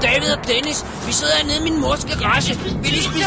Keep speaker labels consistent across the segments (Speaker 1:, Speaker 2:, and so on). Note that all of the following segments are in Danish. Speaker 1: Dennis. Vi sidder hernede i min mors garage. Vi lige spise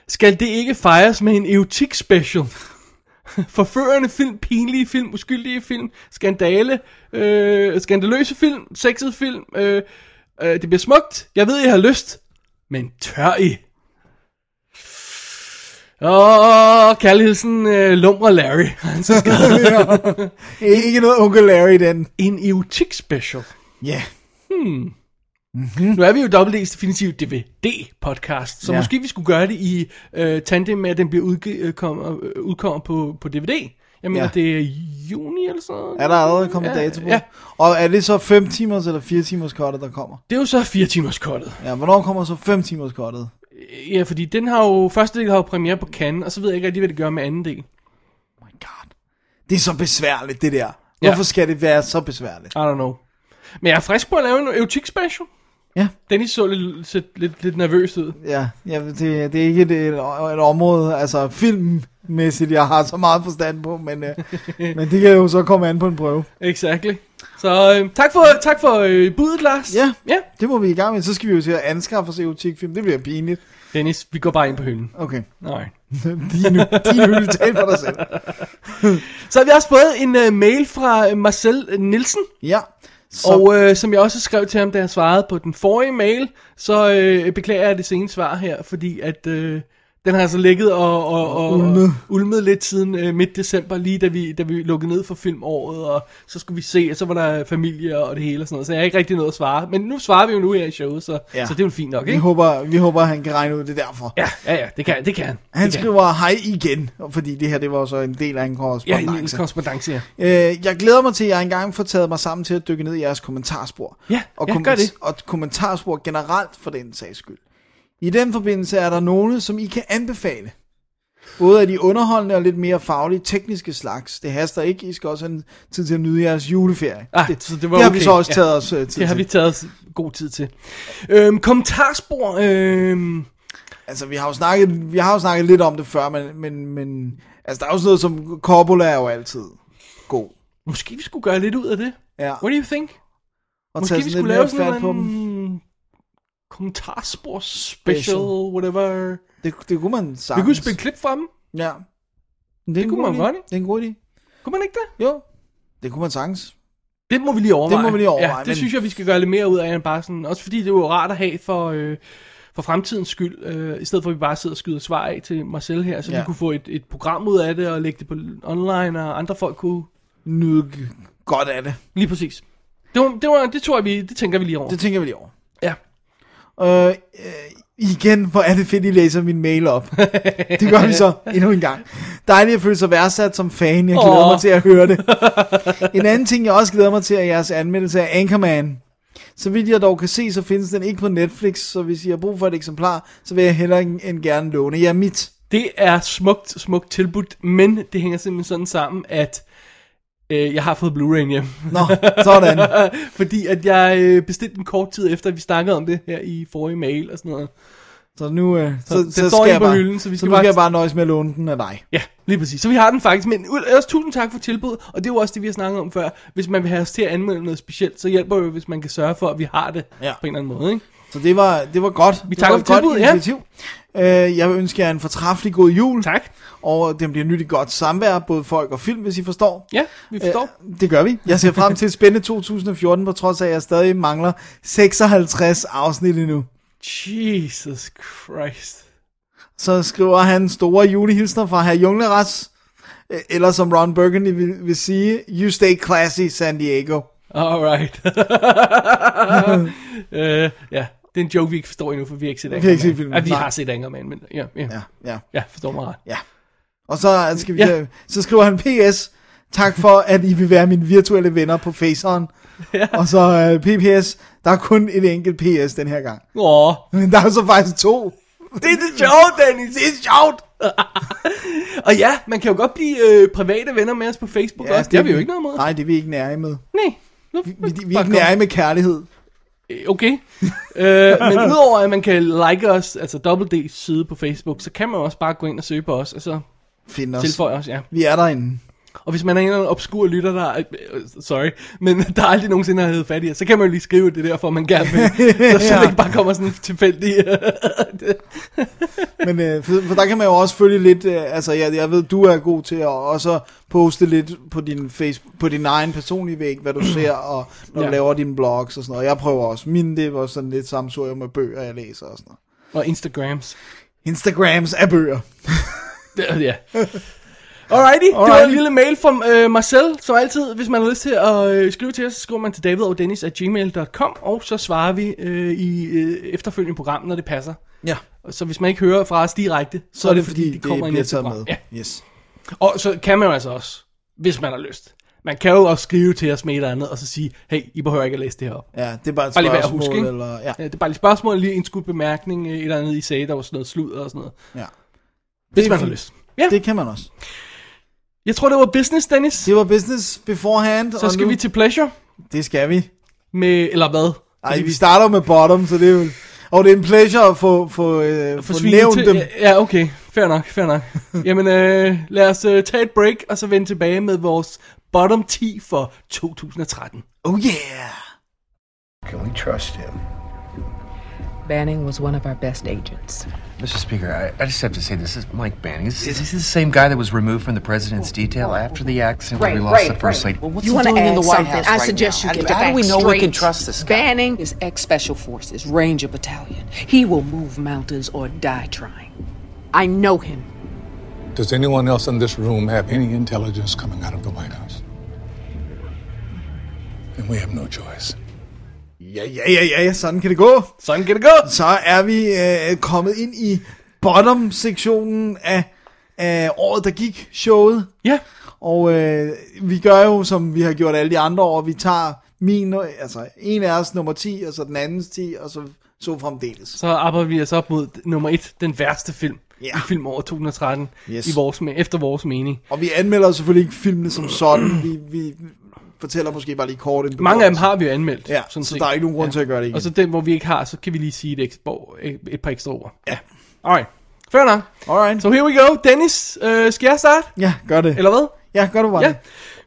Speaker 2: Skal det ikke fejres med en eotik special? Forførende film, pinlige film, uskyldige film, skandale, øh, skandaløse film, sexede film. Øh, øh, det bliver smukt. Jeg ved, I har lyst. Men tør I? Åh, kærligheden øh, lumre Larry. Altså, Han så skrevet
Speaker 3: Ikke noget onkel Larry i den.
Speaker 2: en eotik special.
Speaker 3: Ja,
Speaker 2: Nu er vi jo WD's definitive DVD-podcast, så
Speaker 3: Ja.
Speaker 2: ja. måske vi skulle gøre det i øh, tandem med, at den bliver udge- øh, kommer, øh, udkommer på, på DVD. Jeg mener,
Speaker 3: Ja.
Speaker 2: ja. det er juni eller sådan noget.
Speaker 3: er der allerede kommet
Speaker 2: Ja,
Speaker 3: dato på?
Speaker 2: ja.
Speaker 3: Og er det så 5 timers eller 4 timers kottet, der kommer?
Speaker 2: Det er jo så 4 timers kottet.
Speaker 3: Ja, hvornår kommer så 5 timers kottet?
Speaker 2: Ja, fordi den har jo, første del har jo premiere på Cannes, og så ved jeg ikke rigtig, hvad det gør med anden del.
Speaker 3: Oh my god. Det er så besværligt, det der. Hvorfor skal det være så besværligt?
Speaker 2: I don't know. Men jeg er frisk på at lave en eutik special.
Speaker 3: Ja.
Speaker 2: Dennis så lidt, så lidt, lidt nervøs ud.
Speaker 3: Ja, ja det, det er ikke et, et, et område, altså filmmæssigt, jeg har så meget forstand på, men, øh, men det kan jo så komme an på en prøve.
Speaker 2: Exactly. Så øh, tak for, tak for øh, budet, Lars.
Speaker 3: Ja.
Speaker 2: ja.
Speaker 3: Det må vi i gang med, så skal vi jo til at anskaffe os erotikfilm, det bliver pinligt.
Speaker 2: Dennis, vi går bare ind på hylden.
Speaker 3: Okay.
Speaker 2: Nej.
Speaker 3: Din, din hylde, tal for dig selv.
Speaker 2: Så har vi også fået en øh, mail fra øh, Marcel Nielsen,
Speaker 3: Ja. Så, og,
Speaker 2: og øh, som jeg også skrev til ham, da jeg svarede på den forrige mail, så øh, beklager jeg det sene svar her, fordi at øh, den har altså ligget og, og, og,
Speaker 3: Ulmet.
Speaker 2: og ulmet lidt siden øh, midt december, lige da vi, da vi lukkede ned for filmåret, og så skulle vi se, og så var der familie og det hele og sådan noget, så jeg har ikke rigtig noget at svare, men nu svarer vi jo nu her i showet, så,
Speaker 3: Ja.
Speaker 2: ja. så det er jo fint nok,
Speaker 3: vi,
Speaker 2: ikke?
Speaker 3: håber, vi håber, han kan regne ud det er derfor.
Speaker 2: Ja, ja, ja, det kan det kan.
Speaker 3: Han
Speaker 2: det kan.
Speaker 3: skriver hej igen, fordi det her det var jo så en del af en
Speaker 2: Ja, i min
Speaker 3: korrespondence.
Speaker 2: korrespondence, ja.
Speaker 3: øh, jeg glæder mig til, at jeg engang får taget mig sammen til at dykke ned i jeres kommentarspor.
Speaker 2: Ja,
Speaker 3: og
Speaker 2: ja, gør det.
Speaker 3: Og kommentarspor generelt for den sags skyld. I den forbindelse er der nogle, som I kan anbefale. Både af de underholdende og lidt mere faglige tekniske slags. Det haster ikke, I skal også have en tid til at nyde jeres juleferie.
Speaker 2: Ah, så det var
Speaker 3: det har
Speaker 2: okay.
Speaker 3: vi så også
Speaker 2: Ja.
Speaker 3: taget os øh, tid
Speaker 2: Det har
Speaker 3: til.
Speaker 2: vi taget os god tid til. Øhm, kommentarspor. Øhm,
Speaker 3: Altså, vi har jo snakket, vi har jo snakket lidt om det før, men, men, men altså, der er jo sådan noget som Coppola er jo altid god.
Speaker 2: måske vi skulle gøre lidt ud af det.
Speaker 3: Ja,
Speaker 2: What do you think?
Speaker 3: og
Speaker 2: Måske vi
Speaker 3: lidt
Speaker 2: skulle
Speaker 3: mere
Speaker 2: lave sådan
Speaker 3: fat på dem.
Speaker 2: en kommentarspor special,
Speaker 3: Special.
Speaker 2: whatever.
Speaker 3: Det, det kunne man
Speaker 2: Vi
Speaker 3: sagtens.
Speaker 2: kunne spille klip fra dem.
Speaker 3: Ja. Men
Speaker 2: Det
Speaker 3: en
Speaker 2: kunne
Speaker 3: god
Speaker 2: man
Speaker 3: idé.
Speaker 2: godt, ikke?
Speaker 3: Det er en god idé.
Speaker 2: Kunne man ikke det?
Speaker 3: Jo, det kunne man sagtens.
Speaker 2: Det må vi lige overveje.
Speaker 3: Det må vi lige overveje,
Speaker 2: Ja, det
Speaker 3: men-
Speaker 2: men... synes jeg, vi skal gøre lidt mere ud af end bare sådan. Også fordi det er jo rart at have for, øh, for fremtidens skyld. Øh, I stedet for at vi bare sidder og skyder svar af til Marcel her. Så
Speaker 3: Ja.
Speaker 2: vi kunne få et, et program ud af det og lægge det på online, og andre folk kunne...
Speaker 3: Nyde g- godt af det.
Speaker 2: Lige præcis. Det, var, det, var, det tror jeg, vi, det tænker vi lige over.
Speaker 3: Det tænker vi lige over. Øh, øh, igen, hvor er det fedt, I læser min mail op. det gør vi så endnu en gang. Dejligt at føle sig værdsat som fan. Jeg glæder
Speaker 2: Åh.
Speaker 3: oh. mig til at høre det. en anden ting, jeg også glæder mig til, er jeres anmeldelse af Anchorman. Så vidt jeg dog kan se, så findes den ikke på Netflix, så hvis I har brug for et eksemplar, så vil jeg hellere end gerne låne jer mit.
Speaker 2: Det er smukt, smukt tilbudt, men det hænger simpelthen sådan sammen, at øh, jeg har fået Blu-ray'en hjem.
Speaker 3: Nå, sådan.
Speaker 2: Fordi at jeg øh, bestilte den kort tid efter, at vi snakkede om det her i forrige mail og sådan noget.
Speaker 3: Så nu øh, så,
Speaker 2: Så
Speaker 3: så,
Speaker 2: den
Speaker 3: så
Speaker 2: står
Speaker 3: skal
Speaker 2: inde
Speaker 3: jeg
Speaker 2: på
Speaker 3: bare,
Speaker 2: hylden,
Speaker 3: så vi skal, så nu skal
Speaker 2: bare-
Speaker 3: jeg bare nøjes med at låne den af dig.
Speaker 2: Ja, lige præcis. Så vi har den faktisk, men ud- ellers tusind tak for tilbud, og det er jo også det, vi har snakket om før. Hvis man vil have os til at anmelde noget specielt, så hjælper det jo, hvis man kan sørge for, at vi har det
Speaker 3: Ja.
Speaker 2: på en eller anden måde. Ikke?
Speaker 3: Så det var, det var godt.
Speaker 2: Vi
Speaker 3: det
Speaker 2: takker
Speaker 3: var et
Speaker 2: for
Speaker 3: godt
Speaker 2: tilbuddet, ja.
Speaker 3: initiativ. Ja. Øh, jeg vil ønske jer en fortræffelig god jul.
Speaker 2: Tak.
Speaker 3: Og den bliver nyt i godt samvær, både folk og film, hvis I forstår.
Speaker 2: Ja, vi forstår.
Speaker 3: Øh, det gør vi. Jeg ser frem til et spændende 2014, på trods af, at jeg stadig mangler 56 afsnit endnu.
Speaker 2: Jesus Christ.
Speaker 3: Så skriver han store julehilsner fra herr Junglerats, øh, eller som Ron Burgundy vil, vil sige, You stay classy, San Diego.
Speaker 2: Alright. øh, ja, det er en joke, vi ikke forstår endnu, for vi har ikke set
Speaker 3: har ikke set
Speaker 2: Angerman.
Speaker 3: filmen,
Speaker 2: Ja, vi
Speaker 3: nej.
Speaker 2: har set Angerman, men ja, ja, ja.
Speaker 3: Ja, ja.
Speaker 2: ja forstår mig ret.
Speaker 3: Ja. Og så, øh, skal vi,
Speaker 2: Ja.
Speaker 3: ja. så skriver han PS. Tak for, at I vil være mine virtuelle venner på Faceren. Ja. Og så øh, PPS. Der er kun et enkelt PS den her gang.
Speaker 2: Åh,
Speaker 3: Men der er så faktisk to.
Speaker 2: det er det sjovt, Dennis. Det er sjovt. og ja, man kan jo godt blive øh, private venner med os på Facebook ja, også. Det har vi jo ikke noget imod.
Speaker 3: Nej, det er vi ikke nære med.
Speaker 2: Nej. Nu,
Speaker 3: Vi, vi er
Speaker 2: bare
Speaker 3: ikke
Speaker 2: kom.
Speaker 3: nære med kærlighed.
Speaker 2: Øh, Okay. øh, men udover at man kan like os, altså Double D's side på Facebook, så kan man også bare gå ind og søge på os, og så
Speaker 3: Find os.
Speaker 2: tilføje os, ja.
Speaker 3: Vi er derinde.
Speaker 2: Og hvis man er en eller anden obskur lytter, der er, øh, sorry, men der aldrig nogensinde har heddet fat i jer, så kan man jo lige skrive det der, for man gerne vil. Så, så
Speaker 3: Ja.
Speaker 2: det ikke bare kommer sådan tilfældig.
Speaker 3: Men øh, for, for der kan man jo også følge lidt, øh, altså jeg, jeg ved, du er god til at også poste lidt på din, face, på din egen personlige væg, hvad du ser, og når du
Speaker 2: Ja.
Speaker 3: laver dine blogs og sådan noget. Jeg prøver også. Mine, det var sådan lidt samsurium med bøger, jeg læser og sådan noget.
Speaker 2: og Instagrams.
Speaker 3: Instagrams af bøger.
Speaker 2: Det, øh, ja. Alrighty, det var
Speaker 3: Alrighty.
Speaker 2: en lille mail fra øh, Marcel, som altid, hvis man har lyst til at øh, skrive til os, så skriver man til davidogdennis.gmail.com, og så svarer vi øh, i øh, efterfølgende program, når det passer.
Speaker 3: Ja.
Speaker 2: Og Så hvis man ikke hører fra os direkte, så,
Speaker 3: Så er det, fordi det, det
Speaker 2: kommer i
Speaker 3: bliver
Speaker 2: næste
Speaker 3: taget
Speaker 2: program.
Speaker 3: med.
Speaker 2: Ja.
Speaker 3: Yes.
Speaker 2: Og så kan man jo altså også, hvis man har lyst. Man kan jo også skrive til os med et eller andet, og så sige, hey, I behøver ikke at læse det her op.
Speaker 3: Ja, det er bare et
Speaker 2: Bare lige værd at
Speaker 3: spørgsmål.
Speaker 2: huske, ikke?
Speaker 3: eller, ja,
Speaker 2: Ja, det er bare lige et spørgsmål, lige en skudt bemærkning, øh, et eller andet, I sagde, der var sådan noget sludder og sådan noget.
Speaker 3: ja.
Speaker 2: Hvis
Speaker 3: er
Speaker 2: man har
Speaker 3: fint.
Speaker 2: lyst. Ja,
Speaker 3: Det kan man også.
Speaker 2: jeg tror, det var business, Dennis.
Speaker 3: Det var business beforehand.
Speaker 2: Så
Speaker 3: og
Speaker 2: skal
Speaker 3: nu,
Speaker 2: vi til pleasure
Speaker 3: Det skal vi.
Speaker 2: med, eller hvad?
Speaker 3: Ej, vi starter med bottom, så det er jo... Og det er en pleasure at få, få, øh, få
Speaker 2: svin
Speaker 3: nævnt
Speaker 2: til-
Speaker 3: dem.
Speaker 2: Ja, Ja, okay. Fair nok, fair nok. Jamen, øh, lad os øh, tage et break, og så vende tilbage med vores bottom 10 for 2013.
Speaker 3: Oh yeah!
Speaker 4: Can we trust him?
Speaker 5: Banning was one of our best agents.
Speaker 6: Mr. Speaker, I, I just have to say this is Mike Banning. Is, is he the same guy that was removed from the president's detail after the accident where we lost the first lady?
Speaker 7: Well, what's
Speaker 5: You
Speaker 7: he
Speaker 5: want to
Speaker 7: doing in
Speaker 5: add
Speaker 7: the White
Speaker 5: something?
Speaker 7: House
Speaker 5: I
Speaker 7: right
Speaker 5: suggest
Speaker 7: now?
Speaker 5: you get the
Speaker 7: I mean,
Speaker 5: facts
Speaker 7: How do we know
Speaker 5: straight.
Speaker 7: we can trust this guy?
Speaker 5: Banning is ex-special forces, Ranger Battalion. He will move mountains or die trying. I know him.
Speaker 8: Does anyone else in this room have any intelligence coming out of the White House? And we have no choice.
Speaker 3: Ja, ja, ja, ja, ja, sådan kan det gå.
Speaker 2: Sådan kan det gå!
Speaker 3: Så er vi øh, kommet ind i bottom-sektionen af, af året, der gik showet.
Speaker 2: Ja,
Speaker 3: Og øh, vi gør jo, som vi har gjort alle de andre år, vi tager min, altså en af os nummer 10, og så den andens 10, og så så fremdeles.
Speaker 2: så arbejder vi os op mod nummer 1, den værste film
Speaker 3: Ja.
Speaker 2: i film over 2013,
Speaker 3: Yes.
Speaker 2: i vores, me- efter vores mening.
Speaker 3: Og vi anmelder selvfølgelig ikke filmene som sådan, vi, vi fortæller måske bare lige kort. En
Speaker 2: Mange af dem har vi jo anmeldt.
Speaker 3: Ja,
Speaker 2: sådan
Speaker 3: så
Speaker 2: set.
Speaker 3: der er ikke nogen grund til at gøre det igen.
Speaker 2: Og så den, hvor vi ikke har, så kan vi lige sige et, ekstra, et par ekstra ord. Ja. Alright, fair nok.
Speaker 3: Alright,
Speaker 2: So here we go. Dennis, øh, skal jeg starte?
Speaker 3: ja, gør det.
Speaker 2: Eller hvad?
Speaker 3: Ja, gør du bare
Speaker 2: Ja.
Speaker 3: det.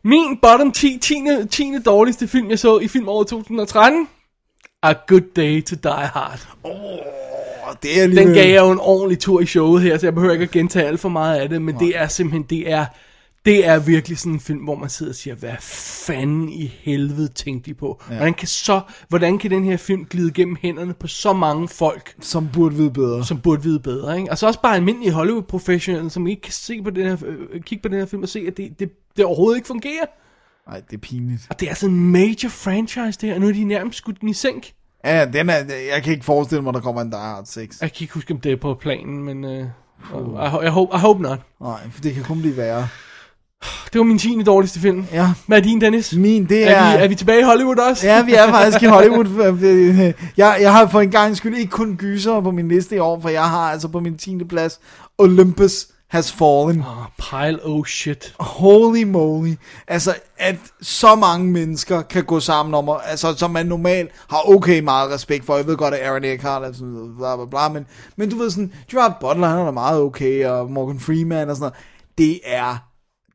Speaker 2: Min bottom 10, 10, 10 dårligste film, jeg så i film over 2013, A Good Day to Die Hard.
Speaker 3: Og det er lige...
Speaker 2: Den gav jeg jo en ordentlig tur i showet her, så jeg behøver ikke at gentage alt for meget af det, men det er simpelthen, det er, det er virkelig sådan en film, hvor man sidder og siger, hvad fanden i helvede tænkte de på? Ja. Hvordan, kan så, hvordan kan den her film glide gennem hænderne på så mange folk?
Speaker 3: Som burde vide bedre.
Speaker 2: som burde vide bedre, ikke? Og så også bare almindelige Hollywood-professionelle, som ikke kan se på den her, øh, kigge på den her film og se, at det, det, det overhovedet ikke fungerer.
Speaker 3: Nej, det er pinligt.
Speaker 2: Og det er altså en major franchise, det her. Nu er de nærmest skudt den i sænk.
Speaker 3: Ja, den er, jeg kan ikke forestille mig, der kommer en Die Hard 6.
Speaker 2: Jeg kan ikke huske, om det er på planen, men... Uh, I, ho- I, hope, I hope not.
Speaker 3: Nej, for det kan kun blive værre.
Speaker 2: Det var min 10. dårligste film.
Speaker 3: Ja,
Speaker 2: Hvad er din, Dennis?
Speaker 3: min, det
Speaker 2: Er, vi, er
Speaker 3: er...
Speaker 2: vi tilbage i Hollywood også?
Speaker 3: Ja, vi er faktisk i Hollywood. Jeg, jeg har for en gang skyld ikke kun gyser på min liste i år, for jeg har altså på min 10. plads Olympus Has Fallen.
Speaker 2: Oh, pile oh shit.
Speaker 3: Holy moly. Altså, at så mange mennesker kan gå sammen om, at- altså, som man normalt har okay meget respekt for. Jeg ved godt, at Aaron Eckhart er sådan noget, bla bla bla, men, men du ved sådan, Gerard Butler, han er da meget okay, og Morgan Freeman og sådan noget. Det er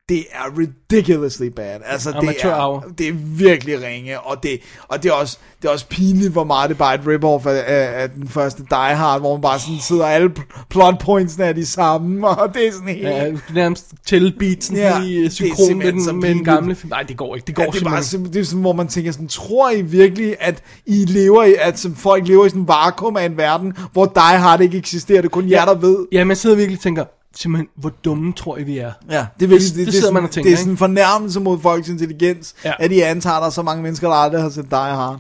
Speaker 3: det er ridiculously bad. Altså, det,
Speaker 2: Amatørhour.
Speaker 3: er, det er virkelig ringe, og det, og det, er, også, det er også pinligt, hvor meget det bare er et rip-off af, af, af, den første Die Hard, hvor man bare sådan sidder, og alle pl- plot pointsene er de samme, og det er sådan helt...
Speaker 2: Ja, du kan nærmest tælle beatsen
Speaker 3: Ja,
Speaker 2: ja, i øh,
Speaker 3: det er
Speaker 2: synkron med
Speaker 3: simpelthen så
Speaker 2: den, med den
Speaker 3: pinligt.
Speaker 2: gamle film. Nej, det går ikke. Det går
Speaker 3: Ja, det er
Speaker 2: simpelthen
Speaker 3: bare
Speaker 2: ikke.
Speaker 3: simpelthen, det er sådan, hvor man tænker sådan, tror I virkelig, at I lever i, at som folk lever i sådan en vakuum af en verden, hvor dig har det ikke eksisterer, det er kun jer, der ved.
Speaker 2: Ja, man sidder virkelig og tænker, simpelthen, hvor dumme tror I, vi er?
Speaker 3: Ja, det, er virkelig,
Speaker 2: det sidder
Speaker 3: sådan,
Speaker 2: man og tænker,
Speaker 3: Det er
Speaker 2: ikke?
Speaker 3: sådan en fornærmelse mod folks intelligens,
Speaker 2: Ja.
Speaker 3: ja. at I antager, der er så mange mennesker, der aldrig har set dig har.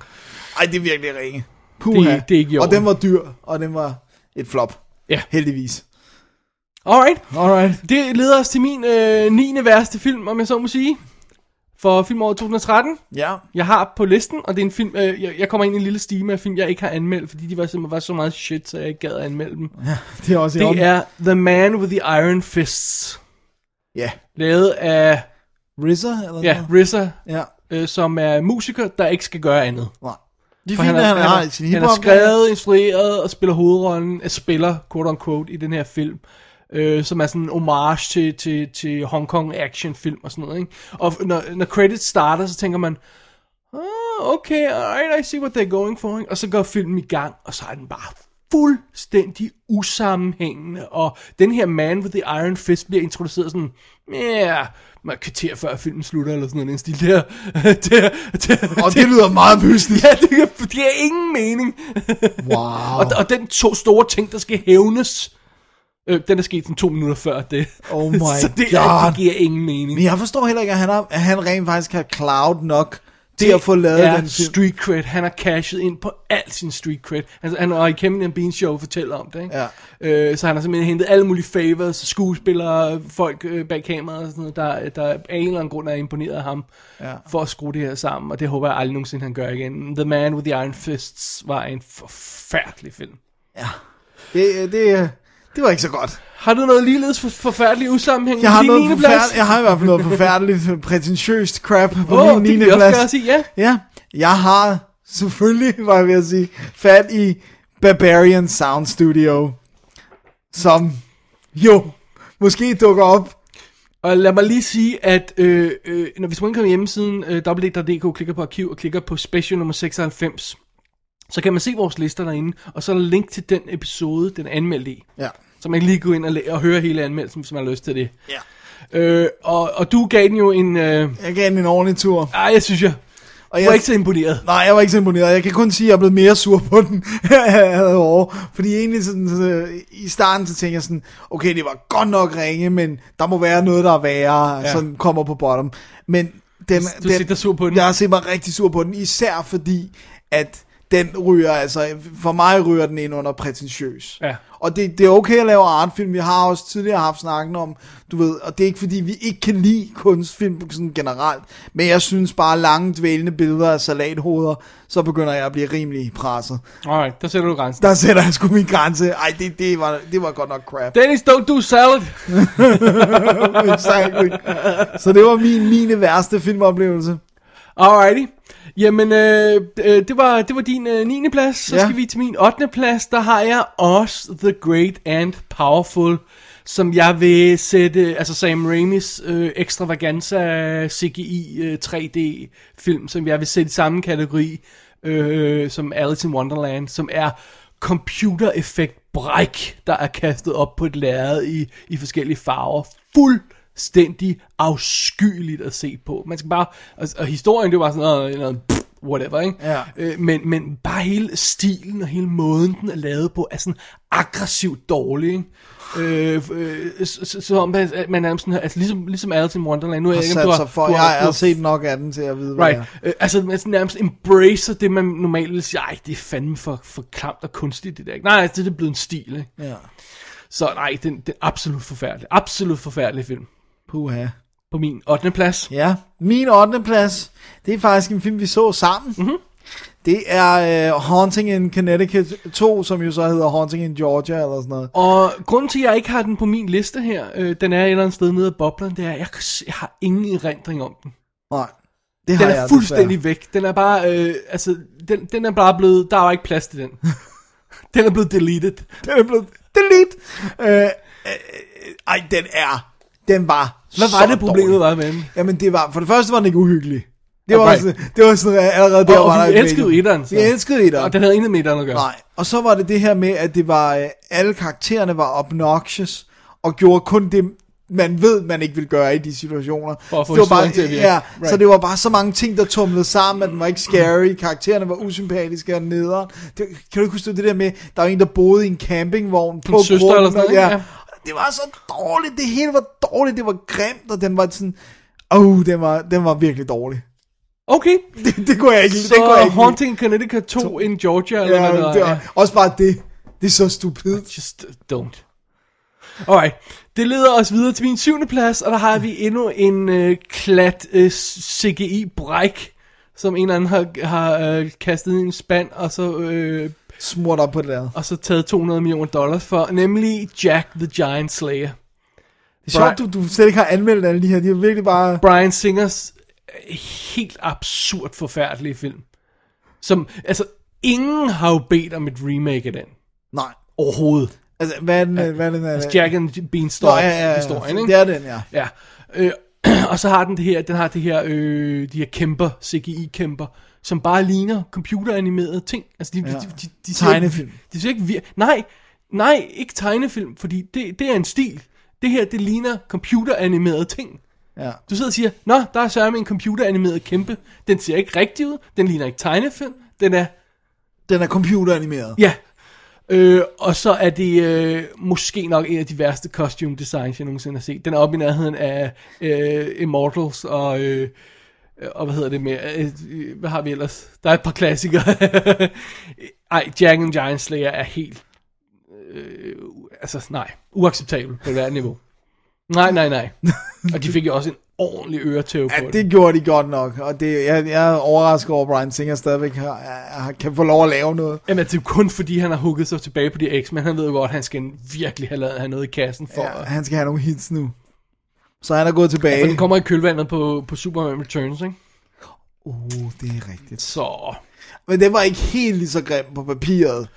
Speaker 3: Ej, det er virkelig ringe. Puha.
Speaker 2: Det- det er ikke i
Speaker 3: Og
Speaker 2: orden.
Speaker 3: den var dyr, og den var et flop.
Speaker 2: Ja.
Speaker 3: Heldigvis.
Speaker 2: Alright,
Speaker 3: Alright.
Speaker 2: det leder os til min øh, 9. værste film, om jeg så må sige. For filmåret 2013.
Speaker 3: Ja.
Speaker 2: Jeg har på listen, og det er en film, øh, jeg, jeg kommer ind i en lille stime af film, jeg ikke har anmeldt, fordi de var simpelthen var så meget shit, så jeg ikke gad at anmelde dem.
Speaker 3: Det er også i orden.
Speaker 2: Det er The Man with the Iron Fists,
Speaker 3: Ja.
Speaker 2: lavet af
Speaker 3: RZA eller
Speaker 2: ja,
Speaker 3: noget?
Speaker 2: RZA,
Speaker 3: Ja.
Speaker 2: øh, som er musiker, der ikke skal gøre andet.
Speaker 3: Nej. De
Speaker 2: For
Speaker 3: film, han, han, har, i sin
Speaker 2: han har
Speaker 3: hiphop-
Speaker 2: skrevet, instrueret og spiller hovedrollen, øh, spiller, quote unquote, i den her film. Øh, som er sådan en homage til, til, til Hong Kong actionfilm og sådan noget. Ikke? Og f- når, når credits starter, så tænker man, oh, okay, alright, I see what they're going for. Ikke? Og så går filmen i gang, og så er den bare fuldstændig usammenhængende. Og den her Man with the Iron Fist bliver introduceret sådan, ja, yeah, man kvarter før filmen slutter, eller sådan noget, i den stil der. der, der
Speaker 3: Og det lyder meget mystisk.
Speaker 2: Ja, det giver, det giver ingen mening.
Speaker 3: Wow.
Speaker 2: Og, og den to store ting, der skal hævnes, øh, den er sket sådan to minutter før det.
Speaker 3: Oh my
Speaker 2: Så det,
Speaker 3: God.
Speaker 2: det giver ingen mening.
Speaker 3: Men jeg forstår heller ikke, at han, har, at han rent faktisk har cloud nok til
Speaker 2: Det
Speaker 3: at få lavet
Speaker 2: er
Speaker 3: den film.
Speaker 2: street cred. Han har cashet ind på alt sin street cred. Altså, han og i Kevin and Bean Show fortæller om det, ikke?
Speaker 3: Ja.
Speaker 2: Øh, så han har simpelthen hentet alle mulige favors, skuespillere, folk øh, bag kameraet og sådan noget, der, der af en eller anden grund er imponeret af ham, ja. for at skrue det her sammen, og det håber jeg aldrig nogensinde, han gør igen. The Man with the Iron Fists var en forfærdelig film.
Speaker 3: Det, det, det var ikke så godt.
Speaker 2: Har du noget ligeledes for, forfærdeligt usammenhæng?
Speaker 3: Jeg har, noget forfærdeligt, jeg har i hvert fald noget forfærdeligt, prætentiøst crap på
Speaker 2: Åh,
Speaker 3: oh,
Speaker 2: det
Speaker 3: min 9.
Speaker 2: kan vi også
Speaker 3: plads.
Speaker 2: gøre, sige, ja.
Speaker 3: ja, jeg har selvfølgelig, var jeg ved at sige, fat i Barbarian Sound Studio, som jo måske dukker op.
Speaker 2: Og lad mig lige sige, at øh, øh, når hvis man går på hjemmesiden øh, www.dk, klikker på arkiv og klikker på special nummer 96, så kan man se vores lister derinde, og så er der link til den episode, den er anmeldt i.
Speaker 3: Ja.
Speaker 2: Så man kan lige gå ind og, læ- og høre hele anmeldelsen, hvis man har lyst til det. Ja. Øh, og, og du gav den jo en... Øh,
Speaker 3: Jeg gav den en ordentlig tur.
Speaker 2: ej, jeg synes, jeg
Speaker 3: Og
Speaker 2: var ikke så imponeret.
Speaker 3: Nej, jeg var ikke så imponeret. Jeg kan kun sige, at jeg er blevet mere sur på den over. Fordi egentlig sådan, så, i starten, så tænkte jeg sådan, okay, det var godt nok ringe, men der må være noget, der er værre,
Speaker 2: Ja.
Speaker 3: ja. sådan kommer på bottom. Men den,
Speaker 2: Du
Speaker 3: den,
Speaker 2: sidder sur på den.
Speaker 3: Jeg har set mig rigtig sur på den, især fordi, at den ryger, altså for mig ryger den ind under prætentiøs.
Speaker 2: Ja.
Speaker 3: Og det, det er okay at lave artfilm. Vi har også tidligere haft snakken om, du ved, og det er ikke fordi, vi ikke kan lide kunstfilm sådan generelt, men jeg synes bare lange dvælende billeder af salathoveder, så begynder jeg at blive rimelig presset.
Speaker 2: Alright, der sætter du grænsen.
Speaker 3: Der sætter jeg sgu min grænse. Ej, det, det, var, det var godt nok crap.
Speaker 2: Dennis, don't do salad!
Speaker 3: exactly. Så det var min 9. værste filmoplevelse.
Speaker 2: Alrighty. Jamen, øh, øh, det, var, det var din øh, 9. plads. Så ja.
Speaker 3: Ja.
Speaker 2: skal vi til min 8. plads. Der har jeg også The Great and Powerful, som jeg vil sætte, altså Sam Raimis øh, extravaganza CGI øh, 3D film, som jeg vil sætte i samme kategori øh, som Alice in Wonderland, som er computereffekt bræk, der er kastet op på et lærred i, i forskellige farver. Fuld fuldstændig afskyeligt at se på. Man skal bare, og, og historien, det var sådan noget, noget pff, whatever, ikke?
Speaker 3: Ja.
Speaker 2: Øh, men, men bare hele stilen og hele måden, den er lavet på, er sådan aggressivt dårlig, ikke? Øh, øh, så, så, så man, man er sådan her, altså ligesom, ligesom Alice in Wonderland, nu er jeg
Speaker 3: har
Speaker 2: ikke, om du
Speaker 3: sat sig for.
Speaker 2: du
Speaker 3: Jeg har, jeg
Speaker 2: du
Speaker 3: har set nok af den til at vide, hvad
Speaker 2: Right.
Speaker 3: det
Speaker 2: Øh, altså, man sådan nærmest embracer det, man normalt vil sige, ej, det er fandme for, for klamt og kunstigt, det der. ikke?" Nej, altså, det er blevet en stil, ikke?
Speaker 3: er. Ja.
Speaker 2: Så nej, den, den er absolut forfærdelig. Absolut forfærdelig film.
Speaker 3: Puha.
Speaker 2: På min 8. plads.
Speaker 3: Ja, min 8. plads, det er faktisk en film, vi så sammen.
Speaker 2: Mhm.
Speaker 3: Mm-hmm. Det er uh, Haunting in Connecticut 2, som jo så hedder Haunting in Georgia eller sådan noget.
Speaker 2: Og grunden til, at jeg ikke har den på min liste her, øh, den er et eller andet sted nede af boblen, det er, at jeg, kan se- jeg har ingen erindring om den.
Speaker 3: Nej, det har
Speaker 2: Den
Speaker 3: jeg
Speaker 2: er fuldstændig væk. Den er bare, øh, altså, den, den er bare blevet, der var ikke plads til den. den er blevet deleted.
Speaker 3: desværre. Den er blevet delete. Øh, øh, ej, den er, den var
Speaker 2: Hvad var
Speaker 3: så
Speaker 2: det problemet
Speaker 3: dårlig.
Speaker 2: var med den?
Speaker 3: Jamen det var, for det første var den ikke uhyggelig. Det var,
Speaker 2: Alright.
Speaker 3: sådan, det var sådan allerede der,
Speaker 2: Og- og
Speaker 3: var
Speaker 2: vi
Speaker 3: der et
Speaker 2: elskede
Speaker 3: problem.
Speaker 2: etteren, så.
Speaker 3: Vi elskede etteren.
Speaker 2: Og den havde intet med den at gøre.
Speaker 3: Nej, og så var det det her med, at det var øh, alle karaktererne var obnoxious, og gjorde kun det, man ved, man ikke vil gøre i de situationer.
Speaker 2: For at få
Speaker 3: det var bare,
Speaker 2: historien til at virke.
Speaker 3: Ja,
Speaker 2: Right.
Speaker 3: så det var bare så mange ting, der tumlede sammen, at den var ikke scary, karaktererne var usympatiske og nederen. Det, kan du ikke huske det der med, der var en, der boede i en campingvogn på
Speaker 2: søster
Speaker 3: grunden,
Speaker 2: eller sådan
Speaker 3: og-
Speaker 2: noget, ikke?
Speaker 3: Ja.
Speaker 2: Ja.
Speaker 3: Det var så dårligt, det hele var dårligt, det var grimt, og den var sådan, åh, oh, den, var, den var virkelig dårlig.
Speaker 2: Okay,
Speaker 3: Det, det kunne jeg ikke,
Speaker 2: så
Speaker 3: det kunne jeg ikke. lide.
Speaker 2: Haunting in Connecticut 2 in Georgia, eller
Speaker 3: Ja,
Speaker 2: hvad der
Speaker 3: det var, også bare det. Det er så stupidt.
Speaker 2: Just don't. Alright, det leder os videre til min syvende plads, og der har vi endnu en øh, klat øh, CGI-bræk, som en eller anden har, har øh, kastet i en spand, og så, øh,
Speaker 3: Smurt op på det der.
Speaker 2: og så taget 200 millioner dollars for, nemlig Jack the Giant Slayer.
Speaker 3: Det er sjovt, du, du slet ikke har anmeldt alle de her. De er virkelig bare...
Speaker 2: Brian Singers øh, helt absurd forfærdelige film. Som, altså, ingen har jo bedt om et remake af den.
Speaker 3: Nej.
Speaker 2: Overhovedet.
Speaker 3: Altså, hvad er den? Ja, hvad er den
Speaker 2: Altså, Jack and the Beanstalk-historien, ikke?
Speaker 3: Det er den, ja.
Speaker 2: Ja. Øh, og så har den det her, den har det her, øh, de her kæmper, CGI-kæmper, som bare ligner computeranimerede ting. Altså, de, ja. de, de, de, de ser ikke-
Speaker 3: Tegnefilm.
Speaker 2: De ser ikke vir- Nej, nej, ikke tegnefilm, fordi det, det er en stil. Det her, det ligner computeranimerede ting.
Speaker 3: ja.
Speaker 2: Du sidder og siger, Nå, der er sørme en computeranimeret kæmpe. Den ser ikke rigtig ud. Den ligner ikke tegnefilm. Den er
Speaker 3: Den er computeranimeret.
Speaker 2: Ja. Øh, og så er det øh, måske nok en af de værste costume designs, jeg nogensinde har set. Den er oppe i nærheden af øh, Immortals og, øh, og hvad hedder det mere? Øh, øh, hvad har vi ellers? Der er et par klassikere. Ej, Jack and Giant Slayer er helt, øh, altså nej, uacceptabel på hvert niveau. Nej, nej, nej. Og de fik jo også en ordentlig øretæve på
Speaker 3: Ja,
Speaker 2: det.
Speaker 3: det gjorde de godt nok. Og det, jeg, jeg er overrasket over, at Brian Singer stadigvæk har, har, kan få lov at lave noget.
Speaker 2: Jamen, det er jo kun fordi, han har hugget sig tilbage på de X, men han ved jo godt, at han skal virkelig have, lavet, have noget i kassen for
Speaker 3: Ja,
Speaker 2: at-
Speaker 3: han skal have nogle hits nu. Så han er gået tilbage.
Speaker 2: Og den kommer i kølvandet på, på Superman Returns, ikke?
Speaker 3: Uh, det er rigtigt.
Speaker 2: Så...
Speaker 3: Men den var ikke helt lige så grim på papiret.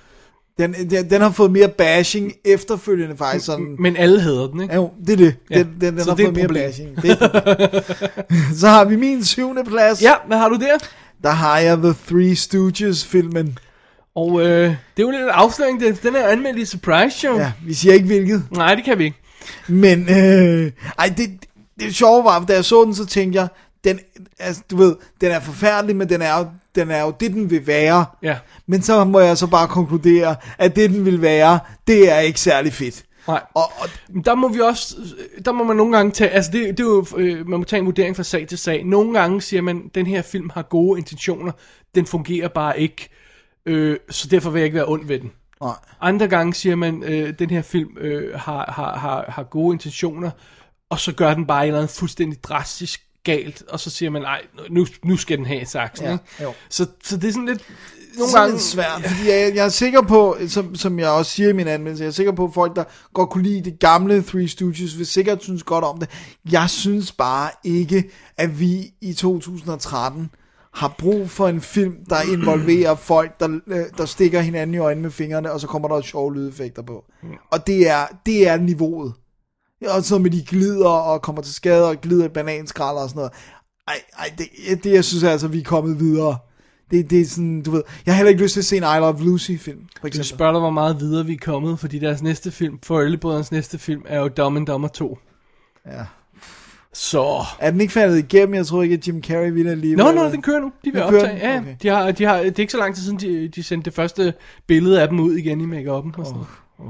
Speaker 3: Den, den, den har fået mere bashing efterfølgende faktisk. Sådan,
Speaker 2: Men alle hader den, ikke?
Speaker 3: Ja, Jo, det er det.
Speaker 2: Ja,
Speaker 3: Den, den, den
Speaker 2: så
Speaker 3: har
Speaker 2: det er
Speaker 3: fået
Speaker 2: et
Speaker 3: mere
Speaker 2: problem.
Speaker 3: bashing. Det er et problem. så har vi min syvende plads.
Speaker 2: Ja, hvad har du der?
Speaker 3: Der har jeg The Three Stooges-filmen.
Speaker 2: Og øh, det er jo lidt en afsløring, den, den er anmeldt i Surprise Show.
Speaker 3: Ja, vi siger ikke hvilket.
Speaker 2: Nej, det kan vi ikke.
Speaker 3: Men, øh, ej, det, det sjove var, da jeg så den, så tænkte jeg, den, altså, du ved, den er forfærdelig, men den er, jo, den er jo det, den vil være.
Speaker 2: Ja.
Speaker 3: Men så må jeg så bare konkludere, at det, den vil være, det er ikke særlig fedt.
Speaker 2: Nej.
Speaker 3: Og, og
Speaker 2: Men Der må vi også, øh, der må man nogle gange tage, altså det, det er jo, øh, man må tage en vurdering fra sag til sag. Nogle gange siger man, den her film har gode intentioner, den fungerer bare ikke, øh, så derfor vil jeg ikke være ond ved den.
Speaker 3: Nej.
Speaker 2: Andre gange siger man, øh, den her film øh, har, har, har, har gode intentioner, og så gør den bare et eller andet fuldstændig drastisk galt, og så siger man, nej, nu, nu skal den have saksen.
Speaker 3: Ja,
Speaker 2: ikke?
Speaker 3: jo.
Speaker 2: så, så det er sådan lidt, nogle
Speaker 3: nogle gange
Speaker 2: gange,
Speaker 3: lidt svært, fordi jeg, jeg er sikker på, som, som jeg også siger i min anmeldelse, jeg er sikker på, at folk, der godt kunne lide det gamle Three Stooges, vil sikkert synes godt om det. Jeg synes bare ikke, at vi i 2013 har brug for en film, der involverer folk, der, øh, der stikker hinanden i øjnene med fingrene, og så kommer der sjove lydeffekter på. Og det er, det er niveauet. Og så med de glider og kommer til skade og glider i bananskralder og sådan noget. Ej, ej det, det jeg synes altså, vi er kommet videre. Det, det er sådan, du ved, jeg har heller ikke lyst til at se en I Love Lucy film, for
Speaker 2: Jeg
Speaker 3: eksempel.
Speaker 2: spørger dig, hvor meget videre vi er kommet, fordi deres næste film, Forældrebrødrens næste film, er jo Dumb and Dumber 2.
Speaker 3: Ja.
Speaker 2: Så...
Speaker 3: Er den ikke faldet igennem? Jeg tror ikke, at Jim Carrey ville alligevel.
Speaker 2: Nå, nå, den kører nu. De vil
Speaker 3: Den kører
Speaker 2: optage.
Speaker 3: den?
Speaker 2: Ja,
Speaker 3: Okay.
Speaker 2: okay. de har, de har, det er ikke så lang tid siden, de, de sendte det første billede af dem ud igen i make-up'en. Og sådan. Oh.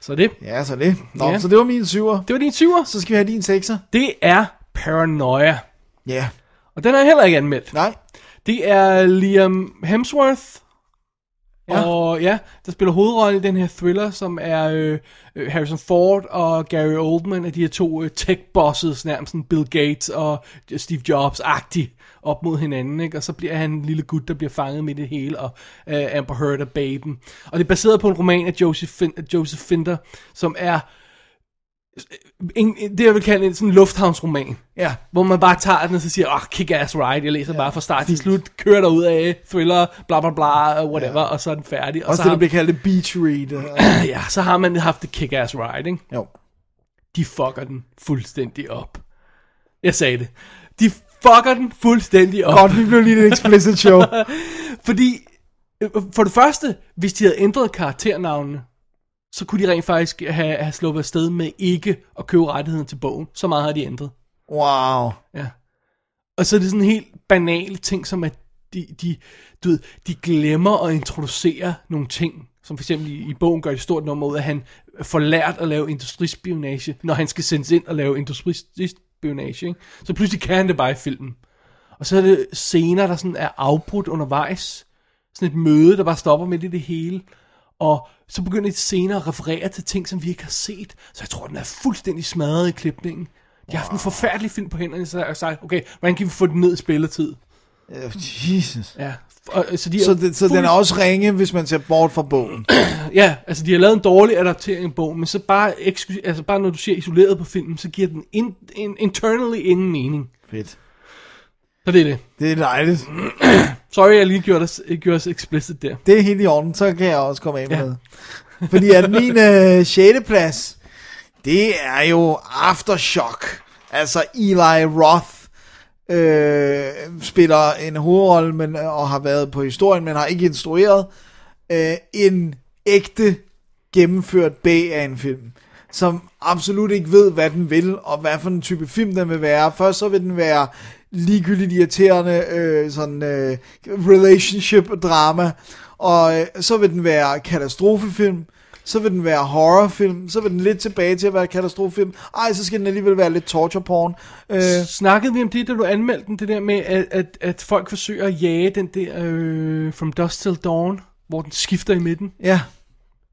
Speaker 2: Så det.
Speaker 3: Ja, så det. Nå,
Speaker 2: Ja.
Speaker 3: så det var min syver.
Speaker 2: Det var din syver.
Speaker 3: Så skal vi have din sekser.
Speaker 2: Det er Paranoia.
Speaker 3: Ja.
Speaker 2: Og den er heller ikke anmeldt.
Speaker 3: Nej.
Speaker 2: Det er Liam Hemsworth.
Speaker 3: Ja.
Speaker 2: Ja. Og ja, der spiller hovedrollen i den her thriller, som er øh, øh, Harrison Ford og Gary Oldman, af de her to øh, tech-bosses, nærmest sådan Bill Gates og Steve Jobs-agtig, op mod hinanden. Ikke? Og så bliver han en lille gut, der bliver fanget midt i det hele, og øh, Amber Heard er baben. Og det er baseret på en roman af Joseph, fin- af Joseph Finder, som er øh, en, en, det, jeg vil kalde en sådan lufthavnsroman
Speaker 3: Ja.
Speaker 2: hvor man bare tager den og så siger, åh, oh, kick ass ride, jeg læser ja, bare fra start til slut, kører der ud af thriller, bla bla bla, og whatever, ja. og så er den færdig. Og
Speaker 3: Også
Speaker 2: så,
Speaker 3: det,
Speaker 2: har,
Speaker 3: der bliver kaldt et beach read.
Speaker 2: ja, så har man haft det kick ass ride, ikke?
Speaker 3: jo.
Speaker 2: De fucker den fuldstændig op. Jeg sagde det. De fucker den fuldstændig op.
Speaker 3: Godt, vi blev lige et explicit show.
Speaker 2: Fordi, øh, for det første, hvis de havde ændret karakternavnene, så kunne de rent faktisk have, have sluppet afsted med ikke at købe rettigheden til bogen. Så meget har de ændret.
Speaker 3: Wow.
Speaker 2: Ja. Og så er det sådan helt banale ting, som at de, de, du ved, de glemmer at introducere nogle ting. Som for eksempel i, i bogen gør det stort nummer ud, af, at han får lært at lave industrispionage, når han skal sendes ind og lave industrispionage. Ikke? Så pludselig kan han det bare i filmen. Og så er det scener, der sådan er afbrudt undervejs. Sådan et møde, der bare stopper midt i det hele. Og så begynder de senere at referere til ting, som vi ikke har set. Så jeg tror, den er fuldstændig smadret i klipningen. De har haft en forfærdelig film på hænderne, så jeg har sagt, okay, hvordan kan vi få den ned i spilletid?
Speaker 3: Øh, Jesus.
Speaker 2: Ja, og, øh, så, de
Speaker 3: Så, det, så den er også ringe, hvis man ser bort fra bogen.
Speaker 2: Ja, altså de har lavet en dårlig adaptering af bogen, men så bare, eksku- altså bare når du ser isoleret på filmen, så giver den in, in, internally ingen mening.
Speaker 3: Fedt.
Speaker 2: Så det er det.
Speaker 3: Det er dejligt.
Speaker 2: Sorry, jeg lige gjorde os, gjorde os explicit der.
Speaker 3: Det er helt i orden, så kan jeg også komme af med
Speaker 2: Ja.
Speaker 3: noget. Fordi at min øh, 6. plads, det er jo Aftershock. Altså Eli Roth øh, spiller en hovedrolle men, øh, og har været på historien, men har ikke instrueret. Øh, en ægte gennemført bag af en film, som absolut ikke ved, hvad den vil, og hvad for en type film den vil være. Først så vil den være ligegyldigt irriterende øh, sådan, øh, relationship-drama, og øh, så vil den være katastrofefilm, så vil den være horrorfilm, så vil den lidt tilbage til at være katastrofefilm. Ej, så skal den alligevel være lidt torture porn. Øh,
Speaker 2: Snakkede vi om det, da du anmeldte den, det der med, at, at, at folk forsøger at jage den der øh, From Dusk Till Dawn, hvor den skifter i midten?
Speaker 3: ja.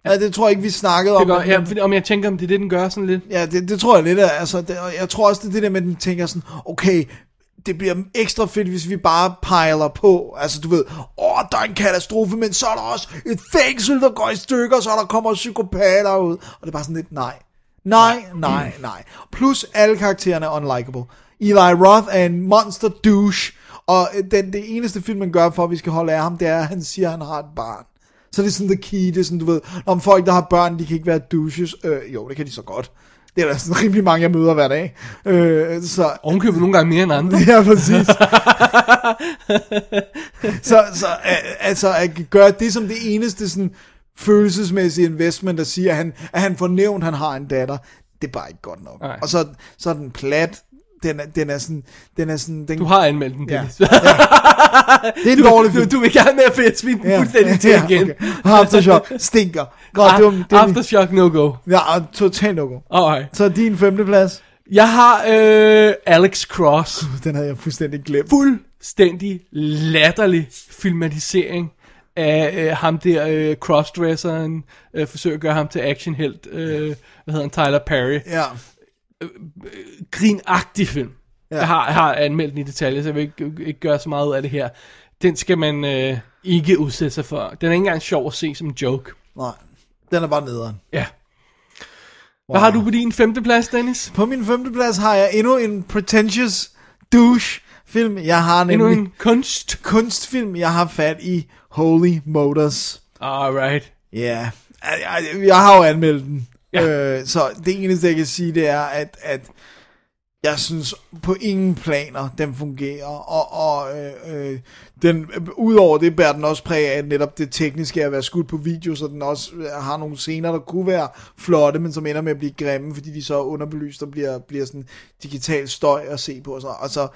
Speaker 3: ja. det tror jeg ikke, vi snakkede om.
Speaker 2: Det gør,
Speaker 3: men-
Speaker 2: ja, fordi- om jeg tænker, om det er det, den gør sådan lidt.
Speaker 3: Ja, det, det tror jeg lidt, er, altså, det, og jeg tror også, det er det der med, at den tænker sådan, okay, det bliver ekstra fedt, hvis vi bare pejler på, altså du ved, åh, der er en katastrofe, men så er der også et fængsel, der går i stykker, så der kommer psykopater ud, og det er bare sådan lidt, nej, nej, nej, nej. Plus alle karaktererne er unlikable. Eli Roth er en monster douche, og øh, den, det eneste film, man gør for, at vi skal holde af ham, det er, at han siger, at han har et barn. Så det er sådan the key, det er sådan, du ved, om folk, der har børn, de kan ikke være douches. Øh, jo, det kan de så godt. Det er der sådan rimelig mange, jeg møder hver dag. Øh, så
Speaker 2: Ovenkøbet nogle gange mere end andre.
Speaker 3: Ja, præcis. så så øh, altså, at gøre det som det eneste sådan, følelsesmæssige investment, der siger, at han, at han får nævnt, at han har en datter, det er bare ikke godt nok.
Speaker 2: Nej.
Speaker 3: Og så, så er den plat, den er, den er sådan, den er sådan, den,
Speaker 2: Du har anmeldt den,
Speaker 3: ja,
Speaker 2: Dennis.
Speaker 3: ja. Det er en dårlig
Speaker 2: Du,
Speaker 3: film.
Speaker 2: du vil gerne med at finde svinde den fuldstændig til igen. Ah,
Speaker 3: Okay. Aftershock stinker. Godt, det var, det var, min-
Speaker 2: Aftershock no go.
Speaker 3: ja, og totalt no
Speaker 2: Alright.
Speaker 3: Så din femte plads,
Speaker 2: Jeg har øh, Alex Cross.
Speaker 3: den havde jeg fuldstændig glemt.
Speaker 2: Fuldstændig latterlig filmatisering af øh, ham der øh, crossdresseren. Øh, forsøger at gøre ham til actionhelt. Øh, hvad hedder han? Tyler Perry.
Speaker 3: Ja,
Speaker 2: grinagtig film. Ja. Jeg, har, jeg har anmeldt den i detalje, så jeg vil ikke, ikke gøre så meget ud af det her. Den skal man øh, ikke udsætte sig for. Den er ikke engang sjov at se som en joke.
Speaker 3: nej. Den er bare nederen.
Speaker 2: Ja. Hvad har du på din femte plads, Dennis?
Speaker 3: På min femte plads har jeg endnu en pretentious douche film. Jeg har nemlig
Speaker 2: Endnu en kunst.
Speaker 3: kunstfilm, jeg har fat i Holy Motors.
Speaker 2: Alright.
Speaker 3: Ja, jeg, jeg, jeg har jo anmeldt den.
Speaker 2: Ja.
Speaker 3: Øh, så det eneste, jeg kan sige, det er, at, at jeg synes på ingen planer, den fungerer, og, og øh, øh, den, udover det bærer den også præg af netop det tekniske at være skudt på video, så den også øh, har nogle scener, der kunne være flotte, men som ender med at blive grimme, fordi de så er underbelyst og bliver, bliver sådan digital støj at se på. Og så, og så,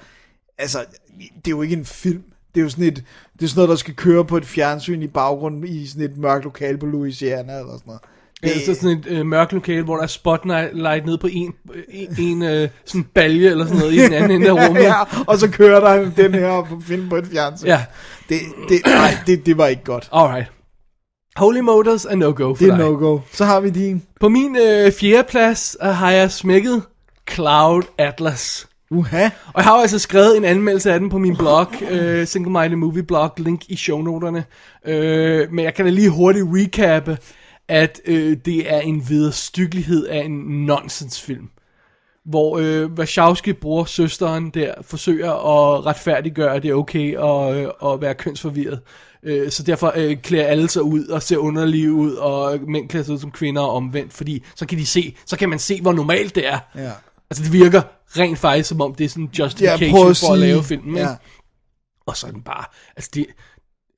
Speaker 3: altså, det er jo ikke en film. Det er jo sådan et, det er sådan noget, der skal køre på et fjernsyn i baggrunden i sådan et mørkt lokal på Louisiana eller sådan noget.
Speaker 2: Det er så sådan et øh, mørkt lokale, hvor der er spotlight ned på en, øh, en, en øh, sådan balje eller sådan noget i den anden ende af rummet.
Speaker 3: ja, ja, og så kører der den her på film på et fjernsyn.
Speaker 2: Ja.
Speaker 3: Det, det, nej, det, det var ikke godt.
Speaker 2: Alright. Holy Motors er no-go for
Speaker 3: Det er
Speaker 2: dig.
Speaker 3: no-go. Så har vi din.
Speaker 2: På min øh, fjerde plads øh, har jeg smækket Cloud Atlas.
Speaker 3: Uha.
Speaker 2: Og jeg har jo altså skrevet en anmeldelse af den på min blog, øh, Single Minded Movie Blog, link i shownoterne. Øh, men jeg kan da lige hurtigt recappe, at øh, det er en vederstyggelighed af en nonsensfilm. Hvor øh, Wachowski bruger søsteren der, forsøger at retfærdiggøre, at det er okay at, øh, at være kønsforvirret. Øh, så derfor øh, klæder alle sig ud og ser underlige ud, og mænd klæder sig ud som kvinder og omvendt, fordi så kan de se, så kan man se, hvor normalt det er.
Speaker 3: Ja.
Speaker 2: Altså det virker rent faktisk som om det er sådan
Speaker 3: Jeg
Speaker 2: justification
Speaker 3: prøver
Speaker 2: for
Speaker 3: at
Speaker 2: at,
Speaker 3: sige.
Speaker 2: lave filmen. Ja.
Speaker 3: Ja.
Speaker 2: Og så er den bare, altså det,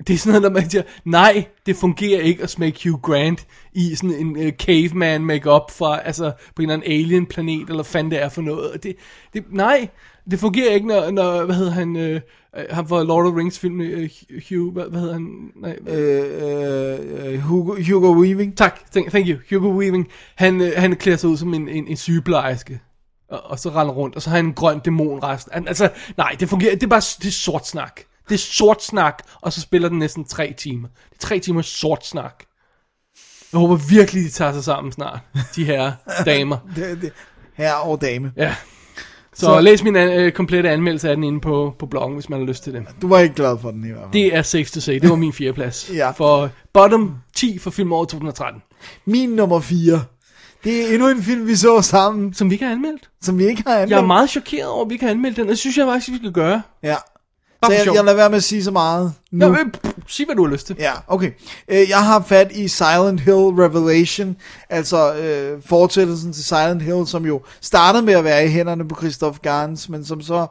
Speaker 2: det er sådan noget, når man siger, nej, det fungerer ikke at smække Hugh Grant i sådan en uh, caveman makeup fra, altså på en eller anden alien planet, eller fandt det er for noget. Og Det, det, nej, det fungerer ikke, når, når hvad hedder han, øh, øh, ham fra Lord of the Rings film, øh, Hugh, hvad, hvad hedder han, nej, øh,
Speaker 3: Øh, øh, Hugo, Hugo Weaving.
Speaker 2: Tak, thank, thank you. Hugo Weaving, han, øh, han klæder sig ud som en, en, en sygeplejerske. Og, og så render rundt, og så har han en grøn dæmon resten. Han- Altså, nej, det fungerer, det er bare s- det er sort snak. Det er sort snak, og så spiller den næsten tre timer. Det er tre timer sort snak. Jeg håber virkelig, de tager sig sammen snart, de her damer.
Speaker 3: Det, det. Her og dame.
Speaker 2: Ja. Så,
Speaker 3: Så-
Speaker 2: så læs min an, øh, komplette anmeldelse af den inde på, på bloggen, hvis man har lyst til det.
Speaker 3: Du var ikke glad for den i hvert fald.
Speaker 2: Det er safe to say, det var min fjerdeplads.
Speaker 3: Ja.
Speaker 2: For bottom 10 for filmåret 2013,
Speaker 3: Min nummer 4. Det er endnu en film, vi så sammen,
Speaker 2: som vi ikke har anmeldt.
Speaker 3: som vi ikke har anmeldt.
Speaker 2: Jeg er meget chokeret over, at vi ikke har anmeldt den, og det synes jeg faktisk, vi skal gøre.
Speaker 3: Ja.
Speaker 2: Bare
Speaker 3: Så
Speaker 2: for
Speaker 3: jeg,
Speaker 2: sjov.
Speaker 3: jeg lader være med at sige så meget nu.
Speaker 2: Nå, øh, pff, sig hvad du har lyst til.
Speaker 3: Ja, okay. Øh, Jeg har fat i Silent Hill Revelation, altså øh, fortsættelsen til Silent Hill, som jo startede med at være i hænderne på Christoph Gans, men som så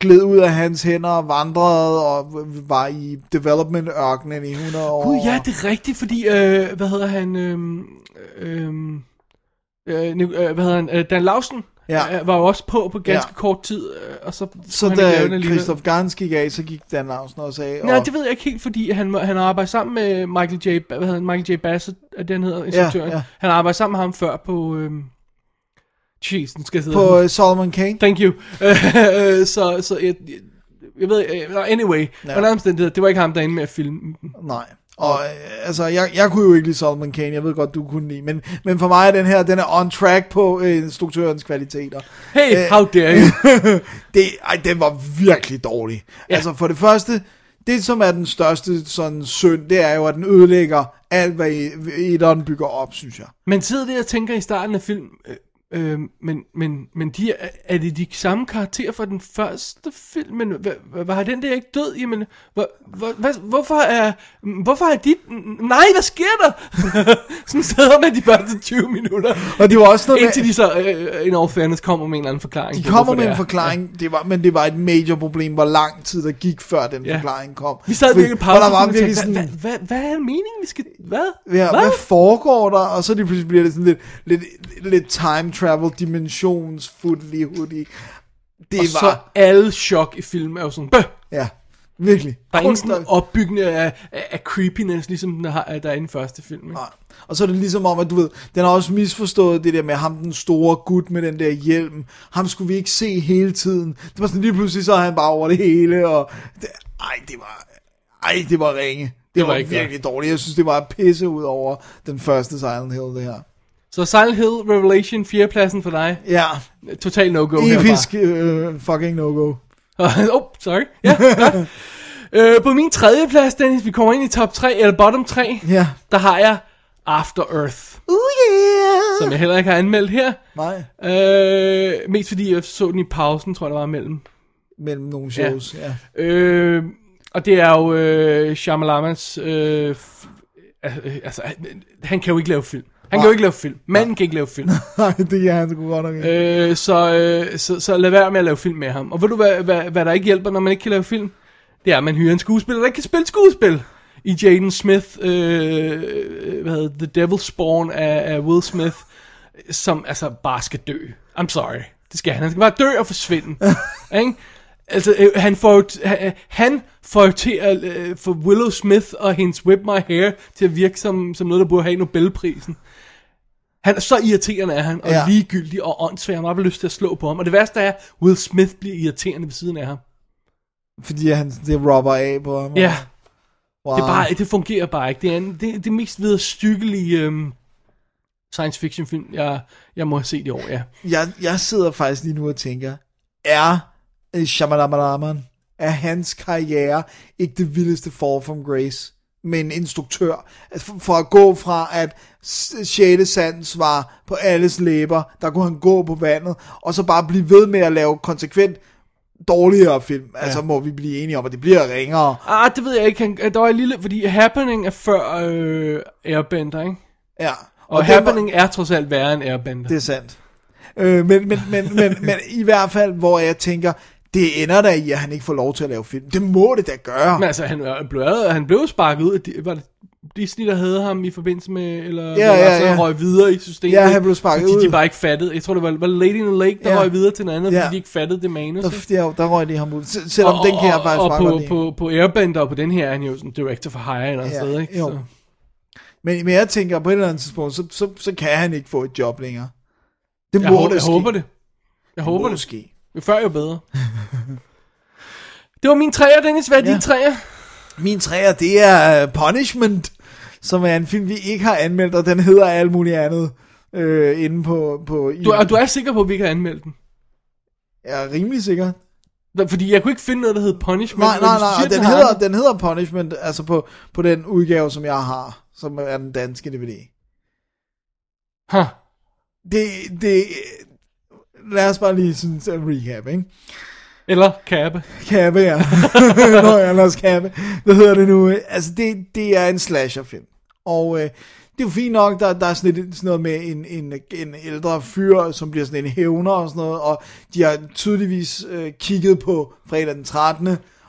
Speaker 3: gled ud af hans hænder og vandrede og var i development-ørkenen i 100 år.
Speaker 2: Gud, ja, det er rigtigt, fordi, øh, hvad hedder han, øh, øh, øh, Nic- øh, hvad hedder han, øh, Dan Lausen
Speaker 3: Ja.
Speaker 2: øh, var jo også på på ganske
Speaker 3: Ja.
Speaker 2: kort tid, øh, og så
Speaker 3: Så
Speaker 2: han ikke lave
Speaker 3: da
Speaker 2: den alligevel.
Speaker 3: Christoph Gans gik af, så gik Dan Lausen også af.
Speaker 2: Nej,
Speaker 3: og,
Speaker 2: det ved jeg ikke helt, fordi han, han har arbejdet sammen med Michael J. Ba- Hvad hedder han? Michael J. Bassett, er det han hedder, instruktøren.
Speaker 3: ja.
Speaker 2: Han har arbejdet sammen med ham før på... Øh, Jeez, nu skal jeg sidde og-
Speaker 3: på øh, Solomon Kane.
Speaker 2: Thank you. Øh, så, så jeg, jeg ved, øh, nå, anyway, ja. under omstændigheder, det var ikke ham, der endte med at filme.
Speaker 3: Nej. Og øh, altså, jeg, jeg kunne jo ikke lide Solomon Kane, jeg ved godt, du kunne lide, men, men for mig er den her, den er on track på øh, instruktørens kvaliteter.
Speaker 2: Hey, øh. how dare you?
Speaker 3: det, ej, den var virkelig dårlig. Ja. Altså for det første, det som er den største sådan synd, det er jo, at den ødelægger alt, hvad etteren bygger op, synes jeg.
Speaker 2: Man sidder der og tænker i starten af film, øh, øh, men, men, men de er, er det de samme karakterer fra den første film? Men hvad, hvad, hvad har den der ikke død? Jamen, hvor, hvor, hvad, hvorfor er, hvorfor er de... Nej, hvad sker der? Sådan sidder man de første 20 minutter.
Speaker 3: Og det var også noget
Speaker 2: Indtil
Speaker 3: med,
Speaker 2: de så, øh, en overfairness, kommer med en eller anden forklaring.
Speaker 3: de
Speaker 2: på,
Speaker 3: kommer
Speaker 2: hvorfor
Speaker 3: med
Speaker 2: det
Speaker 3: en
Speaker 2: er.
Speaker 3: forklaring, det var, men det var et major problem, hvor lang tid der gik, før den
Speaker 2: Ja.
Speaker 3: forklaring kom.
Speaker 2: Vi sad
Speaker 3: Fordi-
Speaker 2: virkelig
Speaker 3: og
Speaker 2: pause,
Speaker 3: der var
Speaker 2: og
Speaker 3: virkelig
Speaker 2: virkelig
Speaker 3: sådan,
Speaker 2: hvad, hvad, hvad er meningen, vi skal... Hvad?
Speaker 3: Ja, hvad?
Speaker 2: hvad?
Speaker 3: hvad foregår der? Og så lige pludselig bliver det sådan lidt, lidt, lidt time travel dimensions foodly hoodie. Det
Speaker 2: og
Speaker 3: var,
Speaker 2: så alle chok i filmen er jo sådan... Bøh!
Speaker 3: ja, virkelig.
Speaker 2: Der er ingen
Speaker 3: Kunstner-
Speaker 2: sådan opbyggende af, af, af creepiness, ligesom den har, der er i den første film. Ikke?
Speaker 3: Nej. Og så er det ligesom om, at du ved, den har også misforstået det der med ham, den store gut med den der hjelm. Ham skulle vi ikke se hele tiden. Det var sådan lige pludselig, så er han bare over det hele, og... Det, ej, det var... Ej, det var ringe. Det, det var,
Speaker 2: var
Speaker 3: var
Speaker 2: ikke
Speaker 3: virkelig dårligt. Jeg synes, det var at pisse ud over den første Silent Hill, det her.
Speaker 2: Så Silent Hill Revelation, fjerdepladsen for dig.
Speaker 3: Ja,
Speaker 2: Total no-go
Speaker 3: episk øh, fucking no-go.
Speaker 2: herfra. oh, sorry. Ja, godt. øh, på min tredje plads, Dennis, vi kommer ind i top 3, eller bottom 3.
Speaker 3: Ja.
Speaker 2: Der har jeg After Earth,
Speaker 3: Uh yeah!
Speaker 2: som jeg heller ikke har anmeldt her.
Speaker 3: Nej,
Speaker 2: Øh, mest fordi jeg så den i pausen, tror jeg, der var mellem.
Speaker 3: mellem nogle shows, ja. ja.
Speaker 2: Øh, og det er jo øh, Shyamalamas... Øh, f- øh, altså, han, han kan jo ikke lave film. Han kan jo ikke lave film. Manden kan ikke lave film.
Speaker 3: Nej, det er han sgu godt nok. ikke.
Speaker 2: øh, så, øh, så, så lad være med at lave film med ham. Og ved du, hvad, hvad, hvad der ikke hjælper, når man ikke kan lave film? Det er, at man hyrer en skuespiller, der ikke kan spille skuespil. I Jaden Smith, øh, hvad hedder det, The Devil Spawn af, af Will Smith, som altså bare skal dø. I'm sorry. Det skal han. Han skal bare dø og forsvinde. ikke? Altså, øh, han får, jo t- han- han får jo til at øh, få Willow Smith og hendes Whip My Hair til at virke som, som noget, der burde have Nobelprisen. Han er så irriterende er han, og
Speaker 3: Ja.
Speaker 2: ja. ligegyldig og åndssvag. Han har bare lyst til at slå på ham. Og det værste er, Will Smith bliver irriterende ved siden af ham.
Speaker 3: Fordi han det robber af på ham.
Speaker 2: Øh. Ja,
Speaker 3: wow.
Speaker 2: det, er bare, det fungerer bare ikke. Det er en, det, det mest vederstyggelige øhm, science fiction film, jeg, jeg må have set i år, ja.
Speaker 3: jeg, jeg sidder faktisk lige nu og tænker, er øh, Shyamalamaman, er hans karriere ikke det vildeste fall from grace med en instruktør? Altså, For, for at gå fra, at 6. sands var på alles læber, der kunne han gå på vandet, og så bare blive ved med at lave konsekvent dårligere film. Altså må vi blive enige om, at det bliver ringere.
Speaker 2: Ah, det ved jeg ikke. Han, der var en lille... Fordi Happening er før øh, Airbender, ikke?
Speaker 3: Ja.
Speaker 2: Og, og
Speaker 3: den var-
Speaker 2: Happening er trods alt værre end Airbender.
Speaker 3: Det er sandt. Øh, men, men, men, men, men i hvert fald, hvor jeg tænker, det ender da i, at han ikke får lov til at lave film. Det må det da gøre.
Speaker 2: Men altså, han, er- blev, han blev jo sparket ud af... Di- Var det Disney, der havde ham i forbindelse med... Eller ja,
Speaker 3: ja,
Speaker 2: ja, ja.
Speaker 3: ja.
Speaker 2: røg videre i systemet.
Speaker 3: Ja, han blev sparket
Speaker 2: fordi
Speaker 3: ud.
Speaker 2: de bare ikke fattede. Jeg tror, det var, var Lady in the Lake, der
Speaker 3: Ja.
Speaker 2: ja. røg videre til noget andet,
Speaker 3: Ja.
Speaker 2: ja. fordi de ikke fattede det manus.
Speaker 3: Der,
Speaker 2: ikke?
Speaker 3: der, der røg de ham ud. Sel- Selvom den kan jeg faktisk
Speaker 2: og, og
Speaker 3: bare
Speaker 2: på,
Speaker 3: godt lide.
Speaker 2: på, på Airbender og på den her er han jo sådan director for hire eller andet
Speaker 3: Ja,
Speaker 2: sted, ikke?
Speaker 3: jo.
Speaker 2: Så.
Speaker 3: Men, men jeg tænker, på et eller andet tidspunkt, så, så, så kan han ikke få et job længere. Det
Speaker 2: Jeg,
Speaker 3: må
Speaker 2: håber,
Speaker 3: det
Speaker 2: jeg
Speaker 3: ske.
Speaker 2: håber det. Jeg håber
Speaker 3: må
Speaker 2: det.
Speaker 3: ske.
Speaker 2: Jo før, jo bedre. det var min træer, Dennis. Hvad er
Speaker 3: Ja.
Speaker 2: ja. dine træer?
Speaker 3: Min træer, det er øh, Punishment, som er en film, vi ikke har anmeldt, og den hedder alt muligt andet øh, inde på... på i,
Speaker 2: Du, og du er sikker på, at vi ikke har anmeldt den?
Speaker 3: Jeg er rimelig sikker.
Speaker 2: Da- Fordi jeg kunne ikke finde noget, der hed Punishment.
Speaker 3: Nej,
Speaker 2: men
Speaker 3: nej,
Speaker 2: hvis
Speaker 3: nej,
Speaker 2: du siger,
Speaker 3: og den
Speaker 2: har
Speaker 3: hedder,
Speaker 2: andet-
Speaker 3: den hedder Punishment, altså på, på den udgave, som jeg har, som er den danske DVD.
Speaker 2: Huh.
Speaker 3: Det, det, lad os bare lige sådan øh, recap, ikke?
Speaker 2: Eller Kappa.
Speaker 3: Kappe, ja. Nå ja, lad os kappe. Hvad hedder det nu? Altså, det, det er en slasherfilm. Og øh, det er jo fint nok, der, der er sådan, lidt, sådan noget med en, en, en ældre fyr, som bliver sådan en hævner og sådan noget, og de har tydeligvis øh, kigget på fredag den 13.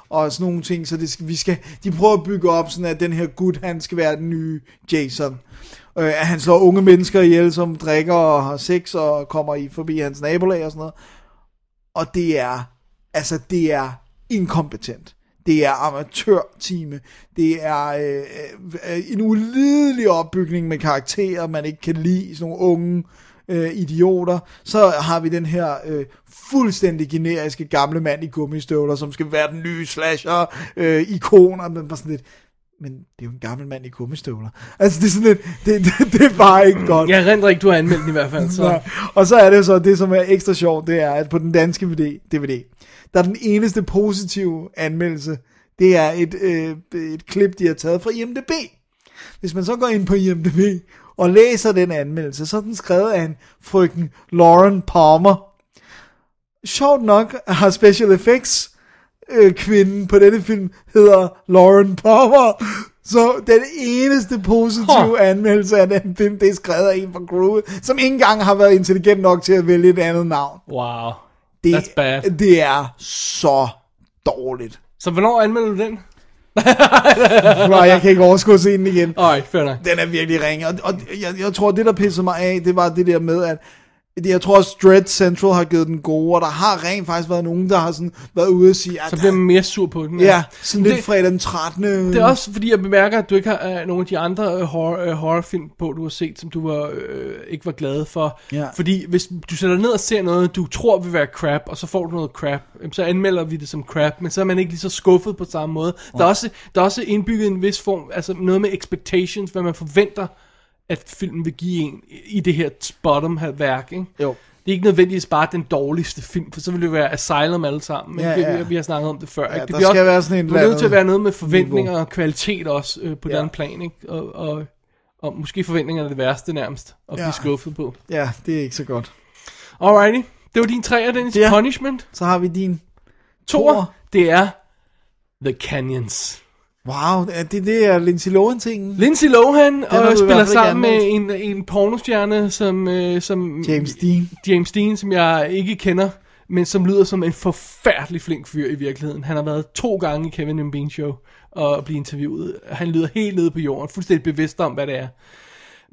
Speaker 3: og sådan nogle ting, så det skal, vi skal, de prøver at bygge op sådan, at den her gut, han skal være den nye Jason. Øh, at han slår unge mennesker ihjel, som drikker og har sex og kommer i forbi hans nabolag og sådan noget. Og det er, altså det er inkompetent. Det er amatørtime. Det er øh, øh, en ulidelig opbygning med karakterer, man ikke kan lide, sådan nogle unge øh, idioter. Så har vi den her øh, fuldstændig generiske gamle mand i gummistøvler, som skal være den nye slasher, øh, ikoner, men bare sådan lidt, men det er jo en gammel mand i gummistøvler. Altså det er sådan lidt, det, det, det er bare ikke godt.
Speaker 2: Jeg render ikke, du har anmeldt den i hvert fald. Så.
Speaker 3: Nej. Og så er det så, det som er ekstra sjovt, det er, at på den danske DVD, DVD der er den eneste positive anmeldelse, det er et, øh, et klip, de har taget fra IMDB. Hvis man så går ind på IMDB og læser den anmeldelse, så er den skrevet af en frøken Lauren Palmer. Sjovt nok har special effects øh, kvinden på denne film hedder Lauren Palmer. Så den eneste positive huh.
Speaker 2: Huh.
Speaker 3: anmeldelse af den film, det er skrevet af en fra crewet, som ikke engang har været intelligent nok til at vælge et andet navn.
Speaker 2: Wow.
Speaker 3: Det,
Speaker 2: That's bad.
Speaker 3: det er så dårligt.
Speaker 2: Så hvornår anmelder du den?
Speaker 3: Nej, jeg kan ikke overskue at se den igen.
Speaker 2: Alright, fair nok.
Speaker 3: Den er virkelig ringe. Og, og jeg, jeg tror, det der pissede mig af, det var det der med, at det- jeg tror også Dread Central har givet den gode, og der har rent faktisk været nogen, der har sådan været ude og sige, at
Speaker 2: Så bliver man mere sur på den.
Speaker 3: ja, sådan lidt
Speaker 2: Det-
Speaker 3: fredag den 13.
Speaker 2: Det er også fordi, jeg bemærker, at du ikke har øh, nogen af de andre øh, horror, øh, horrorfilm på, du har set, som du var, øh, ikke var glad for.
Speaker 3: Ja.
Speaker 2: Fordi hvis du sætter dig ned og ser noget, du tror vil være crap, og så får du noget crap, jamen, så anmelder vi det som crap, men så er man ikke lige så skuffet på samme måde. Der er, også, der er også indbygget en vis form, altså noget med expectations, hvad man forventer, at filmen vil give en i det her bottom-værk, ikke?
Speaker 3: Jo.
Speaker 2: Det er ikke nødvendigvis bare den dårligste film, for så ville det jo være Asylum alle sammen. Men
Speaker 3: Ja,
Speaker 2: ja, ja.
Speaker 3: ja.
Speaker 2: Vi, vi har snakket om det før. ikke? det
Speaker 3: der
Speaker 2: bliver
Speaker 3: skal være sådan en
Speaker 2: Du er nødt til
Speaker 3: blandet
Speaker 2: at være noget med forventninger
Speaker 3: niveau.
Speaker 2: og kvalitet også øh, på
Speaker 3: Ja.
Speaker 2: ja. den plan. Ikke? Og, og, og måske forventninger er det værste nærmest at
Speaker 3: Ja.
Speaker 2: blive skuffet på.
Speaker 3: Ja, det er ikke så godt.
Speaker 2: Alrighty. Det var din træer, Dennis.
Speaker 3: Ja.
Speaker 2: Ja. Punishment.
Speaker 3: Så har vi din
Speaker 2: Toer.
Speaker 3: Toer.
Speaker 2: Det er The Canyons.
Speaker 3: Wow, er det, det er Lindsay Lohan-tingen.
Speaker 2: Lindsay Lohan
Speaker 3: har du
Speaker 2: og
Speaker 3: i
Speaker 2: spiller
Speaker 3: hvert fald
Speaker 2: sammen med
Speaker 3: ikke
Speaker 2: en, en pornostjerne, som, øh, som
Speaker 3: James Dean.
Speaker 2: James Dean, som jeg ikke kender, men som lyder som en forfærdelig flink fyr i virkeligheden. Han har været to gange i Kevin and Bean Show og blive interviewet. Han lyder helt nede på jorden, fuldstændig bevidst om, hvad det er.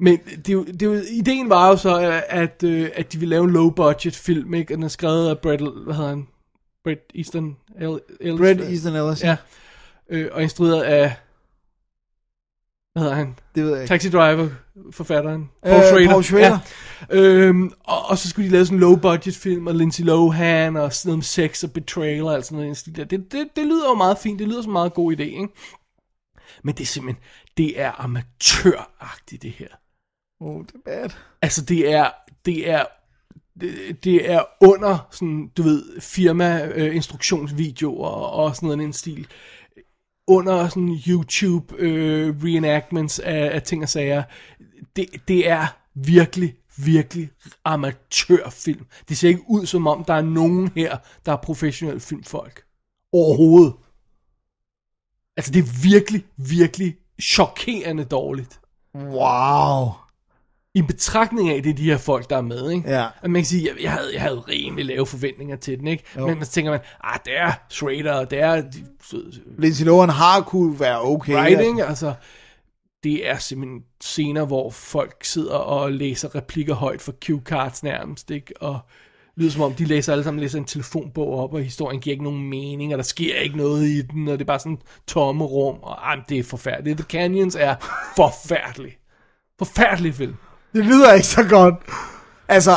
Speaker 2: Men det, er jo- det, er jo- ideen var jo så, øh, at, øh, at de ville lave en low-budget film, ikke? Og den er skrevet af Brett, hvad hedder han? Brett Easton Ellis?
Speaker 3: Brad Easton Ellis.
Speaker 2: Ja. Øh, og instrueret af, hvad hedder han?
Speaker 3: Det ved jeg ikke.
Speaker 2: Taxi Driver, forfatteren.
Speaker 3: Øh, Paul Schrader.
Speaker 2: Ja. Øhm, og, og, så skulle de lave sådan en low-budget film, og Lindsay Lohan, og sådan noget med sex og betrayal, og alt sådan noget. i den stil der. Det, det, det lyder jo meget fint, det lyder som en meget god idé, ikke? Men det er simpelthen, det er amatøragtigt, det her.
Speaker 3: Oh, det er bad.
Speaker 2: Altså, det er, det er, det, det er under, sådan, du ved, firma øh, instruktionsvideoer og, og sådan noget i den stil. Under sådan YouTube øh, reenactments af, af ting og sager. Det, det er virkelig, virkelig amatørfilm. Det ser ikke ud som om, der er nogen her, der er professionelle filmfolk. Overhovedet. Altså, det er virkelig, virkelig chokerende dårligt
Speaker 3: Wow.
Speaker 2: i betragtning af, det er de her folk, der er med, ikke?
Speaker 3: Ja.
Speaker 2: At man kan sige, jeg, jeg, havde, jeg havde rimelig lave forventninger til den, ikke? Jo. Men så tænker man, ah, det er Schrader, og det er de, så-
Speaker 3: Lindsay Lohan har kunne være okay.
Speaker 2: writing, ja. altså... Det er simpelthen scener, hvor folk sidder og læser replikker højt fra cue cards nærmest, ikke? Og lyder som om, de læser alle sammen læser en telefonbog op, og historien giver ikke nogen mening, og der sker ikke noget i den, og det er bare sådan tomme rum, og ah, men det er forfærdeligt. The Canyons er forfærdelig. Forfærdelig film.
Speaker 3: Det lyder ikke så godt. Altså,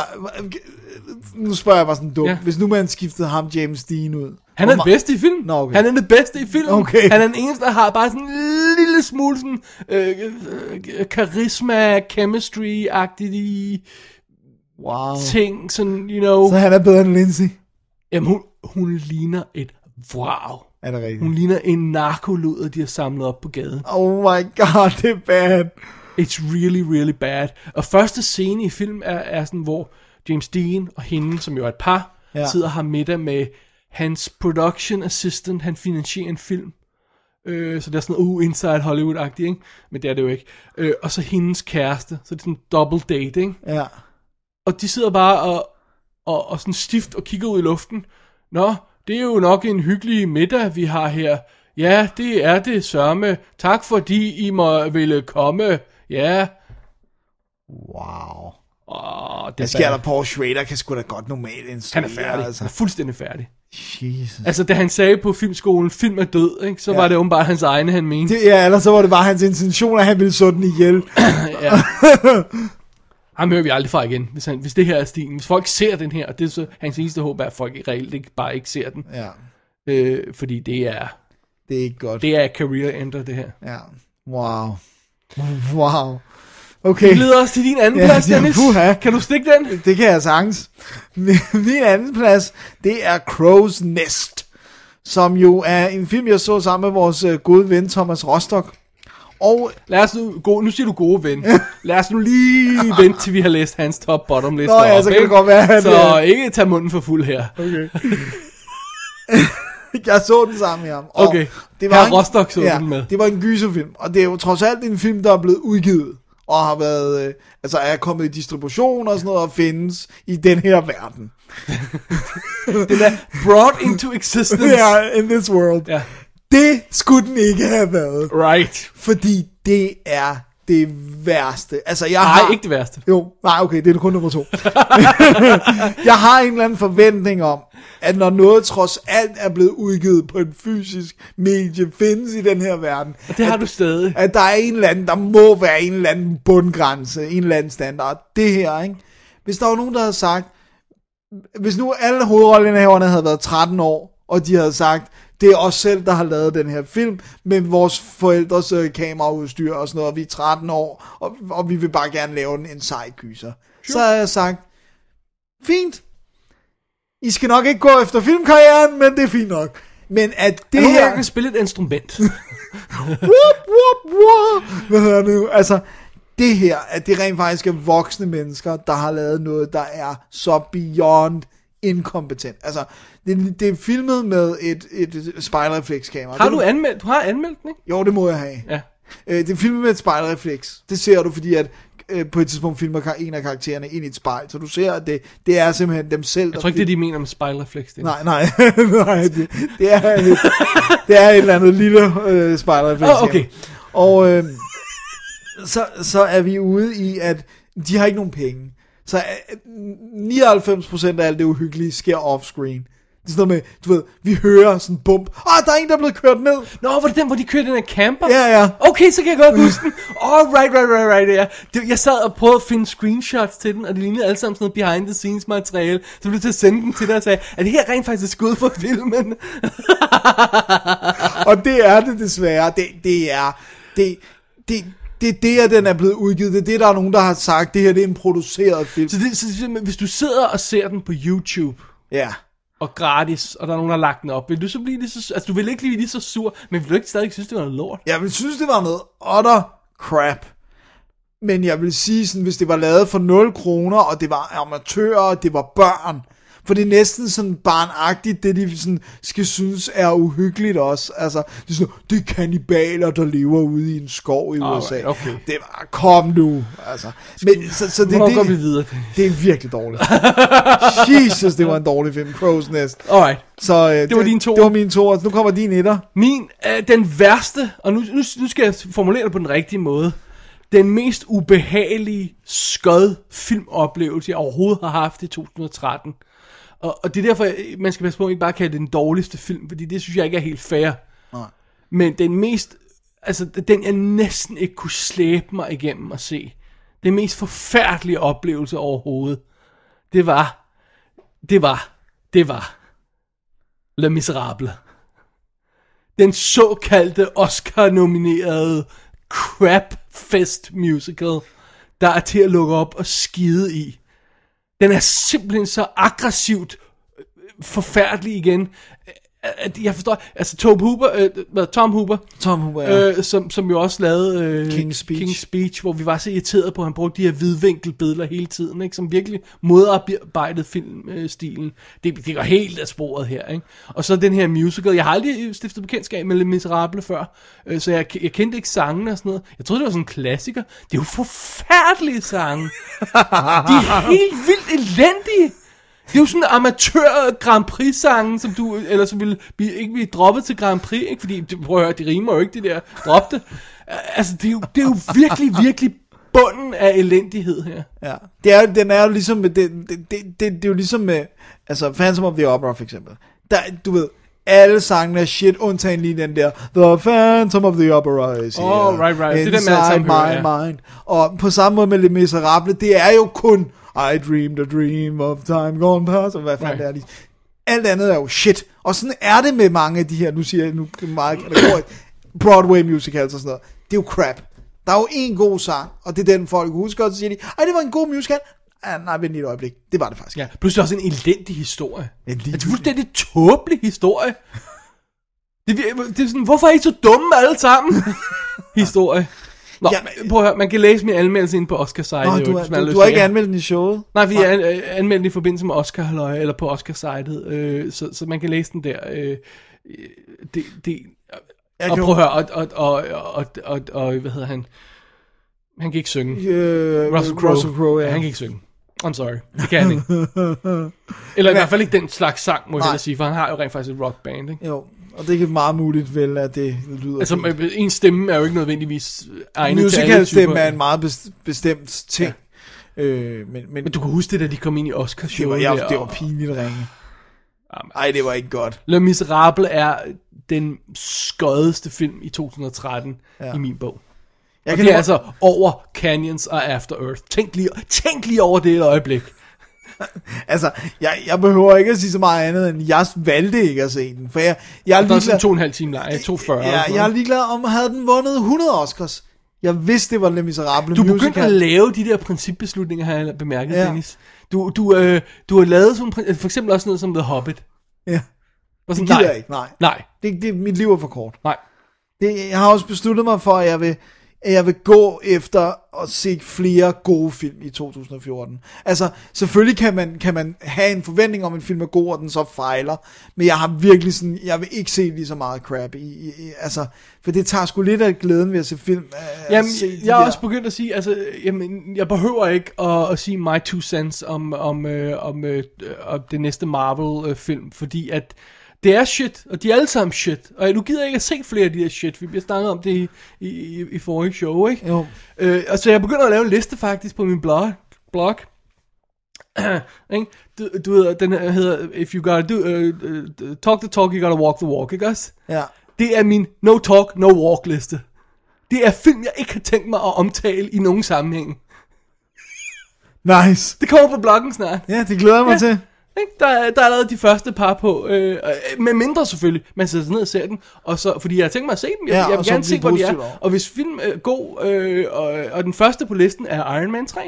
Speaker 3: nu spørger jeg bare sådan dumt.
Speaker 2: Ja.
Speaker 3: Ja. Hvis nu man skiftede ham James Dean ud.
Speaker 2: Han
Speaker 3: Hvor
Speaker 2: er den
Speaker 3: ma-
Speaker 2: bedste i filmen.
Speaker 3: Nå, okay.
Speaker 2: Han er den bedste i filmen.
Speaker 3: Okay.
Speaker 2: Han er den eneste, der har bare sådan en lille smule sådan, øh, øh, karisma, chemistry-agtige
Speaker 3: Wow.
Speaker 2: ting. Sådan, you know.
Speaker 3: Så han er bedre end Lindsay.
Speaker 2: Jamen, hun, hun ligner et vrag.
Speaker 3: Er det rigtigt?
Speaker 2: Hun ligner en narkoluder, de har samlet op på gaden.
Speaker 3: Oh my god, det er bad.
Speaker 2: It's really, really bad. Og første scene i film er, er sådan, hvor James Dean og hende, som jo er et par, ja.
Speaker 3: Ja.
Speaker 2: sidder og har middag med hans production assistant. Han finansierer en film. Øh, så det er sådan, uh, inside Hollywood-agtigt, ikke? Men det er det jo ikke. Øh, og så hendes kæreste. Så det er sådan en double date, ikke?
Speaker 3: Ja.
Speaker 2: Og de sidder bare og, og, og sådan stift og kigger ud i luften. Nå, det er jo nok en hyggelig middag, vi har her. Ja, det er det sørme. Tak fordi I må ville komme. Ja.
Speaker 3: Wow.
Speaker 2: Åh, det
Speaker 3: Hvad sker der? Paul Schrader kan sgu da godt normalt
Speaker 2: Han
Speaker 3: instruere.
Speaker 2: er færdig. Altså.
Speaker 3: Altså.
Speaker 2: Han er fuldstændig færdig.
Speaker 3: Jesus.
Speaker 2: Altså, da han sagde på filmskolen, film er død, ikke, så ja. var det åbenbart hans egne, han mente.
Speaker 3: Det, ja, ellers så var det bare hans intention, at han ville slå den ihjel.
Speaker 2: ja. Ham hører vi aldrig fra igen, hvis, han, hvis det her er stilen. Hvis folk ser den her, og det er så hans eneste håb, er, at folk i reelt ikke, bare ikke ser den.
Speaker 3: Ja,
Speaker 2: Øh, fordi det er,
Speaker 3: det er ikke godt.
Speaker 2: det er career ender, det her.
Speaker 3: Ja. Wow. Wow. Okay.
Speaker 2: Det leder os til din anden
Speaker 3: Ja,
Speaker 2: plads,
Speaker 3: ja,
Speaker 2: Dennis.
Speaker 3: puha.
Speaker 2: Kan du stikke den?
Speaker 3: Det kan jeg sagtens. Min anden plads, det er Crow's Nest, som jo er en film, jeg så sammen med vores øh, gode ven Thomas Rostock. Og
Speaker 2: Lad os nu, gå, nu siger du gode ven. Lad os nu lige vente, til vi har læst hans top bottom liste
Speaker 3: Nå ja,
Speaker 2: op,
Speaker 3: så kan det
Speaker 2: ikke?
Speaker 3: godt være, at- øh,
Speaker 2: Så ikke tage munden for fuld her.
Speaker 3: okay. jeg så den sammen med ham. Og
Speaker 2: Okay. Herre Rostock så
Speaker 3: ja,
Speaker 2: den med.
Speaker 3: det var en gyserfilm, og det er jo trods alt en film, der er blevet udgivet og har været, øh, altså er kommet i distribution og sådan noget, og findes i den her verden.
Speaker 2: Den er brought into existence.
Speaker 3: Ja, in this world.
Speaker 2: Ja.
Speaker 3: Det skulle den ikke have været.
Speaker 2: Right.
Speaker 3: Fordi det er det værste. Altså, jeg
Speaker 2: Nej,
Speaker 3: har...
Speaker 2: ikke det værste.
Speaker 3: Jo, nej, okay, det er kun nummer to. jeg har en eller anden forventning om, at når noget trods alt er blevet udgivet på en fysisk medie, findes i den her verden,
Speaker 2: Det har du stadig.
Speaker 3: at der er en eller anden, der må være en eller anden bundgrænse, en eller anden standard. Det her, ikke? Hvis der var nogen, der havde sagt, hvis nu alle hovedrolleindehaverne havde været 13 år, og de havde sagt, det er os selv, der har lavet den her film, men vores forældres øh, kameraudstyr og sådan noget, og vi er 13 år, og, og vi vil bare gerne lave en, en sej gyser. Sure. Så havde jeg sagt, fint, I skal nok ikke gå efter filmkarrieren, men det er fint nok. Men at det
Speaker 2: Det her...
Speaker 3: her...
Speaker 2: Jeg kan spille et instrument.
Speaker 3: whoop, whoop, whoop. Hvad hedder det nu? Altså, det her, at det rent faktisk er voksne mennesker, der har lavet noget, der er så beyond inkompetent. Altså, det, det er filmet med et, et spejlreflekskamera.
Speaker 2: Har
Speaker 3: Det-
Speaker 2: du anmeldt? Du har anmeldt den, ikke?
Speaker 3: Jo, det må jeg have.
Speaker 2: Ja.
Speaker 3: Øh, det er filmet med et spejlrefleks. Det ser du, fordi at øh, på et tidspunkt filmer kar- en af karaktererne ind i et spejl, så du ser, at det, det er simpelthen dem selv,
Speaker 2: Jeg tror ikke, det er de mener med spejlrefleks. Det.
Speaker 3: Nej, nej, nej, det, det, er et, det er et eller andet lille øh, spejlerrefleks.
Speaker 2: Åh, okay.
Speaker 3: Og øh, så, så er vi ude i, at de har ikke nogen penge. Så øh, 99% af alt det uhyggelige sker offscreen. Det er sådan noget med, du ved, vi hører sådan en bump. Ah, der er en, der er blevet kørt ned.
Speaker 2: Nå, var det den, hvor de kørte den her camper?
Speaker 3: Ja, ja.
Speaker 2: Okay, så kan jeg godt huske den. Oh, right, right, right, right, ja. Det, jeg sad og prøvede at finde screenshots til den, og det lignede alle sammen sådan noget behind the scenes materiale. Så blev jeg til at sende den til dig og sagde, er det her rent faktisk et skud for filmen?
Speaker 3: Og det er det desværre. Det, det er... Det, det, det er det, at den er blevet udgivet. Det er det, der er nogen, der har sagt. Det her det er en produceret film.
Speaker 2: Så, det, så simpelthen, hvis du sidder og ser den på YouTube,
Speaker 3: Ja.
Speaker 2: og gratis, og der er nogen, der har lagt den op, vil du så blive lige så... Altså, du vil ikke blive lige så sur, men vil du ikke stadig synes, det var noget lort?
Speaker 3: Jeg vil synes, det var noget utter crap. Men jeg vil sige, sådan, hvis det var lavet for 0 kroner, og det var amatører, og det var børn, for det er næsten sådan barnagtigt, det de sådan skal synes er uhyggeligt også. Altså, det er, sådan, det er kannibaler, der lever ude i en skov i
Speaker 2: Alright,
Speaker 3: USA.
Speaker 2: okay.
Speaker 3: Det var, kom nu. Altså. Men, så, så det,
Speaker 2: Hvornår
Speaker 3: det,
Speaker 2: går vi videre?
Speaker 3: Det er virkelig dårligt. Jesus, det var en dårlig film, Crow's Nest.
Speaker 2: Alright.
Speaker 3: Så, øh, det,
Speaker 2: var din toer.
Speaker 3: Det var min toer. Nu kommer din etter.
Speaker 2: Min, øh, den værste, og nu, nu, nu skal jeg formulere det på den rigtige måde, den mest ubehagelige, skød filmoplevelse, jeg overhovedet har haft i 2013. Og, og det er derfor, øh, man skal passe på, at man ikke bare kalde det den dårligste film, fordi det synes jeg ikke er helt fair.
Speaker 3: Nej.
Speaker 2: Men den mest, altså den jeg næsten ikke kunne slæbe mig igennem at se, den mest forfærdelige oplevelse overhovedet, det var, det var, det var Le Miserable den såkaldte Oscar-nominerede crapfest musical, der er til at lukke op og skide i. Den er simpelthen så aggressivt øh, forfærdelig igen. At jeg forstår, altså Tom Hooper, øh, hvad, Tom Hooper,
Speaker 3: Tom Hooper, ja.
Speaker 2: øh, som, som jo også lavede øh,
Speaker 3: King's Speech.
Speaker 2: King's Speech, hvor vi var så irriterede på, at han brugte de her hvidvinkelbilleder hele tiden, ikke? som virkelig modarbejdede filmstilen. Det, det går helt af sporet her. Ikke? Og så den her musical. Jeg har aldrig stiftet bekendtskab med Les Miserables før, øh, så jeg, jeg kendte ikke sangene og sådan noget. Jeg troede, det var sådan en klassiker. Det er jo forfærdelige sange. De er helt vildt elendige. Det er jo sådan en amatør Grand Prix sangen som du eller som ville blive, ikke blive droppet til Grand Prix, ikke? fordi det, prøv at høre, det rimer jo ikke det der drop det. Altså det er, jo, det er jo virkelig virkelig bunden af elendighed her.
Speaker 3: Ja. Det er, den er jo ligesom med, det, det, det, det, det er jo ligesom med, altså Phantom of the Opera for eksempel. Der, du ved, alle sangene er shit, undtagen lige den der, The Phantom of the Opera is here,
Speaker 2: Åh, right, right. Det er den, man
Speaker 3: inside
Speaker 2: alle sammen
Speaker 3: my
Speaker 2: hører, ja.
Speaker 3: mind. Og på samme måde med Les Miserables, det er jo kun, I dreamed a dream of time gone past, og hvad fanden
Speaker 2: Right.
Speaker 3: right. er de? Alt andet er jo shit. Og sådan er det med mange af de her, nu siger jeg nu det er meget kategorisk, Broadway musicals og sådan noget. Det er jo crap. Der er jo en god sang, og det er den folk husker, og så siger de, ej, det var en god musical. Ah, nej, vent lige et øjeblik. Det var det faktisk.
Speaker 2: Ja, pludselig også en elendig historie.
Speaker 3: Ja, lige-
Speaker 2: det er en fuldstændig tåbelig historie. Det, vir- det er sådan, hvorfor er I så dumme alle sammen? historie. Nå,
Speaker 3: Ja,
Speaker 2: ja, prøv at høre, man kan læse min anmeldelse ind på Oscar-site.
Speaker 3: Nå,
Speaker 2: jo,
Speaker 3: du,
Speaker 2: hvis man har
Speaker 3: har, du,
Speaker 2: lyst
Speaker 3: du har
Speaker 2: til
Speaker 3: ikke
Speaker 2: det.
Speaker 3: anmeldt den i showet?
Speaker 2: Nej, vi er øh, anmeldt den i forbindelse med Oscar halløj, eller på Oscar-sitet, øh, så, så man kan læse den der. Øh, øh, det, det,
Speaker 3: Jeg
Speaker 2: og
Speaker 3: kan
Speaker 2: prøv at høre, og, og, og, og, og, og, hvad hedder han? Han kan ikke synge.
Speaker 3: Øh,
Speaker 2: Russell Crowe.
Speaker 3: Russell Crowe, ja.
Speaker 2: Han kan ikke synge. I'm sorry. Det kan han ikke. Eller i hvert fald ikke den slags sang, må jeg
Speaker 3: Nej.
Speaker 2: hellere sige, for han har jo rent faktisk et rockband, ikke?
Speaker 3: Jo, og det er meget muligt vel, at det lyder...
Speaker 2: Altså,
Speaker 3: fint.
Speaker 2: øh, en stemme er jo ikke nødvendigvis øh, egnet til alle
Speaker 3: musical
Speaker 2: typer.
Speaker 3: stemme er en meget bes- bestemt ting. Ja. Øh, men, men,
Speaker 2: Men du kan huske det, da de kom ind i oscar
Speaker 3: det, var, jeg, det var
Speaker 2: og- Ah,
Speaker 3: pinligt ringe. Nej, det var ikke godt.
Speaker 2: Le Miserable er den skødeste film i 2013 ja. i min bog.
Speaker 3: Jeg
Speaker 2: Og det er altså over Canyons og After Earth. Tænk lige, tænk lige over det et øjeblik.
Speaker 3: Altså, jeg, jeg behøver ikke at sige så meget andet, end jeg valgte ikke at se den. For jeg, jeg er
Speaker 2: Der er sådan
Speaker 3: ligeglad,
Speaker 2: to og en halv time lang, 2.40.
Speaker 3: ja, jeg er ligeglad om, havde den vundet 100 Oscars. Jeg vidste, det var Les Miserable
Speaker 2: du
Speaker 3: musical.
Speaker 2: begyndte at lave de der principbeslutninger, har jeg bemærket, ja.
Speaker 3: Ja.
Speaker 2: Dennis. Du, du, øh, du har lavet sådan, prin- for eksempel også noget som The Hobbit.
Speaker 3: Ja.
Speaker 2: Var sådan,
Speaker 3: Det gider jeg ikke, nej.
Speaker 2: Nej,
Speaker 3: Det, det, mit liv er for kort.
Speaker 2: nej.
Speaker 3: Det, jeg har også besluttet mig for, at jeg vil... at jeg vil gå efter at se flere gode film i 2014. Altså, selvfølgelig kan man, kan man have en forventning om, at en film er god, og den så fejler, men jeg har virkelig sådan, jeg vil ikke se lige så meget crap i, i, i altså, for det tager sgu lidt af glæden ved at se film. øh, At
Speaker 2: Jamen,
Speaker 3: se de
Speaker 2: jeg er
Speaker 3: der-
Speaker 2: også begyndt at sige, altså, jamen, jeg behøver ikke at, at sige my two cents om, om, øh, om, øh, om det næste Marvel-film, fordi at det er shit, og de er alle sammen shit, og nu gider jeg ikke at se flere af de her shit, vi bliver snakket om det i, i, i, i forrige show, ikke?
Speaker 3: Jo.
Speaker 2: Øh, og så jeg begynder at lave en liste faktisk på min blog, blog ikke? Du, du ved, den her hedder, if you gotta do, uh, uh, talk the talk, you gotta walk the walk, ikke også?
Speaker 3: Ja.
Speaker 2: Det er min no talk, no walk liste. Det er film, jeg ikke har tænkt mig at omtale i nogen sammenhæng.
Speaker 3: Nice.
Speaker 2: Det kommer på bloggen snart.
Speaker 3: Ja, det glæder jeg mig
Speaker 2: Ja.
Speaker 3: ja. til.
Speaker 2: Ikke? Der, er- der er lavet de første par på, øh, øh, med mindre selvfølgelig. Man sætter sig ned og ser den, og så, fordi jeg har tænkt mig at se dem. Jeg,
Speaker 3: Ja,
Speaker 2: jeg
Speaker 3: og
Speaker 2: vil
Speaker 3: så
Speaker 2: gerne
Speaker 3: blive
Speaker 2: se, hvor de
Speaker 3: positiv
Speaker 2: er.
Speaker 3: over.
Speaker 2: Og hvis film er god, øh, og, og den første på listen er Iron Man 3,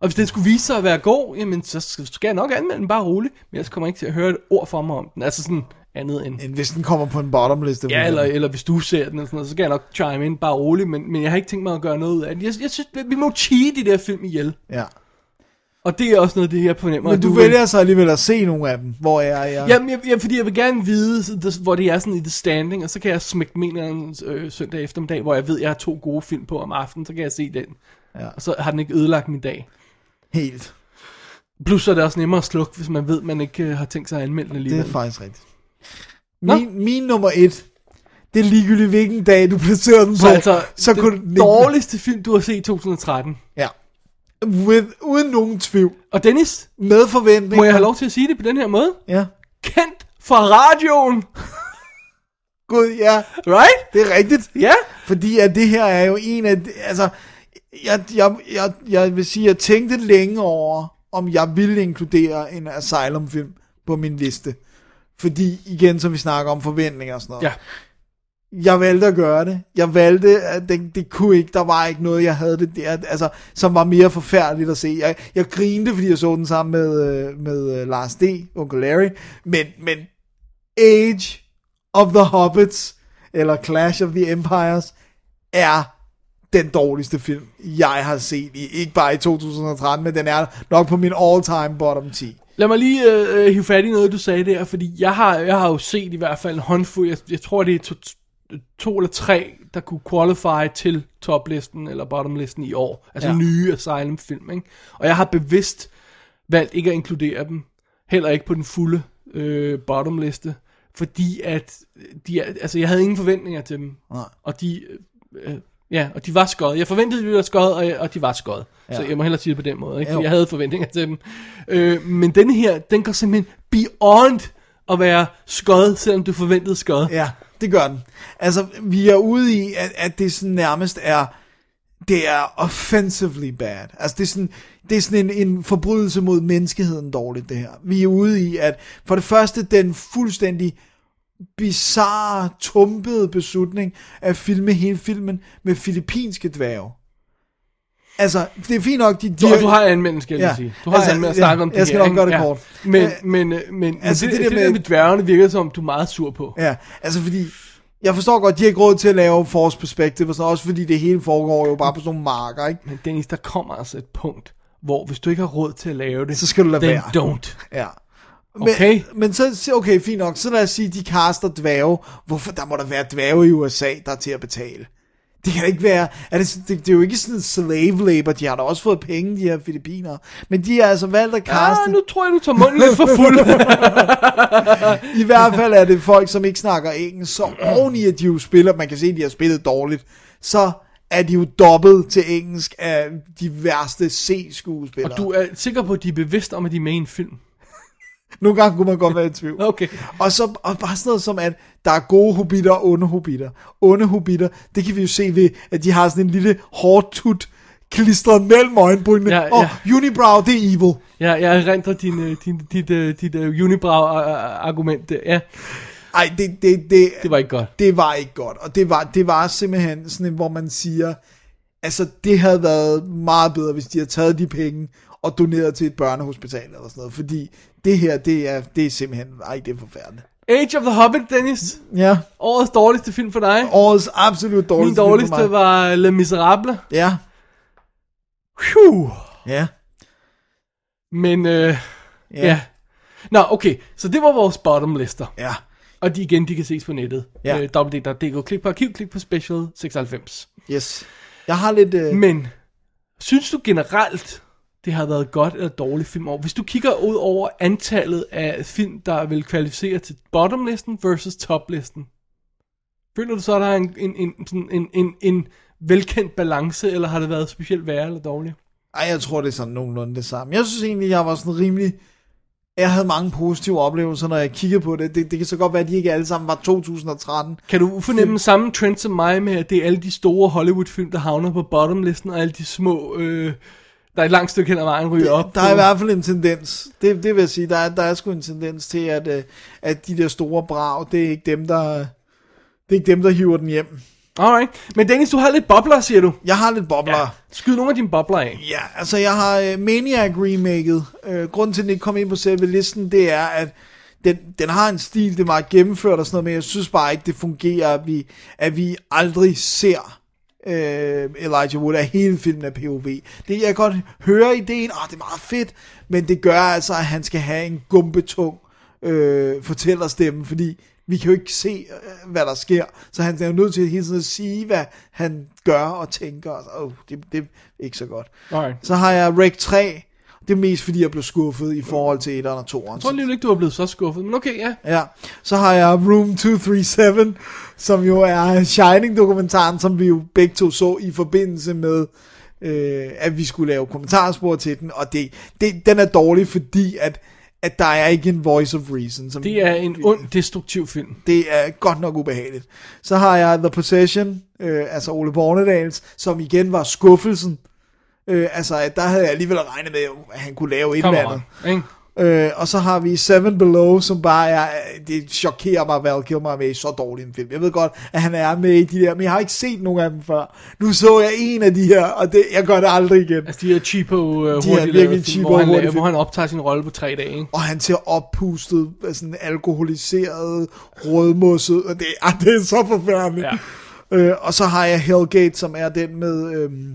Speaker 2: og hvis den skulle vise sig at være god, jamen så skal skal jeg nok anmelde den bare roligt, men ellers kommer jeg ikke til at høre et ord fra mig om den. Altså sådan andet end...
Speaker 3: Hvis den kommer på en bottomliste.
Speaker 2: Ja, eller, eller hvis du ser den, eller sådan noget, så skal jeg nok chime ind, bare roligt, men, men jeg har ikke tænkt mig at gøre noget ud af det. Jeg, jeg synes, vi- vi må cheat de der film ihjel,
Speaker 3: Ja.
Speaker 2: og det er også noget, af det jeg fornemmer.
Speaker 3: Men
Speaker 2: at
Speaker 3: du, du vælger så alligevel at se nogle af dem, hvor jeg er...
Speaker 2: Jamen, jeg, jeg, fordi jeg vil gerne vide, så det- hvor det er sådan i the standing, og så kan jeg smække min anden øh, søndag eftermiddag, hvor jeg ved, jeg har to gode film på om aftenen, så kan jeg se den.
Speaker 3: Ja.
Speaker 2: Og så har den ikke ødelagt min dag.
Speaker 3: Helt.
Speaker 2: Plus så er det også nemmere at slukke, hvis man ved, man ikke øh, har tænkt sig at anmelde den
Speaker 3: Det
Speaker 2: alligevel.
Speaker 3: er faktisk rigtigt.
Speaker 2: Nå.
Speaker 3: Min, min nummer et, det er ligegyldigt hvilken dag, du placerer den på.
Speaker 2: så altså,
Speaker 3: så
Speaker 2: den
Speaker 3: kunne den ligge-
Speaker 2: dårligste film, du har set i 2013.
Speaker 3: Ja. With, uden nogen tvivl.
Speaker 2: Og Dennis,
Speaker 3: Med forventning.
Speaker 2: må jeg have lov til at sige det på den her måde?
Speaker 3: Ja.
Speaker 2: kendt fra radioen,
Speaker 3: Gud, ja.
Speaker 2: right?
Speaker 3: Det er rigtigt.
Speaker 2: Ja.
Speaker 3: Fordi at det her er jo en af... Altså, jeg, jeg, jeg, jeg vil sige, jeg tænkte længe over, om jeg ville inkludere en Asylum-film på min liste. Fordi, igen, som vi snakker om forventninger og sådan noget.
Speaker 2: Ja.
Speaker 3: Jeg valgte at gøre det. Jeg valgte, at det, det kunne ikke, der var ikke noget, jeg havde det der, altså, som var mere forfærdeligt at se. Jeg, jeg grinte, fordi jeg så den sammen med, øh, med øh, Lars D., Onkel Larry, men, men Age of the Hobbits, eller Clash of the Empires, er den dårligste film, jeg har set i, ikke bare i 2013, men den er nok på min all-time bottom 10.
Speaker 2: Lad mig lige øh, hive fat i noget, du sagde der, fordi jeg har, jeg har jo set i hvert fald en håndfuld, jeg, jeg tror, det er to, to eller tre, der kunne qualify til toplisten eller bottomlisten i år. Altså ja.
Speaker 3: Ja.
Speaker 2: nye Asylum-film, ikke? Og jeg har bevidst valgt ikke at inkludere dem, heller ikke på den fulde øh, bottomliste, fordi at de, er- altså, jeg havde ingen forventninger til dem,
Speaker 3: Nej.
Speaker 2: og de... Øh, øh, ja, og de var skøjet. Jeg forventede, at de var skøjet, og, og de var skøjet. Ja. Så jeg må hellere sige det på den måde, ikke?
Speaker 3: Jo.
Speaker 2: Fordi jeg havde forventninger til dem. Øh, men den her, den går simpelthen beyond at være skøjet, selvom du forventede skøjet.
Speaker 3: Ja, det gør den. Altså, vi er ude i, at, at det sådan nærmest er, det er offensively bad. Altså, det er sådan, det er sådan en, en forbrydelse mod menneskeheden dårligt, det her. Vi er ude i, at for det første, den fuldstændig bizarre, tumpede beslutning at filme hele filmen med filippinske dværge. Altså, det er fint nok, de... de
Speaker 2: Du, og du har anmeldt, skal jeg lige
Speaker 3: Ja.
Speaker 2: sige. Du har altså,
Speaker 3: Altså,
Speaker 2: anmeldt at
Speaker 3: ja,
Speaker 2: snakke om det
Speaker 3: jeg skal
Speaker 2: her,
Speaker 3: nok
Speaker 2: ikke?
Speaker 3: gøre det kort.
Speaker 2: Men,
Speaker 3: Øh,
Speaker 2: men, øh, men, altså,
Speaker 3: altså,
Speaker 2: det,
Speaker 3: det
Speaker 2: det,
Speaker 3: der
Speaker 2: det
Speaker 3: med-
Speaker 2: der med dværgene virker som, du er meget sur på.
Speaker 3: Ja, altså fordi... Jeg forstår godt, de har ikke råd til at lave Force Perspective, og sådan, også fordi det hele foregår jo bare på sådan nogle marker, ikke?
Speaker 2: Men Dennis, der kommer altså et punkt, hvor hvis du ikke har råd til at lave det,
Speaker 3: Så skal du lade
Speaker 2: then
Speaker 3: være.
Speaker 2: don't.
Speaker 3: Ja.
Speaker 2: Okay.
Speaker 3: Men, men så, så- okay, fint nok. Så lad os sige, de kaster dværge. Hvorfor? Der må der være dværge i USA, der er til at betale. Det kan ikke være... Er det, det, det, er jo ikke sådan slave labor. De har da også fået penge, de her filippiner. Men de har altså valgt at kaste...
Speaker 2: Ah, nu tror jeg, du tager munden lidt for fuld.
Speaker 3: I hvert fald er det folk, som ikke snakker engelsk, så oveni at de jo spiller, man kan se, at de har spillet dårligt, så er de jo dobbelt til engelsk af de værste
Speaker 2: Og
Speaker 3: C-skuespillere.
Speaker 2: du er sikker på, at de er bevidste om, at de er med i en film?
Speaker 3: Nogle gange kunne man godt være i tvivl.
Speaker 2: Okay.
Speaker 3: Og så og bare sådan noget som, at der er gode hobitter og onde hobitter. Onde hobitter, det kan vi jo se ved, at de har sådan en lille hårdt tut klistret mellem øjenbrynene.
Speaker 2: Ja,
Speaker 3: Ja, ja. Og unibrow, det er evil.
Speaker 2: Ja, jeg erindrer din, øh, din, dit, øh, dit uh, unibrow-argument. Ja,
Speaker 3: Ej, det, det, det,
Speaker 2: det var ikke godt.
Speaker 3: det var ikke godt. Og det var, det var simpelthen sådan, en, hvor man siger, altså det havde været meget bedre, hvis de havde taget de penge og doneret til et børnehospital eller sådan noget. Fordi det her, det er, det er simpelthen, ej, det er forfærdeligt.
Speaker 2: Age of the Hobbit, Dennis.
Speaker 3: Ja.
Speaker 2: Årets dårligste film for dig.
Speaker 3: Årets absolut dårligste
Speaker 2: Min
Speaker 3: film for mig.
Speaker 2: dårligste var Le Miserable.
Speaker 3: Ja.
Speaker 2: Phew.
Speaker 3: Ja.
Speaker 2: Men øh, ja. ja. Nå, okay. Så det var vores bottom lister.
Speaker 3: Ja.
Speaker 2: Og de igen, de kan ses på nettet.
Speaker 3: Ja.
Speaker 2: Øh, www.dk. Klik på arkiv, klik på special 96.
Speaker 3: Yes. Jeg har lidt... Øh...
Speaker 2: Men, synes du generelt, det har været godt eller dårligt filmår? Hvis du kigger ud over antallet af film, der vil kvalificere til bottomlisten versus toplisten. Føler du så, at der er en, en, en, sådan en, en, en velkendt balance, eller har det været specielt værre eller dårligt?
Speaker 3: Ej, jeg tror, det er sådan nogenlunde det samme. Jeg synes egentlig, jeg var sådan rimelig... Jeg havde mange positive oplevelser, når jeg kiggede på det. Det, det kan så godt være, at de ikke alle sammen var 2013.
Speaker 2: Kan du fornemme samme trend som mig med, at det er alle de store Hollywood-film, der havner på bottomlisten, og alle de små, øh, der er et langt stykke hen ad vejen, ryger op?
Speaker 3: Der er
Speaker 2: på-
Speaker 3: i hvert fald en tendens. Det, det vil jeg sige. Der er, der er sgu en tendens til, at, øh, at de der store brag, det er ikke dem, der... Det er ikke dem, der hiver den hjem.
Speaker 2: Alright. Men Dennis, du har lidt bobler, siger du.
Speaker 3: Jeg har lidt bobler. Ja.
Speaker 2: Skyd nogle af dine bobler af.
Speaker 3: Ja, altså jeg har øh, Maniac remaket. Øh, grunden til, at den ikke kom ind på selve listen, det er, at den, den har en stil, det er meget gennemført og sådan noget, men jeg synes bare ikke, det fungerer, at vi, at vi aldrig ser øh, Elijah Wood af hele filmen af POV. Det, jeg kan godt høre ideen, og det er meget fedt, men det gør altså, at han skal have en gumbetung øh, fortællerstemme, fordi vi kan jo ikke se, øh, hvad der sker. Så han er jo nødt til hele tiden at sige, hvad han gør og tænker. Og, så, oh, det, det er ikke så godt.
Speaker 2: Alright.
Speaker 3: Så har jeg Rec 3. Det er mest fordi, jeg blev skuffet i forhold til 1'eren og 2'eren.
Speaker 2: Jeg tror lige ikke, du er blevet så skuffet, men okay, ja.
Speaker 3: Ja, så har jeg Room 237, som jo er Shining-dokumentaren, som vi jo begge to så i forbindelse med, øh, at vi skulle lave kommentarspor til den, og det, det, den er dårlig, fordi at, at der er ikke en voice of reason. Som
Speaker 2: Det er en ond, destruktiv film.
Speaker 3: det er godt nok ubehageligt. Så har jeg The Possession, øh, altså Ole Bornedals, som igen var skuffelsen. Øh, altså, at der havde jeg alligevel regnet med, at han kunne lave et
Speaker 2: Kom
Speaker 3: eller
Speaker 2: on,
Speaker 3: andet.
Speaker 2: ikke?
Speaker 3: Øh, og så har vi Seven Below, som bare er, det chokerer mig, Val Kilmer er med i så dårlig en film. Jeg ved godt, at han er med i de der, men jeg har ikke set nogen af dem før. Nu så jeg en af de her, og det, jeg gør det aldrig igen.
Speaker 2: Altså de her cheapo, uh, hurtigt
Speaker 3: virkelig cheapo,
Speaker 2: hvor, han,
Speaker 3: hurtige
Speaker 2: laver, hvor
Speaker 3: film.
Speaker 2: han optager sin rolle på tre dage, ikke?
Speaker 3: Og han ser oppustet, øh, sådan alkoholiseret, rødmosset, og det, ah, det er så forfærdeligt.
Speaker 2: Ja.
Speaker 3: Øh, og så har jeg Hellgate, som er den med øhm,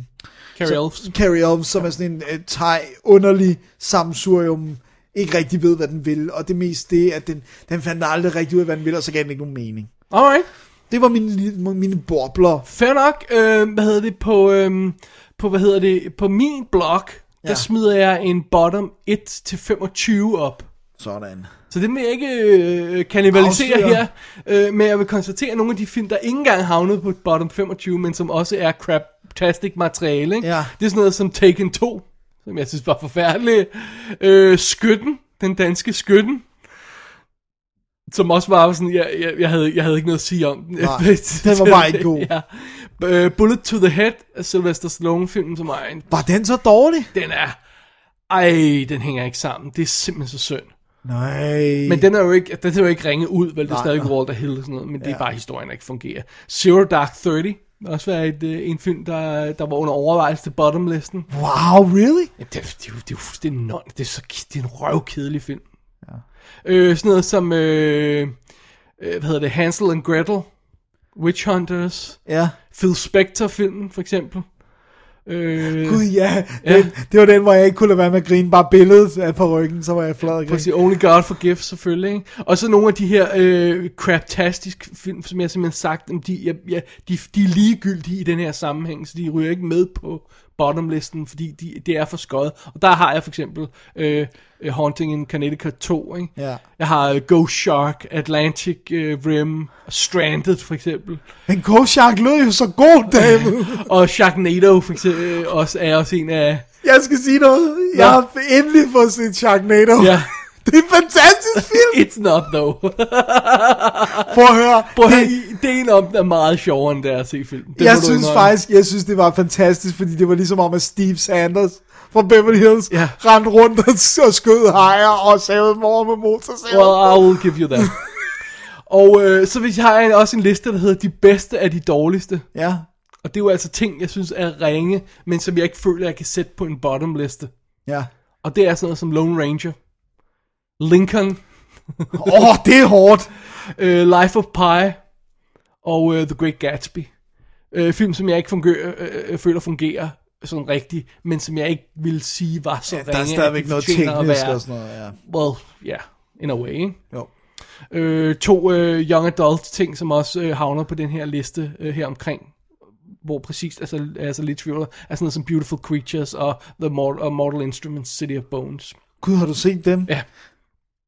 Speaker 2: Carrie Elves.
Speaker 3: Carrie Elves, som er sådan en øh, thai, underlig samsurium, ikke rigtig ved, hvad den vil. Og det mest det, at den, den fandt aldrig rigtig ud af, hvad den vil, og så gav den ikke nogen mening.
Speaker 2: Alright.
Speaker 3: Det var mine, li- mine bobler.
Speaker 2: Fair nok. Øh, hvad hedder det på, øh, på, hvad hedder det, på min blog, der
Speaker 3: Ja.
Speaker 2: smider jeg en bottom 1 til 25 op.
Speaker 3: Sådan.
Speaker 2: Så det vil jeg ikke øh, kanibalisere
Speaker 3: Afsløre.
Speaker 2: her, øh, men jeg vil konstatere at nogle af de film, der ikke engang havnede på bottom 25, men som også er craptastic materiale. Ikke?
Speaker 3: Ja.
Speaker 2: Det er sådan noget som Taken 2, som jeg synes var forfærdelig. Øh, Skytten, den danske Skytten, som også var sådan, jeg, jeg, jeg, havde, jeg havde ikke noget at sige om den.
Speaker 3: Nej, den var bare ikke god.
Speaker 2: ja. Øh, Bullet to the Head af Sylvester Stallone-filmen, som er en,
Speaker 3: Var den så dårlig?
Speaker 2: den er, ej, den hænger ikke sammen. Det er simpelthen så synd.
Speaker 3: Nej.
Speaker 2: Men den er jo ikke, den er jo ikke ringe ud, vel? Det er
Speaker 3: Nej,
Speaker 2: stadig
Speaker 3: nej.
Speaker 2: Walter Hill og sådan noget, men det er bare historien, der ikke fungerer. Zero Dark Thirty har også været et, øh, en film, der, der var under overvejelse til bottomlisten.
Speaker 3: Wow, really?
Speaker 2: Jamen, det, er- det, er jo- det, er jo fuldstændig non. Det er, så, det er en røvkedelig film. Ja. Øh, sådan noget som, øh, øh, hvad hedder det, Hansel and Gretel, Witch Hunters,
Speaker 3: Ja.
Speaker 2: Phil Spector-filmen, for eksempel. Øh,
Speaker 3: Gud ja,
Speaker 2: Ja.
Speaker 3: den, det var den, hvor jeg ikke kunne lade være med at grine, bare billedet af på ryggen, så var jeg flad og grine.
Speaker 2: Præcis, Only God Forgives selvfølgelig. Ikke? Og så nogle af de her øh, craptastisk film, som jeg simpelthen sagt, jamen, de, jeg, jeg, de, de er ligegyldige i den her sammenhæng, så de ryger ikke med på bottomlisten, fordi de, det er for skøjet. Og der har jeg for eksempel øh, øh, Haunting in Connecticut 2. Ikke?
Speaker 3: Ja.
Speaker 2: Jeg har øh, Ghost Shark, Atlantic øh, Rim, Stranded for eksempel.
Speaker 3: Men Ghost Shark lød jo så god, David.
Speaker 2: Og Sharknado for eksempel øh, også, er også en af...
Speaker 3: Jeg skal sige noget. Jeg
Speaker 2: Ja.
Speaker 3: har endelig fået set Sharknado.
Speaker 2: Ja.
Speaker 3: Det er en fantastisk film.
Speaker 2: It's not though.
Speaker 3: Prøv at høre.
Speaker 2: Prøv at høre,
Speaker 3: det,
Speaker 2: ideen om den er meget sjovere end det er at se filmen. Det må
Speaker 3: jeg
Speaker 2: du
Speaker 3: synes
Speaker 2: indrømme.
Speaker 3: faktisk, jeg synes, det var fantastisk, fordi det var ligesom om, at Steve Sanders fra Beverly Hills
Speaker 2: Ja.
Speaker 3: rendte rundt og, og skød hajer og savede mor med motorsaven.
Speaker 2: Well, I will give you that. og øh, så hvis jeg har en, også en liste, der hedder de bedste af de dårligste.
Speaker 3: Ja,
Speaker 2: Og det er jo altså ting, jeg synes er ringe, men som jeg ikke føler, jeg kan sætte på en bottom liste.
Speaker 3: ja.
Speaker 2: Og det er sådan noget som Lone Ranger, Lincoln,
Speaker 3: Åh, oh, det er hårdt.
Speaker 2: øh, Life of Pi og øh, The Great Gatsby. Øh, film, som jeg ikke fungerer, øh, øh, føler fungerer sådan rigtigt, men som jeg ikke ville sige var så
Speaker 3: Ja,
Speaker 2: ringe.
Speaker 3: der er
Speaker 2: at de
Speaker 3: stadigvæk noget
Speaker 2: fortjener at
Speaker 3: teknisk
Speaker 2: være-
Speaker 3: og sådan noget, ja.
Speaker 2: Well, yeah, in a way, ikke?
Speaker 3: Jo.
Speaker 2: øh, to øh, young adult ting, som også øh, havner på den her liste øh, her omkring, hvor præcis, altså, altså lidt tvivl, er sådan noget som Beautiful Creatures og The Mortal, og Mortal Instruments City of Bones.
Speaker 3: Gud, har du set dem?
Speaker 2: Ja.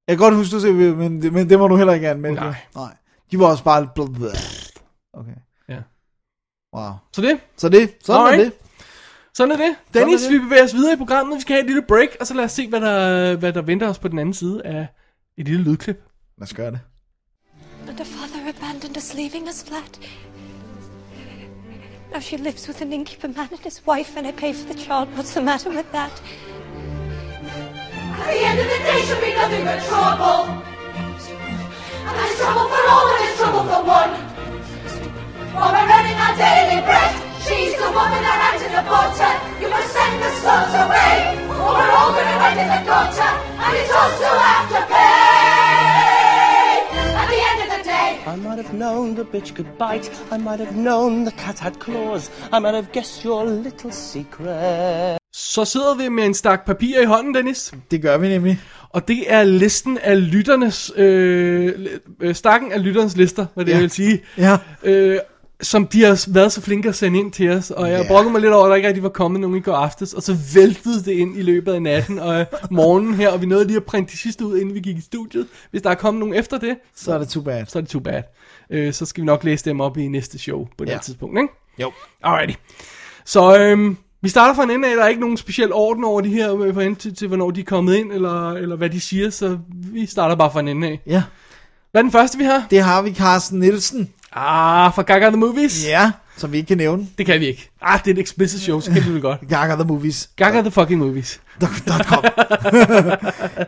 Speaker 3: Jeg kan godt huske, du ser dem, men, det- men det må du heller ikke anmelde.
Speaker 2: Nej.
Speaker 3: Nej. De var også bare... lidt bl- bl- Okay.
Speaker 2: Ja.
Speaker 3: Wow.
Speaker 2: Så det,
Speaker 3: Så det, sådan
Speaker 2: Alright.
Speaker 3: er det.
Speaker 2: sådan er det.
Speaker 3: Sådan
Speaker 2: Dennis,
Speaker 3: er
Speaker 2: er
Speaker 3: det.
Speaker 2: vi bevæger os videre i programmet, vi skal have et lille break, og så lad os se, hvad der, hvad der venter os på den anden side af et lille lydklip.
Speaker 3: Lad os gøre det.
Speaker 7: And her father abandoned us, leaving us flat. Now she lives with an innkeeper man and his wife, and I pay for the child. What's the matter with that?
Speaker 9: At the end of the day, she'll be nothing but trouble. And that's trouble for all, and it's trouble for one. While we're earning our daily bread, she's the woman that hands in the butter. You must send the slugs away, or we're all gonna end in the gutter. And it's all to have to pay. At the end of the day.
Speaker 10: I might have known the bitch could bite. I might have known the cat had claws. I might have guessed your little secret.
Speaker 2: Så sidder vi med en stak papir i hånden, Dennis.
Speaker 3: Det gør vi nemlig.
Speaker 2: Og det er listen af lytternes, øh, øh, stakken af lytternes lister, hvad det
Speaker 3: Ja.
Speaker 2: ja. vil sige.
Speaker 3: Ja.
Speaker 2: Øh, som de har været så flinke at sende ind til os, og jeg
Speaker 3: Ja.
Speaker 2: yeah. brokkede mig lidt over, at der ikke rigtig var kommet nogen i går aftes, og så væltede det ind i løbet af natten og øh, morgenen her, og vi nåede lige at printe de sidste ud, inden vi gik i studiet. Hvis der er kommet nogen efter det,
Speaker 3: Så er det too bad.
Speaker 2: så er det too bad. Øh, så skal vi nok læse dem op i næste show på det
Speaker 3: Ja.
Speaker 2: yeah. tidspunkt, ikke?
Speaker 3: Jo.
Speaker 2: Alrighty. Så øhm, vi starter fra en ende af, der er ikke nogen speciel orden over de her, øh, for til, til hvornår de er kommet ind, eller, eller hvad de siger, så vi starter bare fra en ende af.
Speaker 3: Ja.
Speaker 2: Hvad er den første, vi har?
Speaker 3: Det har vi Carsten Nielsen.
Speaker 2: Ah, fra Gaga The Movies?
Speaker 3: Ja. Som vi ikke kan nævne.
Speaker 2: Det kan vi ikke. Ah, det er et explicit show, så kan vi vel godt.
Speaker 3: Gaga the Movies.
Speaker 2: Gaga The Fucking Movies.
Speaker 3: .com.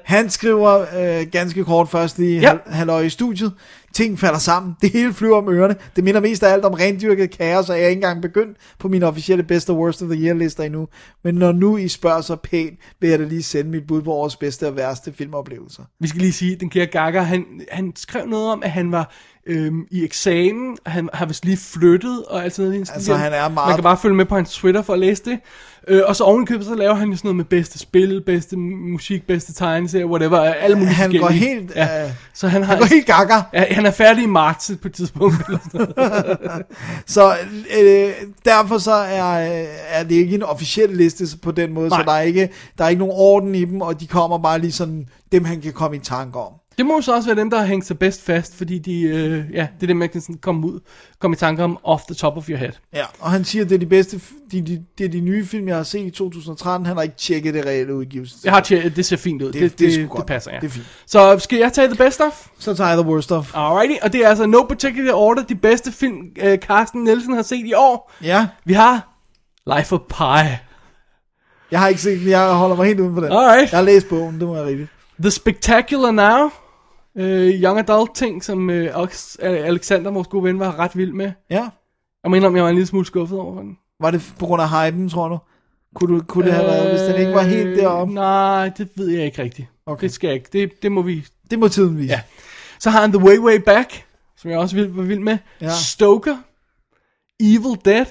Speaker 3: Han skriver øh, ganske kort først i
Speaker 2: Ja.
Speaker 3: ja. halvøje i studiet. Ting falder sammen. Det hele flyver om ørerne. Det minder mest af alt om rendyrket kaos, og jeg er ikke engang begyndt på min officielle best og worst of the year lister endnu. Men når nu I spørger så pænt, vil jeg da lige sende mit bud på årets bedste og værste filmoplevelser.
Speaker 2: Vi skal lige sige, den kære Gaga, han, han skrev noget om, at han var øhm, i eksamen, og han har vist lige flyttet, og alt sådan noget. i den stil.
Speaker 3: Altså, han er meget-
Speaker 2: Man kan bare følge med på hans Twitter for at læse det. Øh, og så ovenikøbet, så laver han jo sådan noget med bedste spil, bedste musik, bedste tegneserie, whatever, alle mulige
Speaker 3: Han går
Speaker 2: forskellige.
Speaker 3: helt,
Speaker 2: Ja.
Speaker 3: øh,
Speaker 2: så han har... altså-
Speaker 3: Han går helt gaga.
Speaker 2: Ja, han er færdig i marts på et tidspunkt. eller sådan noget.
Speaker 3: Så øh, derfor så er, øh, er det ikke en officiel liste på den måde,
Speaker 2: Nej.
Speaker 3: så der er, ikke, der er ikke nogen orden i dem, og de kommer bare lige sådan dem, han kan komme i tanke om.
Speaker 2: det må jo så også være dem, der har hængt sig bedst fast, fordi de, øh, ja, det er dem, man kan sådan komme ud, komme i tanke om off the top of your head.
Speaker 3: Ja, og han siger, at det er de bedste, f- de, de, det er de nye film, jeg har set i 2013. Han har ikke tjekket det reelle udgivelse.
Speaker 2: Jeg har tjekket, det ser fint ud. Det,
Speaker 3: Det-
Speaker 2: det,
Speaker 3: det er
Speaker 2: det,
Speaker 3: sgu
Speaker 2: det,
Speaker 3: godt.
Speaker 2: passer, ja.
Speaker 3: Det er fint.
Speaker 2: Så skal jeg tage the best of?
Speaker 3: Så tager jeg The Worst Of.
Speaker 2: Alrighty, og det er altså No Particular Order, de bedste film, øh, Carsten Nielsen har set i år.
Speaker 3: Ja,
Speaker 2: Vi har Life of Pi,
Speaker 3: jeg har ikke set den. Jeg holder mig helt uden for den.
Speaker 2: Alright.
Speaker 3: Jeg har læst bogen, det må jeg rigtigt.
Speaker 2: The Spectacular Now, øh, Young Adult ting, som øh, også øh, Alexander, vores gode ven, var ret vild med.
Speaker 3: Ja.
Speaker 2: Jeg mener, om jeg var en lille smule skuffet over den.
Speaker 3: Var det på grund af hypen, tror du? Kunne, du, kunne det have været, hvis den ikke var helt deroppe?
Speaker 2: Øh, Nej, det ved jeg ikke rigtigt.
Speaker 3: Okay.
Speaker 2: Det skal jeg ikke. Det, det må vi...
Speaker 3: Det må tiden vise.
Speaker 2: Ja. Så har han The Way Way Back, som jeg også vil- var vild med.
Speaker 3: Ja.
Speaker 2: Stoker, Evil Dead,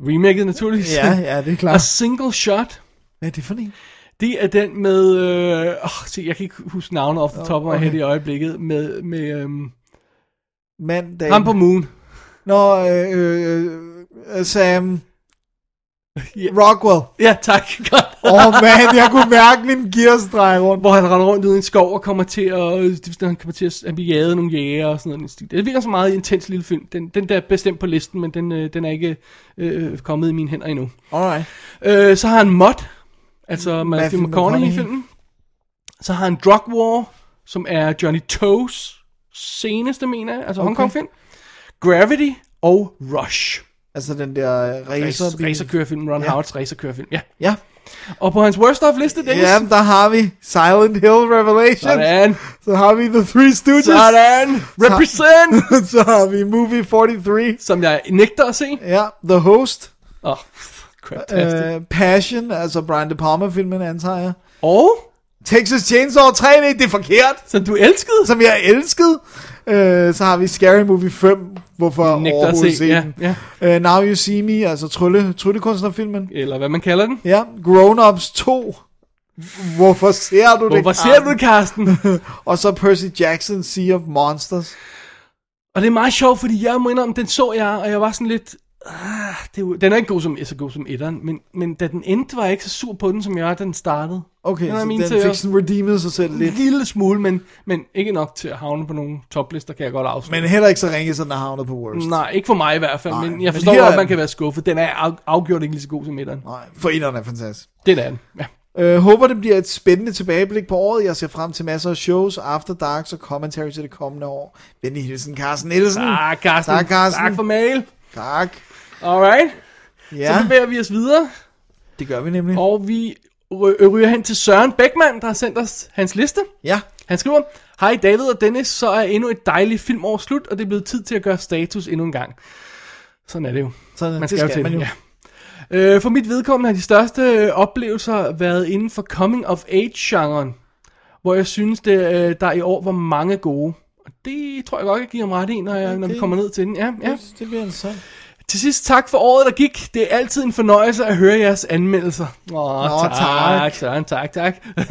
Speaker 2: remaket naturligvis.
Speaker 3: ja, ja, det er
Speaker 2: A
Speaker 3: klart.
Speaker 2: Single Shot.
Speaker 3: Hvad er det for en?
Speaker 2: Det er den med, øh, oh, se, jeg kan ikke huske navnet off the top of my head i øjeblikket, med, med øhm,
Speaker 3: Mandag.
Speaker 2: ham på Moon.
Speaker 3: Nå, øh, øh, øh, Sam
Speaker 2: Ja.
Speaker 3: Rockwell.
Speaker 2: Ja, tak. Godt.
Speaker 3: Åh, oh, man, jeg kunne mærke min gearstreg rundt.
Speaker 2: Hvor han render rundt ud i en skov og kommer til at, det vil sige, han kommer til at, han bliver jaget af nogle jæger og sådan noget. Det virker så meget intens lille film. Den, den der er bestemt på listen, men den, øh, den er ikke øh, kommet i mine hænder endnu.
Speaker 3: Alright.
Speaker 2: Øh, så har han Mod, altså Matthew
Speaker 3: Matthew
Speaker 2: McConaughey-filmen. Så har han Drug War, som er Johnny Toes seneste, mener jeg, altså okay. Hongkong-film. Gravity og Rush.
Speaker 3: Altså den der racer.
Speaker 2: Racer, racerkørefilm, Ron
Speaker 3: Ja.
Speaker 2: Howards racerkørefilm, ja.
Speaker 3: Ja.
Speaker 2: Og på hans worst of liste, Dennis.
Speaker 3: Ja, der har vi Silent Hill Revelation.
Speaker 2: Sådan.
Speaker 3: Så har vi The Three Stooges.
Speaker 2: Sådan. Represent.
Speaker 3: så har vi Movie 43.
Speaker 2: som jeg nægter at se.
Speaker 3: Ja, The Host.
Speaker 2: Åh, oh, crap.
Speaker 3: Øh, Passion, altså Brian De Palma-filmen, antager jeg.
Speaker 2: Og
Speaker 3: Texas Chainsaw 3, det er forkert.
Speaker 2: Som du elskede?
Speaker 3: Som jeg elskede. Øh, så har vi Scary Movie 5, hvorfor
Speaker 2: Nægter at
Speaker 3: overhovedet
Speaker 2: se,
Speaker 3: se
Speaker 2: ja,
Speaker 3: den. Øh, Now You See Me, altså trylle, tryllekunstnerfilmen.
Speaker 2: Eller hvad man kalder den.
Speaker 3: Ja, Grown Ups 2. Hvorfor ser du det,
Speaker 2: Hvorfor ser du det, Carsten?
Speaker 3: Og så Percy Jackson, Sea of Monsters.
Speaker 2: Og det er meget sjovt, fordi jeg må indrømme, den så jeg, og jeg var sådan lidt... Ah, det er jo, den er ikke god som, så god som etteren, men, men da den endte, var jeg ikke så sur på den, som jeg var, da den startede.
Speaker 3: Okay,
Speaker 2: den
Speaker 3: så den fik sådan redeemet sig selv
Speaker 2: en
Speaker 3: lidt.
Speaker 2: lille smule, men, men ikke nok til at havne på nogle toplister, kan jeg godt afsløre.
Speaker 3: Men heller ikke så ringe, så den er havnet på worst.
Speaker 2: Nej, ikke for mig i hvert fald,
Speaker 3: Nej,
Speaker 2: Nej, men
Speaker 3: men
Speaker 2: jeg forstår
Speaker 3: her
Speaker 2: godt,
Speaker 3: er
Speaker 2: at man
Speaker 3: den.
Speaker 2: kan være skuffet. Den er af- afgjort ikke lige så god som etteren.
Speaker 3: Nej, for etteren er fantastisk.
Speaker 2: Det er den, ja.
Speaker 3: Øh, håber, det bliver et spændende tilbageblik på året. Jeg ser frem til masser af shows, after darks og commentary til det kommende år. Venlig hilsen, Carsten Nielsen.
Speaker 2: Tak, Carsten.
Speaker 3: Tak, Carsten.
Speaker 2: Ah, Tak for mail.
Speaker 3: Tak.
Speaker 2: Alright,
Speaker 3: Ja,
Speaker 2: ja. så bevæger vi os videre,
Speaker 3: det gør vi nemlig.
Speaker 2: og vi ry- øh, ryger hen til Søren Beckmann, der har sendt os hans liste.
Speaker 3: Ja,
Speaker 2: Han skriver, Hej David og Dennis, så er endnu et dejligt filmår slut, og det er blevet tid til at gøre status endnu en gang. Sådan er det jo.
Speaker 3: sådan,
Speaker 2: Man
Speaker 3: det
Speaker 2: skal, jo
Speaker 3: skal
Speaker 2: til
Speaker 3: man
Speaker 2: det,
Speaker 3: jo.
Speaker 2: ja. Øh, for mit vedkommende har de største øh, oplevelser været inden for coming of age-genren, hvor jeg synes, det, øh, der i år var mange gode. Og det tror jeg godt, jeg giver ham ret i, når, jeg, når vi
Speaker 3: det-
Speaker 2: kommer ned til den. Ja, ja.
Speaker 3: Det bliver en sådan.
Speaker 2: Til sidst tak for året, der gik. Det er altid en fornøjelse at høre jeres anmeldelser. Åh,
Speaker 3: Nå,
Speaker 2: tak.
Speaker 3: tak.
Speaker 2: tak. Søren, tak, tak.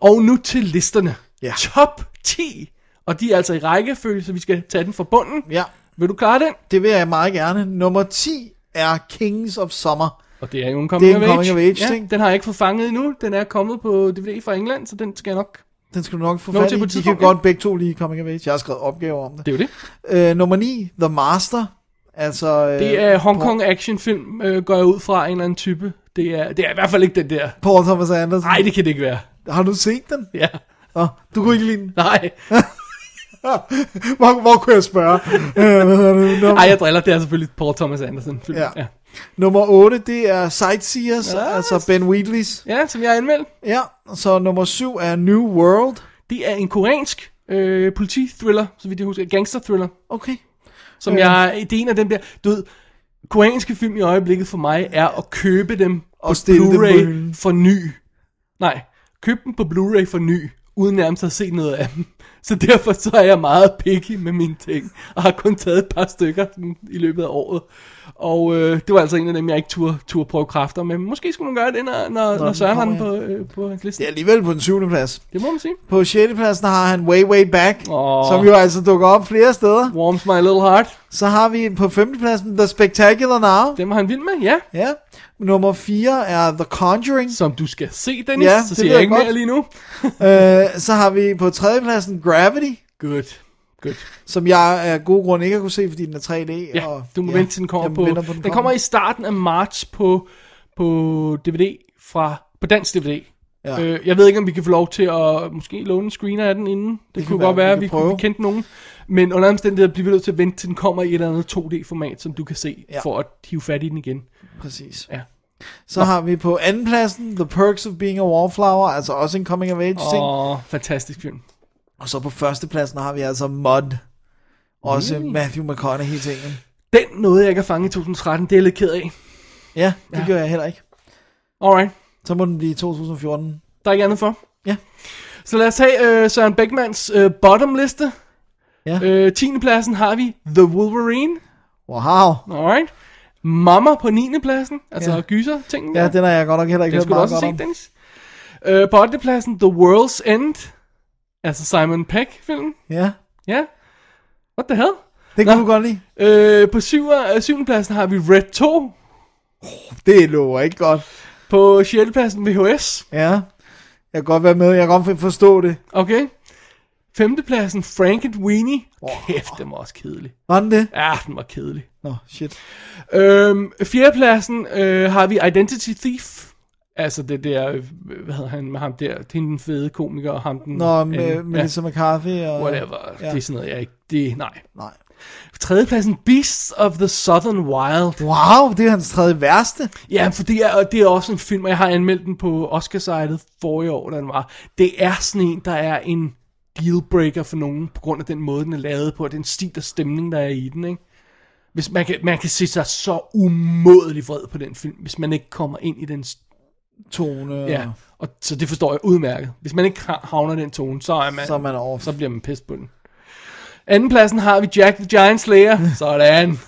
Speaker 2: og nu til listerne.
Speaker 3: Ja.
Speaker 2: Top 10. Og de er altså i rækkefølge, så vi skal tage den fra bunden.
Speaker 3: Ja,
Speaker 2: Vil du klare den?
Speaker 3: det vil jeg meget gerne. Nummer 10 er Kings of Summer.
Speaker 2: Og det er jo en coming,
Speaker 3: Det er en coming
Speaker 2: of, age.
Speaker 3: of age,
Speaker 2: ja,
Speaker 3: ting.
Speaker 2: Den har jeg ikke fået fanget endnu. Den er kommet på DVD fra England, så den skal jeg nok...
Speaker 3: Den skal du nok få
Speaker 2: Nå,
Speaker 3: fat
Speaker 2: til
Speaker 3: i.
Speaker 2: på et
Speaker 3: De kan
Speaker 2: tidspunkt,
Speaker 3: godt begge to lige coming of age. Jeg har skrevet opgaver om det.
Speaker 2: Det er jo det.
Speaker 3: Øh, nummer 9, The Master. Altså, øh,
Speaker 2: Det er Hong
Speaker 3: Paul-
Speaker 2: Kong actionfilm, øh, går jeg ud fra en eller anden type. Det er, det er i hvert fald ikke den der.
Speaker 3: Paul Thomas Anderson.
Speaker 2: Nej, det kan det ikke være.
Speaker 3: Har du set den?
Speaker 2: Ja.
Speaker 3: Nå, du kunne ikke lide den. Ah,
Speaker 2: Nej.
Speaker 3: Hvor, hvor kunne jeg spørge? Øh, hvad hedder det?
Speaker 2: Ej,
Speaker 3: Nummer,
Speaker 2: jeg driller. Det er selvfølgelig Paul Thomas Anderson. film.
Speaker 3: Ja.
Speaker 2: Ja.
Speaker 3: nummer 8, det er Sightseers,
Speaker 2: Ja.
Speaker 3: altså Ben Wheatley's.
Speaker 2: ja, som jeg har anmeldt.
Speaker 3: Ja, så nummer 7 er New World.
Speaker 2: Det er en koreansk øh, politithriller, så vidt jeg husker. Gangster-thriller.
Speaker 3: Okay.
Speaker 2: Som jeg, det er en af dem der, du ved, koreanske film i øjeblikket for mig er at købe dem
Speaker 3: Og stille dem på
Speaker 2: Blu-ray
Speaker 3: hylden.
Speaker 2: for ny. Nej, køb dem på Blu-ray for ny, uden nærmest at se noget af dem. Så derfor så er jeg meget picky med mine ting, og har kun taget et par stykker sådan, i løbet af året. Og øh, det var altså en af dem, jeg ikke turde, turde prøve kræfter med. Men Måske skulle man gøre det, når, når, når
Speaker 3: den
Speaker 2: Søren har den på,
Speaker 3: kommer,
Speaker 2: øh, på hans liste.
Speaker 3: Det er alligevel på den 7. plads.
Speaker 2: Det må man sige.
Speaker 3: På 6. pladsen har han Way Way Back,
Speaker 2: Åh.
Speaker 3: som jo altså dukker op flere steder.
Speaker 2: Warms my little heart.
Speaker 3: Så har vi på 5. pladsen The Spectacular Now.
Speaker 2: Dem var han vild med, ja.
Speaker 3: Ja. Nummer 4 er The Conjuring.
Speaker 2: Som du skal se, Dennis.
Speaker 3: Ja,
Speaker 2: Ja, så
Speaker 3: det
Speaker 2: siger
Speaker 3: ved
Speaker 2: jeg
Speaker 3: jeg
Speaker 2: ikke
Speaker 3: godt.
Speaker 2: mere lige nu.
Speaker 3: øh, så har vi på 3. pladsen Gravity.
Speaker 2: Good. Good.
Speaker 3: som jeg af gode grunde ikke har kunne se, fordi den er 3D.
Speaker 2: Ja,
Speaker 3: og,
Speaker 2: du må ja, vente til den kommer
Speaker 3: jeg
Speaker 2: på.
Speaker 3: venter
Speaker 2: på den, den
Speaker 3: kommer.
Speaker 2: kommer i starten af marts på, på DVD fra på dansk DVD.
Speaker 3: Ja.
Speaker 2: Ja. Øh, jeg ved ikke, om vi kan få lov til at måske låne en screener af den inden. Det, det
Speaker 3: kan
Speaker 2: kunne
Speaker 3: være,
Speaker 2: godt
Speaker 3: vi
Speaker 2: være,
Speaker 3: kan
Speaker 2: at vi kunne
Speaker 3: prøve.
Speaker 2: vi kendte nogen. Men under omstændigheder bliver vi nødt til at vente til den kommer i et eller andet 2D-format, som du kan se,
Speaker 3: Ja.
Speaker 2: ja. for at hive fat i den igen.
Speaker 3: Præcis.
Speaker 2: Ja.
Speaker 3: Så har vi på anden pladsen The Perks of Being a Wallflower, altså også en coming of age ting.
Speaker 2: Åh, fantastisk film.
Speaker 3: Og så på første pladsen har vi altså Mud. Også Matthew McConaughey tingen.
Speaker 2: Den nåede jeg ikke at fange i 2013, det er jeg lidt ked af.
Speaker 3: Ja, det ja.
Speaker 2: Ja.
Speaker 3: gør jeg heller ikke.
Speaker 2: Alright.
Speaker 3: Så må den blive 2014.
Speaker 2: Der er ikke andet for.
Speaker 3: Ja.
Speaker 2: Så lad os tage øh, Søren Beckmans øh, bottomliste.
Speaker 3: Ja.
Speaker 2: Øh, 10. pladsen har vi The Wolverine.
Speaker 3: Wow.
Speaker 2: Alright. Mamma på 9. pladsen. Altså
Speaker 3: Ja.
Speaker 2: ja. gyser tingen.
Speaker 3: Ja, den har jeg godt nok heller ikke
Speaker 2: det
Speaker 3: hørt
Speaker 2: skulle du
Speaker 3: meget
Speaker 2: også
Speaker 3: godt
Speaker 2: se,
Speaker 3: om.
Speaker 2: Dennis. Øh, på 8. pladsen The World's End. Altså Simon Peck filmen.
Speaker 3: Ja,
Speaker 2: Ja. What the hell?
Speaker 3: det
Speaker 2: Nå.
Speaker 3: kunne du godt lide.
Speaker 2: Øh, på 7. Øh, 7. pladsen har vi Red 2.
Speaker 3: Det lover ikke godt.
Speaker 2: På 6. pladsen VHS.
Speaker 3: Ja. Jeg kan godt være med, jeg kan godt forstå det.
Speaker 2: Okay. 5. pladsen Frank and Weenie. Kæft, den var også kedelig.
Speaker 3: Var den det?
Speaker 2: Ja, den var kedelig.
Speaker 3: Nå, shit.
Speaker 2: Øhm, fjerdepladsen øh, har vi Identity Thief. Altså det der, øh, hvad hedder han med ham der, hende den fede komiker og ham den...
Speaker 3: Nå,
Speaker 2: anden.
Speaker 3: med, Melissa McCarthy og...
Speaker 2: ja, whatever,
Speaker 3: Ja.
Speaker 2: ja. det er sådan noget, jeg ikke... Det, nej.
Speaker 3: Nej.
Speaker 2: Tredjepladsen, Beasts of the Southern Wild.
Speaker 3: Wow, det er hans tredje værste.
Speaker 2: Ja, for det er, og det er også en film, og jeg har anmeldt den på Oscar-sitet forrige år, da den var. Det er sådan en, der er en dealbreaker for nogen, på grund af den måde, den er lavet på, og den stil og stemning, der er i den, ikke? Hvis man, kan, man kan se sig så umådelig vred på den film, hvis man ikke kommer ind i den
Speaker 3: tone.
Speaker 2: Ja, og så det forstår jeg udmærket. Hvis man ikke ha- havner den tone, så er man,
Speaker 3: Så er man off.
Speaker 2: så bliver man pissed på den. Andenpladsen har vi Jack the Giant Slayer, sådan.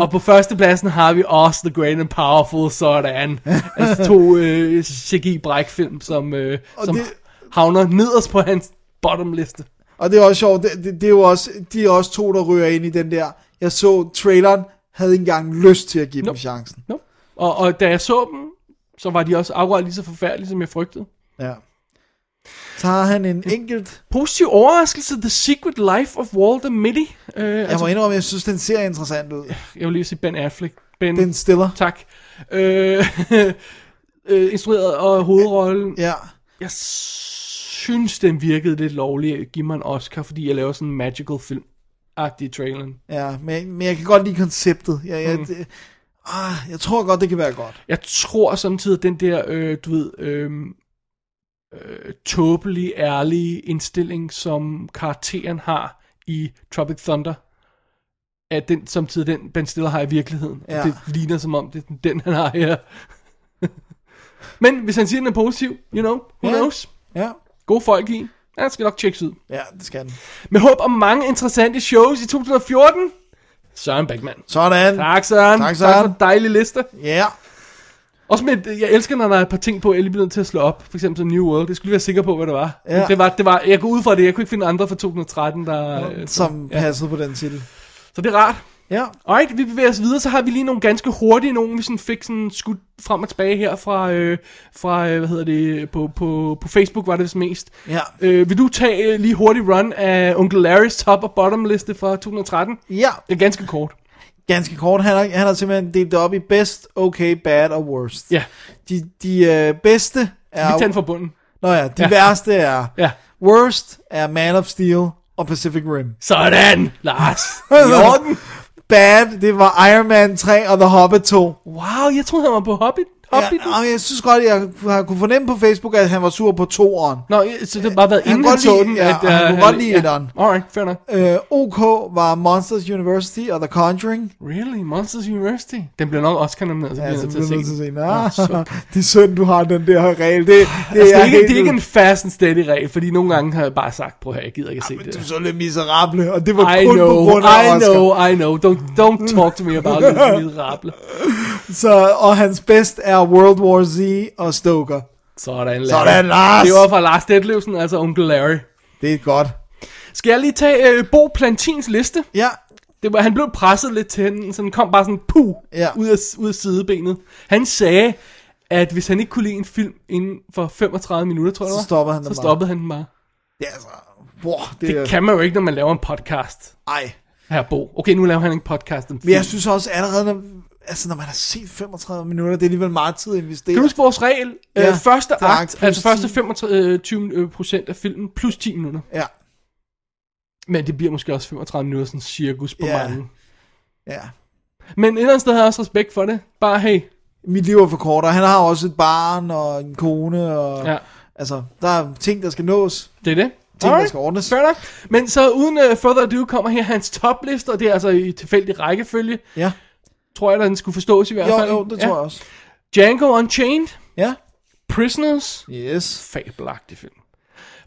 Speaker 2: og på førstepladsen har vi Oz the Great and Powerful, sådan. Altså to øh, CG-brækfilm, som, øh,
Speaker 3: Og
Speaker 2: som
Speaker 3: det-
Speaker 2: havner nederst på hans bottomliste.
Speaker 3: Og det er også sjovt, det, det, det er jo også, de er også to, der rører ind i den der. Jeg så traileren, havde ikke engang lyst til at give dem chancen.
Speaker 2: No. Og, og da jeg så dem, så var de også akkurat lige så forfærdelige, som jeg frygtede.
Speaker 3: Ja. Så har han en enkelt...
Speaker 2: Positiv overraskelse, The Secret Life of Walter Mitty. Øh,
Speaker 3: Jeg må indrømme, jeg synes, den ser interessant ud.
Speaker 2: jeg vil lige sige Ben Affleck. Ben,
Speaker 3: Ben Stiller.
Speaker 2: Tak. Øh, øh, instrueret og hovedrollen.
Speaker 3: Ja.
Speaker 2: Jeg synes, den virkede lidt lovlig. Giv mig en Oscar, fordi jeg laver sådan en magical film. Agtig traileren.
Speaker 3: Ja, men, men jeg kan godt lide konceptet. Jeg, jeg,
Speaker 2: Mm.
Speaker 3: det, ah, jeg tror godt, det kan være godt.
Speaker 2: Jeg tror samtidig, at den der, øh, du ved, øh, øh, tåbelig, ærlige indstilling, som karakteren har i Tropic Thunder, er den samtidig den, Ben Stiller har i virkeligheden.
Speaker 3: Ja.
Speaker 2: Ja. Det ligner som om, det er den, han har her. Men hvis han siger, den er positiv, you know, who
Speaker 3: Ja.
Speaker 2: knows?
Speaker 3: Ja,
Speaker 2: Gode folk i. Han skal nok tjekkes ud.
Speaker 3: ja det skal den.
Speaker 2: Med håb om mange interessante shows i 2014. Søren Beckmann.
Speaker 3: Sådan.
Speaker 2: Tak Søren.
Speaker 3: Tak, Søren.
Speaker 2: Tak for en dejlig liste.
Speaker 3: Ja.
Speaker 2: Også med, jeg elsker, når der er et par ting på, jeg lige bliver nødt til at slå op. For eksempel som New World. Jeg skulle lige være sikker på, hvad det var.
Speaker 3: Ja.
Speaker 2: Men Det var, det var jeg går ud fra det. Jeg kunne ikke finde andre fra 2013, der... øh,
Speaker 3: Som passede på den titel.
Speaker 2: Så det er rart.
Speaker 3: Ja.
Speaker 2: Alright, vi bevæger os videre, så har vi lige nogle ganske hurtige nogen, vi sådan fik sådan skudt frem og tilbage her fra, øh, fra øh, hvad hedder det, på, på, på Facebook var det vist mest.
Speaker 3: Ja.
Speaker 2: Øh, vil du tage øh, lige hurtig run af Onkel Larrys top- og bottom-liste fra 2013?
Speaker 3: Ja,
Speaker 2: Det er ganske kort.
Speaker 3: ganske kort. Han har, han har simpelthen delt det op i best, okay, bad og worst.
Speaker 2: Ja,
Speaker 3: De, de øh, bedste
Speaker 2: vi tager
Speaker 3: er...
Speaker 2: den fra bunden.
Speaker 3: Nå ja, de
Speaker 2: Ja.
Speaker 3: værste er...
Speaker 2: Ja.
Speaker 3: Worst er Man of Steel og Pacific Rim.
Speaker 2: Sådan, Lars. I orden.
Speaker 3: Bad, det var Iron Man 3 og The Hobbit 2.
Speaker 2: Wow, jeg troede, han var på Hobbit. Hobbit.
Speaker 3: Ja, og jeg synes godt, jeg, jeg kunne fornemme på Facebook, at han var sur på toeren.
Speaker 2: Nå, ja, så det har bare været
Speaker 3: Han
Speaker 2: inden
Speaker 3: kunne
Speaker 2: han
Speaker 3: godt
Speaker 2: så
Speaker 3: lide-
Speaker 2: den.
Speaker 3: ja,
Speaker 2: at,
Speaker 3: han
Speaker 2: øh,
Speaker 3: kunne godt lide
Speaker 2: ja.
Speaker 3: etteren.
Speaker 2: Alright, fair nok.
Speaker 3: Øh, OK var Monsters University og The Conjuring.
Speaker 2: Really? Monsters University? Den bliver nok også nomineret, så
Speaker 3: Ja,
Speaker 2: bliver
Speaker 3: så
Speaker 2: jeg nødt
Speaker 3: bliver
Speaker 2: Altså, til
Speaker 3: du nødt
Speaker 2: at se
Speaker 3: til
Speaker 2: den.
Speaker 3: at se den.
Speaker 2: Nå, så- Altså,
Speaker 3: Ah, det er synd, du har den der regel. Det, det,
Speaker 2: Det er, ikke,
Speaker 3: helt
Speaker 2: det er ikke
Speaker 3: ude.
Speaker 2: en fast and steady regel, fordi nogle gange har jeg bare sagt, prøv her, jeg gider ikke at se det.
Speaker 3: Du
Speaker 2: der."
Speaker 3: er så lidt miserable, og det var
Speaker 2: I
Speaker 3: kun på
Speaker 2: know,
Speaker 3: grund af
Speaker 2: I
Speaker 3: Oscar.
Speaker 2: know, I know. Don't, don't talk to me about it, miserable.
Speaker 3: Så, og hans bedst er World War Z og Stoker.
Speaker 2: Sådan, Lars.
Speaker 3: Sådan, Lars.
Speaker 2: Det var fra Lars Detlevsen, altså onkel Larry.
Speaker 3: Det er godt.
Speaker 2: Skal jeg lige tage øh, Bo Plantins liste?
Speaker 3: Ja,
Speaker 2: Det var, han blev presset lidt til den, så den kom bare sådan puh,
Speaker 3: Ja.
Speaker 2: ud, af, ud af sidebenet. Han sagde, at hvis han ikke kunne lide en film inden for 35 minutter, tror jeg
Speaker 3: Så
Speaker 2: det var,
Speaker 3: stoppede han den
Speaker 2: så
Speaker 3: bare.
Speaker 2: stoppede han den bare.
Speaker 3: det er altså... Wow, det,
Speaker 2: Det kan man jo ikke, når man laver en podcast,
Speaker 3: Ej.
Speaker 2: her Bo. Okay, nu laver han en podcast om
Speaker 3: Men
Speaker 2: film.
Speaker 3: jeg synes også allerede, når, altså når man har set 35 minutter, det er alligevel meget tid at investere.
Speaker 2: Kan du huske vores regel?
Speaker 3: Ja.
Speaker 2: Ja, øh, første
Speaker 3: Tak,
Speaker 2: akt,
Speaker 3: plus
Speaker 2: altså
Speaker 3: 10.
Speaker 2: første 25 øh, procent af filmen, plus 10 minutter.
Speaker 3: Ja,
Speaker 2: Men det bliver måske også 35 minutter, sådan cirkus på
Speaker 3: Ja.
Speaker 2: mange.
Speaker 3: ja.
Speaker 2: Men et eller andet sted har jeg også respekt for det. Bare hey,
Speaker 3: Mit liv er for kort, og han har også et barn og en kone, og
Speaker 2: Ja.
Speaker 3: altså, der er ting, der skal nås.
Speaker 2: det er det.
Speaker 3: Ting,
Speaker 2: Alright.
Speaker 3: der skal ordnes.
Speaker 2: Fair nok. Men så uden uh, further ado kommer her hans topliste, og det er altså i tilfældig rækkefølge.
Speaker 3: Ja,
Speaker 2: Tror jeg, at den skulle forstås i hvert
Speaker 3: jo,
Speaker 2: fald.
Speaker 3: jo, det tror jeg også.
Speaker 2: Django Unchained,
Speaker 3: Ja,
Speaker 2: Prisoners,
Speaker 3: yes,
Speaker 2: fabelagtig film.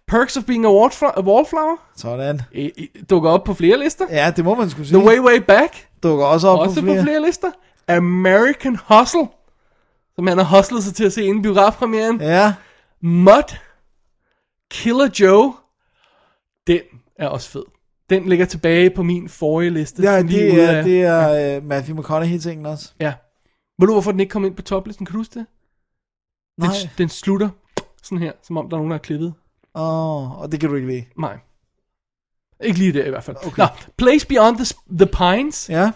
Speaker 2: Perks of Being a, Wallfla- a Wallflower,
Speaker 3: sådan.
Speaker 2: I, I, dukker op på flere lister.
Speaker 3: Ja, det må man skulle sige.
Speaker 2: The Way Way Back,
Speaker 3: Dukker også op
Speaker 2: også på flere. lister. American Hustle, som han har hustlet sig til at se inden biografpremieren.
Speaker 3: Ja,
Speaker 2: Mud, Killer Joe, den er også fed. Den ligger tilbage på min forrige liste.
Speaker 3: ja
Speaker 2: sådan
Speaker 3: det,
Speaker 2: lige ude
Speaker 3: er,
Speaker 2: af-
Speaker 3: det er øh, Matthew McConaughey-tingen også.
Speaker 2: Ja. Ved du, hvorfor den ikke kom ind på toplisten? Kan du huske det? Den,
Speaker 3: Nej,
Speaker 2: den slutter sådan her, som om der er nogen, der har klippet.
Speaker 3: åh, og det kan du ikke lide.
Speaker 2: Nej. Ikke lige der i hvert fald. Okay. Nå, Place Beyond the, the Pines. Ja.
Speaker 3: Ja,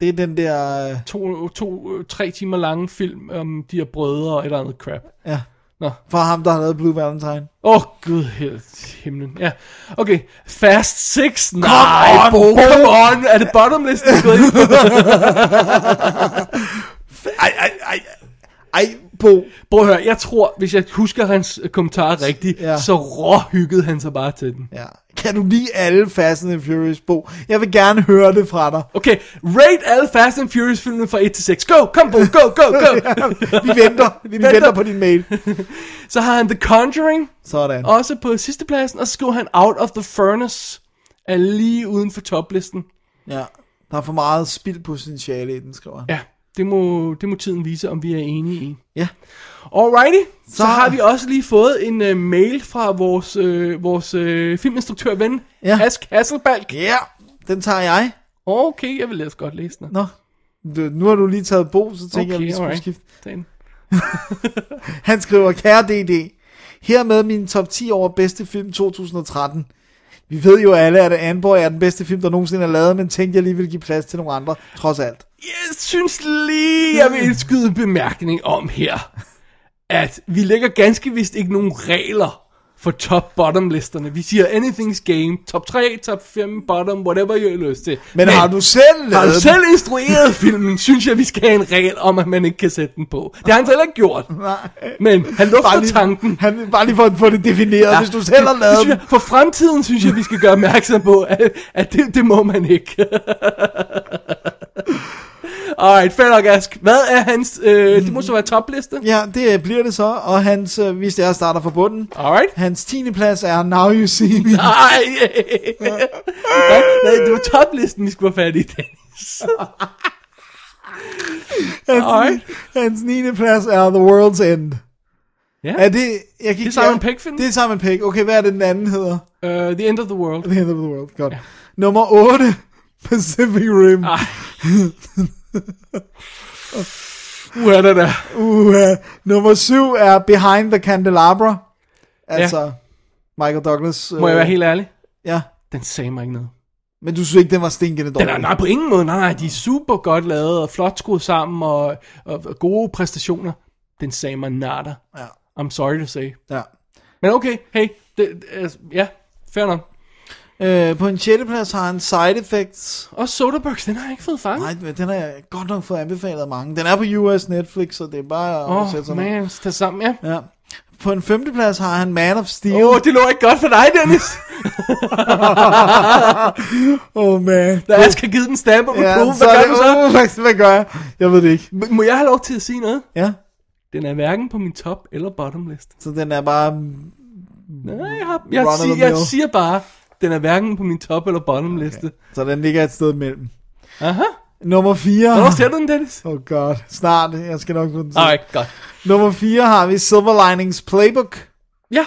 Speaker 3: det er den der, øh,
Speaker 2: To, to, øh, tre timer lange film om de her brødre og et eller andet crap.
Speaker 3: ja,
Speaker 2: Nå.
Speaker 3: fra ham, der har lavet Blue Valentine.
Speaker 2: Åh, oh, gud helt himlen. Ja, okay. Fast Six. Nej,
Speaker 3: on,
Speaker 2: Bo,
Speaker 3: Bo.
Speaker 2: come on. Er det bottomlisten gået ind?
Speaker 3: Ej, ej, ej, ej, Bo.
Speaker 2: Prøv at høre, jeg tror, hvis jeg husker hans øh, kommentar rigtigt,
Speaker 3: Ja.
Speaker 2: ja. så råhyggede han sig bare til den.
Speaker 3: Ja, Kan du lide alle Fast and Furious, Bo? Jeg vil gerne høre det fra dig.
Speaker 2: Okay, rate alle Fast and Furious filmene fra 1 til 6. Go, kom Bo, go, go, go.
Speaker 3: vi venter. Vi venter på din mail.
Speaker 2: så har han The Conjuring.
Speaker 3: Sådan.
Speaker 2: Også på sidste pladsen, og så skriver han Out of the Furnace. Er lige uden for toplisten.
Speaker 3: Ja, der er for meget spildpotentiale i den, skriver han.
Speaker 2: Ja, det må, det må tiden vise, om vi er enige i.
Speaker 3: Ja.
Speaker 2: Alrighty, så, så har vi også lige fået en uh, mail fra vores, øh, vores øh, filminstruktørven, ja. Ask Hasselbalg.
Speaker 3: Ja, den tager jeg.
Speaker 2: Okay, jeg vil læse godt læse den.
Speaker 3: Nå, du, nu har du lige taget Bo, så tænker okay, jeg, at vi skulle
Speaker 2: alright.
Speaker 3: skifte.
Speaker 2: Den.
Speaker 3: Han skriver, kære DD, hermed min top 10 over bedste film 2013. Vi ved jo alle, at Anborg er den bedste film, der nogensinde er lavet, men tænkte jeg lige ville give plads til nogle andre, trods alt.
Speaker 2: Jeg synes lige, jeg vil indskyde en bemærkning om her, at vi lægger ganske vist ikke nogen regler for top-bottom-listerne. Vi siger anything's game, top 3, top 5, bottom, whatever I har lyst til.
Speaker 3: Men, men har du selv lavet
Speaker 2: Har du
Speaker 3: den?
Speaker 2: selv instrueret filmen, synes jeg, vi skal have en regel om, at man ikke kan sætte den på. Det har han så heller ikke gjort.
Speaker 3: Nej.
Speaker 2: Men han
Speaker 3: Bare
Speaker 2: lufter
Speaker 3: lige-
Speaker 2: tanken.
Speaker 3: Han, bare lige for at få det defineret, ja. hvis du selv har lavet
Speaker 2: det, synes
Speaker 3: den.
Speaker 2: jeg, For fremtiden synes jeg, vi skal gøre opmærksom på, at, at det, det må man ikke. Alright, fair nok, Ask. Hvad er hans... Øh, det må så være topliste.
Speaker 3: Ja, det øh, bliver det så, og hans, øh, hvis jeg starter fra bunden,
Speaker 2: Alright.
Speaker 3: hans 10. plads er Now You See Me.
Speaker 2: Ej, nej, nej, det var toplisten, vi skulle have fat i, Dennis.
Speaker 3: Hans,
Speaker 2: Alright.
Speaker 3: hans 9. plads er The World's End.
Speaker 2: Ja.
Speaker 3: Er det... Jeg kan ikke,
Speaker 2: Simon
Speaker 3: jeg-
Speaker 2: Pegg-film.
Speaker 3: Det er Simon Pegg. Okay, hvad er det, den anden hedder?
Speaker 2: Uh, the End of the World.
Speaker 3: The End of the World. Godt. Ja. Nummer 8. Pacific Rim.
Speaker 2: Ej. Uha, der der.
Speaker 3: Uh, nummer 7 er Behind the Candelabra. Altså, ja. Michael Douglas. øh,
Speaker 2: Må jeg være helt ærlig?
Speaker 3: Ja.
Speaker 2: Den sagde mig ikke noget.
Speaker 3: Men du synes ikke, den var stinkende dårlig?
Speaker 2: Den er, nej, på ingen måde. Nej, nej, de er super godt lavet og flot skruet sammen og, og, og gode præstationer. Den sagde mig nada.
Speaker 3: Ja.
Speaker 2: I'm sorry to say.
Speaker 3: Ja.
Speaker 2: Men okay, hey. Det, det, altså, ja, fair nok.
Speaker 3: Øh, på en 6. plads har han Side Effects.
Speaker 2: Og Soderberghs, den har jeg ikke fået fanget.
Speaker 3: Nej, men den har jeg godt nok fået anbefalet af mange. Den er på US Netflix, så det er bare at sætte
Speaker 2: Åh,
Speaker 3: sig
Speaker 2: oh,
Speaker 3: ned.
Speaker 2: man, tag sammen, ja.
Speaker 3: Ja. På en 5. plads har han Man of Steel.
Speaker 2: Åh, oh, det lå ikke godt for dig, Dennis.
Speaker 3: oh man.
Speaker 2: Da jeg skal give den stamp og
Speaker 3: Ja,
Speaker 2: reprove,
Speaker 3: så
Speaker 2: hvad
Speaker 3: er
Speaker 2: gør
Speaker 3: det,
Speaker 2: du så?
Speaker 3: uh, hvad- hvad gør jeg? Jeg ved det ikke.
Speaker 2: M- Må jeg have lov til at sige noget?
Speaker 3: Ja,
Speaker 2: Den er hverken på min top eller bottom list.
Speaker 3: så den er bare...
Speaker 2: Nej, jeg, har, jeg,
Speaker 3: Run of the
Speaker 2: sig, jeg
Speaker 3: mill.
Speaker 2: siger bare, den er hverken på min top eller bottom liste.
Speaker 3: Så den ligger et sted imellem.
Speaker 2: Aha.
Speaker 3: Nummer 4...
Speaker 2: Hvornår ser du den, Dennis?
Speaker 3: Oh god, snart. Jeg skal nok få den til.
Speaker 2: Alright, godt.
Speaker 3: Nummer 4 har vi Silver Linings Playbook.
Speaker 2: Ja,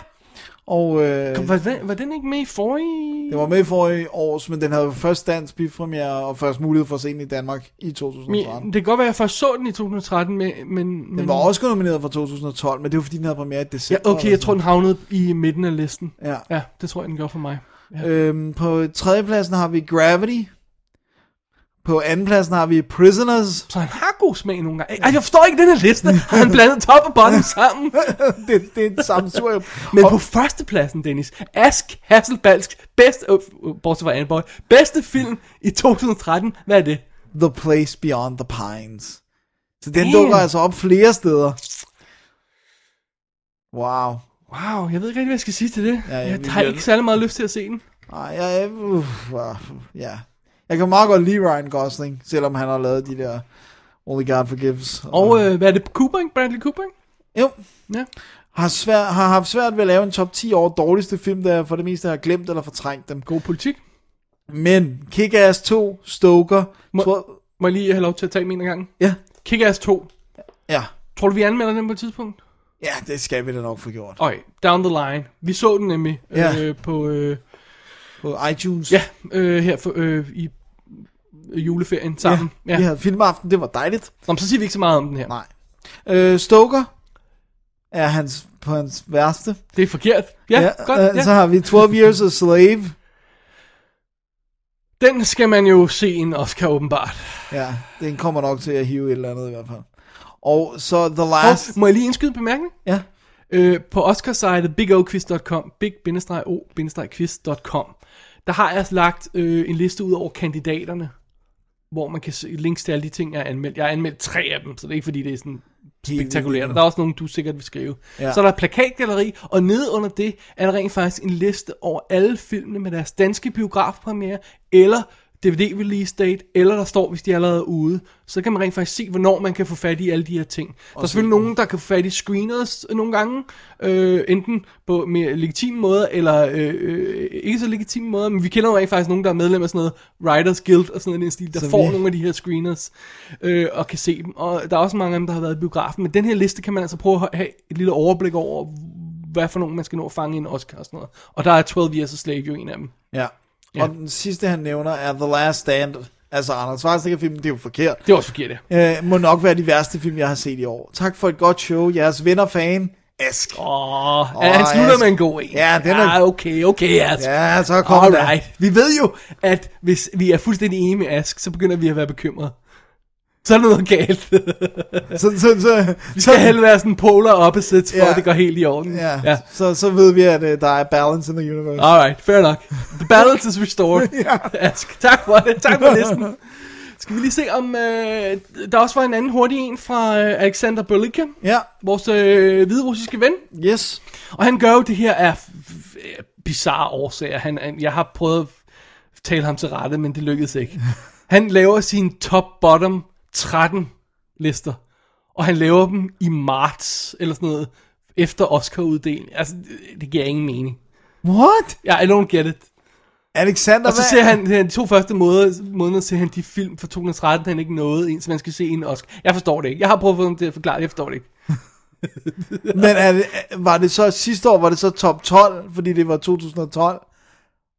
Speaker 3: Og øh,
Speaker 2: Kom, var, den, var den ikke med i forrige?
Speaker 3: det var med for i års, men den havde først dansk bifremiere og først mulighed for at se den i Danmark i 2013.
Speaker 2: Mi- Det kan godt være, at jeg først så den i 2013, men... men
Speaker 3: Den var også nomineret for 2012, men det var fordi, den havde premiere i
Speaker 2: Ja,
Speaker 3: december.
Speaker 2: okay, jeg tror, den havnede i midten af listen.
Speaker 3: Ja.
Speaker 2: Ja, det tror jeg, den gjorde for mig. Ja.
Speaker 3: Øhm, på tredjepladsen har vi Gravity. På andenpladsen har vi Prisoners.
Speaker 2: Så han har god smag nogle gange. Ej, jeg forstår ikke den her liste. Har han blandet top og bottom sammen?
Speaker 3: det, det er den samme sur.
Speaker 2: Men på førstepladsen, Dennis, Ask Hasselbalgs bedste, øh, øh, bortset fra Anboy, bedste film i 2013, hvad er det?
Speaker 3: The Place Beyond the Pines. Så den
Speaker 2: Damn.
Speaker 3: dukker altså op flere steder. Wow.
Speaker 2: Wow, jeg ved ikke rigtig, hvad jeg skal sige til det. Ja,
Speaker 3: ja,
Speaker 2: jeg
Speaker 3: vi
Speaker 2: har
Speaker 3: bliver-
Speaker 2: ikke særlig meget lyst til at se den.
Speaker 3: Ej, jeg, jeg, uh, uh, ja. jeg kan meget godt lide Ryan Gosling, selvom han har lavet de der Only God Forgives.
Speaker 2: Og øh, hvad er det, Cooper, ikke? Bradley Cooper? ikke?
Speaker 3: jo,
Speaker 2: Ja.
Speaker 3: har, svær, har haft svært ved at lave en top 10 over dårligste film, der jeg for det meste har glemt eller fortrængt dem.
Speaker 2: God politik.
Speaker 3: Men Kick-Ass 2, Stoker,
Speaker 2: Må-
Speaker 3: tror,
Speaker 2: Må jeg lige have lov til at tage min en gang?
Speaker 3: ja,
Speaker 2: Kick-Ass 2.
Speaker 3: ja,
Speaker 2: Tror du, vi anmelder den på et tidspunkt?
Speaker 3: ja, det skal vi da nok få gjort.
Speaker 2: Øj, down the line. Vi så den nemlig
Speaker 3: Ja.
Speaker 2: øh, på, øh,
Speaker 3: På iTunes.
Speaker 2: ja, øh, her for, øh, i øh, juleferien sammen.
Speaker 3: ja. Vi havde filmaften, det var dejligt.
Speaker 2: Nå, men så siger vi ikke så meget om den her.
Speaker 3: Nej. Øh, Stoker er hans, på hans værste.
Speaker 2: Det er forkert. Ja, ja godt.
Speaker 3: øh,
Speaker 2: ja.
Speaker 3: Så har vi 12 Years a Slave.
Speaker 2: Den skal man jo se en Oscar åbenbart.
Speaker 3: Ja, den kommer nok til at hive et eller andet i hvert fald. Og så The Last...
Speaker 2: Og må jeg lige indskyde en bemærkning?
Speaker 3: Ja,
Speaker 2: Øh, på Oscars-sitet bigoquiz.com, big-o-quiz.com, der har jeg lagt øh, en liste ud over kandidaterne, hvor man kan se links til alle de ting, jeg har anmeldt. Jeg har anmeldt tre af dem, så det er ikke fordi, det er sådan spektakulært. Der er også nogle, du sikkert vil skrive. Ja.
Speaker 3: Ja.
Speaker 2: Så er der et plakatgalleri, og nede under det er der rent faktisk en liste over alle filmene med deres danske biografpremiere, eller DVD-release date, eller der står, hvis de allerede er ude. Så kan man rent faktisk se, hvornår man kan få fat i alle de her ting. Der er selvfølgelig nogen, der kan få fat i screeners nogle gange, øh, enten på mere legitime måder, eller øh, øh, ikke så legitime måder, men vi kender jo rent faktisk nogen, der er medlem af sådan noget Writers Guild og sådan noget i den stil, der
Speaker 3: Så
Speaker 2: så får
Speaker 3: vi-
Speaker 2: nogle af de her screeners øh, og kan se dem. Og der er også mange af dem, der har været i biografen, men den her liste kan man altså prøve at have et lille overblik over, hvad for nogen man skal nå at fange i en Oscar og sådan noget. Og der er 12 Years a Slave jo en af dem.
Speaker 3: Ja.
Speaker 2: Ja.
Speaker 3: Og den sidste, han nævner, er The Last Stand. Altså, Anders Schwarzenegger-filmen, det er jo forkert.
Speaker 2: Det er også forkert, ja.
Speaker 3: Øh, må nok være de værste film, jeg har set i år. Tak for et godt show. Jeres ven og fan, Ask.
Speaker 2: Åh, oh, han slutter
Speaker 3: Ask.
Speaker 2: med en god en.
Speaker 3: Ja, den er-
Speaker 2: Ah, okay, okay, Ask.
Speaker 3: Ja, så kom der.
Speaker 2: Alright. Vi ved jo, at hvis vi er fuldstændig enige med Ask, så begynder vi at være bekymrede. Så er der noget galt.
Speaker 3: Så, så, så,
Speaker 2: Vi
Speaker 3: så,
Speaker 2: skal helst være sådan polar opposites, for
Speaker 3: Ja.
Speaker 2: at det går helt i orden.
Speaker 3: ja, ja. så, så ved vi, at øh, der er balance in the universe.
Speaker 2: Alright, fair nok. The balance is restored. Ask. Tak for det. Tak for listen. Skal vi lige se om... Øh, der også var en anden hurtig en fra øh, Alexander Bølicka.
Speaker 3: Ja,
Speaker 2: Vores øh, hvide russiske ven.
Speaker 3: yes.
Speaker 2: Og han gør jo det her af øh, bizarre årsager. Han, han, jeg har prøvet at tale ham til rette, men det lykkedes ikke. Han laver sine top-bottom 13 lister. Og han laver dem i marts, eller sådan noget, efter Oscar-uddelingen. Altså, det, det giver ingen mening.
Speaker 3: What?
Speaker 2: Ja, I don't get it.
Speaker 3: Alexander,
Speaker 2: Og så
Speaker 3: hvad-
Speaker 2: ser han han- de to første måneder, måneder ser han de film fra 2013, han ikke nåede en, så man skal se en Oscar. Jeg forstår det ikke. Jeg har prøvet at få dem til at forklare det, jeg forstår det ikke.
Speaker 3: Men er det, var det så sidste år, var det så top 12, fordi det var 2012?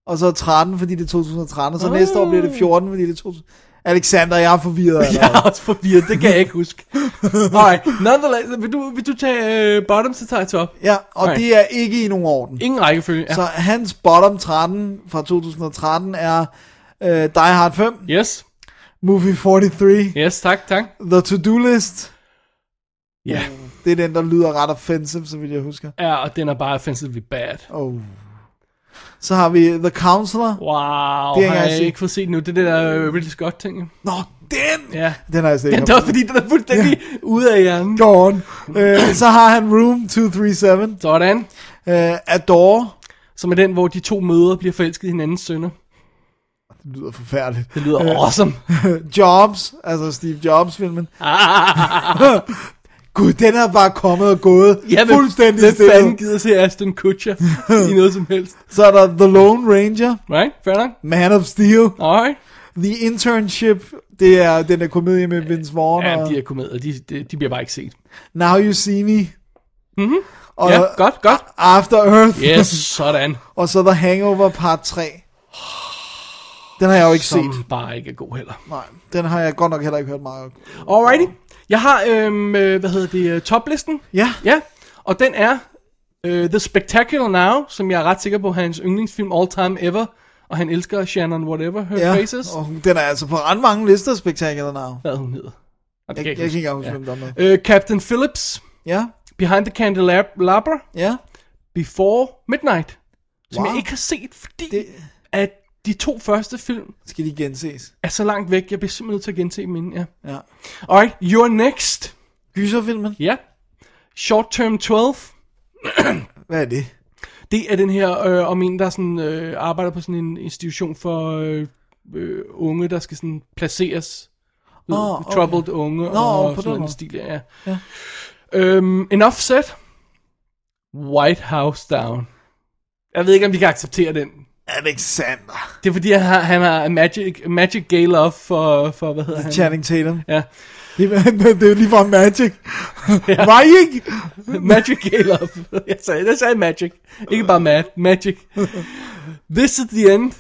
Speaker 3: Og så 13, fordi det er 2013, og så næste år
Speaker 2: Ah.
Speaker 3: bliver det 14, fordi det er 2000. Alexander, jeg er forvirret.
Speaker 2: Jeg
Speaker 3: Ja.
Speaker 2: er også forvirret, det kan jeg ikke huske. Alright, nonetheless, vil du, vil du tage øh, bottom, så tager jeg top.
Speaker 3: ja, og
Speaker 2: Nej.
Speaker 3: det er ikke i nogen orden.
Speaker 2: Ingen rækkefølge. Ja.
Speaker 3: Så hans bottom 13 fra 2013 er øh, Die Hard 5,
Speaker 2: Yes,
Speaker 3: Movie 43,
Speaker 2: yes, tak, tak.
Speaker 3: The To-Do List.
Speaker 2: Ja.
Speaker 3: Det er den, der lyder ret offensive, så vil jeg huske.
Speaker 2: Ja, og den er bare offensively bad.
Speaker 3: Oh. Så har vi The Counselor.
Speaker 2: Wow,
Speaker 3: Det
Speaker 2: det
Speaker 3: har
Speaker 2: har
Speaker 3: jeg
Speaker 2: jeg
Speaker 3: set.
Speaker 2: ikke fået set nu. Det er det der øh, Ridley Scott-ting. jo.
Speaker 3: Nå, den!
Speaker 2: Ja.
Speaker 3: Den har jeg set.
Speaker 2: Men det er også fordi, den er fuldstændig ude af hjernen.
Speaker 3: Gone. Øh, så har han Room 237,
Speaker 2: Sådan.
Speaker 3: øh, Adore.
Speaker 2: Som er den, hvor de to mødre bliver forelsket i hinandens sønner.
Speaker 3: Det lyder forfærdeligt.
Speaker 2: Det lyder awesome.
Speaker 3: Jobs, altså Steve Jobs-filmen.
Speaker 2: Ah,
Speaker 3: Gud, den er bare kommet og gået
Speaker 2: jeg vil,
Speaker 3: fuldstændig
Speaker 2: Hvem fanden
Speaker 3: stille.
Speaker 2: gider se Aston Kutcher i noget som helst?
Speaker 3: Så er der The Lone Ranger,
Speaker 2: Right? Fair nok?
Speaker 3: Man of Steel,
Speaker 2: Alright.
Speaker 3: The Internship, det er den der komedie med Vince Vaughn
Speaker 2: Ja,
Speaker 3: og
Speaker 2: de er komedier. De, de, de bliver bare ikke set.
Speaker 3: Now You See Me.
Speaker 2: Mhm.
Speaker 3: Og
Speaker 2: ja, godt, godt.
Speaker 3: After Earth.
Speaker 2: Yes, sådan.
Speaker 3: og så The Hangover part 3. Den har jeg jo ikke
Speaker 2: Som
Speaker 3: set.
Speaker 2: bare ikke er god heller.
Speaker 3: Nej, den har jeg godt nok heller ikke hørt meget om.
Speaker 2: Alrighty. Jeg har, øhm, øh, hvad hedder det, øh, toplisten.
Speaker 3: Ja,
Speaker 2: Ja, og den er øh, The Spectacular Now, som jeg er ret sikker på er hans yndlingsfilm all time ever. Og han elsker Shannon Whatever, Her
Speaker 3: ja.
Speaker 2: Faces.
Speaker 3: Og hun- den er altså på ret mange lister, Spectacular Now.
Speaker 2: Hvad hun hedder.
Speaker 3: Jeg,
Speaker 2: Og det kan
Speaker 3: jeg
Speaker 2: ikke
Speaker 3: kan ikke
Speaker 2: huske.
Speaker 3: engang huske, hvem der er med.
Speaker 2: Øh, Captain Phillips,
Speaker 3: Ja,
Speaker 2: Behind the Candelabra,
Speaker 3: ja.
Speaker 2: Before Midnight. Som
Speaker 3: Wow.
Speaker 2: jeg ikke har set, fordi
Speaker 3: Det
Speaker 2: det... at de to første film
Speaker 3: skal de genses.
Speaker 2: er så langt væk. Jeg bliver simpelthen nødt til at gense dem inden, ja.
Speaker 3: Ja.
Speaker 2: Alright, You're Next.
Speaker 3: Gyserfilmen?
Speaker 2: Ja. Short Term 12.
Speaker 3: Hvad er det?
Speaker 2: Det er den her øh, om en, der sådan, øh, arbejder på sådan en institution for øh, øh, unge, der skal sådan placeres. Ved,
Speaker 3: Nå, okay.
Speaker 2: Troubled unge Nå,
Speaker 3: på
Speaker 2: og
Speaker 3: den
Speaker 2: sådan noget i den
Speaker 3: måde.
Speaker 2: stil, der, ja. ja. Øhm, en offset. White House Down. Jeg ved ikke, om vi kan acceptere den.
Speaker 3: Alexander.
Speaker 2: Det er fordi, han har, han har magic, magic gay love for, for hvad hedder han?
Speaker 3: Channing Tatum.
Speaker 2: Ja.
Speaker 3: Det, er- det er jo lige fra Magic. Ja. Var I ikke?
Speaker 2: Magic Caleb. Jeg sagde, jeg sagde Magic. Ikke bare Mad. Magic. This is the end.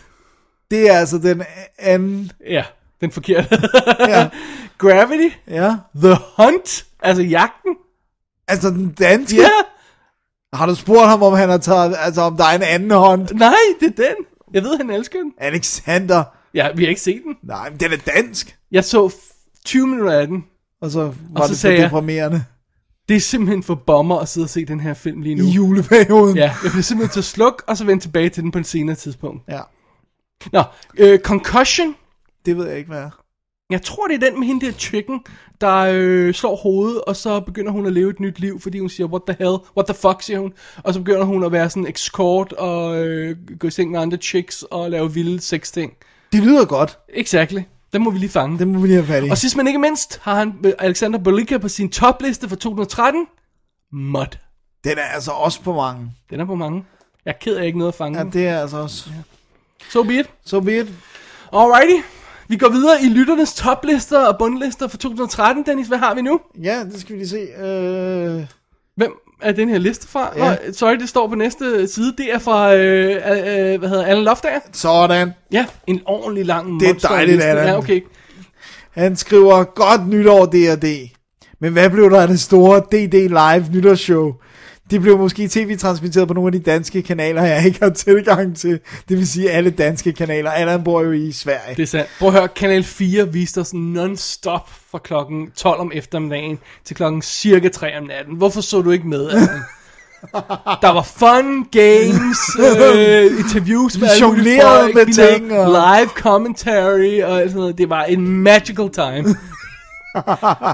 Speaker 3: Det er altså den anden.
Speaker 2: Ja, den forkerte. Gravity.
Speaker 3: Ja.
Speaker 2: The Hunt. Altså jagten.
Speaker 3: Altså den danske.
Speaker 2: Ja.
Speaker 3: Har du spurgt ham, om han har taget, altså om der er en anden hånd?
Speaker 2: Nej, det er den. Jeg ved, han elsker den.
Speaker 3: Alexander.
Speaker 2: Ja, vi har ikke set den.
Speaker 3: Nej, men den er dansk.
Speaker 2: Jeg så f- 20 minutter af den.
Speaker 3: Og så var
Speaker 2: Og
Speaker 3: og
Speaker 2: så
Speaker 3: så det
Speaker 2: sagde
Speaker 3: så
Speaker 2: jeg-
Speaker 3: deprimerende.
Speaker 2: Det er simpelthen for bomber at sidde og se den her film lige nu.
Speaker 3: I juleperioden.
Speaker 2: Ja, jeg bliver simpelthen til at slukke, og så vende tilbage til den på et senere tidspunkt.
Speaker 3: ja.
Speaker 2: Nå, øh, Concussion.
Speaker 3: Det ved jeg ikke, hvad er.
Speaker 2: Jeg tror, det er den med hende der chicken, der øh, slår hovedet, og så begynder hun at leve et nyt liv, fordi hun siger, what the hell, what the fuck, siger hun. Og så begynder hun at være sådan escort og øh, gå i seng med andre chicks og lave vilde sex ting.
Speaker 3: Det lyder godt.
Speaker 2: Exactly. Den må vi lige fange.
Speaker 3: Den må vi lige have fat i.
Speaker 2: Og sidst men ikke mindst har han øh, Alexander Bolika på sin topliste for 2013. Mud.
Speaker 3: Den er altså også på mange.
Speaker 2: Den er på mange. Jeg er ked af ikke noget at fange.
Speaker 3: Ja, det er altså også.
Speaker 2: So be it.
Speaker 3: So be it.
Speaker 2: Alrighty. Vi går videre i lytternes toplister og bundlister for 2013. Dennis, hvad har vi nu?
Speaker 3: Ja, det skal vi lige se. Øh...
Speaker 2: Hvem er den her liste fra? Ja. Nå, sorry, det står på næste side. Det er fra, øh, øh, øh, hvad hedder Allan Loftager.
Speaker 3: Sådan.
Speaker 2: Ja, en ordentlig lang
Speaker 3: Det er
Speaker 2: monsterliste.
Speaker 3: dejligt, Allan.
Speaker 2: Ja, okay.
Speaker 3: Han skriver, godt nytår D&D. Men hvad blev der af det store DD Live nytårsshow? Det blev måske tv-transmitteret på nogle af de danske kanaler, jeg ikke har tilgang til. Det vil sige alle danske kanaler. Allan bor jo i Sverige.
Speaker 2: Det er sandt. Prøv at høre, Kanal 4 viste os non-stop fra klokken 12 om eftermiddagen til klokken cirka 3 om natten. Hvorfor så du ikke med, Allan? Der var fun, games, øh, interviews med
Speaker 3: Vi
Speaker 2: alle mulige
Speaker 3: jonglerede
Speaker 2: folk,
Speaker 3: med
Speaker 2: vi lavede
Speaker 3: ting, og-
Speaker 2: live commentary og alt sådan noget. Det var en magical time.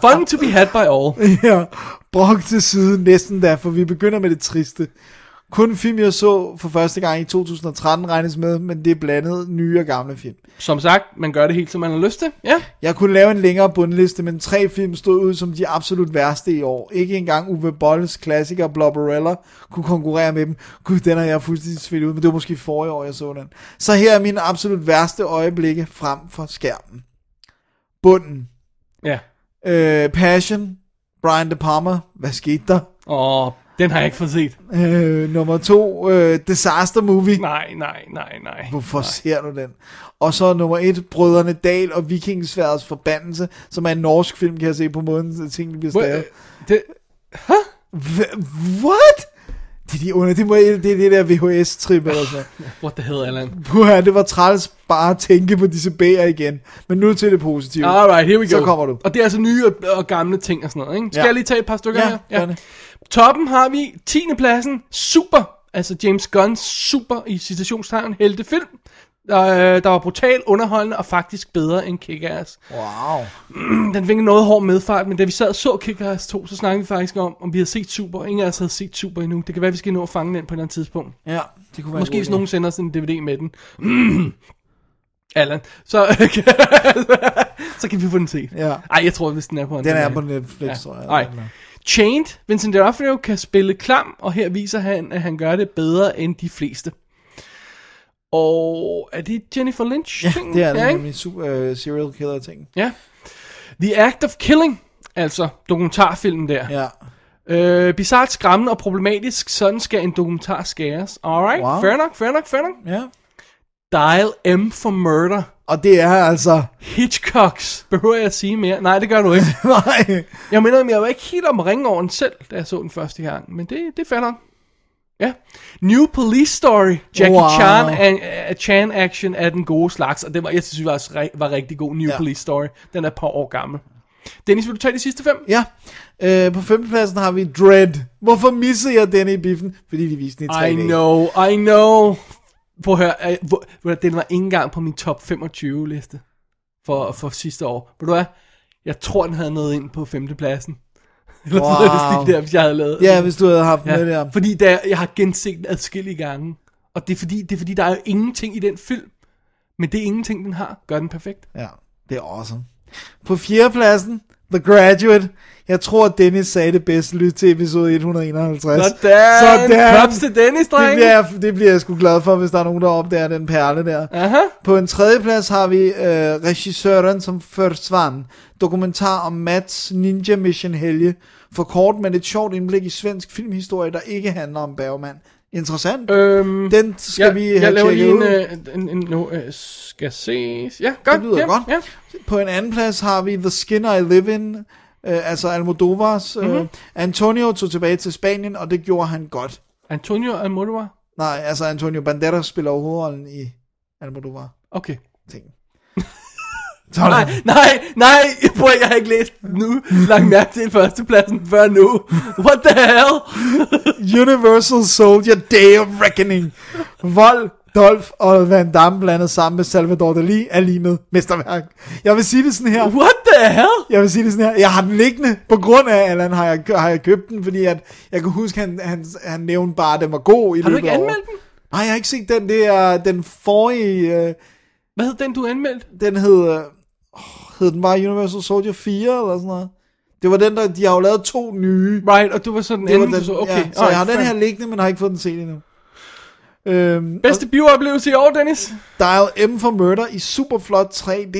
Speaker 2: fun to be had by all.
Speaker 3: Ja, brok til siden næsten da, for vi begynder med det triste. Kun film, jeg så for første gang i 2013 regnes med, men det er blandet nye og gamle film.
Speaker 2: Som sagt, man gør det helt, som man har lyst til. Ja.
Speaker 3: Jeg kunne lave en længere bundliste, men tre film stod ud som de absolut værste i år. Ikke engang Uwe Bolls klassiker Blobberella kunne konkurrere med dem. Gud, den har jeg fuldstændig svildt ud, men det var måske forrige år, jeg så den. Så her er mine absolut værste øjeblikke frem for skærmen. Bunden.
Speaker 2: Ja.
Speaker 3: Øh, Passion. Brian De Palma. Hvad skete der?
Speaker 2: Åh, den har jeg ikke fået set.
Speaker 3: Øh, nummer to. Øh, disaster Movie.
Speaker 2: Nej, nej, nej, nej.
Speaker 3: Hvorfor ser du den? Og så nummer et, Brødrene Dal og Vikingsværets Forbandelse, som er en norsk film, kan jeg se på måden, at tingene bliver
Speaker 2: Hvor- øh,
Speaker 3: stavet.
Speaker 2: Det,
Speaker 3: Hva- What? Det er de under, det, må, det er det der VHS-trip eller sådan noget.
Speaker 2: what the hell, Allan?
Speaker 3: Puha, det var træls bare at tænke på disse bæger igen. Men nu til det positive.
Speaker 2: Alright, here we go.
Speaker 3: Så kommer du.
Speaker 2: Og det er altså nye og, og gamle ting og sådan noget, ikke? Skal
Speaker 3: Ja.
Speaker 2: jeg lige tage et par stykker
Speaker 3: Ja,
Speaker 2: her?
Speaker 3: gør det.
Speaker 2: Toppen har vi 10. pladsen, Super, altså James Gunn's Super i citationstegn heltefilm, der, øh, der var brutal, underholdende og faktisk bedre end Kick-Ass.
Speaker 3: Wow.
Speaker 2: Den fik en noget hård medfart, men da vi sad og så Kick-Ass 2, så snakkede vi faktisk om, om vi havde set Super. Ingen af os havde set Super endnu. Det kan være, vi skal nå at fange den på et eller andet tidspunkt.
Speaker 3: Ja, det kunne være
Speaker 2: Måske
Speaker 3: en god
Speaker 2: hvis
Speaker 3: idé.
Speaker 2: nogen sender os en DVD med den. Allan. Så, så kan vi få den set.
Speaker 3: Ja.
Speaker 2: Ej, jeg tror, hvis den er på en
Speaker 3: Den er på Netflix, tror jeg.
Speaker 2: Nej. Chained. Vincent D'Onofrio kan spille klam, og her viser han, at han gør det bedre end de fleste. Og er det Jennifer Lynch?
Speaker 3: Ja, det er
Speaker 2: ja,
Speaker 3: det
Speaker 2: ikke?
Speaker 3: nemlig super uh, serial killer ting.
Speaker 2: Ja. The Act of Killing, altså dokumentarfilmen der.
Speaker 3: Ja.
Speaker 2: Øh, bizarrt, skræmmende og problematisk, sådan skal en dokumentar skæres. Alright,
Speaker 3: Wow.
Speaker 2: fair nok, fair nok, fair nok.
Speaker 3: ja.
Speaker 2: Dial M for Murder.
Speaker 3: Og det er altså...
Speaker 2: Hitchcocks. Behøver jeg at sige mere? Nej, det gør du ikke.
Speaker 3: Nej.
Speaker 2: Jeg mener, jeg var ikke helt om ringe over den selv, da jeg så den første gang. Men det, det er fair nok. Ja. New Police Story. Jackie
Speaker 3: Wow.
Speaker 2: wow. Chan, an, uh, Chan action er den gode slags. Og det var, jeg synes, det var, også ri- var rigtig god. New
Speaker 3: Ja.
Speaker 2: ja. Police Story. Den er et par år gammel. Dennis, vil du tage de sidste fem?
Speaker 3: Ja. Øh, på femtepladsen har vi Dread. Hvorfor missede jeg den i biffen? Fordi de viste den i 3D.
Speaker 2: I know, I know. Prøv at høre, øh, hvor, hvor- den var ikke engang på min top 25 liste for, for sidste år. Ved du hvad? Jeg tror, den havde noget ind på femtepladsen. Eller wow. sådan noget, hvis, det der, hvis jeg havde lavet
Speaker 3: Ja, hvis du havde haft den
Speaker 2: Ja,
Speaker 3: med der.
Speaker 2: Fordi der, jeg har genset den adskillige gange. Og det er, fordi, det er fordi, der er jo ingenting i den film. Men det er ingenting, den har. Gør den perfekt.
Speaker 3: Ja, det er awesome. På fjerdepladsen, The Graduate. Jeg tror, at Dennis sagde det bedst. Lyt til episode 151.
Speaker 2: Sådan.
Speaker 3: Sådan.
Speaker 2: Props til Dennis,
Speaker 3: Det
Speaker 2: dreng.
Speaker 3: bliver, jeg- det bliver jeg sgu glad for, hvis der er nogen, der opdager den perle der.
Speaker 2: Aha.
Speaker 3: På en tredjeplads har vi øh, regissøren som forsvandt. Dokumentar om Mats Ninja Mission Helge. For kort, men et sjovt indblik i svensk filmhistorie, der ikke handler om Bergman. Interessant.
Speaker 2: Øhm,
Speaker 3: Den skal
Speaker 2: jeg,
Speaker 3: vi
Speaker 2: Jeg
Speaker 3: have
Speaker 2: laver
Speaker 3: tjekket
Speaker 2: lige
Speaker 3: ud.
Speaker 2: en, øh, en, en, nu, øh, skal ses. Ja, godt.
Speaker 3: Det lyder
Speaker 2: ja,
Speaker 3: godt.
Speaker 2: Ja.
Speaker 3: På en anden plads har vi The Skin I Live In, øh, altså Almodovars. Øh,
Speaker 2: Mhm.
Speaker 3: mm-hmm. Antonio tog tilbage til Spanien, og det gjorde han godt.
Speaker 2: Antonio Almodovar.
Speaker 3: Nej, altså Antonio Banderas spiller jo hovedrollen i Almodovar.
Speaker 2: Okay.
Speaker 3: Ting.
Speaker 2: Nej, nej, nej, prøv, at- jeg har ikke læst den nu. Lagt mærke til førstepladsen før nu. What the hell?
Speaker 3: Universal Soldier Day of Reckoning. Vold, Dolph og Van Damme blandet sammen med Salvador Dali er lige med mesterværk. Jeg vil sige det sådan her.
Speaker 2: What the hell?
Speaker 3: Jeg vil sige det sådan her. Jeg har den liggende på grund af, Allan har jeg, har jeg købt den, fordi at, jeg kan huske, han, han, han nævnte bare, at den var god i
Speaker 2: Har du
Speaker 3: løbet
Speaker 2: ikke
Speaker 3: af året.
Speaker 2: anmeldt den?
Speaker 3: Nej, jeg har ikke set den. Det er den forrige... Øh,
Speaker 2: Hvad hed den, du anmeldte?
Speaker 3: den hed... Øh, åh, hed den bare Universal Soldier 4 eller sådan noget. Det var den, der... De har jo lavet to nye.
Speaker 2: Right, og du var sådan
Speaker 3: Det var
Speaker 2: anden, du så, okay.
Speaker 3: ja, så jeg
Speaker 2: alright,
Speaker 3: har den
Speaker 2: fair.
Speaker 3: her liggende, men har ikke fået den set endnu. Øhm, og-
Speaker 2: Bedste biooplevelse i år, Dennis?
Speaker 3: Dial M for Murder i super flot 3D.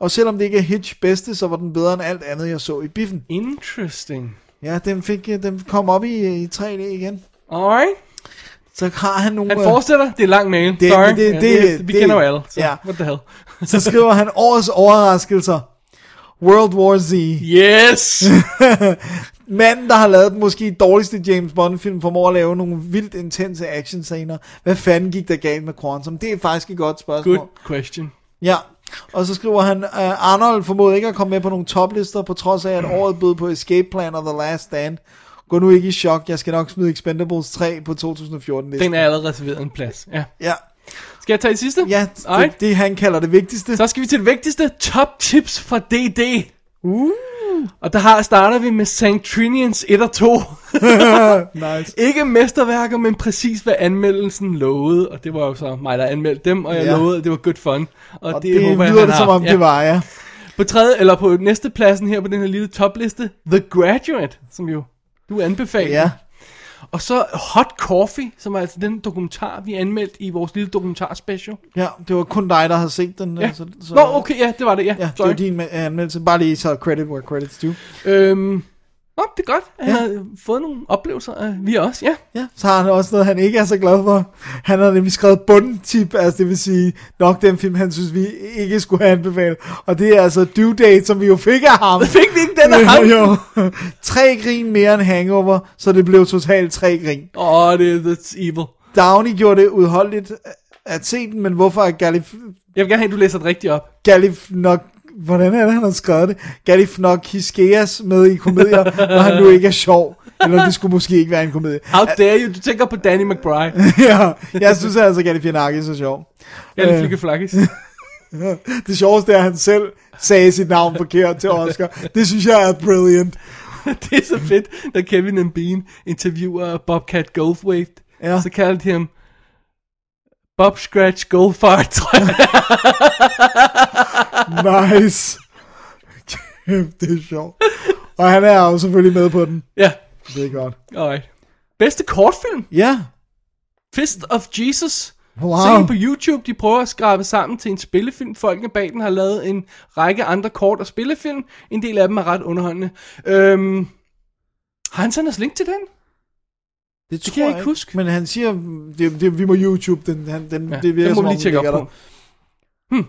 Speaker 3: Og selvom det ikke er Hitch bedste, så var den bedre end alt andet, jeg så i biffen.
Speaker 2: Interesting.
Speaker 3: Ja, den, fik, øh, den kom op i, øh, i 3D igen.
Speaker 2: Alright.
Speaker 3: Så har han nogle...
Speaker 2: Han
Speaker 3: øh,
Speaker 2: fortsætter. Det er lang mail.
Speaker 3: det-
Speaker 2: Sorry.
Speaker 3: det-
Speaker 2: Ja,
Speaker 3: det-
Speaker 2: vi
Speaker 3: det-
Speaker 2: kender jo alle. Så
Speaker 3: ja.
Speaker 2: What the hell?
Speaker 3: så skriver han årets overraskelser. World War Z.
Speaker 2: Yes!
Speaker 3: Manden, der har lavet den måske dårligste James Bond-film, formår at lave nogle vildt intense actionscener. Hvad fanden gik der galt med Quantum? Det er faktisk et godt spørgsmål.
Speaker 2: Good question.
Speaker 3: Ja, og så skriver han, uh, Arnold formåede ikke at komme med på nogle toplister, på trods af, at året bød på Escape Plan og The Last Stand. Gå nu ikke i chok, jeg skal nok smide Expendables 3 på 2014
Speaker 2: Den
Speaker 3: listen.
Speaker 2: er allerede reserveret en plads. Ja.
Speaker 3: Ja,
Speaker 2: Skal jeg tage det sidste?
Speaker 3: ja
Speaker 2: Alright.
Speaker 3: det, det, han kalder det vigtigste.
Speaker 2: Så skal vi til det vigtigste. Top tips fra DD. Uh. Og der har, starter vi med Sanctrinians 1 og 2.
Speaker 3: nice.
Speaker 2: Ikke mesterværker, men præcis hvad anmeldelsen lovede. Og det var jo så mig, der anmeldte dem, og jeg
Speaker 3: Ja.
Speaker 2: lovede, at det var good fun. Og,
Speaker 3: Og det, det
Speaker 2: håber jeg,
Speaker 3: lyder
Speaker 2: han
Speaker 3: det,
Speaker 2: har
Speaker 3: som
Speaker 2: haft.
Speaker 3: om ja. det var, ja.
Speaker 2: På tredje, eller på næste pladsen her på den her lille topliste, The Graduate, som jo du anbefaler.
Speaker 3: Ja,
Speaker 2: Og så Hot Coffee, som er altså den dokumentar, vi anmeldte i vores lille dokumentarspecial.
Speaker 3: ja det var kun dig, der har set den.
Speaker 2: Ja.
Speaker 3: øh, Så, så,
Speaker 2: Nå, okay, ja, det var det, ja.
Speaker 3: Ja, det
Speaker 2: Sorry.
Speaker 3: var din øh, anmeldelse. Bare lige så credit where credit's due.
Speaker 2: Øhm, nå, det er godt. Han
Speaker 3: Ja.
Speaker 2: ja. har fået nogle oplevelser øh, vi også, ja.
Speaker 3: Ja, så har han også noget, han ikke er så glad for. Han har nemlig skrevet bundtip, altså det vil sige nok den film, han synes, vi ikke skulle have anbefalet. Og det er altså Due Date, som vi jo fik af ham.
Speaker 2: Fik vi ikke den af ham?
Speaker 3: Jo, jo. Tre grin mere end Hangover, så det blev totalt tre grin.
Speaker 2: Åh, oh, det er that's evil.
Speaker 3: Downey gjorde det udholdeligt at se den, men hvorfor er Galif...
Speaker 2: Jeg vil gerne have, at du læser det rigtigt op.
Speaker 3: Galif nok... Hvordan er det, han har skrevet det? Galif nok Hiskeas med i komedier, når han nu ikke er sjov. Eller det skulle måske ikke være en komedie.
Speaker 2: How dare you? Du tænker på Danny McBride.
Speaker 3: ja, jeg synes altså, Galifianakis er sjov.
Speaker 2: Danny
Speaker 3: Øh.
Speaker 2: Flikke Flakkes.
Speaker 3: Det sjoveste er, at han selv sagde sit navn forkert til Oscar. Det synes jeg er brilliant.
Speaker 2: det er så fedt, da Kevin and Bean interviewer Bobcat Goldthwait,
Speaker 3: Ja.
Speaker 2: så kaldte de ham Bob Scratch Goldfart, tror jeg.
Speaker 3: Nice. Kæft, det er sjovt. Og han er jo selvfølgelig med på den.
Speaker 2: ja,
Speaker 3: Det er godt.
Speaker 2: alright. Bedste kortfilm,
Speaker 3: Ja.
Speaker 2: Fist of Jesus.
Speaker 3: Wow.
Speaker 2: Se den på YouTube, de prøver at skrabe sammen til en spillefilm. Folkene bag den har lavet en række andre kort og spillefilm. En del af dem er ret underholdende. Øhm, har han sendt os link til den?
Speaker 3: Det, tror
Speaker 2: kan jeg ikke huske.
Speaker 3: Men han siger, det, det, vi må YouTube den. Han, den
Speaker 2: Ja,
Speaker 3: det virker
Speaker 2: den må
Speaker 3: som
Speaker 2: vi
Speaker 3: om,
Speaker 2: lige tjekke
Speaker 3: den
Speaker 2: op
Speaker 3: ligger
Speaker 2: på.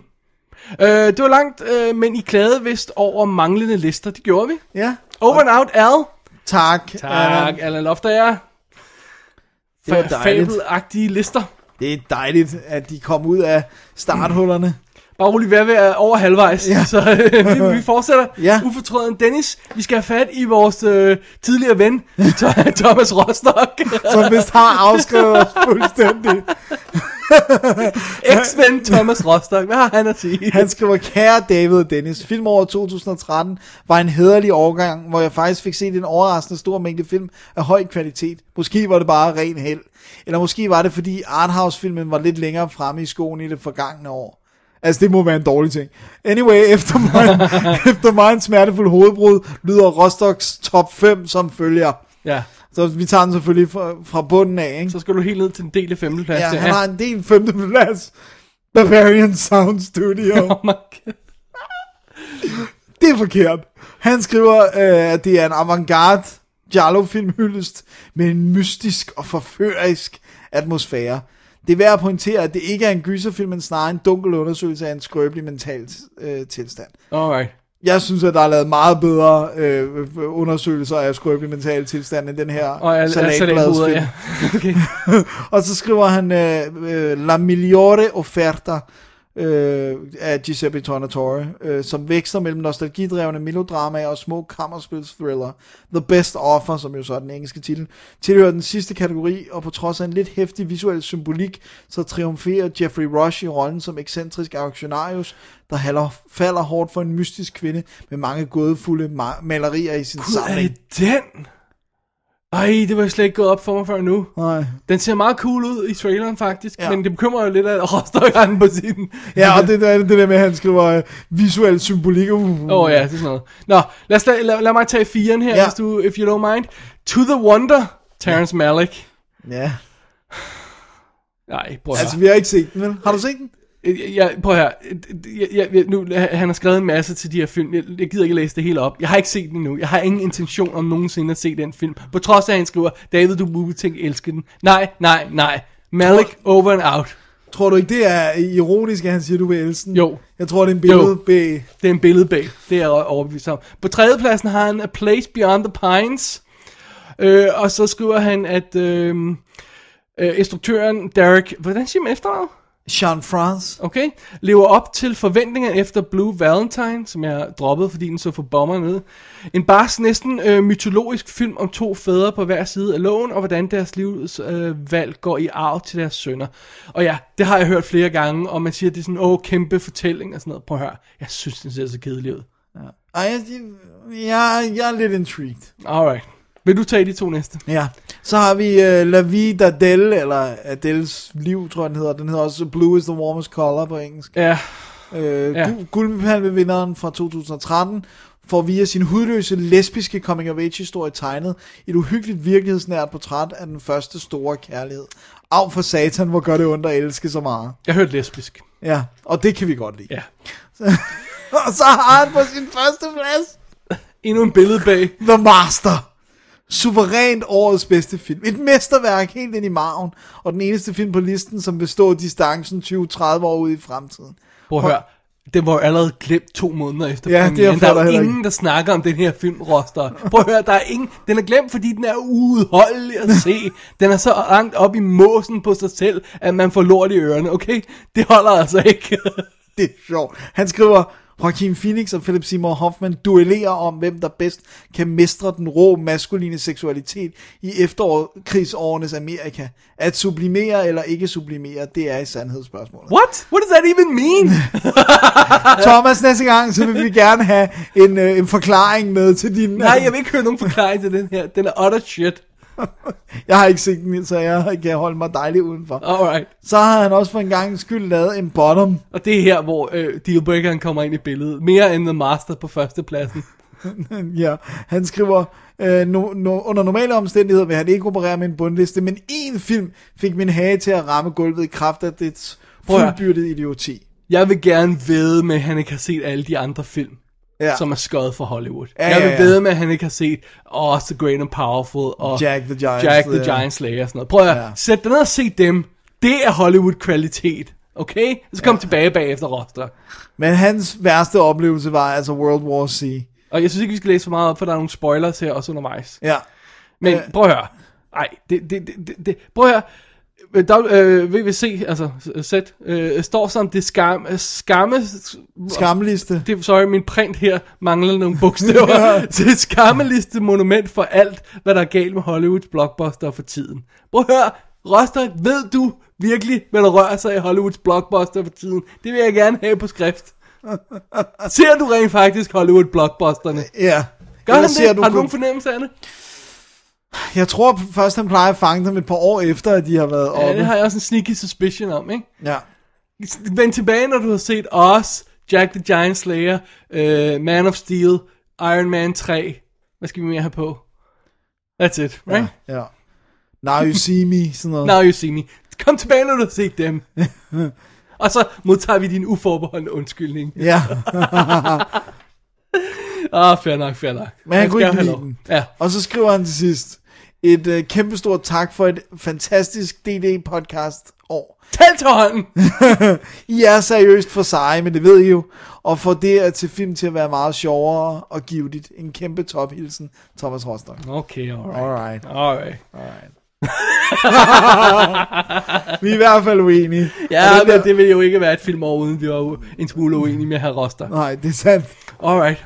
Speaker 2: Hmm. Øh, det var langt, øh, men I klagede vist over manglende lister. Det gjorde vi.
Speaker 3: der. Ja.
Speaker 2: Over and out, Al. Øh,
Speaker 3: Tak.
Speaker 2: Tak,
Speaker 3: Allan.
Speaker 2: Allan Loftager.
Speaker 3: Det var dejligt.
Speaker 2: Fabelagtige lister.
Speaker 3: Det er dejligt, at de kom ud af starthullerne.
Speaker 2: Bare rolig, hvad ved over halvvejs.
Speaker 3: Ja.
Speaker 2: Ja. Så øh, vi, vi fortsætter.
Speaker 3: Ja.
Speaker 2: Ufortrøden Dennis, vi skal have fat i vores øh, tidligere ven, Tho- Thomas Rostock.
Speaker 3: Som vist har afskrevet os fuldstændig.
Speaker 2: Ex-ven Thomas Rostock. Hvad har han at sige?
Speaker 3: Han skriver, kære David og Dennis, filmåret 2013 var en hederlig årgang, hvor jeg faktisk fik set en overraskende stor mængde film af høj kvalitet. Måske var det bare ren held. Eller måske var det, fordi arthouse-filmen var lidt længere fremme i skoen i det forgangne år. Altså, det må være en dårlig ting. Anyway, efter mig, efter mig en smertefuld hovedbrud, lyder Rostocks top 5 som følger.
Speaker 2: Ja,
Speaker 3: Så vi tager den selvfølgelig fra, fra bunden af, ikke?
Speaker 2: så skal du helt ned til en del af femteplads.
Speaker 3: Ja,
Speaker 2: der.
Speaker 3: han har en del femteplads. Bavarian Sound Studio.
Speaker 2: Oh my God.
Speaker 3: Det er forkert. Han skriver, øh, at det er en avantgarde Giallo-film hyldest med en mystisk og forførerisk atmosfære. Det er værd at pointere, at det ikke er en gyserfilm, men snarere en dunkel undersøgelse af en skrøbelig mental øh, tilstand.
Speaker 2: Alright.
Speaker 3: Jeg synes, at der er lavet meget bedre øh, undersøgelser af skrøbelig mental tilstand end den her
Speaker 2: Og al- salatbladet,
Speaker 3: salatbladsfilm.
Speaker 2: ja. Okay.
Speaker 3: og så skriver han øh, øh, La migliore offerta øh, af Giuseppe Tornatore, øh, som veksler mellem nostalgidrevne melodramaer og små kammerspilsthriller. The Best Offer, som jo så er den engelske titel, tilhører den sidste kategori, og på trods af en lidt hæftig visuel symbolik, så triumferer Jeffrey Rush i rollen som ekscentrisk auktionarius, der halder, falder hårdt for en mystisk kvinde med mange gådefulde ma- malerier i sin
Speaker 2: Gud, er
Speaker 3: samling.
Speaker 2: det den? Ej, det var slet ikke gået op for mig før nu.
Speaker 3: Nej.
Speaker 2: Den ser meget cool ud i traileren faktisk,
Speaker 3: Ja.
Speaker 2: ja. men det bekymrer jo lidt, at Rostock har den på sin.
Speaker 3: Ja, og det, der, det der med, at han skriver øh, visuel symbolik. Åh uh,
Speaker 2: Åh oh, ja, det er sådan noget. Nå, lad, os, lad, lad, lad mig tage firen her,
Speaker 3: Ja.
Speaker 2: ja. hvis du, if you don't mind. To the Wonder, Terrence Malick.
Speaker 3: Ja.
Speaker 2: Nej, prøv at
Speaker 3: Altså,
Speaker 2: høre.
Speaker 3: vi har ikke set den, vel? Har du set den?
Speaker 2: Jeg, jeg, prøv at høre. Jeg, jeg, jeg, nu, han har skrevet en masse til de her film. Jeg, jeg gider ikke læse det hele op. Jeg har ikke set den endnu. Jeg har ingen intention om nogensinde at se den film. På trods af, at han skriver, David, du burde tænke elske den. Nej, nej, nej. Malik, over and out.
Speaker 3: Tror du ikke, det er ironisk, at han siger, du vil elske den?
Speaker 2: Jo.
Speaker 3: Jeg tror, det er en billede
Speaker 2: Jo.
Speaker 3: bag...
Speaker 2: Det er en billede bag. Det er jeg overbevist om. På tredjepladsen har han A Place Beyond the Pines. Øh, og så skriver han, at øh, øh, instruktøren Derek... Hvordan siger man efternavn?
Speaker 3: Sean France.
Speaker 2: Okay. Lever op til forventningerne efter Blue Valentine, som jeg droppede, fordi den så for bomber ned. En bars næsten øh, mytologisk film om to fædre på hver side af loven, og hvordan deres livs øh, valg går i arv til deres sønner. Og ja, det har jeg hørt flere gange, og man siger, at det er sådan, åh, kæmpe fortælling og sådan noget. Prøv at høre, jeg synes, den ser så kedelig ud.
Speaker 3: Ej, jeg, jeg, jeg er lidt intrigued.
Speaker 2: Alright. Vil du tage de to næste?
Speaker 3: Ja. Så har vi uh, La Vida Del, eller Adels liv, tror jeg, den hedder. Den hedder også Blue is the Warmest Color på engelsk.
Speaker 2: Ja.
Speaker 3: Øh,
Speaker 2: Ja.
Speaker 3: ja. Guldpalmevinderen fra 2013 får via sin hudløse lesbiske coming of age historie tegnet et uhyggeligt virkelighedsnært portræt af den første store kærlighed. Af for satan, hvor gør det ondt at elske så meget.
Speaker 2: Jeg hørte lesbisk.
Speaker 3: Ja, og det kan vi godt lide.
Speaker 2: Ja.
Speaker 3: Og så har han på sin første plads
Speaker 2: Endnu en billede bag.
Speaker 3: The Master. Suverænt årets bedste film. Et mesterværk helt ind i maven, og den eneste film på listen, som vil stå distancen 20-30 år ud i fremtiden.
Speaker 2: Prøv at høre. Den var jo allerede glemt to måneder efter
Speaker 3: Ja, det
Speaker 2: premieren.
Speaker 3: er
Speaker 2: Der
Speaker 3: jeg
Speaker 2: er jo
Speaker 3: heller
Speaker 2: ingen, der snakker om den her film, Roster. Prøv at høre, der er ingen... Den er glemt, fordi den er uudholdelig at se. Den er så langt op i måsen på sig selv, at man får lort i ørerne, okay? Det holder altså ikke.
Speaker 3: Det er sjovt. Han skriver, Joaquin Phoenix og Philip Seymour Hoffman duellerer om, hvem der bedst kan mestre den rå maskuline seksualitet i efterkrigsårenes Amerika. At sublimere eller ikke sublimere, det er i sandhed spørgsmålet.
Speaker 2: What? What does that even mean?
Speaker 3: Thomas, næste gang, så vil vi gerne have en, øh, en forklaring med til din...
Speaker 2: Nej, jeg vil ikke høre nogen forklaring til den her. Den er utter shit.
Speaker 3: Jeg har ikke set den, så jeg kan holde mig dejligt udenfor.
Speaker 2: Alright.
Speaker 3: Så har han også for en gang skyld lavet en bottom.
Speaker 2: Og det er her, hvor øh, dealbreakeren kommer ind i billedet. Mere end The Master på førstepladsen.
Speaker 3: ja, han skriver, øh, no, no, under normale omstændigheder vil han ikke operere med en bundliste, men én film fik min hage til at ramme gulvet i kraft af dets
Speaker 2: Prøv at høre.
Speaker 3: fuldbyrdede idioti.
Speaker 2: Jeg vil gerne vide med, at han ikke har set alle de andre film,
Speaker 3: Ja.
Speaker 2: ja. som er skøjet fra Hollywood.
Speaker 3: Ja,
Speaker 2: Ja, jeg
Speaker 3: ja,
Speaker 2: vil
Speaker 3: ja.
Speaker 2: ja, vide med, at han ikke har set oh, The Great and Powerful og
Speaker 3: Jack the Giant
Speaker 2: Jack the
Speaker 3: Slayer.
Speaker 2: Giant Slayer og sådan noget. Prøv at
Speaker 3: Ja.
Speaker 2: ja. sæt dig ned og se dem. Det er Hollywood-kvalitet. Okay? Så kom ja. tilbage bagefter Rostock.
Speaker 3: Men hans værste oplevelse var altså World War C.
Speaker 2: Og jeg synes ikke, vi skal læse for meget op, for der er nogle spoilers her også undervejs.
Speaker 3: Ja,
Speaker 2: Men øh, prøv at høre. Ej, det, det, det, det, det, prøv at høre. Øh, W- øh, VVC, altså Z, øh, står som det skam, skamme...
Speaker 3: skamliste.
Speaker 2: Det, sorry, min print her mangler nogle bogstaver. Det er et skammeliste monument for alt, hvad der er galt med Hollywoods blockbuster for tiden. Prøv at høre, Rostock, ved du virkelig, hvad der rører sig i Hollywoods blockbuster for tiden? Det vil jeg gerne have på skrift. Ser du rent faktisk Hollywood-blockbusterne?
Speaker 3: Ja.
Speaker 2: Gør han
Speaker 3: Ellers ser
Speaker 2: det?
Speaker 3: du
Speaker 2: Du har du
Speaker 3: kun-
Speaker 2: nogen fornemmelse af det?
Speaker 3: Jeg tror først, han plejer at fange dem et par år efter, at de har været
Speaker 2: Ja,
Speaker 3: oppe.
Speaker 2: det har jeg også en sneaky suspicion om, ikke?
Speaker 3: Ja.
Speaker 2: Vend tilbage, når du har set os, Jack the Giant Slayer, uh, Man of Steel, Iron Man 3. Hvad skal vi mere have på? That's it, right?
Speaker 3: ja. Now you see me, sådan noget.
Speaker 2: Now you see me. Kom tilbage, når du har set dem. Og så modtager vi din uforbeholdende undskyldning.
Speaker 3: Ja.
Speaker 2: Ah, fair nok, fair nok.
Speaker 3: Men han
Speaker 2: Jeg
Speaker 3: kunne
Speaker 2: skal
Speaker 3: ikke
Speaker 2: have
Speaker 3: lide
Speaker 2: lov.
Speaker 3: den.
Speaker 2: Ja.
Speaker 3: Og så skriver han til sidst, et øh, kæmpestort tak for et fantastisk DD-podcast år.
Speaker 2: Tal til hånden!
Speaker 3: I er seriøst for seje, men det ved I jo. Og for det at til film til at være meget sjovere og givetigt. En kæmpe tophilsen, Thomas Rostock.
Speaker 2: Okay, alright.
Speaker 3: Alright.
Speaker 2: Alright.
Speaker 3: Vi er i hvert fald uenige.
Speaker 2: Ja,
Speaker 3: Og
Speaker 2: det,
Speaker 3: den der-
Speaker 2: men det ville jo ikke være et filmår, uden vi var u- en smule uenige med herr Roster.
Speaker 3: Nej, det er sandt.
Speaker 2: Alright.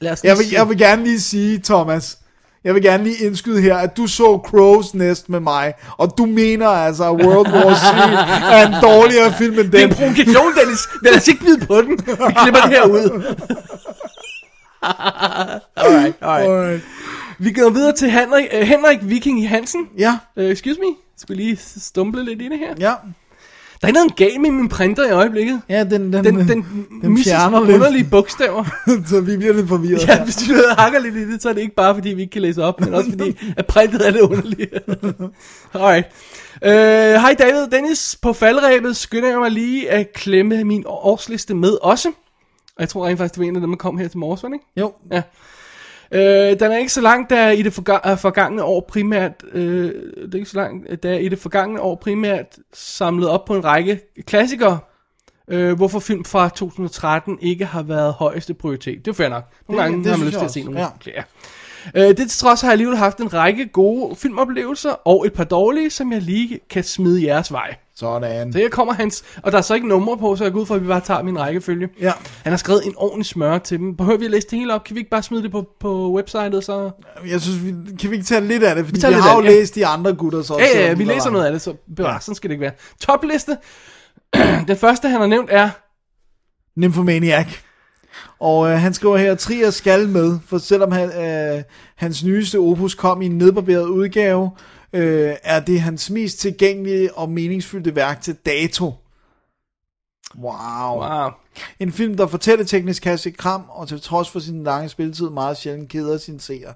Speaker 2: Lad os lige
Speaker 3: Jeg vil,
Speaker 2: se.
Speaker 3: jeg vil gerne lige sige, Thomas, jeg vil gerne lige indskyde her, at du så Crow's Nest med mig, og du mener altså, at World War Z er en dårligere film end den.
Speaker 2: Det er en provokation, Dennis. Lad os ikke vide på den. Vi klipper det her ud. alright, alright.
Speaker 3: Alright.
Speaker 2: Vi går videre til Henrik, øh, Henrik Viking Hansen.
Speaker 3: Ja,
Speaker 2: Uh, excuse me. Jeg skulle lige stumble lidt i det her.
Speaker 3: ja.
Speaker 2: Der er noget galt med min printer i øjeblikket.
Speaker 3: Ja, den, den, øh,
Speaker 2: Den, den,
Speaker 3: den
Speaker 2: misses
Speaker 3: fjerner lidt,
Speaker 2: underlige bogstaver.
Speaker 3: så vi bliver lidt forvirret.
Speaker 2: Ja, hvis du sidder og hakker lidt i det, så er det ikke bare fordi, vi ikke kan læse op, men også fordi, at printet er det underligt. Alright. Øh, Hej David og Dennis. På faldrebet skynder jeg mig lige at klemme min årsliste med også. Og jeg tror rent faktisk, det var en af dem, der kom her til morges, var det ikke?
Speaker 3: Jo,
Speaker 2: Ja. Øh, den er ikke så langt, der i det forga- øh, forgangne år primært, øh, det er ikke så langt, der i det forgangne år primært samlet op på en række klassikere, øh, hvorfor film fra 2013 ikke har været højeste prioritet. Det er fair nok. Nogle
Speaker 3: Det-
Speaker 2: gange
Speaker 3: det
Speaker 2: har man
Speaker 3: synes
Speaker 2: lyst
Speaker 3: jeg
Speaker 2: til at se
Speaker 3: også,
Speaker 2: nogle. Ja. Øh, det til trods har jeg alligevel haft en række gode filmoplevelser, og et par dårlige, som jeg lige kan smide jeres vej.
Speaker 3: sådan.
Speaker 2: Så her kommer hans, og der er så ikke numre på, så jeg går ud for, at vi bare tager min rækkefølge.
Speaker 3: Ja.
Speaker 2: Han har skrevet en ordentlig smør til dem. Behøver vi at læse det hele op? Kan vi ikke bare smide det på, på websitet? Så...
Speaker 3: Jeg synes, vi, kan vi ikke tage lidt af det, fordi vi,
Speaker 2: tager lidt
Speaker 3: har jo
Speaker 2: af det, ja.
Speaker 3: læst de andre gutter så.
Speaker 2: Ja, ja, ja, vi læser noget af det, så ja. sådan skal det ikke være. Topliste. Den første, han har nævnt, er...
Speaker 3: Nymphomaniac. Og øh, han skriver her, Trier skal med, for selvom han, øh, hans nyeste opus kom i en nedbarberet udgave, øh, er det hans mest tilgængelige og meningsfyldte værk til dato. Wow. wow.
Speaker 2: Wow.
Speaker 3: En film, der fortæller teknisk kasse kram, og til trods for sin lange spilletid meget sjældent keder sin seer.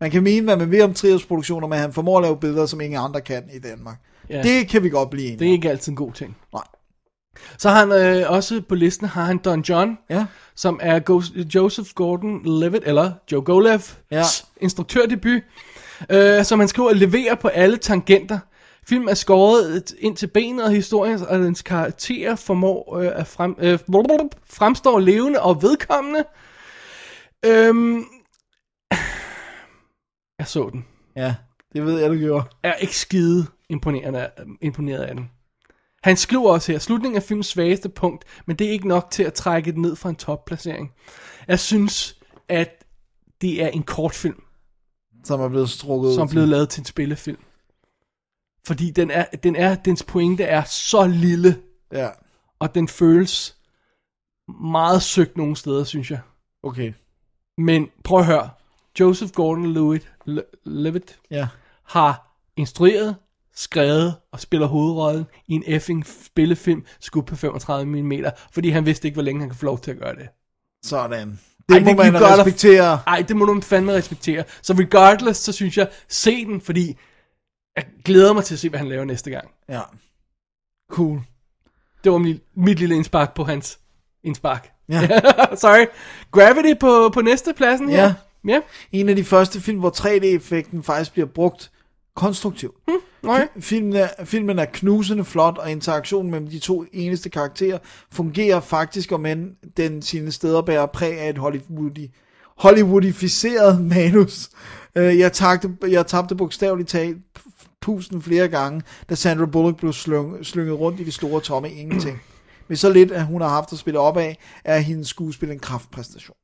Speaker 3: Man kan mene, hvad man vil om Triers produktioner, men han formår at lave billeder, som ingen andre kan i Danmark.
Speaker 2: Ja.
Speaker 3: Yeah. Det kan vi godt blive
Speaker 2: Det er
Speaker 3: enige om.
Speaker 2: ikke altid en god ting.
Speaker 3: Nej.
Speaker 2: Så har han øh, også på listen, har han Don John,
Speaker 3: Ja.
Speaker 2: som er Go- Joseph Gordon-Levitt, eller Joe Golevs
Speaker 3: Ja.
Speaker 2: instruktørdebut, øh, som han skriver leverer på alle tangenter. Filmen er skåret øh, ind til benet, og historien og dens karakterer formår øh, at frem, øh, blablabla, fremstår levende og vedkommende. Øhm, jeg så den.
Speaker 3: ja, det ved jeg, du gjorde.
Speaker 2: Jeg er ikke skide imponerende, imponeret af den. Han skriver også her, slutningen er filmens svageste punkt, men det er ikke nok til at trække det ned fra en topplacering. Jeg synes, at det er en kortfilm,
Speaker 3: Som er blevet strukket ud
Speaker 2: som er
Speaker 3: til-
Speaker 2: blevet lavet til en spillefilm. Fordi den er, den er, dens pointe er så lille,
Speaker 3: Ja,
Speaker 2: og den føles meget søgt nogle steder, synes jeg.
Speaker 3: okay.
Speaker 2: Men prøv at høre, Joseph Gordon-Levitt Le- Levitt
Speaker 3: Ja.
Speaker 2: har instrueret, skrevet og spiller hovedrollen i en effing spillefilm skudt på 35 mm, fordi han vidste ikke, hvor længe han kan få lov til at gøre det.
Speaker 3: Sådan. Det Ej, må det,
Speaker 2: kan
Speaker 3: man
Speaker 2: I godt-
Speaker 3: respektere.
Speaker 2: Ej, det må du fandme respektere. Så regardless, så synes jeg, se den, fordi jeg glæder mig til at se, hvad han laver næste gang.
Speaker 3: Ja. Cool.
Speaker 2: Det var mit, mit lille indspark på hans indspark.
Speaker 3: Ja.
Speaker 2: Sorry. Gravity på, på næste pladsen her.
Speaker 3: Ja.
Speaker 2: Ja,
Speaker 3: En af de første film, hvor 3D-effekten faktisk bliver brugt konstruktivt.
Speaker 2: okay.
Speaker 3: Filmen er, filmen er knusende flot, og interaktionen mellem de to eneste karakterer fungerer faktisk, om end den sine steder bærer præg af et Hollywoodi, Hollywoodificeret manus. Øh, Jeg tabte, jeg tabte bogstaveligt talt pusten flere gange, da Sandra Bullock blev slyng, slynget rundt i det store tomme ingenting. Men så lidt, at hun har haft at spille op af, er hendes skuespil en kraftpræstation.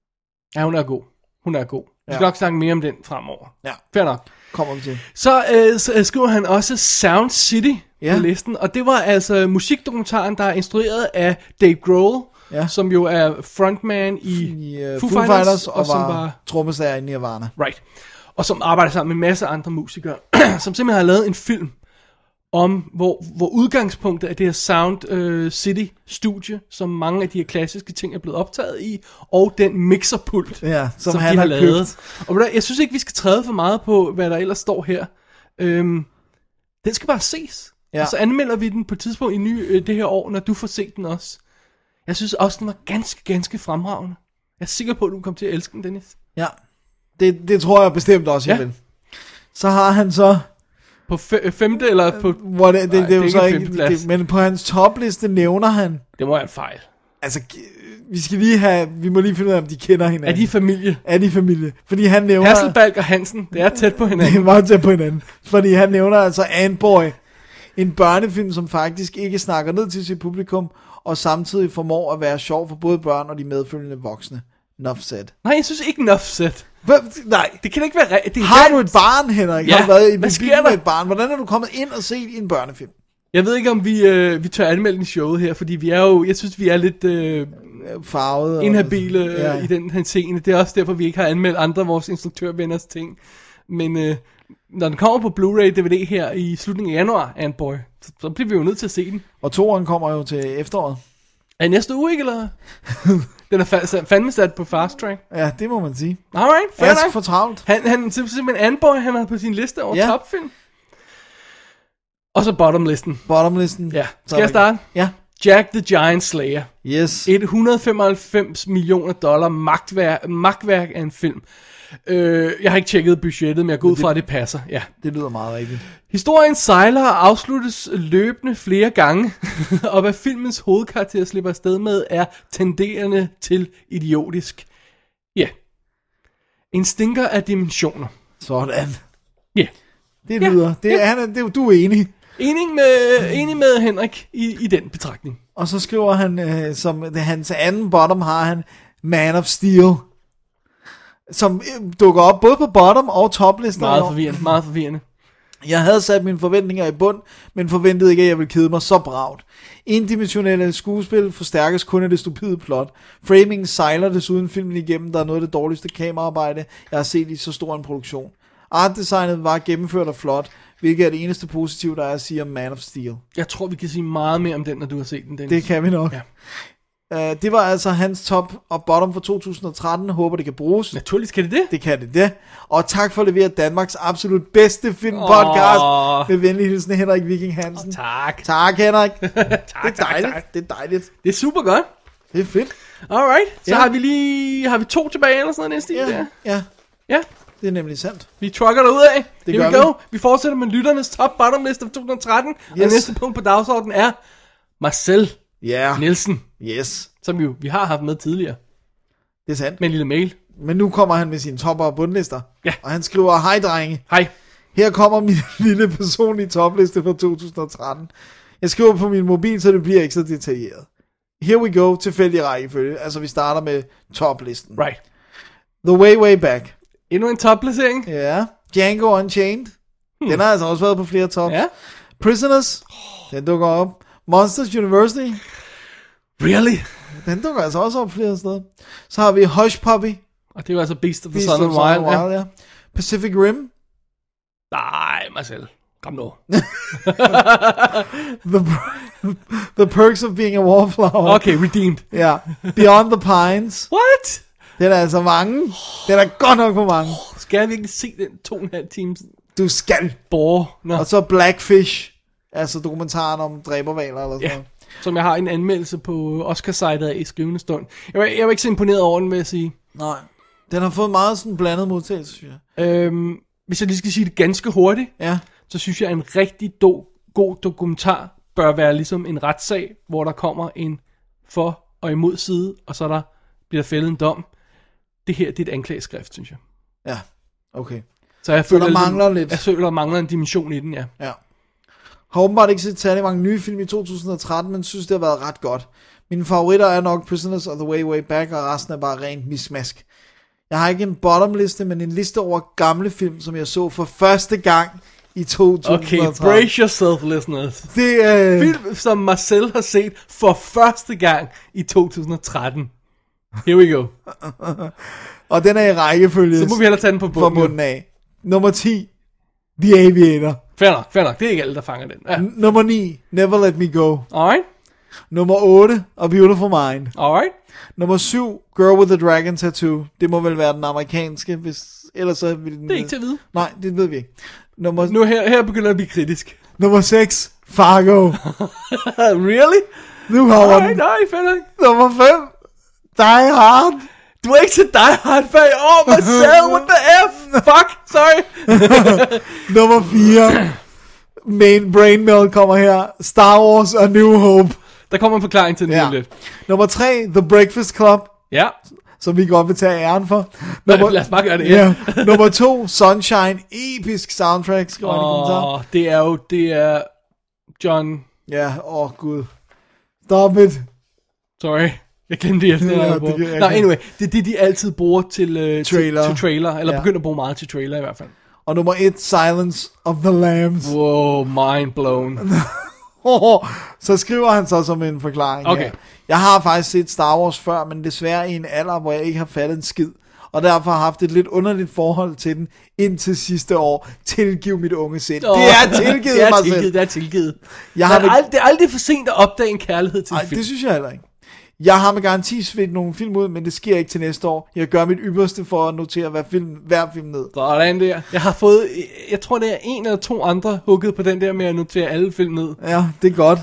Speaker 2: Ja, hun er god. Hun er god. Vi skal
Speaker 3: Ja.
Speaker 2: nok snakke mere om den fremover.
Speaker 3: Ja,
Speaker 2: Fair nok.
Speaker 3: kommer vi til.
Speaker 2: Så, øh, så øh, skriver han også Sound City ja.
Speaker 3: Ja.
Speaker 2: på listen, og det var altså musikdokumentaren, der er instrueret af Dave Grohl, ja.
Speaker 3: Ja.
Speaker 2: som jo er frontman i,
Speaker 3: i uh, Foo, Foo Fighters, Fighters og, og
Speaker 2: som
Speaker 3: var,
Speaker 2: var
Speaker 3: var trommeslager i Nirvana.
Speaker 2: right, og som arbejder sammen med masser af andre musikere, som simpelthen har lavet en film om, hvor, hvor udgangspunktet er det her Sound øh, City-studie, som mange af de her klassiske ting er blevet optaget i, og den mixerpult,
Speaker 3: Ja, som,
Speaker 2: som
Speaker 3: som han
Speaker 2: de
Speaker 3: har,
Speaker 2: har
Speaker 3: købt.
Speaker 2: lavet. Og ved du hvad, jeg synes ikke, vi skal træde for meget på, hvad der ellers står her. Øhm, den skal bare ses. Ja.
Speaker 3: Ja.
Speaker 2: Og så anmelder vi den på et tidspunkt i ny, øh, det her år, når du får set den også. Jeg synes også, den var ganske, ganske fremragende. Jeg er sikker på, at du kommer til at elske den, Dennis.
Speaker 3: Ja, det, det tror jeg bestemt også, jeg
Speaker 2: Ja.
Speaker 3: ja. vil. Så har han så,
Speaker 2: På fe- øh, femte eller på...
Speaker 3: hvor det, det,
Speaker 2: Nej,
Speaker 3: det, det er jo
Speaker 2: det er
Speaker 3: så
Speaker 2: ikke en
Speaker 3: ikke,
Speaker 2: femteplads.
Speaker 3: det, men på hans topliste nævner han,
Speaker 2: Det må være en fejl.
Speaker 3: altså, g- vi skal lige have, vi må lige finde ud af, om de kender hinanden.
Speaker 2: Er de familie?
Speaker 3: Er de familie? Fordi han nævner...
Speaker 2: Hasselbalg og Hansen, det er tæt på hinanden.
Speaker 3: Det er meget tæt på hinanden. Fordi han nævner altså Anboy. En børnefilm, som faktisk ikke snakker ned til sit publikum, og samtidig formår at være sjov for både børn og de medfølgende voksne. Nuff said.
Speaker 2: Nej, jeg synes ikke enough set.
Speaker 3: Hvad? Nej.
Speaker 2: Det kan da ikke være rigtigt. Det er
Speaker 3: Har du
Speaker 2: helt-
Speaker 3: et barn, Henrik?
Speaker 2: Ja,
Speaker 3: Har du været i
Speaker 2: hvad
Speaker 3: bilen
Speaker 2: sker der?
Speaker 3: med et barn? Hvordan er du kommet ind og set en børnefilm?
Speaker 2: Jeg ved ikke, om vi, øh, vi tør anmelde den i showet her, fordi vi er jo, jeg synes, vi er lidt øh,
Speaker 3: Farvet? og-
Speaker 2: inhabile øh,
Speaker 3: Ja.
Speaker 2: i den her scene. Det er også derfor, vi ikke har anmeldt andre af vores instruktørvenners ting. Men øh, når den kommer på Blu-ray DVD her i slutningen af januar, Antboy, så, så bliver vi jo nødt til at se den.
Speaker 3: Og toeren kommer jo til efteråret.
Speaker 2: Er det næste uge, ikke? Eller? den er fa- sat- fandme sat på fast track.
Speaker 3: Ja, det må man sige.
Speaker 2: Alright, fair
Speaker 3: Ask
Speaker 2: nok.
Speaker 3: for travlt.
Speaker 2: Han, han er simpelthen Antboy, han har på sin liste over
Speaker 3: Ja.
Speaker 2: topfilm. Og så bottomlisten.
Speaker 3: Bottomlisten.
Speaker 2: Ja,
Speaker 3: Så
Speaker 2: skal jeg
Speaker 3: er der-
Speaker 2: starte?
Speaker 3: Ja.
Speaker 2: Jack the Giant Slayer.
Speaker 3: Yes.
Speaker 2: Et 195 millioner dollar magtværk, magtværk af en film. Øh, jeg har ikke tjekket budgettet, men jeg går ud fra, at det passer. Ja.
Speaker 3: Det lyder meget rigtigt.
Speaker 2: Historien sejler og afsluttes løbende flere gange, og hvad filmens hovedkarakter slipper afsted med, er tenderende til idiotisk. Ja. En stinker af dimensioner.
Speaker 3: Sådan.
Speaker 2: Ja.
Speaker 3: Det
Speaker 2: Ja,
Speaker 3: lyder. Det,
Speaker 2: ja.
Speaker 3: han er, det, du er enig.
Speaker 2: Enig med, enig med Henrik i, i den betragtning.
Speaker 3: Og så skriver han, øh, som det- hans anden bottom har han, Man of Steel. Som øh, dukker op både på bottom og toplisten.
Speaker 2: Meget forvirrende, meget forvirrende.
Speaker 3: Jeg havde sat mine forventninger i bund, men forventede ikke, at jeg ville kede mig så bragt. Indimensionelle skuespil forstærkes kun af det stupide plot. Framing sejler desuden filmen igennem, der er noget af det dårligste kameraarbejde, jeg har set i så stor en produktion. Artdesignet var gennemført og flot, hvilket er det eneste positive, der er at sige om Man of Steel.
Speaker 2: Jeg tror, vi kan sige meget mere om den, når du har set den. Dennis.
Speaker 3: Det kan vi nok.
Speaker 2: Ja.
Speaker 3: Uh, det var altså hans top og bottom for 2013. Håber, det kan bruges.
Speaker 2: Naturligvis kan det det.
Speaker 3: Det kan det, det. Og tak for at levere Danmarks absolut bedste filmpodcast.
Speaker 2: Åh.
Speaker 3: Oh. Med venlig hilsen, Henrik Viking Hansen.
Speaker 2: Tak.
Speaker 3: Tak, Henrik.
Speaker 2: tak,
Speaker 3: Det er dejligt.
Speaker 2: Tak, tak.
Speaker 3: Det er dejligt.
Speaker 2: Det er super godt.
Speaker 3: Det er fedt.
Speaker 2: Alright. Så
Speaker 3: Ja.
Speaker 2: har vi lige har vi to tilbage eller sådan noget næste
Speaker 3: Ja,
Speaker 2: der.
Speaker 3: ja.
Speaker 2: Ja.
Speaker 3: Det er nemlig sandt.
Speaker 2: Vi trucker ud af.
Speaker 3: Det
Speaker 2: Here
Speaker 3: gør
Speaker 2: we go. Vi. fortsætter med lytternes top bottom list af 2013. Yes. Og
Speaker 3: Yes.
Speaker 2: næste punkt på dagsordenen er Marcel
Speaker 3: Ja. Yeah.
Speaker 2: Nielsen,
Speaker 3: Yes.
Speaker 2: som jo vi har haft med tidligere
Speaker 3: Det er sandt.
Speaker 2: med en lille mail.
Speaker 3: Men nu kommer han med sine topper og bundlister.
Speaker 2: Ja.
Speaker 3: Og han skriver, hej drenge.
Speaker 2: Hej.
Speaker 3: Her kommer min lille personlige topliste fra 2013. Jeg skriver på min mobil, så det bliver ikke så detaljeret. Here we go, tilfældig rækkefølge. Altså, vi starter med toplisten.
Speaker 2: Right.
Speaker 3: The Way Way Back.
Speaker 2: Endnu en top placering.
Speaker 3: Ja. Django Unchained. Hmm. Den har altså også været på flere tops.
Speaker 2: Ja.
Speaker 3: Prisoners. Den dukker op. Monsters University.
Speaker 2: Really?
Speaker 3: Den dukker altså også op flere steder. Så har vi Hush Puppy.
Speaker 2: Og det var altså Beast of the
Speaker 3: Beast
Speaker 2: Sun
Speaker 3: of
Speaker 2: and Wild. ja.
Speaker 3: ja. Pacific Rim.
Speaker 2: Nej, Marcel. Kom nu.
Speaker 3: The, the Perks of Being a Wallflower.
Speaker 2: Okay, redeemed.
Speaker 3: Ja. Beyond the Pines.
Speaker 2: What?
Speaker 3: Den er altså mange. Den er godt nok på mange.
Speaker 2: Skal jeg virkelig se den to og en halv times
Speaker 3: Du skal.
Speaker 2: bore? Nå.
Speaker 3: Og så Blackfish. Altså dokumentaren om dræbervaler eller sådan
Speaker 2: Ja,
Speaker 3: noget.
Speaker 2: som jeg har en anmeldelse på Oscar-sitet af i skrivende stund. Jeg var, jeg var ikke så imponeret over den, vil jeg sige.
Speaker 3: Nej. Den har fået meget sådan blandet modtagelse, synes jeg.
Speaker 2: Øhm, hvis jeg lige skal sige det ganske hurtigt,
Speaker 3: Ja.
Speaker 2: så synes jeg, at en rigtig do, god dokumentar bør være ligesom en retssag, hvor der kommer en for- og imod side, og så der bliver der fældet en dom. Det her, det er et anklageskrift, synes jeg.
Speaker 3: Ja. Okay.
Speaker 2: Så jeg ligesom-
Speaker 3: der mangler lidt.
Speaker 2: Jeg føler, der mangler en dimension i den, ja.
Speaker 3: Ja. Har åbenbart ikke set særlig mange nye film i 2013, men synes, det har været ret godt. Mine favoritter er nok Prisoners og The Way Way Back, og resten er bare rent mismask. Jeg har ikke en bottomliste, men en liste over gamle film, som jeg så for første gang i 2013.
Speaker 2: Okay, brace yourself, listeners.
Speaker 3: Det er... Øh...
Speaker 2: Film, som Marcel har set for første gang i 2013. Here we go.
Speaker 3: Og den er i rækkefølge
Speaker 2: Så må vi hellere tage den på
Speaker 3: fra
Speaker 2: bunden.
Speaker 3: bunden af. Nummer 10, The Aviator.
Speaker 2: Fair nok, fair nok. Det er ikke alle, der fanger den. Ja.
Speaker 3: N- nummer 9, Never Let Me Go.
Speaker 2: Alright,
Speaker 3: Nummer 8, A Beautiful Mind.
Speaker 2: alright.
Speaker 3: Nummer 7, Girl with the Dragon Tattoo. Det må vel være den amerikanske, hvis ellers så vil den...
Speaker 2: Det er ikke til at vide.
Speaker 3: Nej, det ved vi ikke. Nummer,
Speaker 2: Nu her, her begynder jeg at blive kritisk.
Speaker 3: nummer 6, Fargo.
Speaker 2: really? Um,
Speaker 3: Nu kommer
Speaker 2: Nej,
Speaker 3: den.
Speaker 2: nej, fair nok.
Speaker 3: Nummer 5, Die Hard.
Speaker 2: Du er ikke til dig, hard fan. Åh, Marcel, what the F? Fuck, sorry.
Speaker 3: Nummer 4, Main Brain Meld kommer her. Star Wars A New Hope.
Speaker 2: Der kommer en forklaring til den ja.
Speaker 3: Ja.
Speaker 2: lidt.
Speaker 3: Nummer tre, The Breakfast Club.
Speaker 2: Ja.
Speaker 3: Som vi godt vil tage æren for.
Speaker 2: lad os bare gøre det, ja.
Speaker 3: ja. Nummer to, Sunshine. Episk soundtrack, skriver oh. i kommentar.
Speaker 2: Åh, det er jo, det er John,
Speaker 3: Ja, åh oh, gud. Stop it.
Speaker 2: sorry. Jeg glemte det efter,
Speaker 3: Ja,
Speaker 2: ja,
Speaker 3: det kan jeg
Speaker 2: Nå,
Speaker 3: ikke.
Speaker 2: anyway, det er det, de altid bruger til, øh,
Speaker 3: Trailer.
Speaker 2: Til, til trailer, eller
Speaker 3: Ja.
Speaker 2: ja. begynder at bruge meget til trailer i hvert fald.
Speaker 3: Og nummer et, Silence of the Lambs.
Speaker 2: Wow, mind blown.
Speaker 3: Åh, så skriver han så som en forklaring.
Speaker 2: Okay.
Speaker 3: Ja. Jeg har faktisk set Star Wars før, men desværre i en alder, hvor jeg ikke har fattet en skid. Og derfor har haft et lidt underligt forhold til den indtil sidste år. Tilgiv mit unge sind. Oh, det er tilgivet
Speaker 2: det er
Speaker 3: mig
Speaker 2: tilgivet,
Speaker 3: selv.
Speaker 2: Det er tilgivet.
Speaker 3: Jeg
Speaker 2: Jeg
Speaker 3: har
Speaker 2: har det, er
Speaker 3: vel-
Speaker 2: aldrig, det er aldrig for sent at opdage en kærlighed til
Speaker 3: Nej,
Speaker 2: en film.
Speaker 3: det synes jeg heller ikke. Jeg har med garanti svedt nogle film ud, men det sker ikke til næste år. Jeg gør mit ypperste for at notere hver film, hver film ned.
Speaker 2: Sådan der. Jeg har fået, jeg tror det er en eller to andre hugget på den der med at notere alle film ned.
Speaker 3: Ja, det er godt.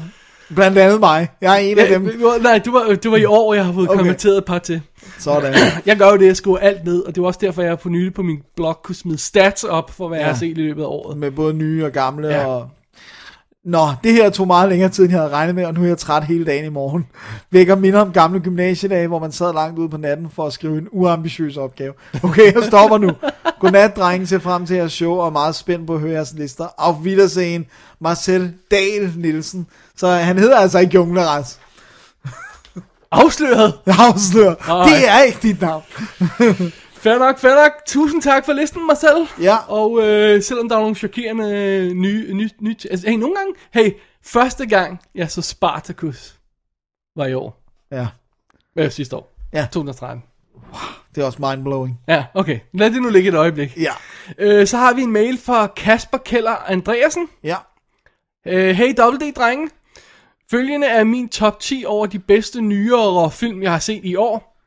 Speaker 3: Blandt andet mig. Jeg er en af dem.
Speaker 2: Ja, nej, du var, du var i år, jeg har fået
Speaker 3: Okay.
Speaker 2: okay. kommenteret et par til.
Speaker 3: Sådan.
Speaker 2: Jeg gør jo det, jeg skriver alt ned, og det var også derfor, jeg på nylig på min blog kunne smide stats op for, hvad ja. jeg
Speaker 3: Ja.
Speaker 2: har set i løbet af året.
Speaker 3: Med både nye og gamle ja.
Speaker 2: Ja.
Speaker 3: og... Nå, det her tog meget længere tid, end jeg havde regnet med, og nu er jeg træt hele dagen i morgen. Vækker minder om gamle gymnasiedage, hvor man sad langt ude på natten for at skrive en uambitiøs opgave. Okay, jeg stopper nu. Godnat, drenge. Ser frem til jeres show, og er meget spændt på at høre jeres lister. Auf Wiedersehen, Marcel Dahl Nielsen. Så han hedder altså ikke Jungleras.
Speaker 2: Afsløret!
Speaker 3: Afslør.
Speaker 2: Ej.
Speaker 3: Det er ikke dit navn.
Speaker 2: Fair nok, fair nok. Tusind tak for listen, Marcel.
Speaker 3: Ja.
Speaker 2: Og øh, selvom der er nogle chokerende øh, nye, nye, nye altså, hey, nogle gange, hey, første gang, jeg så Spartacus, var i år.
Speaker 3: Ja,
Speaker 2: Øh, sidste år.
Speaker 3: Ja.
Speaker 2: 2013.
Speaker 3: det er også mindblowing.
Speaker 2: Ja, okay. Lad det nu ligge et øjeblik.
Speaker 3: Ja.
Speaker 2: Øh, så har vi en mail fra Kasper Keller Andreasen.
Speaker 3: Ja.
Speaker 2: Øh, hey WD, drenge. Følgende er min top 10 over de bedste nyere film, jeg har set i år.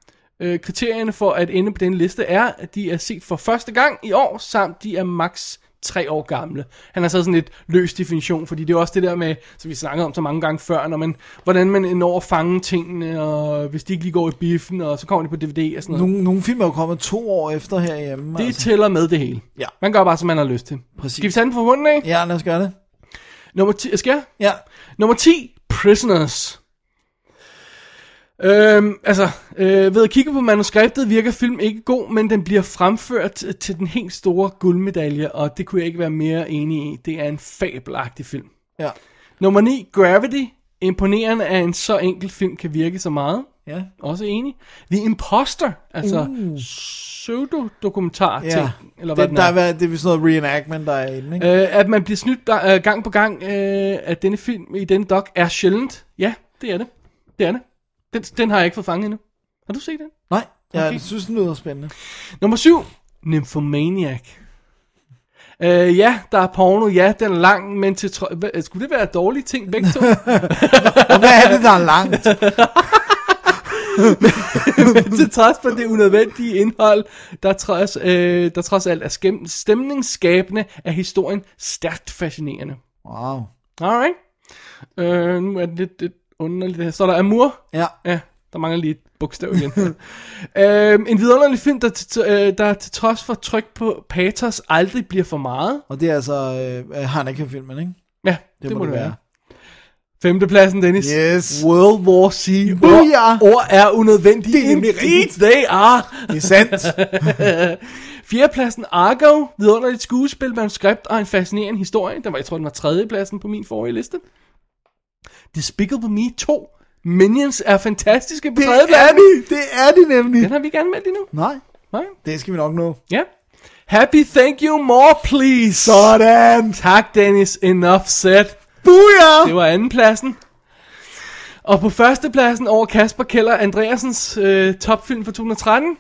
Speaker 2: Øh, kriterierne for at ende på den liste er, at de er set for første gang i år, samt de er max 3 år gamle. Han har så sådan lidt løs definition, fordi det er også det der med, som vi snakkede om så mange gange før, når man, hvordan man når at fange tingene, og hvis de ikke lige går i biffen, og så kommer de på DVD og sådan noget.
Speaker 3: Nogle, nogle film er jo kommet to år efter herhjemme. altså.
Speaker 2: Det tæller med det hele.
Speaker 3: Ja.
Speaker 2: Man gør bare, som man har lyst til.
Speaker 3: Præcis.
Speaker 2: Skal vi tage den fra hunden af?
Speaker 3: Ja, lad os gøre det.
Speaker 2: Nummer 10, skal jeg?
Speaker 3: Ja.
Speaker 2: Nummer 10, Prisoners. Øhm, altså, øh, ved at kigge på manuskriptet virker film ikke god, men den bliver fremført til- til den helt store guldmedalje, og det kunne jeg ikke være mere enig i. Det er en fabelagtig film.
Speaker 3: Ja.
Speaker 2: Nummer 9, Gravity. Imponerende, at en så enkel film kan virke så meget.
Speaker 3: Ja.
Speaker 2: Også enig. The Imposter, altså uh. pseudo-dokumentar-ting,
Speaker 3: Ja.
Speaker 2: eller hvad
Speaker 3: det,
Speaker 2: den
Speaker 3: der
Speaker 2: er.
Speaker 3: er, hvad- det er sådan noget reenactment, der er inde, ikke?
Speaker 2: Øh, at man bliver snydt øh, gang på gang, øh, at denne film i denne doc er sjældent. Ja, det er det. Det er det. Den, den har jeg ikke fået fanget endnu. Har du set den?
Speaker 3: Nej, jeg
Speaker 2: Øh, okay.
Speaker 3: synes, den lyder spændende.
Speaker 2: Nummer 7. Nymphomaniac. Øh, ja, der er porno. Ja, den er lang, men til tro- Hva- Skulle det være dårlige ting begge to?
Speaker 3: Og hvad er det, der er langt?
Speaker 2: til trods for det unødvendige indhold, der trods, øh, der trods alt er skæm- stemningsskabende, er historien stærkt fascinerende.
Speaker 3: Wow.
Speaker 2: Alright. Øh, nu er det lidt, lidt underligt det her. Så er der Amur.
Speaker 3: Ja,
Speaker 2: Ja, der mangler lige et bogstav igen. øhm, en vidunderlig film, der, til, øh, der til trods for tryk på patos aldrig bliver for meget.
Speaker 3: og det er altså øh, Haneke-filmen, ikke?
Speaker 2: Ja,
Speaker 3: Det må det være.
Speaker 2: Femtepladsen, Dennis.
Speaker 3: Yes.
Speaker 2: World War C.
Speaker 3: Booyah.
Speaker 2: Ord, ord er unødvendige.
Speaker 3: Det er nemlig
Speaker 2: Indeed
Speaker 3: rigtigt.
Speaker 2: They are.
Speaker 3: Det er sandt.
Speaker 2: Fjerdepladsen, Argo. Vidunderligt skuespil, manuskript og en fascinerende historie. Den var, jeg tror, den var tredjepladsen på min forrige liste. Despicable Me 2. Minions er fantastiske på
Speaker 3: Det er
Speaker 2: tredjepladsen.
Speaker 3: de, det er de nemlig.
Speaker 2: Den har vi ikke anmeldt endnu.
Speaker 3: Nej,
Speaker 2: Nej.
Speaker 3: det skal vi nok nå.
Speaker 2: Ja. Happy, thank you, more please.
Speaker 3: Sådan.
Speaker 2: Tak, Dennis. Enough said.
Speaker 3: Booyah!
Speaker 2: Det var andenpladsen. Og på førstepladsen over Kasper Keller Andreasens øh, topfilm fra 2013,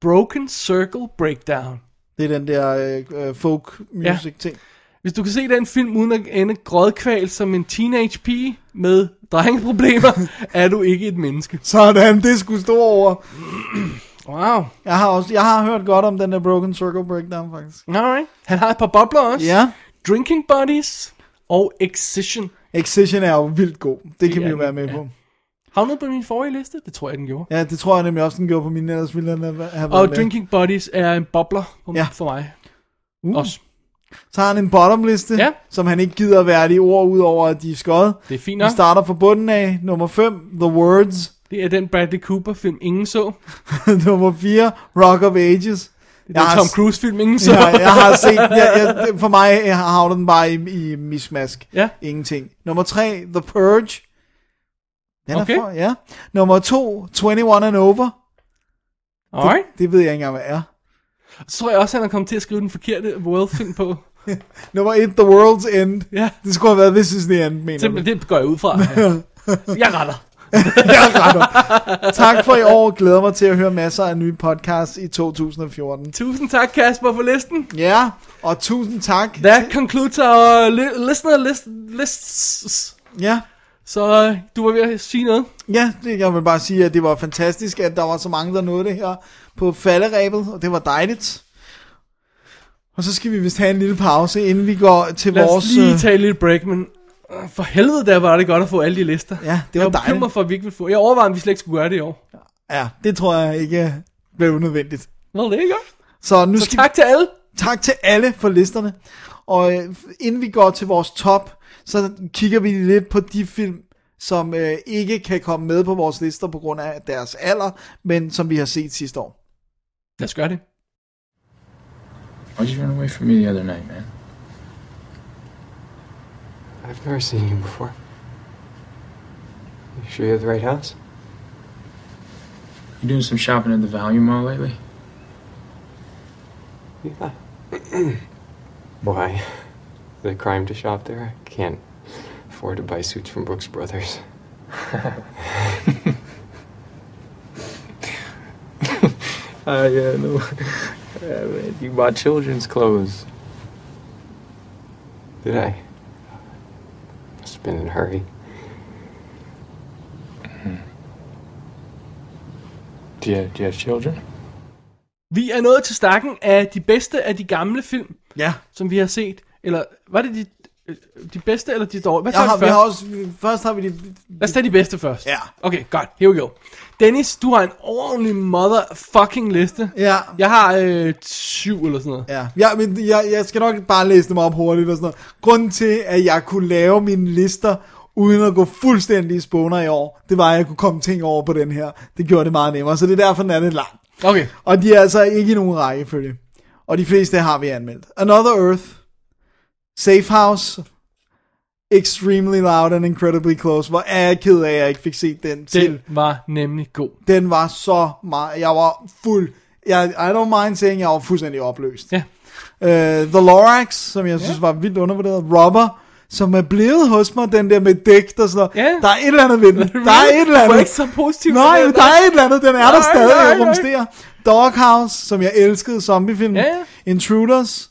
Speaker 2: Broken Circle Breakdown.
Speaker 3: Det er den der øh, øh, folk music ting.
Speaker 2: Hvis du kan se den film uden at ende grådkval som en teenage pige med drengeproblemer, er du ikke et menneske.
Speaker 3: Sådan, det skulle stå over.
Speaker 2: Wow.
Speaker 3: Jeg har, også, jeg har hørt godt om den der Broken Circle Breakdown, faktisk.
Speaker 2: Alright. Han har et par bobler også.
Speaker 3: Ja.
Speaker 2: Drinking Buddies og Excision.
Speaker 3: Excision er jo vildt god. Det, kan vi
Speaker 2: er
Speaker 3: jo være
Speaker 2: den,
Speaker 3: med
Speaker 2: ja.
Speaker 3: på.
Speaker 2: Havnede på min forrige liste? Det tror jeg, den gjorde.
Speaker 3: Ja, det tror jeg nemlig også, den gjorde på min, ellers ville den have have været
Speaker 2: Og
Speaker 3: med.
Speaker 2: Drinking Buddies er en bobler for,
Speaker 3: Ja.
Speaker 2: ja. for mig.
Speaker 3: Uh.
Speaker 2: Også.
Speaker 3: Så har han en bottomliste, ja. som han ikke gider at være de ord ud over, at de er skåret.
Speaker 2: Det er fint nok.
Speaker 3: Vi starter fra bunden af. Nummer 5, The Words.
Speaker 2: Det er den Bradley Cooper film, ingen så.
Speaker 3: nummer 4, Rock of Ages.
Speaker 2: Det er den Tom Cruise film, ingen så.
Speaker 3: ja, jeg har set, jeg, jeg, for mig jeg havner den bare i, i mismask.
Speaker 2: Ja.
Speaker 3: Ingenting. Nummer 3, The Purge. Den
Speaker 2: Okay.
Speaker 3: er for, ja. Nummer 2, 21 and Over.
Speaker 2: Alright.
Speaker 3: Det, det ved jeg ikke engang, hvad er.
Speaker 2: Så tror jeg også, han er kommet til at skrive den forkerte world film på.
Speaker 3: Nummer 1, The World's End.
Speaker 2: Ja.
Speaker 3: Det skulle have været This is the End, mener du.
Speaker 2: Simpelthen, det går jeg ud fra. jeg retter.
Speaker 3: Jeg retter. tak for i år. Glæder mig til at høre masser af nye podcasts i 2014.
Speaker 2: Tusind tak, Kasper, for listen.
Speaker 3: Ja, og tusind tak.
Speaker 2: That concludes our li- listener list lists.
Speaker 3: Ja.
Speaker 2: Så øh, du var ved at sige noget.
Speaker 3: Ja, det, jeg vil bare sige, at det var fantastisk, at der var så mange, der nåede det her på falderæbet, og det var dejligt. Og så skal vi vist have en lille pause, inden vi går til
Speaker 2: Lad
Speaker 3: vores...
Speaker 2: os lige
Speaker 3: øh,
Speaker 2: tage et lille break, men øh, for helvede, der var det godt at få alle de lister.
Speaker 3: Ja, det var
Speaker 2: jeg Jeg
Speaker 3: dejligt.
Speaker 2: for, at vi ikke ville få. Jeg overvejede, om vi slet ikke skulle gøre det i år.
Speaker 3: Ja, det tror jeg ikke blev nødvendigt.
Speaker 2: Nå, det er ikke godt.
Speaker 3: Så nu
Speaker 2: Så
Speaker 3: skal
Speaker 2: tak til alle.
Speaker 3: Tak til alle for listerne. Og øh, inden vi går til vores top, så kigger vi lidt på de film, som øh, ikke kan komme med på vores lister på grund af deres alder, men som vi har set sidste år.
Speaker 2: Lad os gøre det.
Speaker 11: Why'd you run away from me the other night, man?
Speaker 12: I've never seen you before. You sure you're at the right house?
Speaker 11: You doing some shopping at the Value Mall lately?
Speaker 12: Yeah. Why? The crime to shop there? I can't afford to buy suits from Brooks Brothers.
Speaker 11: Uh, yeah, no. Yeah, man, you bought children's clothes.
Speaker 12: Did I? Must have been in a hurry.
Speaker 11: Mm-hmm. Do you, do you have children?
Speaker 2: Vi er nået til stakken af de bedste af de gamle film,
Speaker 3: Ja.
Speaker 2: som vi har set. Eller var det de, øh, de bedste eller de dårlige? Hvad
Speaker 3: Jeg
Speaker 2: tager
Speaker 3: har,
Speaker 2: vi
Speaker 3: vi
Speaker 2: først?
Speaker 3: har også, først har vi de...
Speaker 2: Lad os tage de bedste først.
Speaker 3: Ja.
Speaker 2: Okay, godt. Here we go. Dennis, du har en ordentlig motherfucking liste.
Speaker 3: Ja.
Speaker 2: Jeg har øh, syv eller sådan noget.
Speaker 3: Ja, ja men jeg, jeg skal nok bare læse dem op hurtigt og sådan noget. Grunden til, at jeg kunne lave mine lister uden at gå fuldstændig i spåner i år, det var, at jeg kunne komme ting over på den her. Det gjorde det meget nemmere, så det er derfor, den er lidt lang.
Speaker 2: Okay.
Speaker 3: Og de er altså ikke i nogen rækkefølge. Og de fleste har vi anmeldt. Another Earth, Safe House, Extremely Loud and Incredibly Close. Hvor er jeg ked af, at jeg ikke fik set den til.
Speaker 2: Den var nemlig god.
Speaker 3: Den var så meget... Jeg var fuld... Jeg, I don't mind saying, jeg var fuldstændig opløst.
Speaker 2: Ja.
Speaker 3: Uh, The Lorax, som jeg synes var vildt undervurderet. Robber, som er blevet hos mig, den der med dæk og sådan noget.
Speaker 2: Ja.
Speaker 3: Der er et eller andet ved den. Der er et eller
Speaker 2: Du
Speaker 3: andet.
Speaker 2: er ikke så positiv.
Speaker 3: Nej,
Speaker 2: med
Speaker 3: men
Speaker 2: den.
Speaker 3: der er et eller andet, den er der
Speaker 2: Nej,
Speaker 3: stadig,
Speaker 2: nej,
Speaker 3: jeg
Speaker 2: nej.
Speaker 3: rumsterer. Doghouse, som jeg elskede, zombiefilm.
Speaker 2: Ja, ja.
Speaker 3: Intruders.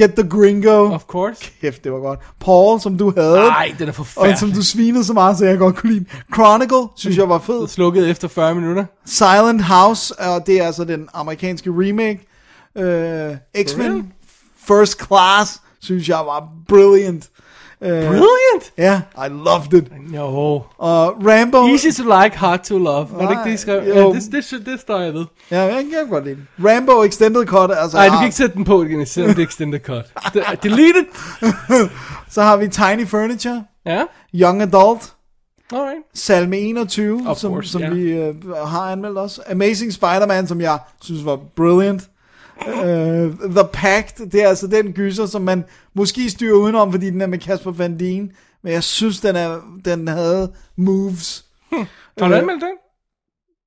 Speaker 3: Get the Gringo.
Speaker 2: Of course.
Speaker 3: Kæft, det var godt. Paul, som du havde.
Speaker 2: Nej, den er
Speaker 3: Og som
Speaker 2: forfærdelig.
Speaker 3: du svinede så meget, så jeg godt kunne lide. Chronicle, synes jeg var fed.
Speaker 2: Slukket efter 40 minutter.
Speaker 3: Silent House, og det er altså den amerikanske remake. Uh,
Speaker 2: real?
Speaker 3: X-Men. First Class, synes jeg var brilliant. Uh,
Speaker 2: Brilliant.
Speaker 3: Ja, yeah, I loved it.
Speaker 2: Jo.
Speaker 3: Og Rambo.
Speaker 2: Easy to like, hard to love. Var det ikke det, I skrev?
Speaker 3: Nej,
Speaker 2: Ja,
Speaker 3: jo.
Speaker 2: det, det, det, det står jeg ved.
Speaker 3: Ja, jeg kan godt lide den. Rambo Extended Cut, altså.
Speaker 2: Nej, du kan
Speaker 3: har-
Speaker 2: ikke sætte den på igen, selvom det er extended cut. Det- Deleted.
Speaker 3: Så har vi Tiny Furniture,
Speaker 2: Ja,
Speaker 3: Young Adult,
Speaker 2: alright.
Speaker 3: Salme 21,
Speaker 2: Of
Speaker 3: som,
Speaker 2: course,
Speaker 3: som
Speaker 2: ja.
Speaker 3: vi øh, har anmeldt også. Amazing Spider-Man, som jeg synes var brilliant. Uh, The Pact, det er altså den gyser, som man måske styrer udenom, fordi den er med Casper Van Dien. Men jeg synes, den, er, den havde moves.
Speaker 2: Har du
Speaker 3: Øh,
Speaker 2: anmeldt den?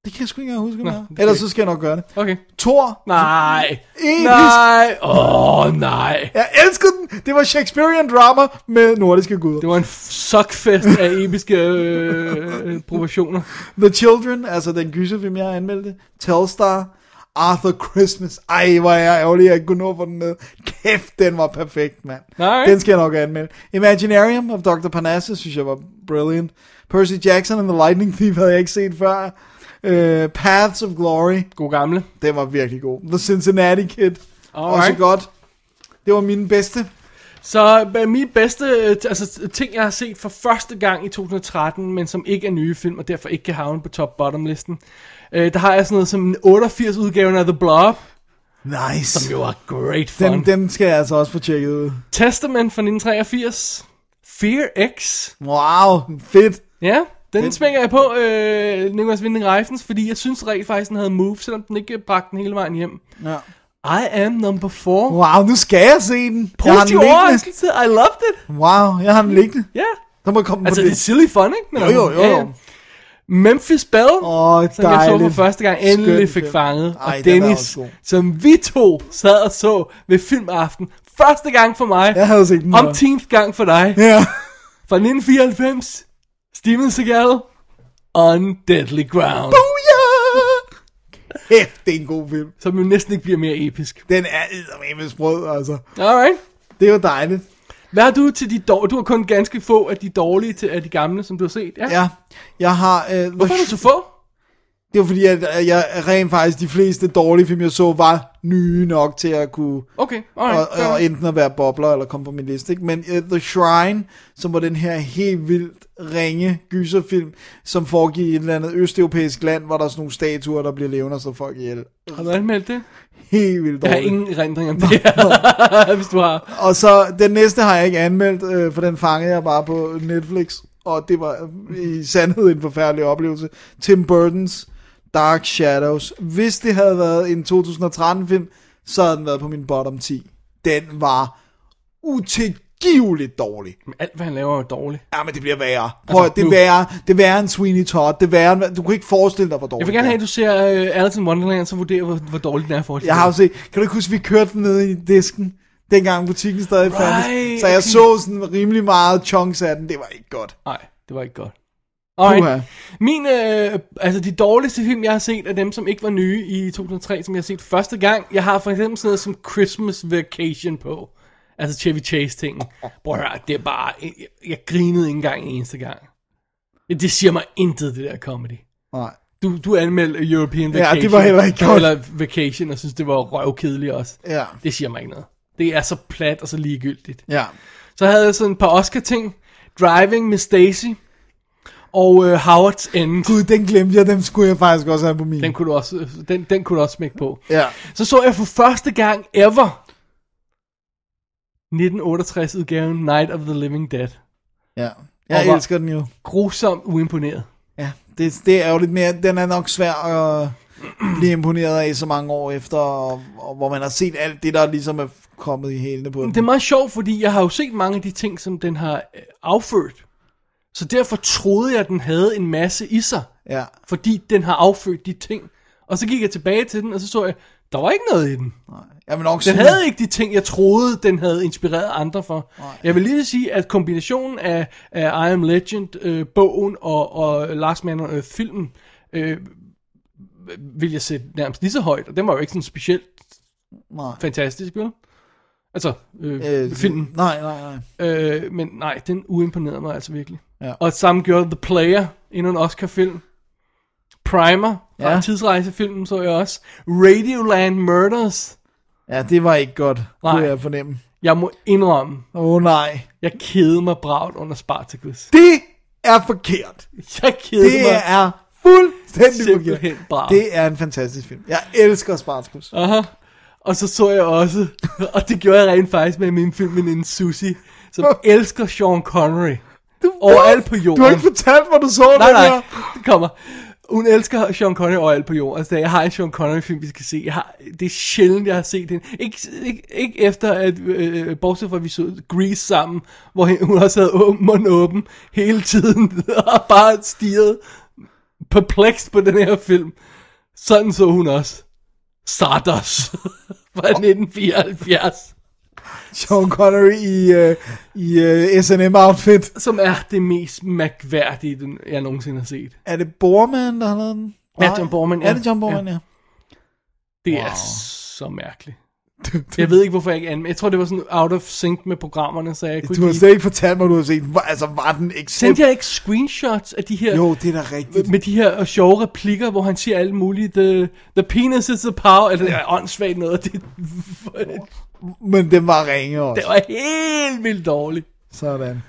Speaker 3: Det kan jeg sgu ikke engang huske, om
Speaker 2: Nå,
Speaker 3: jeg har.
Speaker 2: det kan
Speaker 3: Ellers
Speaker 2: vi-
Speaker 3: så skal jeg nok gøre det.
Speaker 2: Okay.
Speaker 3: Thor,
Speaker 2: Nej.
Speaker 3: episk.
Speaker 2: Nej. Åh, oh, nej.
Speaker 3: Jeg elskede den. Det var Shakespearean drama med nordiske guder.
Speaker 2: Det var en f- suckfest af episke øh, proportioner.
Speaker 3: The Children, altså den gyserfilm, jeg anmeldte. Telstar. Arthur Christmas. Ej, hvor er jeg ærgerlig, jeg ikke kunne nå at få den med. Kæft, den var perfekt, mand.
Speaker 2: Nej.
Speaker 3: Den skal jeg nok anmelde. Imaginarium of Dr. Parnassus, synes jeg var brilliant. Percy Jackson and the Lightning Thief havde jeg ikke set før. Uh, Paths of Glory,
Speaker 2: God gamle.
Speaker 3: den var virkelig god. The Cincinnati Kid, også
Speaker 2: Alright.
Speaker 3: godt. Det var mine bedste.
Speaker 2: Så øh, mit bedste øh, t- altså, t- ting, jeg har set for første gang i 2013, men som ikke er nye film, og derfor ikke kan havne på top-bottom-listen, øh, der har jeg sådan noget som en 88-udgaven af The Blob,
Speaker 3: Nice.
Speaker 2: Som jo er great fun.
Speaker 3: Dem, dem skal jeg altså også få tjekket ud.
Speaker 2: Testament fra 1983. Fear X.
Speaker 3: Wow, fedt.
Speaker 2: Ja, den fedt. smækker jeg på øh, Nicholas Winding Refns, fordi jeg synes rent faktisk, den havde move, selvom den ikke bragte den hele vejen hjem.
Speaker 3: Ja.
Speaker 2: I am number 4.
Speaker 3: Wow, nu skal jeg se den. Jeg har den
Speaker 2: Positiv
Speaker 3: liggende.
Speaker 2: overraskelse. I loved it.
Speaker 3: Wow, jeg har den liggende.
Speaker 2: Ja.
Speaker 3: Der må komme
Speaker 2: Altså,
Speaker 3: på
Speaker 2: det er
Speaker 3: det.
Speaker 2: silly fun, ikke? Men
Speaker 3: Jo, jo, jo.
Speaker 2: ja, ja. Memphis Bell,
Speaker 3: oh,
Speaker 2: som jeg så for
Speaker 3: dejligt.
Speaker 2: første gang, endelig
Speaker 3: Skøn
Speaker 2: fik
Speaker 3: film.
Speaker 2: fanget.
Speaker 3: Ej,
Speaker 2: og
Speaker 3: den er
Speaker 2: Dennis,
Speaker 3: også god.
Speaker 2: som vi to sad og så ved filmaften. Første gang for mig.
Speaker 3: Jeg havde set den
Speaker 2: Om
Speaker 3: før.
Speaker 2: 10. gang for dig.
Speaker 3: Ja.
Speaker 2: Fra 1994. Steven Seagal. On Deadly Ground.
Speaker 3: Booyah! Kæft, det er en god film.
Speaker 2: Som jo næsten ikke bliver mere episk.
Speaker 3: Den er eddermame sprød, altså.
Speaker 2: Alright.
Speaker 3: Det er jo dejligt.
Speaker 2: Hvad har du til de dårlige? Du har kun ganske få af de dårlige til, af de gamle, som du har set. Ja.
Speaker 3: Ja, jeg har... Øh,
Speaker 2: Hvorfor er du så få?
Speaker 3: Det var fordi, at at jeg rent faktisk de fleste dårlige film, jeg så, var nye nok til at kunne...
Speaker 2: Okay,
Speaker 3: Og,
Speaker 2: alright. fair
Speaker 3: og
Speaker 2: nok.
Speaker 3: enten at være bobler eller komme på min liste. Ikke? Men uh, The Shrine, som var den her helt vildt ringe gyserfilm, som foregik i et eller andet østeuropæisk land, hvor der er sådan nogle statuer, der bliver levende og så folk ihjel.
Speaker 2: Har du anmeldt det?
Speaker 3: Helt vildt
Speaker 2: Jeg har
Speaker 3: dårligt.
Speaker 2: ingen erindring om det her, hvis du har.
Speaker 3: Og så den næste har jeg ikke anmeldt, øh, for den fangede jeg bare på Netflix, og det var uh, i sandhed en forfærdelig oplevelse. Tim Burton's Dark Shadows. Hvis det havde været en 2013-film, så havde den været på min bottom 10. Den var utilgiveligt dårlig.
Speaker 2: Men alt, hvad han laver, er jo dårligt.
Speaker 3: Ja, men det bliver værre. Prøv,
Speaker 2: Altså,
Speaker 3: altså, det,
Speaker 2: nu.
Speaker 3: er værre, det er værre end Sweeney Todd. Det er værre end, du kan ikke forestille dig, hvor dårligt
Speaker 2: Jeg vil gerne
Speaker 3: det
Speaker 2: have,
Speaker 3: er.
Speaker 2: at du ser uh, Alice in Wonderland, så vurderer, hvor, hvor dårlig den er for
Speaker 3: Jeg har jo set, kan du ikke huske, vi kørte den ned i disken, dengang butikken stadig
Speaker 2: Right,
Speaker 3: fandtes. Så jeg
Speaker 2: okay.
Speaker 3: så sådan rimelig meget chunks af den, det var ikke godt.
Speaker 2: Nej, det var ikke godt.
Speaker 3: Puha.
Speaker 2: Alright. Min, øh, altså de dårligste film, jeg har set, er dem, som ikke var nye i 2003, som jeg har set første gang. Jeg har for eksempel sådan noget som Christmas Vacation på. Altså Chevy Chase-tingen. Bror, det er bare, jeg, jeg grinede ikke engang en eneste gang. Det siger mig intet, det der comedy.
Speaker 3: Nej.
Speaker 2: Du, du anmeldte European
Speaker 3: Ja, det
Speaker 2: Vacation.
Speaker 3: var heller ikke godt.
Speaker 2: Eller Vacation, og synes, det var røvkedeligt også.
Speaker 3: Ja.
Speaker 2: Det siger mig ikke noget. Det er så plat og så ligegyldigt.
Speaker 3: Ja.
Speaker 2: Så havde jeg sådan et par Oscar-ting. Driving med Stacy. Og øh, Howards End.
Speaker 3: Gud, den glemte jeg, dem skulle jeg faktisk også have på min.
Speaker 2: Den kunne du også, den, den kunne du også smække på.
Speaker 3: Ja.
Speaker 2: Så så jeg for første gang ever 1968-udgaven Night of the Living Dead.
Speaker 3: ja. Jeg
Speaker 2: Og var-
Speaker 3: elsker den jo.
Speaker 2: Grusomt uimponeret.
Speaker 3: Ja, det, det er jo lidt mere, den er nok svær at blive imponeret af så mange år efter, og, og hvor man har set alt det, der ligesom er kommet i hælene på den.
Speaker 2: Det er meget sjovt, fordi jeg har jo set mange af de ting, som den har øh, affødt. Så derfor troede jeg, at den havde en masse i sig.
Speaker 3: Ja,
Speaker 2: Fordi den har affødt de ting. Og så gik jeg tilbage til den, og så så jeg, der var ikke noget i den.
Speaker 3: jeg vil nok
Speaker 2: Den
Speaker 3: sige,
Speaker 2: havde ikke de ting, jeg troede, den havde inspireret andre for. Jeg vil lige sige, at kombinationen af, af I Am Legend-bogen og, og Last Man on Earth-filmen, øh, vil jeg sætte nærmest lige så højt. Og den var jo ikke sådan specielt
Speaker 3: Nej.
Speaker 2: fantastisk, vel? Altså, øh,
Speaker 3: Øh,
Speaker 2: øh, filmen.
Speaker 3: Nej, nej, nej.
Speaker 2: Øh, men nej, den uimponerede mig altså virkelig.
Speaker 3: Ja.
Speaker 2: Og samme gjorde The Player, endnu en Oscar-film. Primer, fra
Speaker 3: Ja.
Speaker 2: tidsrejsefilmen så jeg også. Radioland Murders.
Speaker 3: Ja, det var ikke godt, nej. kunne
Speaker 2: Nej.
Speaker 3: jeg fornemme.
Speaker 2: Jeg må indrømme,
Speaker 3: Åh oh, nej.
Speaker 2: jeg kedede mig bragt under Spartacus.
Speaker 3: Det er forkert.
Speaker 2: Jeg kedede
Speaker 3: Det
Speaker 2: mig.
Speaker 3: er fuldstændig
Speaker 2: Simpelthen
Speaker 3: forkert.
Speaker 2: brav.
Speaker 3: Det er en fantastisk film. Jeg elsker Spartacus.
Speaker 2: Aha. Og så så jeg også, og det gjorde jeg rent faktisk med min filmveninde Susie, som elsker Sean Connery. Overalt på jorden.
Speaker 3: Du har ikke fortalt, hvor du så
Speaker 2: nej,
Speaker 3: den
Speaker 2: nej,
Speaker 3: her.
Speaker 2: det kommer. Hun elsker Sean Connery overalt på jorden. Altså, jeg har en Sean Connery-film, vi skal se. Jeg har, det er sjældent, jeg har set den. Ikke, ikke, ikke efter, at øh, bortset fra, at vi så Grease sammen, hvor hun- hun også havde åben, munden åben hele tiden, og bare stirret perplekst på den her film. Sådan så hun også. Stardust fra 1974.
Speaker 3: Sean Connery i, øh, i øh, S&M outfit.
Speaker 2: Som er det mest mærkværdige, den- jeg nogensinde har set.
Speaker 3: Er det Borman, der har lavet den?
Speaker 2: Ja,
Speaker 3: Nej.
Speaker 2: John Borman, ja.
Speaker 3: Er det John Borman, ja. ja.
Speaker 2: Det wow. er så mærkeligt. Jeg ved ikke, hvorfor jeg ikke anmeldte. Jeg tror, det var sådan out of sync med programmerne, så jeg kunne
Speaker 3: Du har
Speaker 2: ikke...
Speaker 3: slet ikke fortalt mig, du har set den. Hvor- Altså, var den ikke
Speaker 2: Sendte jeg ikke screenshots af de her...
Speaker 3: Jo, det er da rigtigt.
Speaker 2: Med de her sjove replikker, hvor han siger alt muligt. The, the penis is the power. Eller det er åndssvagt noget. Det,
Speaker 3: Men den var ringe også.
Speaker 2: det var helt vildt dårligt.
Speaker 3: Sådan.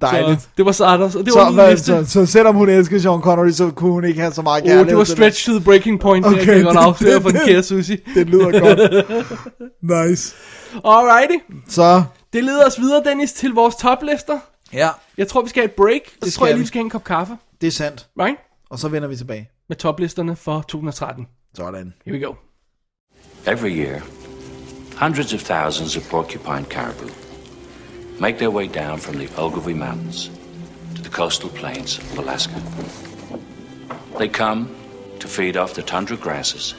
Speaker 3: Dejligt.
Speaker 2: Så det var så Anders, og det
Speaker 3: så,
Speaker 2: var den
Speaker 3: hvad-
Speaker 2: næste.
Speaker 3: så, så, selvom hun elskede Sean Connery, så kunne hun ikke have så meget
Speaker 2: Åh, oh,
Speaker 3: kærlighed.
Speaker 2: det var
Speaker 3: til
Speaker 2: stretch to the breaking point, okay, det kan jeg godt afsløre for den kære Susie.
Speaker 3: Det lyder godt. Nice.
Speaker 2: Alrighty.
Speaker 3: Så.
Speaker 2: Det leder os videre, Dennis, til vores toplister.
Speaker 3: Ja.
Speaker 2: Jeg tror, vi skal have et break. Det så tror
Speaker 3: skal
Speaker 2: jeg lige,
Speaker 3: vi.
Speaker 2: vi skal have en kop kaffe
Speaker 3: Det er sandt.
Speaker 2: Right?
Speaker 3: Og så vender vi tilbage.
Speaker 2: med toplisterne for 2013.
Speaker 3: Sådan.
Speaker 2: Here we go.
Speaker 13: Every year, hundreds of thousands of porcupine caribou make their way down from the Ogilvy Mountains to the coastal plains of Alaska. They come to feed off the tundra grasses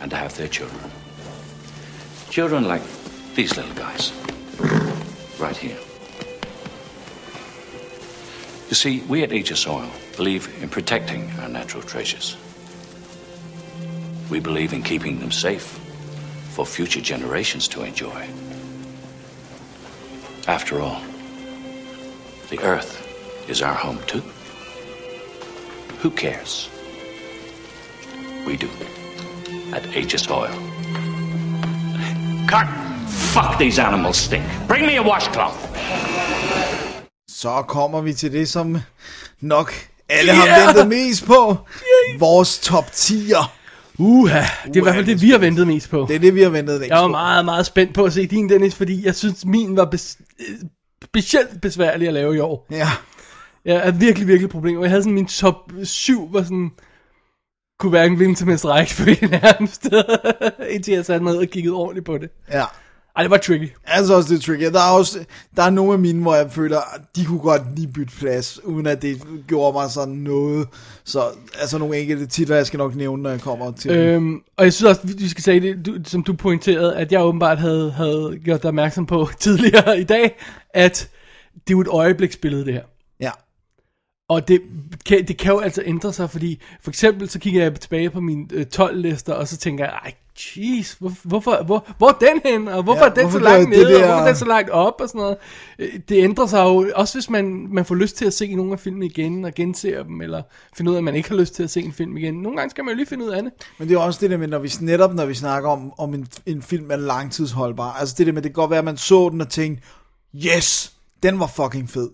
Speaker 13: and to have their children. Children like these little guys, right here. You see, we at Aegis Oil believe in protecting our natural treasures. We believe in keeping them safe for future generations to enjoy. After all, the Earth is our home too. Who cares? We do. At Aegis Oil. Cut! Fuck these animals stink. Bring me a washcloth.
Speaker 3: Så kommer vi til det, som nok alle yeah! har ventet mest på. Vores top 10'er.
Speaker 2: Uha, det er i hvert fald det, vi har ventet mest på.
Speaker 3: Det er det, vi har ventet længst
Speaker 2: Jeg var
Speaker 3: på.
Speaker 2: meget, meget spændt på at se din, Dennis, fordi jeg synes, min var bes- øh, specielt besværlig at lave i år.
Speaker 3: Ja.
Speaker 2: Jeg er virkelig, virkelig problemer. Jeg havde sådan min top 7, var sådan... Kunne hverken hvilken som helst rækkefølge nærmest. Indtil jeg satte mig ned og kiggede ordentligt på det.
Speaker 3: Ja.
Speaker 2: Ej, det var tricky.
Speaker 3: Altså også det tricky. Der er, også, der er nogle af mine, hvor jeg føler, at de kunne godt lige bytte plads, uden at det gjorde mig sådan noget. Så altså nogle enkelte titler, jeg skal nok nævne, når jeg kommer til dem.
Speaker 2: Øhm, og jeg synes også, vi- vi skal sige det, du, som du pointerede, at jeg åbenbart havde, havde gjort dig opmærksom på tidligere i dag, at det er jo et øjebliksbillede, det her.
Speaker 3: Ja.
Speaker 2: Og det kan, det kan jo altså ændre sig, fordi for eksempel så kigger jeg tilbage på mine øh, 12-lister, og så tænker jeg, ej, jeez, hvor, hvorfor, hvor, hvor er den hen, og hvorfor
Speaker 3: Ja,
Speaker 2: ja, er den
Speaker 3: hvorfor
Speaker 2: så langt
Speaker 3: gør
Speaker 2: nede,
Speaker 3: det
Speaker 2: og
Speaker 3: der-
Speaker 2: hvorfor er den så langt op, og sådan noget. Øh, Det ændrer sig jo, også hvis man, man får lyst til at se nogle af filmene igen, og genser dem, eller finder ud af, at man ikke har lyst til at se en film igen. Nogle gange skal man jo lige finde ud af det.
Speaker 3: Men det er jo også det der med, når vi, netop når vi snakker om, om en, en film er langtidsholdbar. Altså det der med, det kan godt være, at man så den og tænkte, yes, den var fucking fed.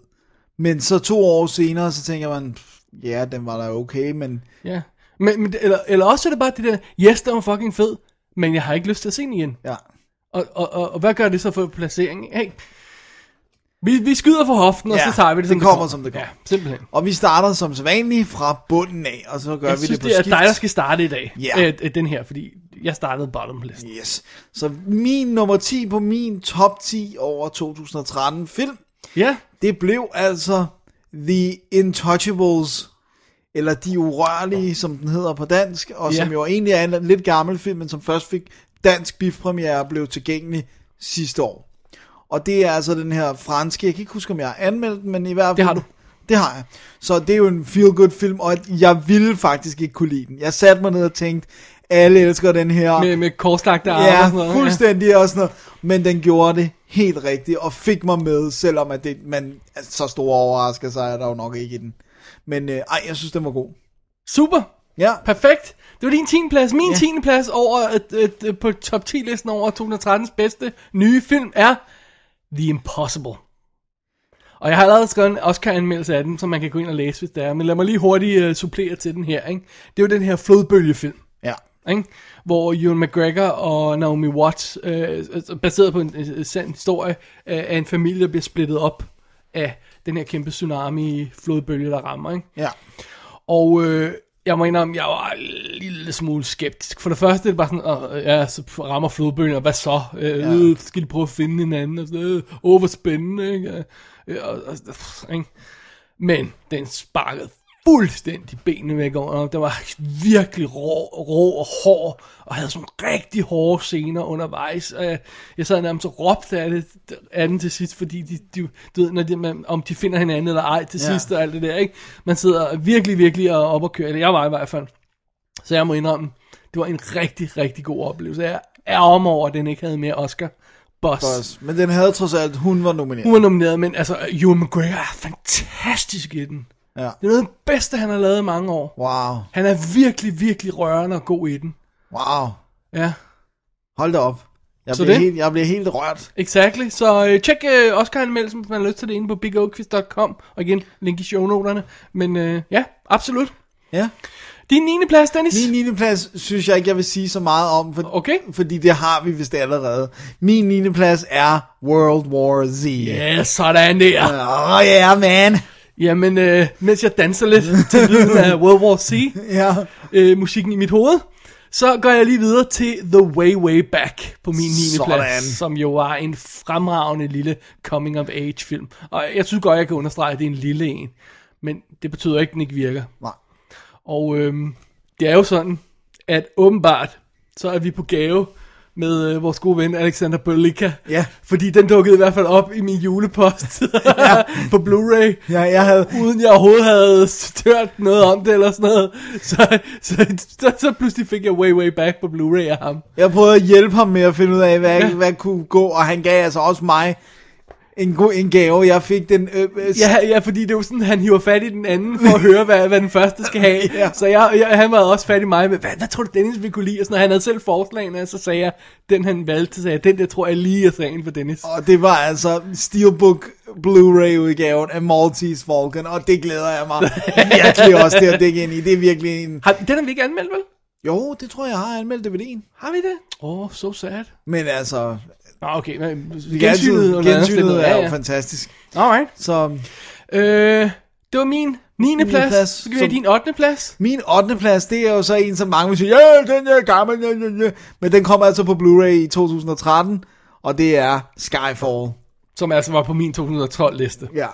Speaker 3: Men så to år senere, så tænker man, "Pff, ja, den var da okay, men
Speaker 2: Ja. Men, men eller, eller også er det bare det der, yes, den var fucking fed, men jeg har ikke lyst til at se den igen.
Speaker 3: Ja.
Speaker 2: Og, og, og, og hvad gør det så for placeringen? Hey, vi, vi skyder for hoften, og
Speaker 3: Ja,
Speaker 2: så tager vi det, som
Speaker 3: det kommer, som det kommer.
Speaker 2: Ja, simpelthen.
Speaker 3: Og vi starter som sædvanligt fra bunden af, og så gør
Speaker 2: jeg
Speaker 3: vi
Speaker 2: synes,
Speaker 3: det på
Speaker 2: det er
Speaker 3: skift.
Speaker 2: dig, der skal starte i dag.
Speaker 3: Ja.
Speaker 2: Øh, øh, den her, fordi jeg startede bottom list.
Speaker 3: Yes. Så min nummer 10 på min top 10 over 2013 film,
Speaker 2: ja.
Speaker 3: det blev altså The Intouchables, eller De Urørlige, som den hedder på dansk, og
Speaker 2: Ja.
Speaker 3: som jo egentlig er en lidt gammel film, men som først fik dansk bifpremiere og blev tilgængelig sidste år. Og det er altså den her franske, jeg kan ikke huske, om jeg har anmeldt den, men i hvert fald...
Speaker 2: Det har du.
Speaker 3: Det har jeg. Så det er jo en feel-good film, og jeg ville faktisk ikke kunne lide den. Jeg satte mig ned og tænkte, alle elsker den her.
Speaker 2: Med, med korslagte arme og
Speaker 3: Ja,
Speaker 2: sådan noget.
Speaker 3: fuldstændig og sådan noget. Men den gjorde det helt rigtigt, og fik mig med, selvom at det, man altså, så store overraskelser er der jo nok ikke i den. Men øh, ej, jeg synes, den var god.
Speaker 2: Super.
Speaker 3: Ja.
Speaker 2: Perfekt. Det var din 10. plads. Min ja. 10. plads over, et, et, et, på top 10 listen over 2013's bedste nye film er The Impossible. Og jeg har allerede skrevet en Oscar-anmeldelse af den, som man kan gå ind og læse, hvis det er. Men lad mig lige hurtigt uh, supplere til den her. Ikke? Det er jo den her flodbølgefilm.
Speaker 3: Ja.
Speaker 2: Ikke? Hvor Ewan McGregor og Naomi Watts, øh, altså baseret på en øh, sand historie, øh, af en familie, der bliver splittet op af den her kæmpe tsunami-flodbølge, der rammer. Ikke?
Speaker 3: Ja.
Speaker 2: Og øh, jeg må indrømme, jeg var en lille smule skeptisk. For det første er det bare sådan, øh, ja, så rammer flodbølgen, og hvad så? Øh,
Speaker 14: Ja.
Speaker 2: øh, skal de prøve at finde hinanden? Og sådan, øh, åh, hvor spændende, ikke? Øh, og, og, pff, ikke? Men den sparkede fuldstændig benene væk under ham. Den var virkelig rå, rå og hård, og havde sådan rigtig hårde scener undervejs. Og jeg, jeg sad nærmest og råbte af, det, af den til sidst, fordi de, de, du ved, når de, man, om de finder hinanden eller ej til
Speaker 14: Ja.
Speaker 2: ja. sidst og alt det der, ikke? Man sidder virkelig, virkelig og op og kører. Eller jeg var i hvert fald. Så jeg må indrømme, det var en rigtig, rigtig god oplevelse. Jeg er om over, at den ikke havde mere Oscar. Boss.
Speaker 3: Boss. Men den havde trods alt, hun var nomineret.
Speaker 2: Hun var nomineret, men altså, Ewan McGregor er fantastisk i den.
Speaker 3: Ja. Det
Speaker 2: er noget af det bedste, han har lavet i mange år.
Speaker 3: Wow.
Speaker 2: Han er virkelig, virkelig rørende og god i den.
Speaker 3: Wow.
Speaker 2: Ja.
Speaker 3: Hold da op. Jeg,
Speaker 2: Så
Speaker 3: bliver
Speaker 2: det?
Speaker 3: Helt, jeg bliver helt rørt.
Speaker 2: Exactly. Så øh, tjek øh, Oscar-anmeldelsen, hvis man har lyst til det, inde på bigoquiz.com. Og igen, link i shownoterne. Men øh, ja, absolut.
Speaker 3: Ja.
Speaker 2: Din 9. plads, Dennis?
Speaker 3: Min 9. plads synes jeg ikke, jeg vil sige så meget om, for,
Speaker 2: okay.
Speaker 3: fordi det har vi vist allerede. Min 9. plads er World War Z.
Speaker 2: Ja, sådan der.
Speaker 3: Åh oh, yeah, man.
Speaker 2: Jamen, øh, mens jeg danser lidt til lyden af World War C,
Speaker 3: ja.
Speaker 2: øh, musikken i mit hoved, så går jeg lige videre til The Way Way Back på min 9.
Speaker 3: Sådan.
Speaker 2: plads, som jo var en fremragende lille coming of age film. Og jeg synes godt, jeg kan understrege, at det er en lille en, men det betyder ikke, at den ikke virker.
Speaker 3: Nej.
Speaker 2: Og øhm, det er jo sådan, at åbenbart, så er vi på gave med øh, vores gode ven Alexander Bøllika.
Speaker 3: Ja.
Speaker 2: Fordi den dukkede i hvert fald op i min julepost ja. på Blu-ray.
Speaker 3: Ja, jeg havde...
Speaker 2: Uden jeg overhovedet havde hørt noget om det eller sådan noget. Så, så, så, så pludselig fik jeg Way Way Back på Blu-ray af ham.
Speaker 3: Jeg prøvede at hjælpe ham med at finde ud af, hvad,
Speaker 2: Ja.
Speaker 3: ja. hvad kunne gå, og han gav altså også mig en, god, en gave. Jeg fik den... Øh, øh,
Speaker 2: Ja, ja, fordi det er jo sådan, han hiver fat i den anden for at høre, hvad, hvad den første skal have.
Speaker 3: Ja.
Speaker 2: Så jeg, jeg, han var også fat i mig med, hvad, hvad tror du Dennis ville kunne lide? Og sådan, og han havde selv forslagene, og så sagde jeg, den han valgte, så sagde jeg, den der tror jeg lige er sagen for Dennis.
Speaker 3: Og det var altså Steelbook Blu-ray-udgaven af Maltese Falcon, og det glæder jeg mig virkelig også til at dække ind i. Det er virkelig en...
Speaker 2: Har, den har vi ikke anmeldt, vel?
Speaker 3: Jo, det tror jeg, jeg har anmeldt DVD'en.
Speaker 2: Har vi det? Åh, oh, so sad.
Speaker 3: Men altså,
Speaker 2: Nå, okay. Men,
Speaker 3: vi kan altid-
Speaker 2: gensynet, under
Speaker 3: gensynet
Speaker 2: omstændigheder,
Speaker 3: er
Speaker 2: ja,
Speaker 3: jo
Speaker 2: ja.
Speaker 3: fantastisk.
Speaker 2: Alright.
Speaker 3: Så
Speaker 2: Øh, det var min 9.
Speaker 3: Niende
Speaker 2: plads.
Speaker 3: plads.
Speaker 2: plads. Så skal vi have
Speaker 3: Som-
Speaker 2: din 8. plads.
Speaker 3: min 8. plads, det er jo så en, som mange vil sige, ja, den er gammel, ja, ja, ja. men den kommer altså på Blu-ray i 2013, og det er Skyfall.
Speaker 2: Som altså var på min 212-liste.
Speaker 3: Ja.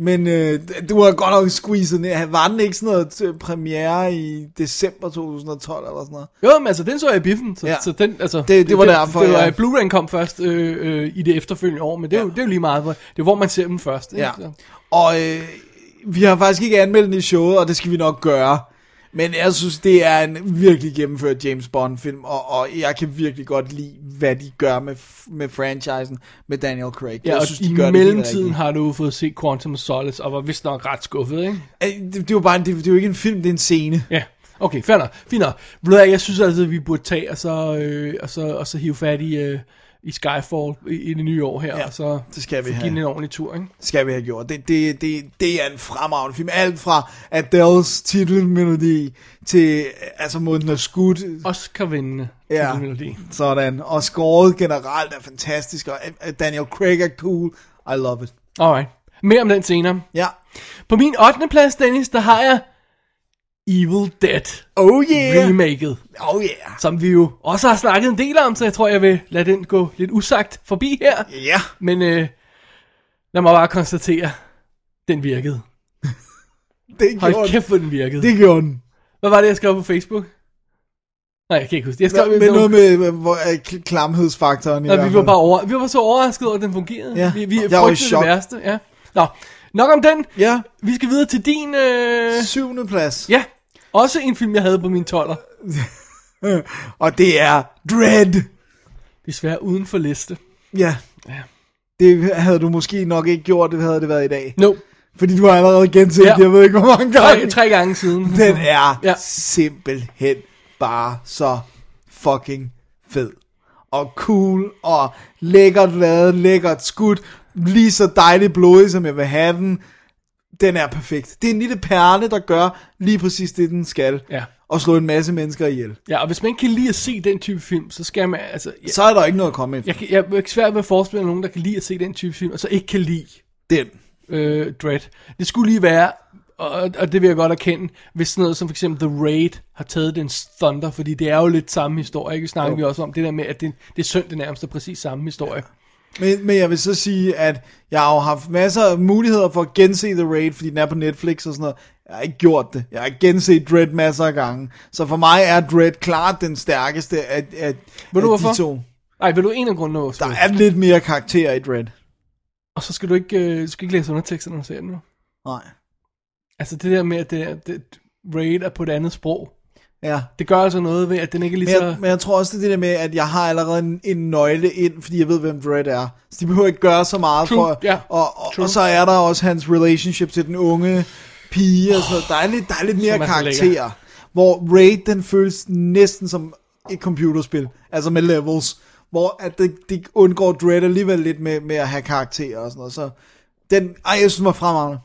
Speaker 3: Men øh, du har godt nok squeezet ned. Var den ikke sådan noget øh, premiere i december 2012 eller sådan noget?
Speaker 2: Jo, men altså, den så jeg i biffen, så, ja.
Speaker 3: Ja.
Speaker 2: så den, altså...
Speaker 3: Det- det var derfor,
Speaker 2: Det, det var,
Speaker 3: ja.
Speaker 2: Blu-ray kom først øh, øh, i det efterfølgende år, men det er, jo, det er jo lige meget, hvor- det er hvor man ser dem først. Ikke?
Speaker 3: Ja.
Speaker 2: Så.
Speaker 3: Og øh, vi har faktisk ikke anmeldt den i showet, og det skal vi nok gøre. Men jeg synes, det er en virkelig gennemført James Bond-film, og, og jeg kan virkelig godt lide, hvad de gør med, f- med franchisen med Daniel Craig.
Speaker 2: Ja,
Speaker 3: jeg
Speaker 2: og
Speaker 3: synes,
Speaker 2: i
Speaker 3: helt
Speaker 2: mellemtiden
Speaker 3: rigtigt.
Speaker 2: har du fået set Quantum of Solace, og var vist nok ret skuffet, ikke?
Speaker 3: Øh, Det, det, er jo bare en, det, det er jo ikke en film, det er en scene.
Speaker 2: Ja, okay, fair nok. Fint nok. Ved du hvad, Jeg synes altså, at vi burde tage og så, øh, og så, og så hive fat i, øh, i Skyfall i, i det nye år her, ja, og så
Speaker 3: det skal vi
Speaker 2: give
Speaker 3: have.
Speaker 2: den en ordentlig tur, ikke?
Speaker 3: Skal vi have gjort. Det, det, det, det er en fremragende film. Alt fra Adele's titelmelodi til øh, altså måden den er skudt.
Speaker 2: Oscar-vindende
Speaker 3: Ja.
Speaker 2: melodi.
Speaker 3: Sådan. Og scoret generelt er fantastisk, og øh, Daniel Craig er cool. I love it.
Speaker 2: Alright. Mere om den senere.
Speaker 3: Ja.
Speaker 2: På min 8. plads, Dennis, der har jeg Evil Dead.
Speaker 3: Oh yeah.
Speaker 2: Remaket.
Speaker 3: Oh yeah.
Speaker 2: Som vi jo også har snakket en del om, så jeg tror, jeg vil lade den gå lidt usagt forbi her.
Speaker 3: Ja.
Speaker 2: Men øh, lad mig bare konstatere, den virkede.
Speaker 3: Det gjorde
Speaker 2: Hold
Speaker 3: den.
Speaker 2: kæft, hvor den virkede.
Speaker 3: Det gjorde den.
Speaker 2: Hvad var det, jeg skrev på Facebook? Nej, jeg kan ikke huske det. Jeg skrev,
Speaker 3: Men, men noget med, med hvor, øh, kl- klamhedsfaktoren i
Speaker 2: Nå,
Speaker 3: hvert
Speaker 2: vi var
Speaker 3: fald.
Speaker 2: bare over, vi var så overrasket over, at den fungerede.
Speaker 3: Ja.
Speaker 2: Vi, vi
Speaker 3: Jeg var i
Speaker 2: frygtede det
Speaker 3: chok.
Speaker 2: værste. Ja. Nå, nok om den.
Speaker 3: Ja,
Speaker 2: Vi skal videre til din... Øh...
Speaker 3: syvende plads.
Speaker 2: Ja, også en film, jeg havde på min toller.
Speaker 3: Og det er Dread.
Speaker 2: Desværre uden for liste.
Speaker 3: Ja.
Speaker 2: Ja.
Speaker 3: Det havde du måske nok ikke gjort, det havde det været i dag.
Speaker 2: No.
Speaker 3: Fordi du har allerede genset
Speaker 2: Ja.
Speaker 3: ja. jeg ved ikke hvor mange gange.
Speaker 2: Tre, tre gange siden.
Speaker 3: Den er
Speaker 2: Ja.
Speaker 3: ja. simpelthen bare så fucking fed. Og cool, og lækkert lavet, lækkert skudt, lige så dejligt blodig, som jeg vil have den. Den er perfekt. Det er en lille perle, der gør lige præcis det, den skal.
Speaker 2: Ja.
Speaker 3: Og slå en masse mennesker ihjel.
Speaker 2: Ja, og hvis man ikke kan lide at se den type film, så skal man... Altså, jeg,
Speaker 3: Så er der ikke noget at komme efter.
Speaker 2: jeg, kan- jeg er svært ved at forestille mig nogen, der kan lide at se den type film, og så ikke kan lide
Speaker 3: Den.
Speaker 2: øh, Dread. Det skulle lige være, og, og det vil jeg godt erkende, hvis sådan noget som for eksempel The Raid har taget den thunder, fordi det er jo lidt samme historie, ikke? Vi snakker
Speaker 3: Jo.
Speaker 2: vi også om det der med, at det, det er synd, det nærmest er præcis samme historie.
Speaker 3: Men, men jeg vil så sige, at jeg har jo haft masser af muligheder for at gense The Raid, fordi den er på Netflix og sådan noget. Jeg har ikke gjort det. Jeg har genset Dread masser af gange. Så for mig er Dread klart den stærkeste af, af,
Speaker 2: Ved du
Speaker 3: af
Speaker 2: hvorfor?
Speaker 3: de to.
Speaker 2: Nej, vil du en af grundene også?
Speaker 3: Der er lidt mere karakter i Dread.
Speaker 2: Og så skal du ikke, øh, du skal ikke læse undertekster, når du ser den nu.
Speaker 3: Nej.
Speaker 2: Altså det der med, at det, er- det, Raid er på et andet sprog,
Speaker 3: Ja.
Speaker 2: det gør altså noget ved, at den ikke er lige
Speaker 3: Men
Speaker 2: så...
Speaker 3: jeg, men jeg tror også, det er det der med, at jeg har allerede en, en nøgle ind, fordi jeg ved, hvem Dredd er. Så de behøver ikke gøre så meget
Speaker 2: True,
Speaker 3: for...
Speaker 2: ja.
Speaker 3: Og, og,
Speaker 2: True.
Speaker 3: og så er der også hans relationship til den unge pige og sådan noget. Der er lidt, der er lidt mere
Speaker 2: Som er så lækker.
Speaker 3: karakter. Hvor Raid, den føles næsten som et computerspil. Altså med levels. hvor at det, det undgår Dredd alligevel lidt med, med at have karakterer og sådan noget. Så den, ej, jeg synes, den var fremragende.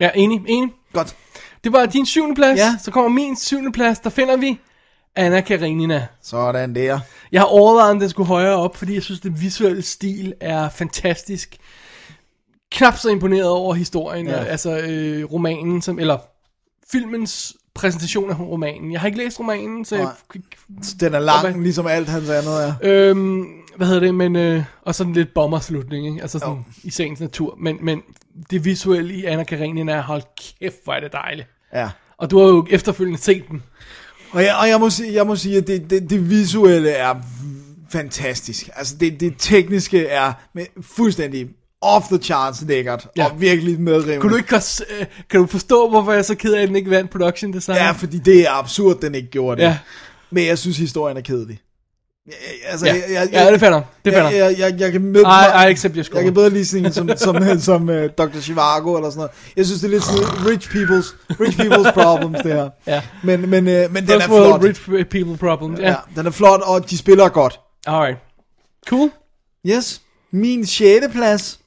Speaker 2: Ja, enig, enig.
Speaker 3: Godt.
Speaker 2: Det var din syvende plads. Ja. Så kommer min syvende plads. Der finder vi Anna Karenina.
Speaker 3: Sådan der.
Speaker 2: Jeg har overvejet, om den skulle højere op, fordi jeg synes, den visuelle stil er fantastisk. Knap så imponeret over historien,
Speaker 3: Ja.
Speaker 2: ja. altså øh, romanen, som, eller filmens præsentation af romanen. Jeg har ikke læst romanen, så jeg
Speaker 3: Den er lang, ligesom alt hans andet er.
Speaker 2: Øhm, hvad hedder det, men, øh, og sådan lidt bomberslutning, ikke? altså sådan, i sagens natur, men, men det visuelle i Anna Karenina er, hold kæft, hvor er det dejligt.
Speaker 3: Ja.
Speaker 2: Og du har jo efterfølgende set den.
Speaker 3: Og jeg, og jeg, må, sige, jeg må sige, at det, det, det visuelle er fantastisk. Altså det, det tekniske er med, fuldstændig off the charts lækkert. Ja. Og virkelig medrivende.
Speaker 2: Kunne du ikke godt, s- øh, kan du forstå, hvorfor jeg er så ked af, at den ikke vandt production design?
Speaker 3: Ja, fordi det er absurd, den ikke gjorde det.
Speaker 2: Ja.
Speaker 3: Men jeg synes, historien er kedelig. Jeg- jeg- Altså,
Speaker 2: Ja. Ja, det fatter. Det fatter.
Speaker 3: Jeg, jeg, jeg, jeg kan med,
Speaker 2: I- I accept your score.
Speaker 3: Jeg kan bedre lige sådan en som, som, som uh, Dr. Chivago eller sådan noget. Jeg synes, det er lidt sådan rich people's, rich people's problems, det her.
Speaker 2: Ja.
Speaker 3: Men, men, uh, men den er
Speaker 2: First world
Speaker 3: flot.
Speaker 2: rich people problems. Ja.
Speaker 3: Ja, den er flot, og de spiller godt.
Speaker 2: Alright. Cool.
Speaker 3: Yes. Min sjette plads,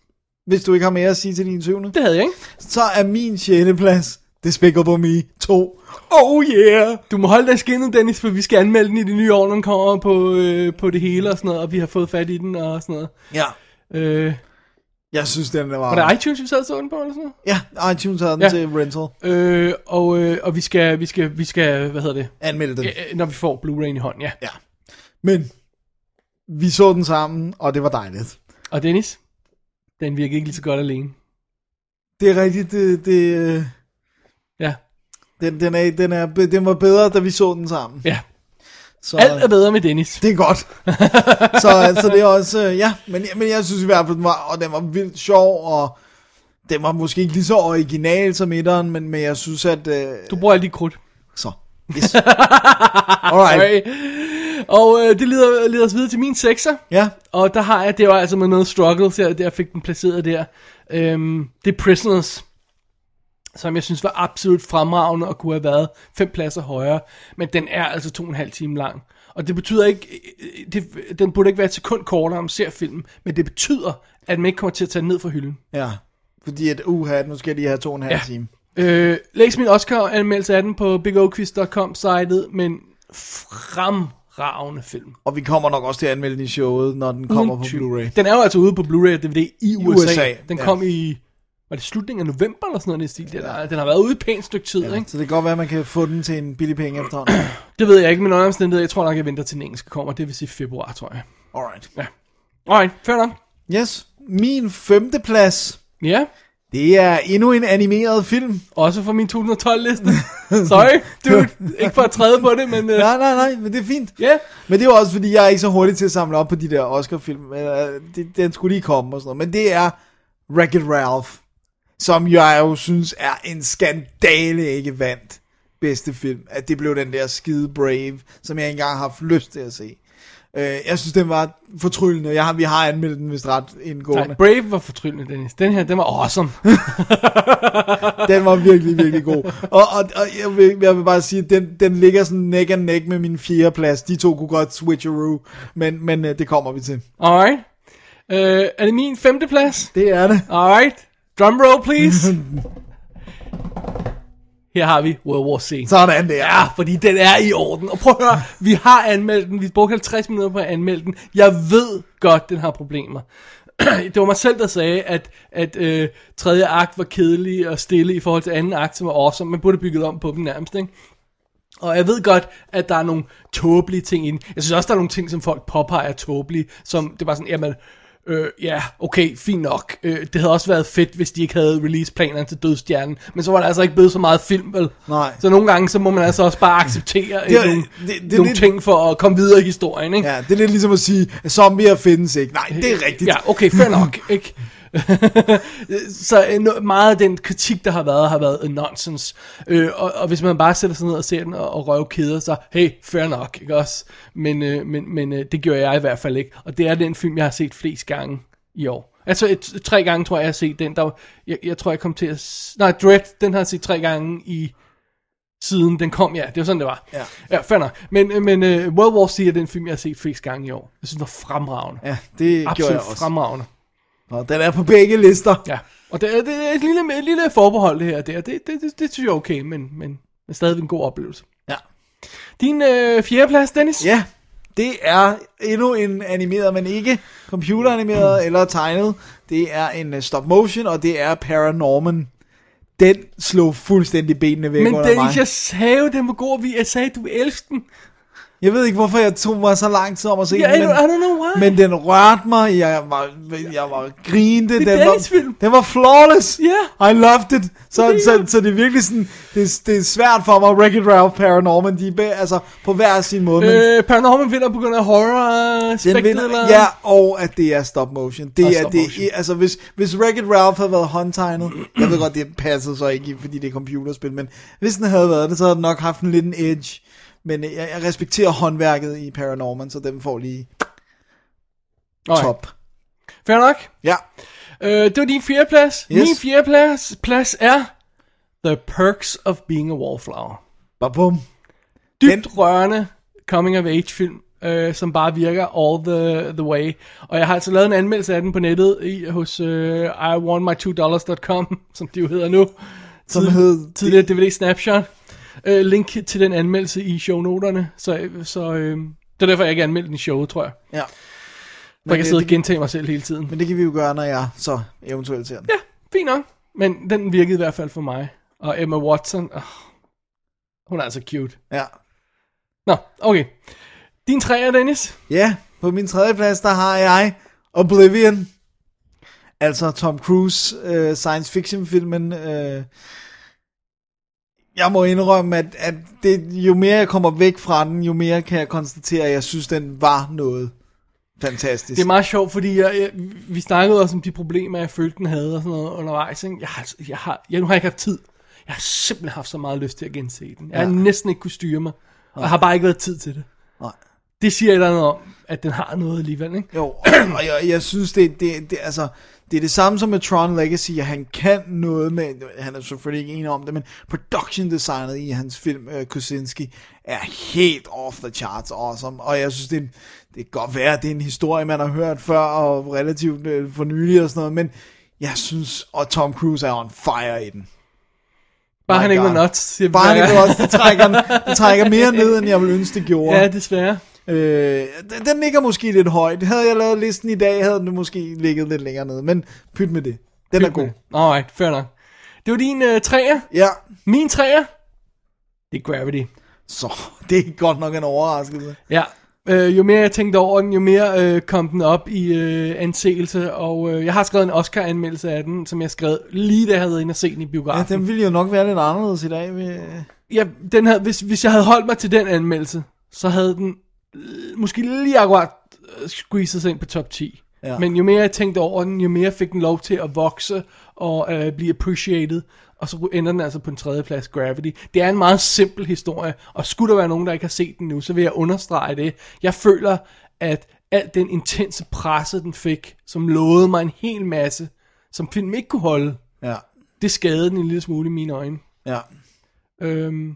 Speaker 3: hvis du ikke har mere at sige til din syvende.
Speaker 2: Det havde jeg ikke.
Speaker 3: Så er min sjette plads Despicable Me 2.
Speaker 2: Oh yeah! Du må holde dig i skinnet, Dennis, for vi skal anmelde den i det nye år, når den kommer på, øh, på det hele og sådan noget, og vi har fået fat i den og sådan noget.
Speaker 3: Ja.
Speaker 2: Øh,
Speaker 3: Jeg synes, den var...
Speaker 2: var det iTunes, vi sad og så den på eller sådan noget?
Speaker 3: Ja, iTunes havde den
Speaker 2: Ja.
Speaker 3: ja. til rental.
Speaker 2: Øh, og, øh, og vi skal, vi skal, vi skal, hvad hedder det?
Speaker 3: Anmelde den.
Speaker 2: Ja, øh, når vi får Blu-ray'en i hånden, ja.
Speaker 3: ja. Men vi så den sammen, og det var dejligt.
Speaker 2: Og Dennis, den virker ikke lige så godt alene.
Speaker 3: Det er rigtigt, det... det øh,
Speaker 2: Ja.
Speaker 3: Den, den, er, den, er, den var bedre, da vi så den sammen.
Speaker 2: Ja.
Speaker 3: Så,
Speaker 2: Alt er bedre med Dennis.
Speaker 3: Det er godt. så, så det er også, øh, ja, men, men jeg synes i hvert fald, den var, og den var vildt sjov, og den var måske ikke lige så original som etteren, men, men jeg synes, at... Øh,
Speaker 2: Du bruger alt dit krudt.
Speaker 3: Så. Yes. Alright.
Speaker 2: Sorry. Og øh, det leder, leder os videre til min sekser.
Speaker 3: Ja.
Speaker 2: Og der har jeg, det var altså med noget struggles, jeg, jeg fik den placeret der. Øhm, det er Prisoners, som jeg synes var absolut fremragende og kunne have været fem pladser højere. Men den er altså to og en halv time lang. Og det betyder ikke, øh, det, den burde ikke være et sekund kortere om ser filmen, men det betyder, at man ikke kommer til at tage den ned fra hylden.
Speaker 3: Ja, fordi at uha, nu skal jeg lige have to og en halv
Speaker 2: Ja.
Speaker 3: ja. time.
Speaker 2: Øh, læs min Oscar-anmeldelse af den på bigoquiz.com-sitet, men fremragende film.
Speaker 3: Og vi kommer nok også til at anmelde den i showet, når den kommer
Speaker 2: Uden
Speaker 3: på
Speaker 2: tvivl.
Speaker 3: Blu-ray.
Speaker 2: Den er jo altså ude på Blu-ray og DVD i USA.
Speaker 3: USA,
Speaker 2: Den
Speaker 3: ja.
Speaker 2: kom i, var det slutningen af november eller sådan noget i den stil? Den, ja. den har været ude et pænt stykke tid, ja. ikke?
Speaker 3: Så det kan godt være, at man kan få den til en billig penge efterhånden.
Speaker 2: Det ved jeg ikke, men under omstændigheder, jeg tror nok, jeg venter til den engelske kommer. Det vil sige februar, tror jeg.
Speaker 3: Alright.
Speaker 2: Ja. Alright, fair nok.
Speaker 3: Yes, min femte plads,
Speaker 2: Ja,
Speaker 3: det er endnu en animeret film.
Speaker 2: også fra min 2012-liste. Sorry, dude. ikke for at træde på det, men... øh,
Speaker 3: Nej, nej, nej, men det er fint.
Speaker 2: Ja. Yeah.
Speaker 3: Men det er jo også, fordi jeg er ikke så hurtig til at samle op på de der Oscar-film. Øh, det- Den skulle lige komme og sådan noget. Men det er Wreck-It Ralph, som jeg jo synes er en skandale ikke vandt bedste film. At det blev den der skide Brave, som jeg ikke engang har haft lyst til at se. Øh, Jeg synes, den var fortryllende. Jeg har, vi har anmeldt den, hvis ret indgående.
Speaker 2: Nej, Brave var fortryllende, Dennis. Den her, den var awesome.
Speaker 3: den var virkelig, virkelig god. Og, og, og jeg, vil, jeg vil bare sige, at den, den ligger sådan neck and neck med min fjerde plads. De to kunne godt switcheroo, men, men øh, det kommer vi til.
Speaker 2: Alright. Øh, er det min femte plads?
Speaker 3: Det er det.
Speaker 2: Alright. Drumroll, please. Her har vi World War C.
Speaker 3: Sådan der.
Speaker 2: Ja, fordi den er i orden. Og prøv at høre, vi har anmeldt den. Vi brugte 50 minutter på at anmelde den. Jeg ved godt, den har problemer. det var mig selv, der sagde, at, at øh, tredje akt var kedelig og stille i forhold til anden akt, som var awesome. Man burde have bygget om på den nærmest, ikke? Og jeg ved godt, at der er nogle tåbelige ting i den. Jeg synes også, der er nogle ting, som folk påpeger er tåbelige, som det var sådan, jamen, øh, ja, okay, fint nok. Øh, det havde også været fedt, hvis de ikke havde release-planerne til Dødstjernen, men så var der altså ikke blevet så meget film, vel?
Speaker 3: Nej.
Speaker 2: Så nogle gange, så må man altså også bare acceptere det,
Speaker 3: Det er-
Speaker 2: nogle,
Speaker 3: det- det
Speaker 2: det,
Speaker 3: er
Speaker 2: det, nogle
Speaker 3: lidt-
Speaker 2: ting for at komme videre i historien, ikke?
Speaker 3: Ja, det er lidt ligesom at sige, at zombier findes ikke. Nej, det er rigtigt.
Speaker 2: Ja, okay, fair nok, ikke? så øh, no- meget af den kritik, der har været, har været øh, nonsense. Øh, og, og hvis man bare sætter sig ned og ser den og, og røver keder, så hey, fair nok, ikke også? Men, øh, men, men øh, det gjorde jeg i hvert fald ikke. Og det er den film, jeg har set flest gange i år. Altså et, tre gange, tror jeg, jeg har set den. Der, var- jeg, jeg tror, jeg kom til at... s- Nej, Dread, den har jeg set tre gange i siden den kom, ja, det var sådan, det var. Ja, ja fair nok. Men, øh, men uh, World War C er den film, jeg har set flest gange i år. Jeg synes, den var fremragende.
Speaker 3: Ja, det
Speaker 2: Absolut
Speaker 3: gjorde jeg også.
Speaker 2: fremragende.
Speaker 3: Og den er på begge lister.
Speaker 2: Ja, og det, er- det er et lille, et lille forbehold, det her. Det, er- det, det, det, det synes jeg er okay, men, men, men stadig en god oplevelse.
Speaker 3: Ja.
Speaker 2: Din øh, fjerdeplads, Dennis?
Speaker 3: Ja, det er endnu en animeret, men ikke computeranimeret eller tegnet. Det er en øh, stop motion, og det er Paranorman. Den slog fuldstændig benene væk
Speaker 2: Men
Speaker 3: under mig.
Speaker 2: Dennis, jeg sagde jo, den var god, og vi- jeg sagde, du elsker den.
Speaker 3: Jeg ved ikke, hvorfor jeg tog mig så lang tid om at se
Speaker 2: Ja, I
Speaker 3: den,
Speaker 2: don't- I don't know why.
Speaker 3: men den rørte mig, jeg var, jeg var grinte,
Speaker 2: Det er
Speaker 3: den, var,
Speaker 2: Dennis' film.
Speaker 3: den var flawless,
Speaker 2: Ja.
Speaker 3: I loved it, så,
Speaker 2: Det er-
Speaker 3: så, så, det er virkelig sådan, det, er- det er svært for mig, Wreck-It Ralph, Paranorman, de er bag- altså på hver sin måde, men
Speaker 2: Øh, Paranorman vinder på grund af horror
Speaker 3: den
Speaker 2: aspektet,
Speaker 3: vinder,
Speaker 2: eller?
Speaker 3: ja, og at det er stop motion, det
Speaker 2: Og
Speaker 3: er
Speaker 2: stop
Speaker 3: det,
Speaker 2: motion.
Speaker 3: altså hvis, hvis Wreck-It Ralph havde været håndtegnet, jeg ved godt, det passede så ikke, fordi det er computerspil, men hvis den havde været det, så havde den nok haft en lidt en edge, men øh, jeg, jeg respekterer håndværket i Paranorman, så den får lige
Speaker 2: Okay.
Speaker 3: top.
Speaker 2: Fair nok.
Speaker 3: Ja.
Speaker 2: Øh, det var din fjerdeplads.
Speaker 3: Yes.
Speaker 2: Min fjerdeplads plads er The Perks of Being a Wallflower.
Speaker 3: Babum.
Speaker 2: Dybt Den... rørende coming of age film, øh, som bare virker all the, the way. Og jeg har altså lavet en anmeldelse af den på nettet i, hos øh, iwantmy2dollars.com, som det jo hedder nu.
Speaker 3: Som hed-
Speaker 2: Tidligere DVD Snapshot. Øh, link til den anmeldelse i shownoterne. Så, så øh, det er derfor, jeg ikke anmeldte den i showet, tror jeg.
Speaker 3: Ja.
Speaker 2: For jeg kan
Speaker 3: øh,
Speaker 2: sidde og
Speaker 3: det-
Speaker 2: gentage mig selv hele tiden.
Speaker 3: Men det kan vi jo gøre, når jeg så eventuelt ser den.
Speaker 2: Ja, fint nok. Men den virkede i hvert fald for mig. Og Emma Watson, oh, hun er altså cute.
Speaker 3: Ja.
Speaker 2: Nå, okay. Din træer, Dennis.
Speaker 3: Ja, på min tredje plads, der har jeg Oblivion. Altså Tom Cruise øh, science fiction filmen. Øh. Jeg må indrømme, at, at det, jo mere jeg kommer væk fra den, jo mere kan jeg konstatere, at jeg synes, den var noget fantastisk.
Speaker 2: Det er meget sjovt, fordi jeg, jeg, vi snakkede også om de problemer, jeg følte, den havde og sådan noget undervejs. Ikke? Jeg, har, jeg, har, jeg, nu har jeg ikke haft tid. Jeg har simpelthen haft så meget lyst til at gense den. Jeg har
Speaker 3: Ja.
Speaker 2: næsten ikke kunne styre mig. Og jeg har bare ikke været tid til det.
Speaker 3: Nej.
Speaker 2: Det siger et eller andet om, at den har noget alligevel. Ikke?
Speaker 3: Jo, og jeg, jeg synes, det, det, det, altså, det er det samme som med Tron Legacy, at han kan noget med, han er selvfølgelig ikke enig om det, men production designet i hans film, øh, Kusinski, er helt off the charts awesome, og jeg synes, det, er en- det kan godt være, at det er en historie, man har hørt før, og relativt øh, for nylig og sådan noget, men jeg synes, og Tom Cruise er on fire i den.
Speaker 2: Bare
Speaker 3: My
Speaker 2: han ikke var
Speaker 3: God.
Speaker 2: nuts. siger vi
Speaker 3: Bare
Speaker 2: hver
Speaker 3: han ikke
Speaker 2: gang.
Speaker 3: var nuts, det trækker, det trækker mere ned, end jeg ville ønske, det gjorde.
Speaker 2: Ja, desværre.
Speaker 3: Øh, den- den ligger måske lidt højt. Havde jeg lavet listen i dag, havde den måske ligget lidt længere nede. Men pyt med det. Den er god.
Speaker 2: Alright, fair nok. Det var din øh, træer.
Speaker 3: Ja.
Speaker 2: Min træer, det er Gravity.
Speaker 3: Så det er godt nok en overraskelse.
Speaker 2: Ja, øh, jo mere jeg tænkte over den, jo mere øh, kom den op i øh, anseelse, og øh, jeg har skrevet en Oscar-anmeldelse af den, som jeg skrev lige da jeg havde været inde og se den i biografen.
Speaker 3: Ja, den ville jo nok være lidt anderledes i dag. Med...
Speaker 2: Ja, den havde, hvis, hvis jeg havde holdt mig til den anmeldelse, så havde den øh, måske lige akkurat øh, squeezet sig ind på top 10.
Speaker 3: Ja.
Speaker 2: Ja. Men jo mere jeg tænkte over den, jo mere fik den lov til at vokse og øh, blive appreciated. Og så ender den altså på en tredje plads, Gravity. Det er en meget simpel historie, og skulle der være nogen, der ikke har set den nu, så vil jeg understrege det. Jeg føler, at al den intense presse, den fik, som lovede mig en hel masse, som filmen ikke kunne holde,
Speaker 3: Ja,
Speaker 2: det skadede den en lille smule i mine øjne.
Speaker 3: ja,
Speaker 2: Øhm,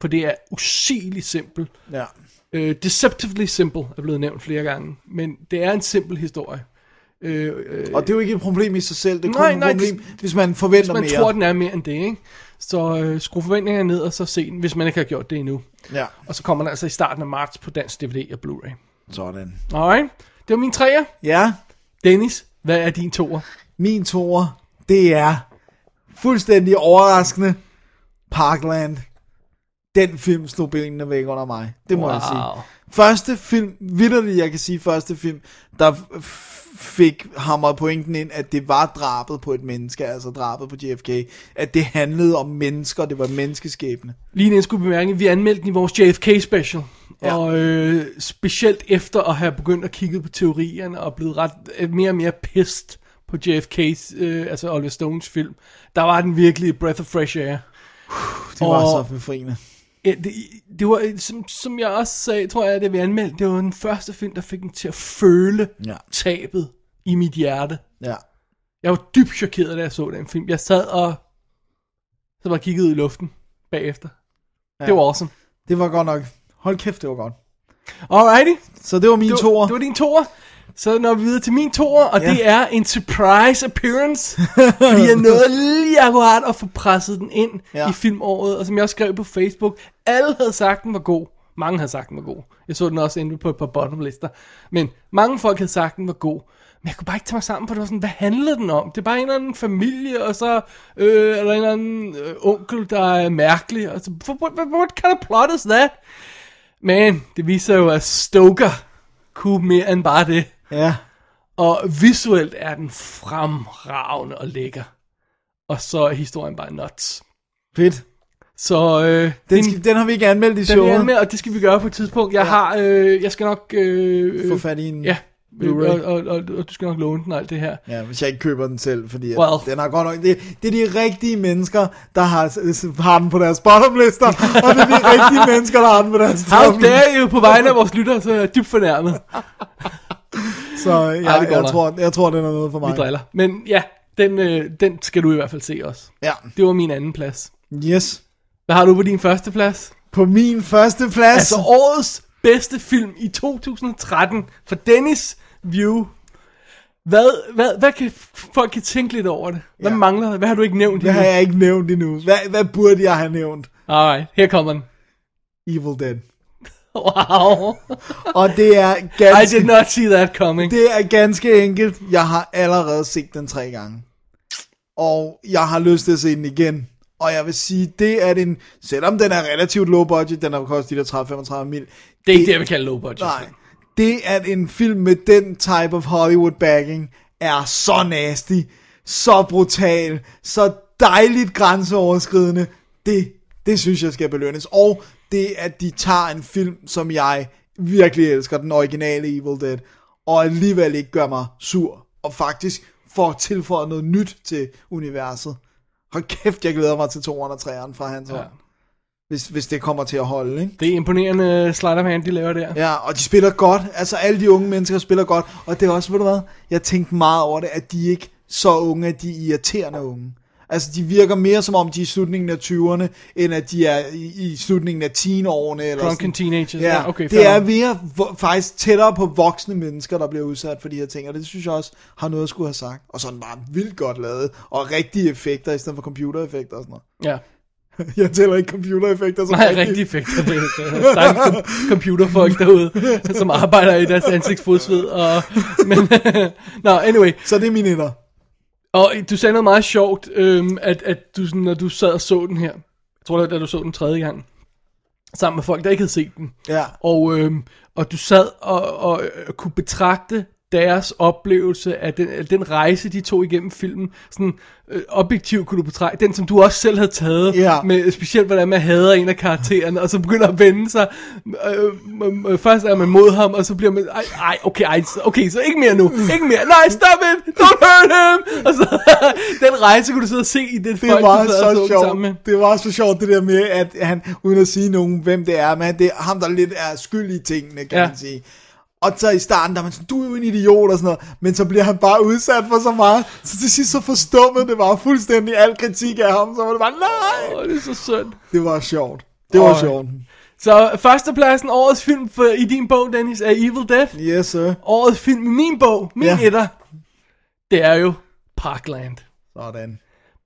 Speaker 2: for det er usigeligt simpelt.
Speaker 3: ja.
Speaker 2: Øh, deceptively simple er blevet nævnt flere gange, men det er en simpel historie. Øh, øh,
Speaker 3: Og det er jo ikke et problem i sig selv. Det er kun
Speaker 2: Nej,
Speaker 3: et
Speaker 2: nej,
Speaker 3: problem,
Speaker 2: det-
Speaker 3: hvis man
Speaker 2: hvis
Speaker 3: forventer
Speaker 2: man
Speaker 3: mere.
Speaker 2: tror, den er mere end det, ikke? Så øh, skru forventningerne ned og så se den, hvis man ikke har gjort det endnu.
Speaker 3: Ja,
Speaker 2: Og så kommer den altså i starten af marts på dansk DVD og Blu-ray.
Speaker 3: sådan.
Speaker 2: Alright, det var min træer.
Speaker 3: Ja,
Speaker 2: Dennis, hvad er din toer?
Speaker 3: min toer, det er fuldstændig overraskende Parkland. Den film slog benene væk under mig. Det må wow. jeg sige.
Speaker 2: Wow.
Speaker 3: Første film, vidderligt jeg kan sige første film, der f- f- fik hamret pointen ind, at det var drabet på et menneske, altså drabet på JFK. At det handlede om mennesker, det var menneskeskæbne.
Speaker 2: Lige inden jeg skulle bemærke, at vi anmeldte den i vores JFK special. Ja. Og øh, specielt efter at have begyndt at kigge på teorierne og blevet ret øh, mere og mere pissed på JFK's, øh, altså Oliver Stones film, der var den virkelig et breath of fresh air.
Speaker 3: Det var
Speaker 2: Og-
Speaker 3: så befriende.
Speaker 2: Ja, det, det var, øh, som, som jeg også sagde, tror jeg, det vi anmeldte, det var den første film, der fik mig til at føle
Speaker 3: Ja.
Speaker 2: tabet i mit hjerte.
Speaker 3: Ja.
Speaker 2: Jeg var dybt chokeret, da jeg så den film. Jeg sad og så bare kiggede ud i luften bagefter. Det var awesome.
Speaker 3: Det var godt nok. Hold kæft, det var godt.
Speaker 2: Alrighty.
Speaker 3: Så det var min
Speaker 2: det var,
Speaker 3: toer.
Speaker 2: Det var din toer. Så når vi videre til min toer, og
Speaker 3: Ja.
Speaker 2: ja. det er en surprise appearance. fordi jeg nåede lige akkurat at få presset den ind ja. i filmåret, og som jeg også skrev på Facebook, alle havde sagt, den var god. Mange havde sagt, den var god. Jeg så den også inde på et par bottomlister. Men mange folk havde sagt, den var god. Men jeg kunne bare ikke tage mig sammen, for det var sådan, hvad handlede den om? Det er bare en eller anden familie, og så øh, er der en eller anden øh, onkel, der er mærkelig. Og så, what, what, what kind of plot is that? Men det viser jo, at Stoker kunne mere end bare det.
Speaker 3: Ja.
Speaker 2: Og visuelt er den fremragende og lækker. Og så er historien bare nuts.
Speaker 3: Fedt.
Speaker 2: Så øh,
Speaker 3: Den, skal, den har vi ikke anmeldt i
Speaker 2: den vil jeg
Speaker 3: showet.
Speaker 2: med, og det skal vi gøre på et tidspunkt. Jeg ja. har, øh, jeg skal nok... Øh,
Speaker 3: Få
Speaker 2: øh,
Speaker 3: fat i en
Speaker 2: Ja,
Speaker 3: Blu-ray.
Speaker 2: og, og, og, og du skal nok låne den og alt det her.
Speaker 3: Ja, hvis jeg ikke køber den selv, fordi well.
Speaker 2: Well.
Speaker 3: den har godt nok... Det, det er de rigtige mennesker, der har, s- har den på deres bottomlister, og det er de rigtige mennesker, der har den på deres
Speaker 2: How
Speaker 3: toppen.
Speaker 2: dare you på vegne af vores lyttere, så er jeg dybt fornærmet.
Speaker 3: Så jeg,
Speaker 2: Ej, det går
Speaker 3: jeg,
Speaker 2: nok.
Speaker 3: tror, jeg tror, den er noget for mig.
Speaker 2: Vi driller. Men ja, den, øh, den skal du i hvert fald se også.
Speaker 3: Ja.
Speaker 2: Det var min anden plads.
Speaker 3: Yes.
Speaker 2: Hvad har du på din første plads?
Speaker 3: På min første plads...
Speaker 2: Altså årets bedste film i 2013 for Dennis View. Hvad, hvad, hvad kan folk kan tænke lidt over det? Hvad ja. mangler der? Hvad har du ikke nævnt
Speaker 3: Det har
Speaker 2: endnu?
Speaker 3: jeg ikke nævnt endnu. Hvad, hvad burde jeg have nævnt?
Speaker 2: Alright, her kommer den.
Speaker 3: Evil Dead.
Speaker 2: Wow.
Speaker 3: Og det er
Speaker 2: I
Speaker 3: ganske,
Speaker 2: did not see that coming.
Speaker 3: det er ganske enkelt. Jeg har allerede set den tre gange. Og jeg har lyst til at se den igen. Og jeg vil sige, det er den, selvom den er relativt low budget, den har kostet de der 30-35 mil.
Speaker 2: Det er ikke det, jeg vil kalde low budget.
Speaker 3: Nej. Det, at en film med den type of Hollywood backing er så nasty, så brutal, så dejligt grænseoverskridende, det, det synes jeg skal belønnes. Og det, at de tager en film, som jeg virkelig elsker, den originale Evil Dead, og alligevel ikke gør mig sur, og faktisk får tilføjet noget nyt til universet. Hold kæft, jeg glæder mig til 200 og 3'eren fra hans ja. hånd. Hvis, hvis det kommer til at holde, ikke?
Speaker 2: Det er imponerende sleight of hand, de laver der.
Speaker 3: Ja, og de spiller godt. Altså, alle de unge mennesker spiller godt. Og det er også, ved du hvad, jeg tænkte meget over det, at de ikke så unge, at de er irriterende unge. Altså, de virker mere som om, de er i slutningen af 20'erne, end at de er i, i slutningen af teenårene. Eller
Speaker 2: Drunken
Speaker 3: sådan.
Speaker 2: teenagers.
Speaker 3: Ja,
Speaker 2: Ja, okay,
Speaker 3: det
Speaker 2: fair
Speaker 3: er
Speaker 2: nok.
Speaker 3: mere vo- faktisk tættere på voksne mennesker, der bliver udsat for de her ting, og det synes jeg også har noget at skulle have sagt. Og sådan bare vildt godt lavet, og rigtige effekter i stedet for computereffekter og sådan
Speaker 2: Ja.
Speaker 3: noget. Jeg tæller ikke computereffekter som
Speaker 2: Nej, rigtig effekt. Stakkels kom- computerfolk derude, som arbejder i deres ansigtsfodsved. Og, men, no, anyway.
Speaker 3: Så det er min etter.
Speaker 2: Og du sagde noget meget sjovt, øhm, at, at du, sådan, når du sad og så den her, jeg tror det var, da du så den tredje gang, sammen med folk, der ikke havde set den,
Speaker 3: Ja.
Speaker 2: og, øhm, og du sad og, og, og kunne betragte deres oplevelse af den, af den rejse, de tog igennem filmen, sådan øh, objektivt kunne du betragte, den som du også selv havde taget,
Speaker 3: Ja.
Speaker 2: med, specielt hvordan man hader en af karaktererne, og så begynder at vende sig, øh, øh, øh, først er man mod ham, og så bliver man, ej, ej okay, ej, så- okay, så ikke mere nu, ikke mere, nej, stop it, don't hurt him, og så, den rejse kunne du sidde og se i det,
Speaker 3: Det
Speaker 2: folk,
Speaker 3: var
Speaker 2: du sad og
Speaker 3: så
Speaker 2: den sammen med.
Speaker 3: sjovt. Det var så sjovt det der med, at han, uden at sige nogen, hvem det er, men det er ham, der lidt er skyld i tingene, kan ja.
Speaker 2: Ja.
Speaker 3: man sige. Og så i starten, der er man sådan, du er jo en idiot og sådan noget, men så bliver han bare udsat for så meget, så til sidst så forstummede det var fuldstændig al kritik af ham, så var det bare, nej!
Speaker 2: Åh, det er så synd.
Speaker 3: Det var sjovt. Det var
Speaker 2: Øj.
Speaker 3: sjovt.
Speaker 2: Så førstepladsen, årets film for, i din bog, Dennis, er Evil Dead.
Speaker 3: Yes, sir.
Speaker 2: Årets film i min bog, min
Speaker 3: Ja.
Speaker 2: ja. etter, det er jo Parkland.
Speaker 3: Sådan.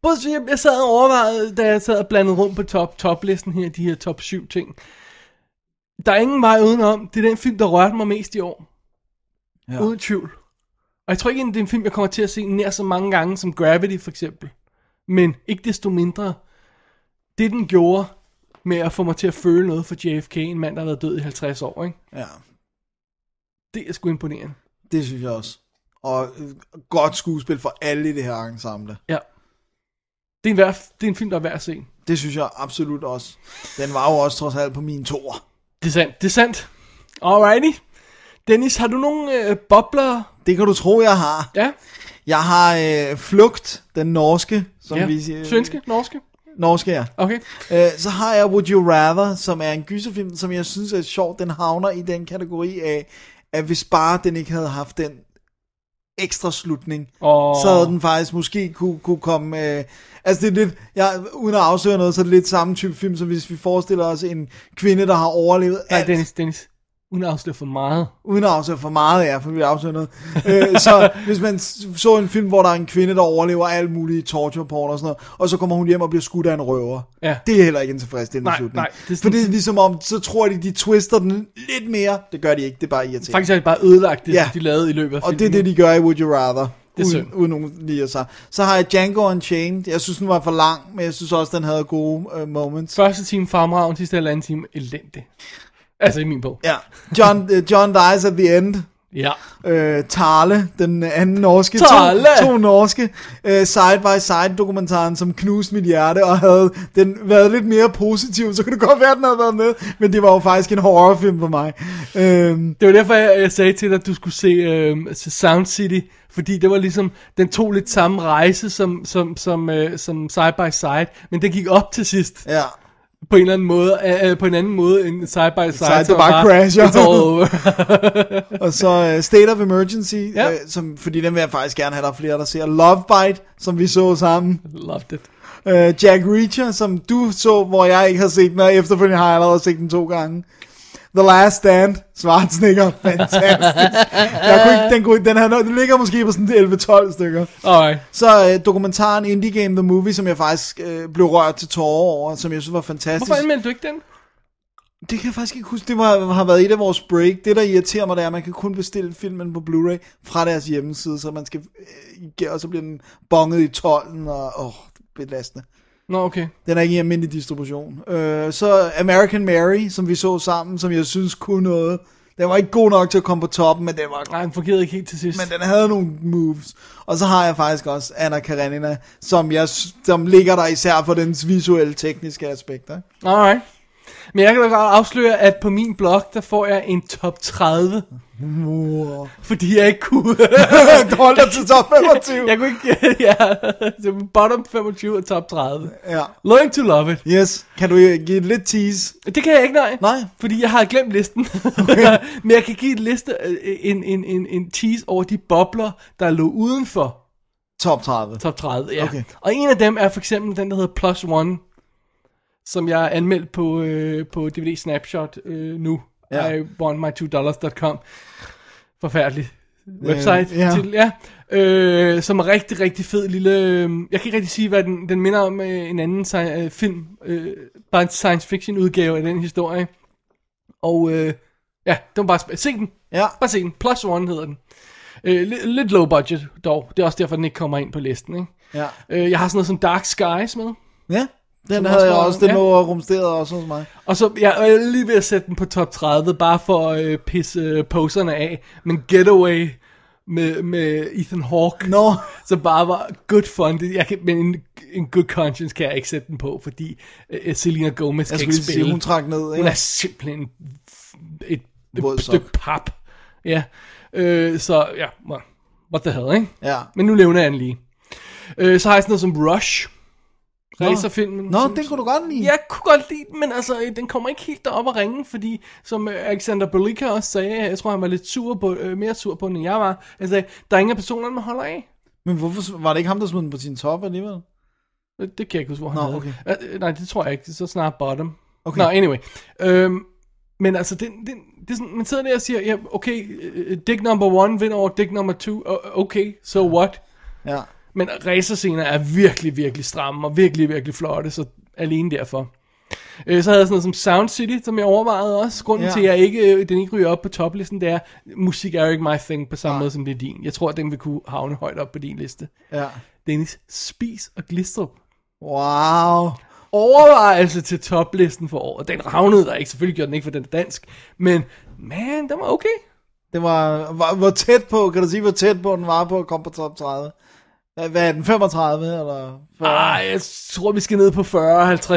Speaker 2: Prøv at se, jeg- jeg sad og overvejede, da jeg sad og blandede rundt på top, toplisten her, de her top 7 ting. Der er ingen vej udenom, det er den film, der rørte mig mest i år.
Speaker 3: Ja.
Speaker 2: Ja. Uden tvivl. Og jeg tror ikke, det er en film, jeg kommer til at se nær så mange gange som Gravity for eksempel. Men ikke desto mindre, det den gjorde med at få mig til at føle noget for JFK, en mand, der har været død i 50 år, ikke?
Speaker 3: Ja,
Speaker 2: det er sgu imponerende.
Speaker 3: det synes jeg også. Og øh, godt skuespil for alle i det her ensemble.
Speaker 2: Ja. Det er en, værd, det er en film, der er værd at se.
Speaker 3: Det synes jeg absolut også. Den var jo også trods alt på mine toer.
Speaker 2: Det er sandt, det er sandt. Alrighty. Dennis, har du nogle øh, bobler?
Speaker 3: Det kan du tro, jeg har.
Speaker 2: Ja,
Speaker 3: Jeg har øh, Flugt, den norske, som
Speaker 2: ja.
Speaker 3: vi siger.
Speaker 2: svenske, norske.
Speaker 3: Norske, ja.
Speaker 2: øh, Okay.
Speaker 3: Øh, så har jeg Would You Rather, som er en gyserfilm, som jeg synes er sjov. Den havner i den kategori af, at hvis bare den ikke havde haft den ekstra slutning.
Speaker 2: Åh.
Speaker 3: Så havde den faktisk måske kunne, kunne komme... Øh, altså det er lidt, ja, uden at afsløre noget, så er det lidt samme type film, som hvis vi forestiller os en kvinde, der har overlevet
Speaker 2: Nej, Dennis, Dennis. Uden at afsløre for meget.
Speaker 3: Uden at afsløre for meget, ja, for vi afslører noget. Øh, så hvis man s- så en film, hvor der er en kvinde, der overlever alt muligt torture porn og sådan noget, og så kommer hun hjem og bliver skudt af en røver.
Speaker 2: Ja.
Speaker 3: Det er heller ikke en tilfredsstillende
Speaker 2: Nej,
Speaker 3: slutning.
Speaker 2: nej, det er
Speaker 3: For det er ligesom om, så tror de, de twister den lidt mere. Det gør de ikke, det er bare irriterende.
Speaker 2: Faktisk har de bare ødelagt det,
Speaker 3: Ja.
Speaker 2: de lavede i løbet af
Speaker 3: Og det er
Speaker 2: filmen.
Speaker 3: det, de gør i Would You Rather.
Speaker 2: Det er
Speaker 3: uden,
Speaker 2: synd.
Speaker 3: uden nogen lige sig. Så har jeg Django Unchained. Jeg synes, den var for lang, men jeg synes også, den havde gode øh, moments.
Speaker 2: Første time fremragende, sidste halvanden time elendig. Altså i min bog.
Speaker 3: Ja. John, øh, John Dies at the End.
Speaker 2: Ja.
Speaker 3: Øh, Tarle, den anden norske.
Speaker 2: Tarle!
Speaker 3: To, to norske øh, side-by-side-dokumentaren, som knuste mit hjerte, og havde den været lidt mere positiv, så kunne det godt være, den havde været med. Men det var jo faktisk en horrorfilm for mig. Øhm,
Speaker 2: Det var derfor, jeg, jeg sagde til dig, at du skulle se øh, Sound City, fordi det var ligesom, den tog lidt samme rejse som, som, som, øh, som Side by Side, men den gik op til sidst.
Speaker 3: Ja.
Speaker 2: På en eller anden måde, øh, øh, på en anden måde end Side by Side.
Speaker 3: Side, der
Speaker 2: som
Speaker 3: bare crasher.
Speaker 2: It's all over.
Speaker 3: og så uh, State of Emergency, ja. øh, som, fordi den vil jeg faktisk gerne have, der er flere, der ser. Love Bite, som vi så sammen.
Speaker 2: Loved it.
Speaker 3: Uh, Jack Reacher, som du så, hvor jeg ikke har set den, og efterfølgende har jeg allerede set den to gange. The Last Stand, Schwarzenegger, fantastisk. jeg kunne ikke, den, kunne, ikke- den, her, den ligger måske på sådan 11-12 stykker.
Speaker 2: Alright.
Speaker 3: Så øh, dokumentaren Indie Game The Movie, som jeg faktisk øh, blev rørt til tårer over, som jeg synes var fantastisk.
Speaker 2: Hvorfor anmeldte du ikke den?
Speaker 3: Det kan jeg faktisk ikke huske. Det var, har været et af vores break. Det, der irriterer mig, det er, at man kan kun bestille filmen på Blu-ray fra deres hjemmeside, så man skal, øh, igen- og så bliver den bonget i tolden, og åh, det er belastende.
Speaker 2: Nå, okay.
Speaker 3: Den er ikke i almindelig distribution. Øh, så American Mary, som vi så sammen, som jeg synes kunne noget. Den var ikke god nok til at komme på toppen, men den var...
Speaker 2: Nej, den fungerede ikke helt til sidst.
Speaker 3: Men den havde nogle moves. Og så har jeg faktisk også Anna Karenina, som, jeg, s- som ligger der især for dens visuelle tekniske aspekter. ikke?
Speaker 2: Alright. Men jeg kan da godt afsløre, at på min blog, der får jeg en top 30.
Speaker 3: Wow.
Speaker 2: Fordi jeg ikke kunne...
Speaker 3: du holdt dig til top 25.
Speaker 2: jeg kunne ikke... Ja, det var bottom 25 og top 30.
Speaker 3: Ja.
Speaker 2: Learn to love it.
Speaker 3: Yes. Kan du øh, give lidt tease?
Speaker 2: Det kan jeg ikke, nej.
Speaker 3: Nej.
Speaker 2: Fordi jeg har glemt listen. Okay. Men jeg kan give en liste, øh, en, en, en, en tease over de bobler, der lå udenfor
Speaker 3: Top 30.
Speaker 2: top 30. Ja.
Speaker 3: Okay.
Speaker 2: Og en af dem er for eksempel den, der hedder Plus One, som jeg har anmeldt på, øh, på DVD Snapshot øh, nu.
Speaker 3: Ja.
Speaker 2: Ja. I want my dollars.com. Forfærdelig website.
Speaker 3: Øh, ja.
Speaker 2: Til, ja. Øh, som er rigtig, rigtig fed lille... Øh, jeg kan ikke rigtig sige, hvad den, den minder om øh, en anden sci- øh, film. Øh, bare en science fiction udgave af den historie. Og øh, ja, den var bare... sp- Se den.
Speaker 3: Ja.
Speaker 2: Bare se den. Ah. Plus One hedder den. Øh, lidt, lidt low budget dog. Det er også derfor, den ikke kommer ind på listen. Ikke?
Speaker 3: Ja.
Speaker 2: Øh, jeg har sådan noget som Dark Skies med.
Speaker 3: Ja, den
Speaker 2: Som
Speaker 3: havde
Speaker 2: også
Speaker 3: jeg
Speaker 2: var-
Speaker 3: også. Den
Speaker 2: ja.
Speaker 3: lå og rumsterede også hos mig.
Speaker 2: Og så jeg er lige ved at sætte den på top 30, bare for at øh, pisse øh, poserne af. Men Getaway med, med Ethan Hawke,
Speaker 3: Nå.
Speaker 2: så bare var good fun. Det- Jeg kan, men en, en good conscience kan jeg ikke sætte den på, fordi øh, Selena Gomez
Speaker 3: Jeg
Speaker 2: kan
Speaker 3: skulle
Speaker 2: ikke
Speaker 3: lige
Speaker 2: spille.
Speaker 3: sige, hun trak ned.
Speaker 2: Hun
Speaker 3: Ikke?
Speaker 2: er simpelthen et,
Speaker 3: Våd
Speaker 2: et
Speaker 3: sok.
Speaker 2: stykke pap. Ja, øh, så ja, well, what the hell, ikke?
Speaker 3: Ja.
Speaker 2: Men nu nævner jeg den lige. Øh, så har jeg sådan noget som Rush.
Speaker 3: Nå.
Speaker 2: Racerfilmen.
Speaker 3: Nå,
Speaker 2: som-
Speaker 3: den kunne du godt lide.
Speaker 2: Jeg kunne godt lide den, men altså, øh, den kommer ikke helt derop at ringe, fordi som øh, Alexander Belika også sagde, øh, jeg tror, han var lidt sur på, øh, mere sur på den, end jeg var. Han sagde, der er ingen af personerne, man holder af.
Speaker 3: Men hvorfor var det ikke ham, der smed den på sin top alligevel?
Speaker 2: Øh, Det kan jeg ikke huske, hvor han
Speaker 3: Nå,
Speaker 2: havde.
Speaker 3: okay.
Speaker 2: Øh, øh, nej, det tror jeg ikke. Det er så snart bottom.
Speaker 3: Okay.
Speaker 2: Nå, anyway. Øhm, men altså, det, det, det er sådan, man sidder der og siger, ja, okay, øh, dick number one vinder over dick number two. O- Okay, so what?
Speaker 3: Ja.
Speaker 2: Men racerscener er virkelig, virkelig stramme og virkelig, virkelig flotte, så alene derfor. Øh, så havde jeg sådan noget som Sound City, som jeg overvejede også. Grunden
Speaker 3: Ja.
Speaker 2: ja. til, at jeg ikke, øh, den ikke ryger op på toplisten, det er, musik er jo ikke my thing på samme måde, som det er din. Jeg tror, at den vil kunne havne højt op på din liste.
Speaker 3: Ja.
Speaker 2: Dennis, spis og glistrup.
Speaker 3: Wow.
Speaker 2: Overvejelse til toplisten for året. Den ravnede der ikke, selvfølgelig gjorde den ikke, for den er dansk. Men man, den var okay.
Speaker 3: Det var, var, hvor tæt på, kan du sige, hvor tæt på den var på at komme på top 30? Hvad hvad er den, 35 eller 40?
Speaker 2: Ej, jeg tror, vi skal ned på 40-50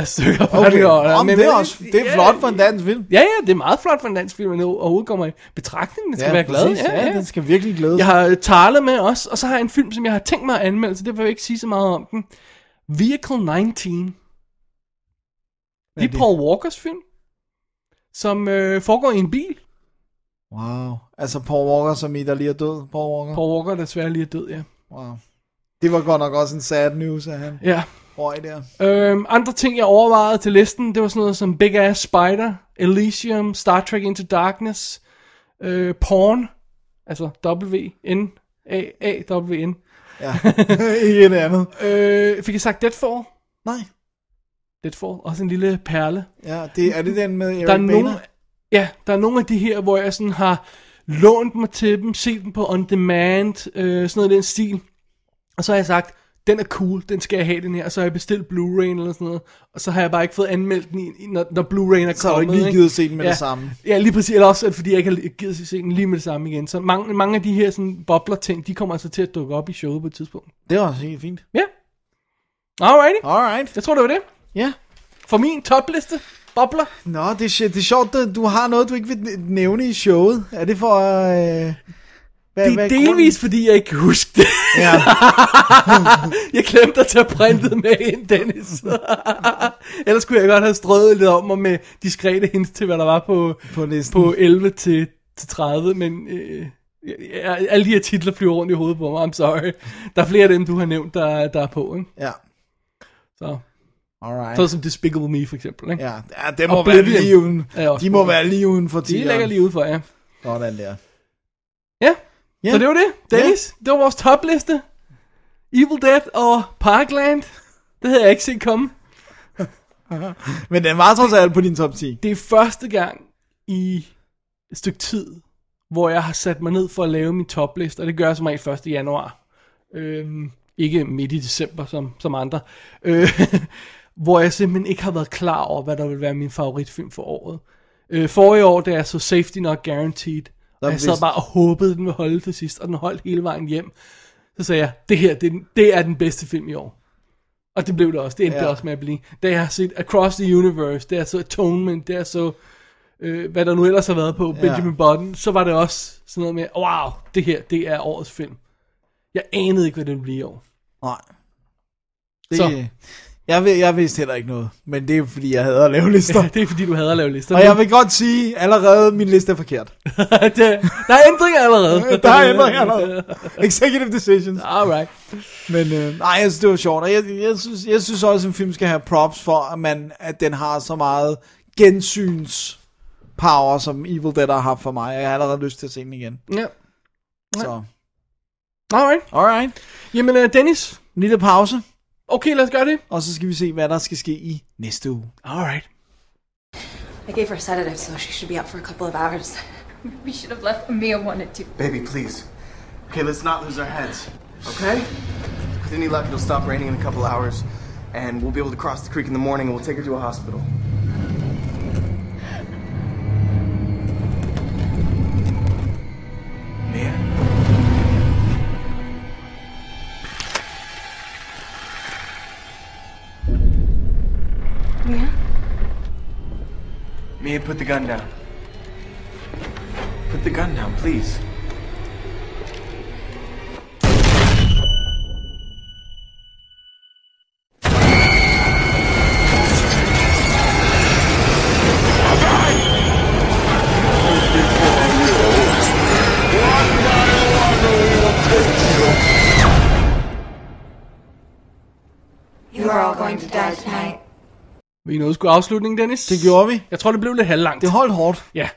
Speaker 2: stykker.
Speaker 3: Okay. Nå, men det er også- det er flot for en dansk film.
Speaker 2: Ja, ja, det er meget flot for en dansk film, at den overhovedet kommer i betragtning. Den skal
Speaker 3: Ja,
Speaker 2: være glad.
Speaker 3: præcis. Ja, den skal virkelig glæde
Speaker 2: Jeg
Speaker 3: sig.
Speaker 2: har øh, Tarle med også, og så har jeg en film, som jeg har tænkt mig at anmelde, så det vil jeg ikke sige så meget om den. Vehicle 19. Det er Paul Walkers film, som øh, foregår i en bil.
Speaker 3: Wow. Altså Paul Walker, som i der lige er død. Paul Walker.
Speaker 2: Paul Walker, desværre lige er død, ja.
Speaker 3: Wow. Det var godt nok også en sad news af han.
Speaker 2: Ja.
Speaker 3: Røg der.
Speaker 2: Øhm, andre ting, jeg overvejede til listen, det var sådan noget som Big Ass Spider, Elysium, Star Trek Into Darkness, øh, Porn, altså W-N-A-A-W-N.
Speaker 3: Ja, ikke et andet.
Speaker 2: Øh, fik jeg sagt Deadfall?
Speaker 3: Nej.
Speaker 2: Deadfall, også en lille perle.
Speaker 3: Ja, det, er det den med Eric
Speaker 2: der er
Speaker 3: Bana?
Speaker 2: nogle, ja, der er nogle af de her, hvor jeg sådan har lånt mig til dem, set dem på on demand, øh, sådan noget i den stil. Og så har jeg sagt, den er cool, den skal jeg have den her, og så har jeg bestilt Blu-ray eller sådan noget, og så har jeg bare ikke fået anmeldt den, i- i- når, når Blu-rayen er kommet.
Speaker 3: Så har du ikke lige givet at se den med
Speaker 2: ja,
Speaker 3: det samme.
Speaker 2: Ja, lige præcis, eller også, at fordi jeg ikke har givet at se den lige med det samme igen. Så mange, mange af de her sådan, bobler ting, de kommer altså til at dukke op i showet på et tidspunkt.
Speaker 3: Det var også helt fint.
Speaker 2: Ja. Alrighty.
Speaker 3: Alright.
Speaker 2: Jeg tror, det var det.
Speaker 3: Ja.
Speaker 2: For min topliste, bobler.
Speaker 3: Nå, det er, sj- det er sjovt, at du har noget, du ikke vil n- nævne i showet. Er det for... Øh, hvad,
Speaker 2: Det er delvis, fordi jeg ikke kan huske det.
Speaker 3: Ja.
Speaker 2: jeg glemte at tage printet med ind, Dennis. Ellers kunne jeg godt have strøget lidt om mig med diskrete hints til, hvad der var på,
Speaker 3: på, listen.
Speaker 2: på 11 til, til 30, men øh, jeg, jeg, alle de her titler flyver rundt i hovedet på mig, I'm sorry. Der er flere af dem, du har nævnt, der, der er på, ikke?
Speaker 3: Ja.
Speaker 2: Så.
Speaker 3: Alright.
Speaker 2: Sådan som Despicable Me, for eksempel, ikke?
Speaker 3: Ja, ja det må Oblivion. være lige uden.
Speaker 2: er også
Speaker 3: De må
Speaker 2: på.
Speaker 3: være lige uden for
Speaker 2: De
Speaker 3: tieren.
Speaker 2: lægger lige ud for, ja.
Speaker 3: Sådan der.
Speaker 2: Ja,
Speaker 3: Ja.
Speaker 2: så det var det. Dennis, det var vores topliste. Evil Dead og Parkland. Det havde jeg ikke set komme.
Speaker 3: Men den var trods alt på din top 10.
Speaker 2: Det er første gang i et stykke tid, hvor jeg har sat mig ned for at lave min topliste, og det gør jeg som regel 1. januar. Øhm, ikke midt i december, som, som andre. Øh, hvor jeg simpelthen ikke har været klar over, hvad der vil være min favoritfilm for året. Øh, forrige år, da jeg så Safety Not Guaranteed,
Speaker 3: Der
Speaker 2: og jeg sad
Speaker 3: vidste-
Speaker 2: bare og håbede, at den ville holde til sidst, og den holdt hele vejen hjem. Så sagde jeg, det her, det, er den- det er den bedste film i år. Og det blev det også. Det endte
Speaker 3: Ja.
Speaker 2: ja. også med at blive. Da jeg har set Across the Universe, da jeg så Atonement, da jeg så, øh, hvad der nu ellers har været på,
Speaker 3: Ja.
Speaker 2: Benjamin Button, så var det også sådan noget med, wow, det her, det er årets film. Jeg anede ikke, hvad den bliver i år.
Speaker 3: Nej. Det,
Speaker 2: Så.
Speaker 3: Jeg, ved, jeg vidste heller ikke noget, men det er fordi, jeg havde at lave lister.
Speaker 2: Ja, det er fordi, du havde at lave lister.
Speaker 3: Og jeg vil godt sige allerede, at min liste er forkert.
Speaker 2: det, der er ændringer allerede.
Speaker 3: Der er ændringer allerede. Executive decisions.
Speaker 2: Alright.
Speaker 3: Men øh, nej, jeg synes, det var sjovt. Og jeg, jeg, synes, jeg synes også, at en film skal have props for, at, man, at den har så meget gensyns power, som Evil Dead har haft for mig. Jeg har allerede lyst til at se den igen.
Speaker 2: Ja.
Speaker 3: Så,
Speaker 2: Alright.
Speaker 3: alright.
Speaker 2: Jamen, øh, Dennis,
Speaker 3: En lille pause,
Speaker 2: okay, lad os gøre det.
Speaker 3: og så skal vi se, hvad der skal ske i næste uge.
Speaker 2: Alright.
Speaker 14: I gave her a sedative, so she should be out for a couple of hours.
Speaker 15: We should have left Amir wanted to.
Speaker 16: Baby, please. Okay, let's not lose our heads. Okay? With any luck, it'll stop raining in a couple hours, and we'll be able to cross the creek in the morning and we'll take her to a hospital.
Speaker 14: Yeah?
Speaker 16: Mia, put the gun down. Put the gun down, please.
Speaker 9: You are all going to die tonight.
Speaker 2: Vi nåede sgu afslutningen, Dennis. Det
Speaker 3: gjorde vi.
Speaker 2: Jeg tror, det blev lidt halvlangt.
Speaker 3: Det holdt hårdt.
Speaker 2: Ja,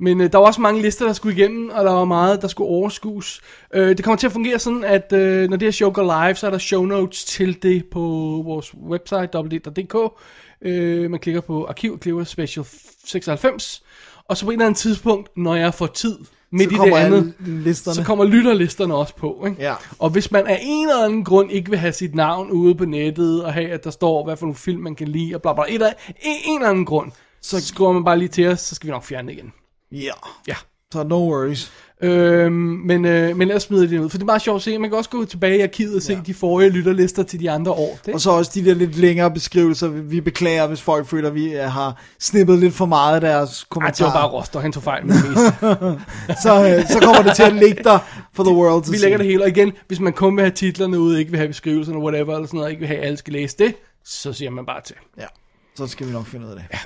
Speaker 2: men øh, der var også mange lister, der skulle igennem, og der var meget, der skulle overskues. Øh, det kommer til at fungere sådan, at øh, når det her show går live, så er der show notes til det på vores website, www.dk. Øh, man klikker på arkiv, klikker special 96, og så på et eller andet tidspunkt, når jeg får tid midt i det
Speaker 3: kommer
Speaker 2: andet,
Speaker 3: alle listerne.
Speaker 2: så kommer lytterlisterne også på. Ikke?
Speaker 3: Ja.
Speaker 2: Og hvis man af en eller anden grund ikke vil have sit navn ude på nettet, og have, at der står, hvad for nogle film man kan lide, og bla bla, et eller, en, en eller anden grund, så skriver man bare lige til os, så skal vi nok fjerne det igen.
Speaker 3: Ja.
Speaker 2: Ja.
Speaker 3: Så no worries.
Speaker 2: Øhm, men, øh, men ellers smider de det ud, for det er meget sjovt at se. Man kan også gå tilbage i arkivet og se ja. de forrige lytterlister til de andre år. Det,
Speaker 3: Og så også de der lidt længere beskrivelser. Vi- Vi beklager, hvis folk føler, at vi øh, har snippet lidt for meget af deres
Speaker 2: Ej, det
Speaker 3: kommentarer.
Speaker 2: var bare Roster, han tog fejl med det meste.
Speaker 3: så, øh, så kommer det til at ligge der for the world to
Speaker 2: Vi
Speaker 3: see.
Speaker 2: lægger det hele, og igen, hvis man kun vil have titlerne ude, ikke vil have beskrivelserne, whatever, eller sådan noget, ikke vil have, at alle skal læse det, så siger man bare til.
Speaker 3: Ja, så skal vi nok finde ud af det. Ja.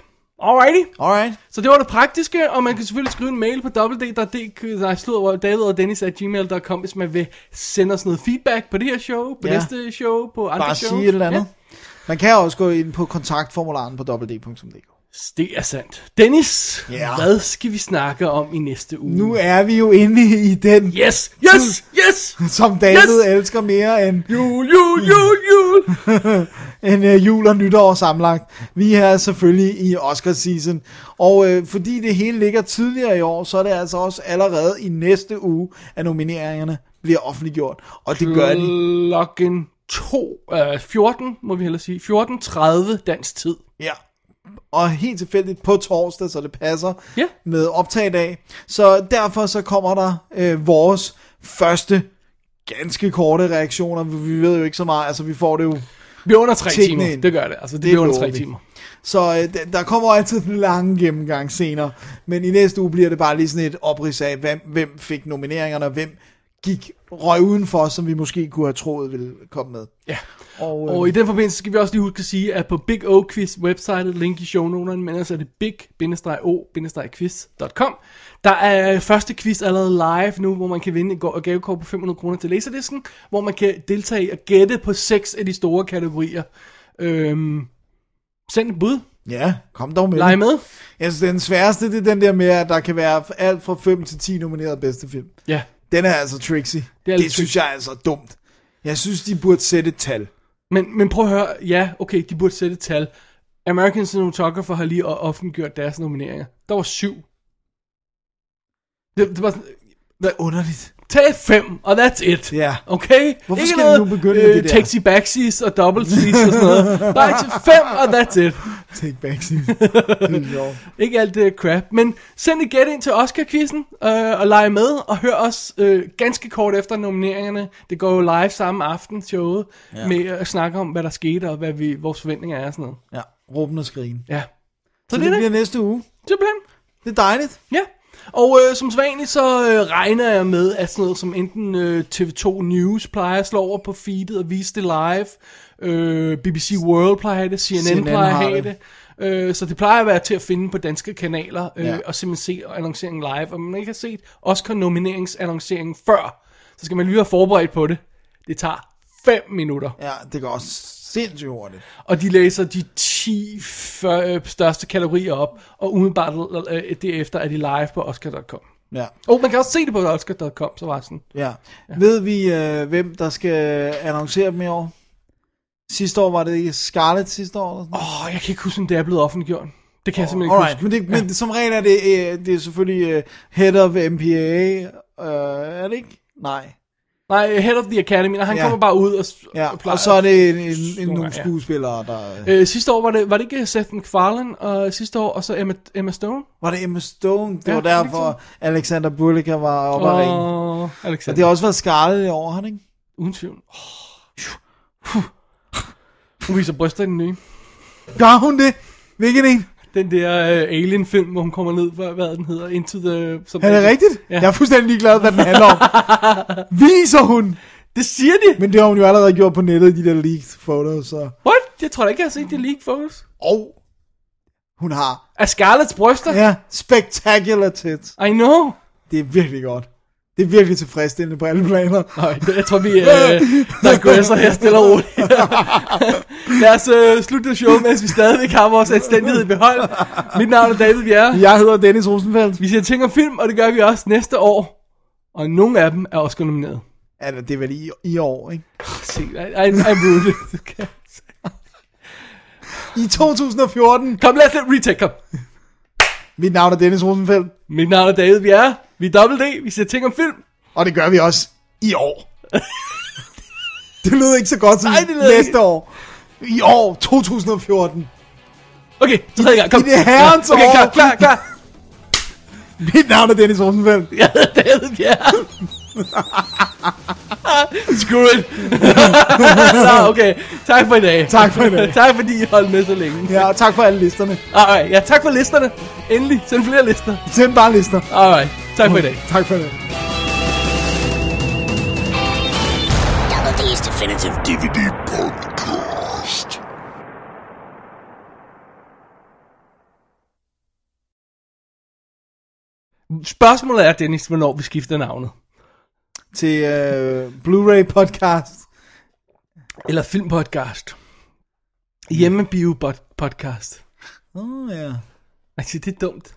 Speaker 2: Alrighty.
Speaker 3: Alright.
Speaker 2: Så det var det praktiske, og man kan selvfølgelig skrive en mail på www.dk, nej, slud over, David og Dennis at gmail.com, hvis man vil sende os noget feedback på det her show, på
Speaker 3: Ja.
Speaker 2: næste show, på andre
Speaker 3: Bare
Speaker 2: shows.
Speaker 3: sige et eller andet.
Speaker 2: Ja.
Speaker 3: Ja. Man kan også gå ind på kontaktformularen på www.dk.
Speaker 2: Det er sandt. Dennis,
Speaker 3: Ja.
Speaker 2: hvad skal vi snakke om i næste uge?
Speaker 3: Nu er vi jo inde i den,
Speaker 2: Yes, yes, yes!
Speaker 3: som David yes. elsker mere end
Speaker 2: jul, jul, jul, jul,
Speaker 3: end øh, jul og nytår sammenlagt. Vi er selvfølgelig i Oscar-season, og øh, fordi det hele ligger tidligere i år, så er det altså også allerede i næste uge, at nomineringerne bliver offentliggjort, og det gør de.
Speaker 2: Klokken 2, øh, 14, må vi hellere sige, 14.30 dansk tid.
Speaker 3: Ja. Og helt tilfældigt på torsdag, så det passer
Speaker 2: Ja.
Speaker 3: med optag i dag. Så derfor så kommer der øh, vores første ganske korte reaktioner. Vi ved jo ikke så meget, altså vi får det jo
Speaker 2: Vi er under 3
Speaker 3: Tjek
Speaker 2: timer,
Speaker 3: den ind.
Speaker 2: det gør det, altså det,
Speaker 3: Det
Speaker 2: bliver under
Speaker 3: lover
Speaker 2: 3
Speaker 3: vi.
Speaker 2: timer.
Speaker 3: Så øh, d- der kommer altid en lang gennemgang senere, men i næste uge bliver det bare lige sådan et oprids af, hvem, hvem fik nomineringerne, og hvem gik røg udenfor, som vi måske kunne have troet ville komme med.
Speaker 2: Ja.
Speaker 3: Og, øh,
Speaker 2: Og i den forbindelse skal vi også lige huske at sige, at på Big O Quiz websitet, link i shownoterne, men altså er det big-o-quiz.com. Der er første quiz allerede live nu, hvor man kan vinde et go- gavekort på 500 kroner til Laserdisken, hvor man kan deltage i at gætte på seks af de store kategorier. Øhm, send et bud.
Speaker 3: øh, ja, kom dog med.
Speaker 2: Leg
Speaker 3: det.
Speaker 2: med.
Speaker 3: Jeg synes, den sværeste, det er den der med, at der kan være alt fra 5 til 10 nominerede bedste film.
Speaker 2: Ja.
Speaker 3: Den er altså tricksy. Det,
Speaker 2: er
Speaker 3: er
Speaker 2: lidt
Speaker 3: det synes jeg er altså dumt. Jeg synes, de burde sætte et tal.
Speaker 2: Men, men prøv at høre, ja, okay, de burde sætte et tal. American Cinematographer har lige o- offentliggjort deres nomineringer. Der var syv. Det, det var sådan,
Speaker 3: Det er underligt.
Speaker 2: Tag fem, og that's it.
Speaker 3: Ja.
Speaker 2: Okay? øh,
Speaker 3: Hvorfor skal vi nu begynde med det der?
Speaker 2: Taxi backsies og double seas og sådan noget. Bare til fem, og that's it.
Speaker 3: Take back scene.
Speaker 2: Ikke alt det der crap. Men send et gæt ind til Oscar-quizzen øh, og lege med, og hør os øh, ganske kort efter nomineringerne. Det går jo live samme aften, showet, ja. med at snakke om, hvad der skete, og hvad vi, vores forventninger er og sådan noget.
Speaker 3: ja, råben og skrigen.
Speaker 2: Ja.
Speaker 3: Så, så det, det bliver næste uge.
Speaker 2: Simpelthen.
Speaker 3: Det er dejligt.
Speaker 2: Ja. Og øh, som sædvanligt, så øh, regner jeg med, at sådan noget som enten øh, TV2 News plejer at slå over på feedet og vise det live, øh, BBC World plejer at have det, CNN, CNN
Speaker 3: CNN
Speaker 2: plejer at
Speaker 3: har
Speaker 2: have det.
Speaker 3: det.
Speaker 2: Øh, så det plejer at være til at finde på danske kanaler øh, ja.
Speaker 3: Ja.
Speaker 2: og simpelthen se annonceringen live. Og man ikke har set Oscar-nomineringsannonceringen før, så skal man lige være forberedt på det. Det tager 5 minutter.
Speaker 3: Ja, det går sindssygt hurtigt.
Speaker 2: Og de læser de 10 fyr- øh, største kategorier op, og umiddelbart øh, derefter er de live på Oscar.com.
Speaker 3: Ja.
Speaker 2: Og oh, man kan også se det på Oscar.com, så var det sådan.
Speaker 3: Ja. Ved vi, øh, hvem der skal annoncere dem i år? Sidste år var det ikke Scarlett sidste år? Eller sådan?
Speaker 2: Åh, oh, jeg kan ikke huske, om det er blevet offentliggjort. Det kan oh, jeg simpelthen ikke
Speaker 3: Alright,
Speaker 2: huske.
Speaker 3: men, det, men som regel er det, øh, det er selvfølgelig øh, head of MPA, øh, er det ikke? Nej.
Speaker 2: Nej, Head of the Academy, nej, han ja.
Speaker 3: Ja.
Speaker 2: kommer bare ud og, s-
Speaker 3: Ja,
Speaker 2: plejer-
Speaker 3: og så er det en, en, en
Speaker 2: Nogle
Speaker 3: nogle
Speaker 2: gange, ja.
Speaker 3: skuespillere, der... Øh,
Speaker 2: Øh, sidste år var det, var det ikke Seth MacFarlane og sidste år, og så Emma, Emma Stone?
Speaker 3: var det Emma Stone? Det
Speaker 2: Ja,
Speaker 3: var
Speaker 2: det er
Speaker 3: derfor, Alexander Bullock var oppe og ringe.
Speaker 2: og
Speaker 3: Og
Speaker 2: Alexander.
Speaker 3: det har også været Scarlett i år, har det ikke?
Speaker 2: Uden tvivl. Oh. Hun viser bryster i den nye.
Speaker 3: Gør hun det? Hvilken en?
Speaker 2: Den der øh, Alien-film, hvor hun kommer ned, hvad, hvad den hedder, Into the... Som
Speaker 3: Er det rigtigt?
Speaker 2: Ja.
Speaker 3: Jeg er fuldstændig ligeglad, hvad den handler om. Viser hun?
Speaker 2: Det siger de!
Speaker 3: Men det har hun jo allerede gjort på nettet, de der leaked photos. Så.
Speaker 2: What? Jeg tror da ikke, jeg har set det leak, folks.
Speaker 3: Og hun har,
Speaker 2: Er Scarlets bryster?
Speaker 3: ja, spectacular tits.
Speaker 2: I know.
Speaker 3: Det er virkelig godt. Det er virkelig tilfredsstillende på alle planer.
Speaker 2: Nej, det- jeg tror, vi øh, digresser her stille og roligt. Lad os øh, slutte det show, mens vi stadigvæk har vores anstændighed i behold. Mit navn er David Bjerre.
Speaker 3: Jeg hedder Dennis Rosenfeldt.
Speaker 2: Vi ser ting om film, og det gør vi også næste år. Og nogle af dem er også nomineret.
Speaker 3: Altså, det er vel i, i år, ikke?
Speaker 2: Se, I, I, I ruined it. Okay.
Speaker 3: I 2014.
Speaker 2: Kom, lad os lidt retake, kom.
Speaker 3: Mit navn er Dennis Rosenfeldt.
Speaker 2: Mit navn er David Bjerre. Vi er dobbelt D. Vi ser ting om film.
Speaker 3: Og det gør vi også i år. det lød ikke så godt som
Speaker 2: Nej, det lød
Speaker 3: næste
Speaker 2: ikke.
Speaker 3: år. I år, 2014.
Speaker 2: Okay, tredje gang, kom.
Speaker 3: I det herrens
Speaker 2: okay,
Speaker 3: år.
Speaker 2: klar, klar, klar.
Speaker 3: Mit navn er Dennis Rosenfeldt.
Speaker 2: Jeg hedder David Bjerre. Screw it. Nå, okay. Tak for i dag.
Speaker 3: Tak for i dag.
Speaker 2: tak fordi I holdt med så længe.
Speaker 3: Ja, og tak for alle listerne.
Speaker 2: Alright, ja, tak for listerne. Endelig, send flere lister.
Speaker 3: Send bare lister.
Speaker 2: Alright, tak for i dag.
Speaker 3: Tak for det.
Speaker 17: Double D's Definitive DVD Podcast.
Speaker 2: Spørgsmålet er, Dennis, hvornår vi skifter navnet.
Speaker 3: Til øh, Blu-ray podcast.
Speaker 2: Eller filmpodcast. Hjemmebio podcast.
Speaker 3: Åh, oh, ja.
Speaker 2: Altså, det er dumt.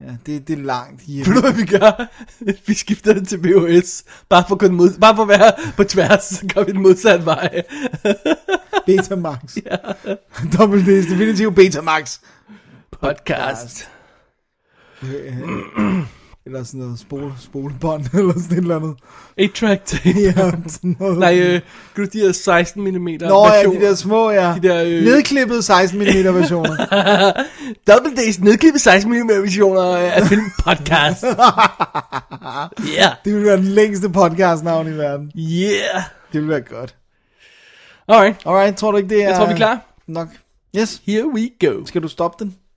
Speaker 3: Ja, det, det er langt hjemme.
Speaker 2: Ved du, hvad vi gør? Vi skifter det til VHS. Bare for, at kunne mod, bare for at være på tværs, så går vi den modsatte vej.
Speaker 3: Betamax. ja. Double D's Definitive Betamax.
Speaker 2: Podcast.
Speaker 3: Øh, eller sådan noget spole, spolebånd, eller sådan et eller andet.
Speaker 2: 8-track tape.
Speaker 3: Ja, sådan noget.
Speaker 2: Nej, øh, kan du de der 16 mm
Speaker 3: Nå ja, de der små, ja.
Speaker 2: De der, øh,
Speaker 3: Nedklippede 16 mm versioner.
Speaker 2: Double Days nedklippet 16 mm versioner af film podcast. yeah.
Speaker 3: Det ville være den længste podcastnavn i verden.
Speaker 2: Yeah.
Speaker 3: Det ville være godt.
Speaker 2: Alright.
Speaker 3: Alright, tror du ikke det er...
Speaker 2: Jeg tror, vi er klar.
Speaker 3: Nok. Yes.
Speaker 2: Here we go.
Speaker 3: Skal du stoppe den?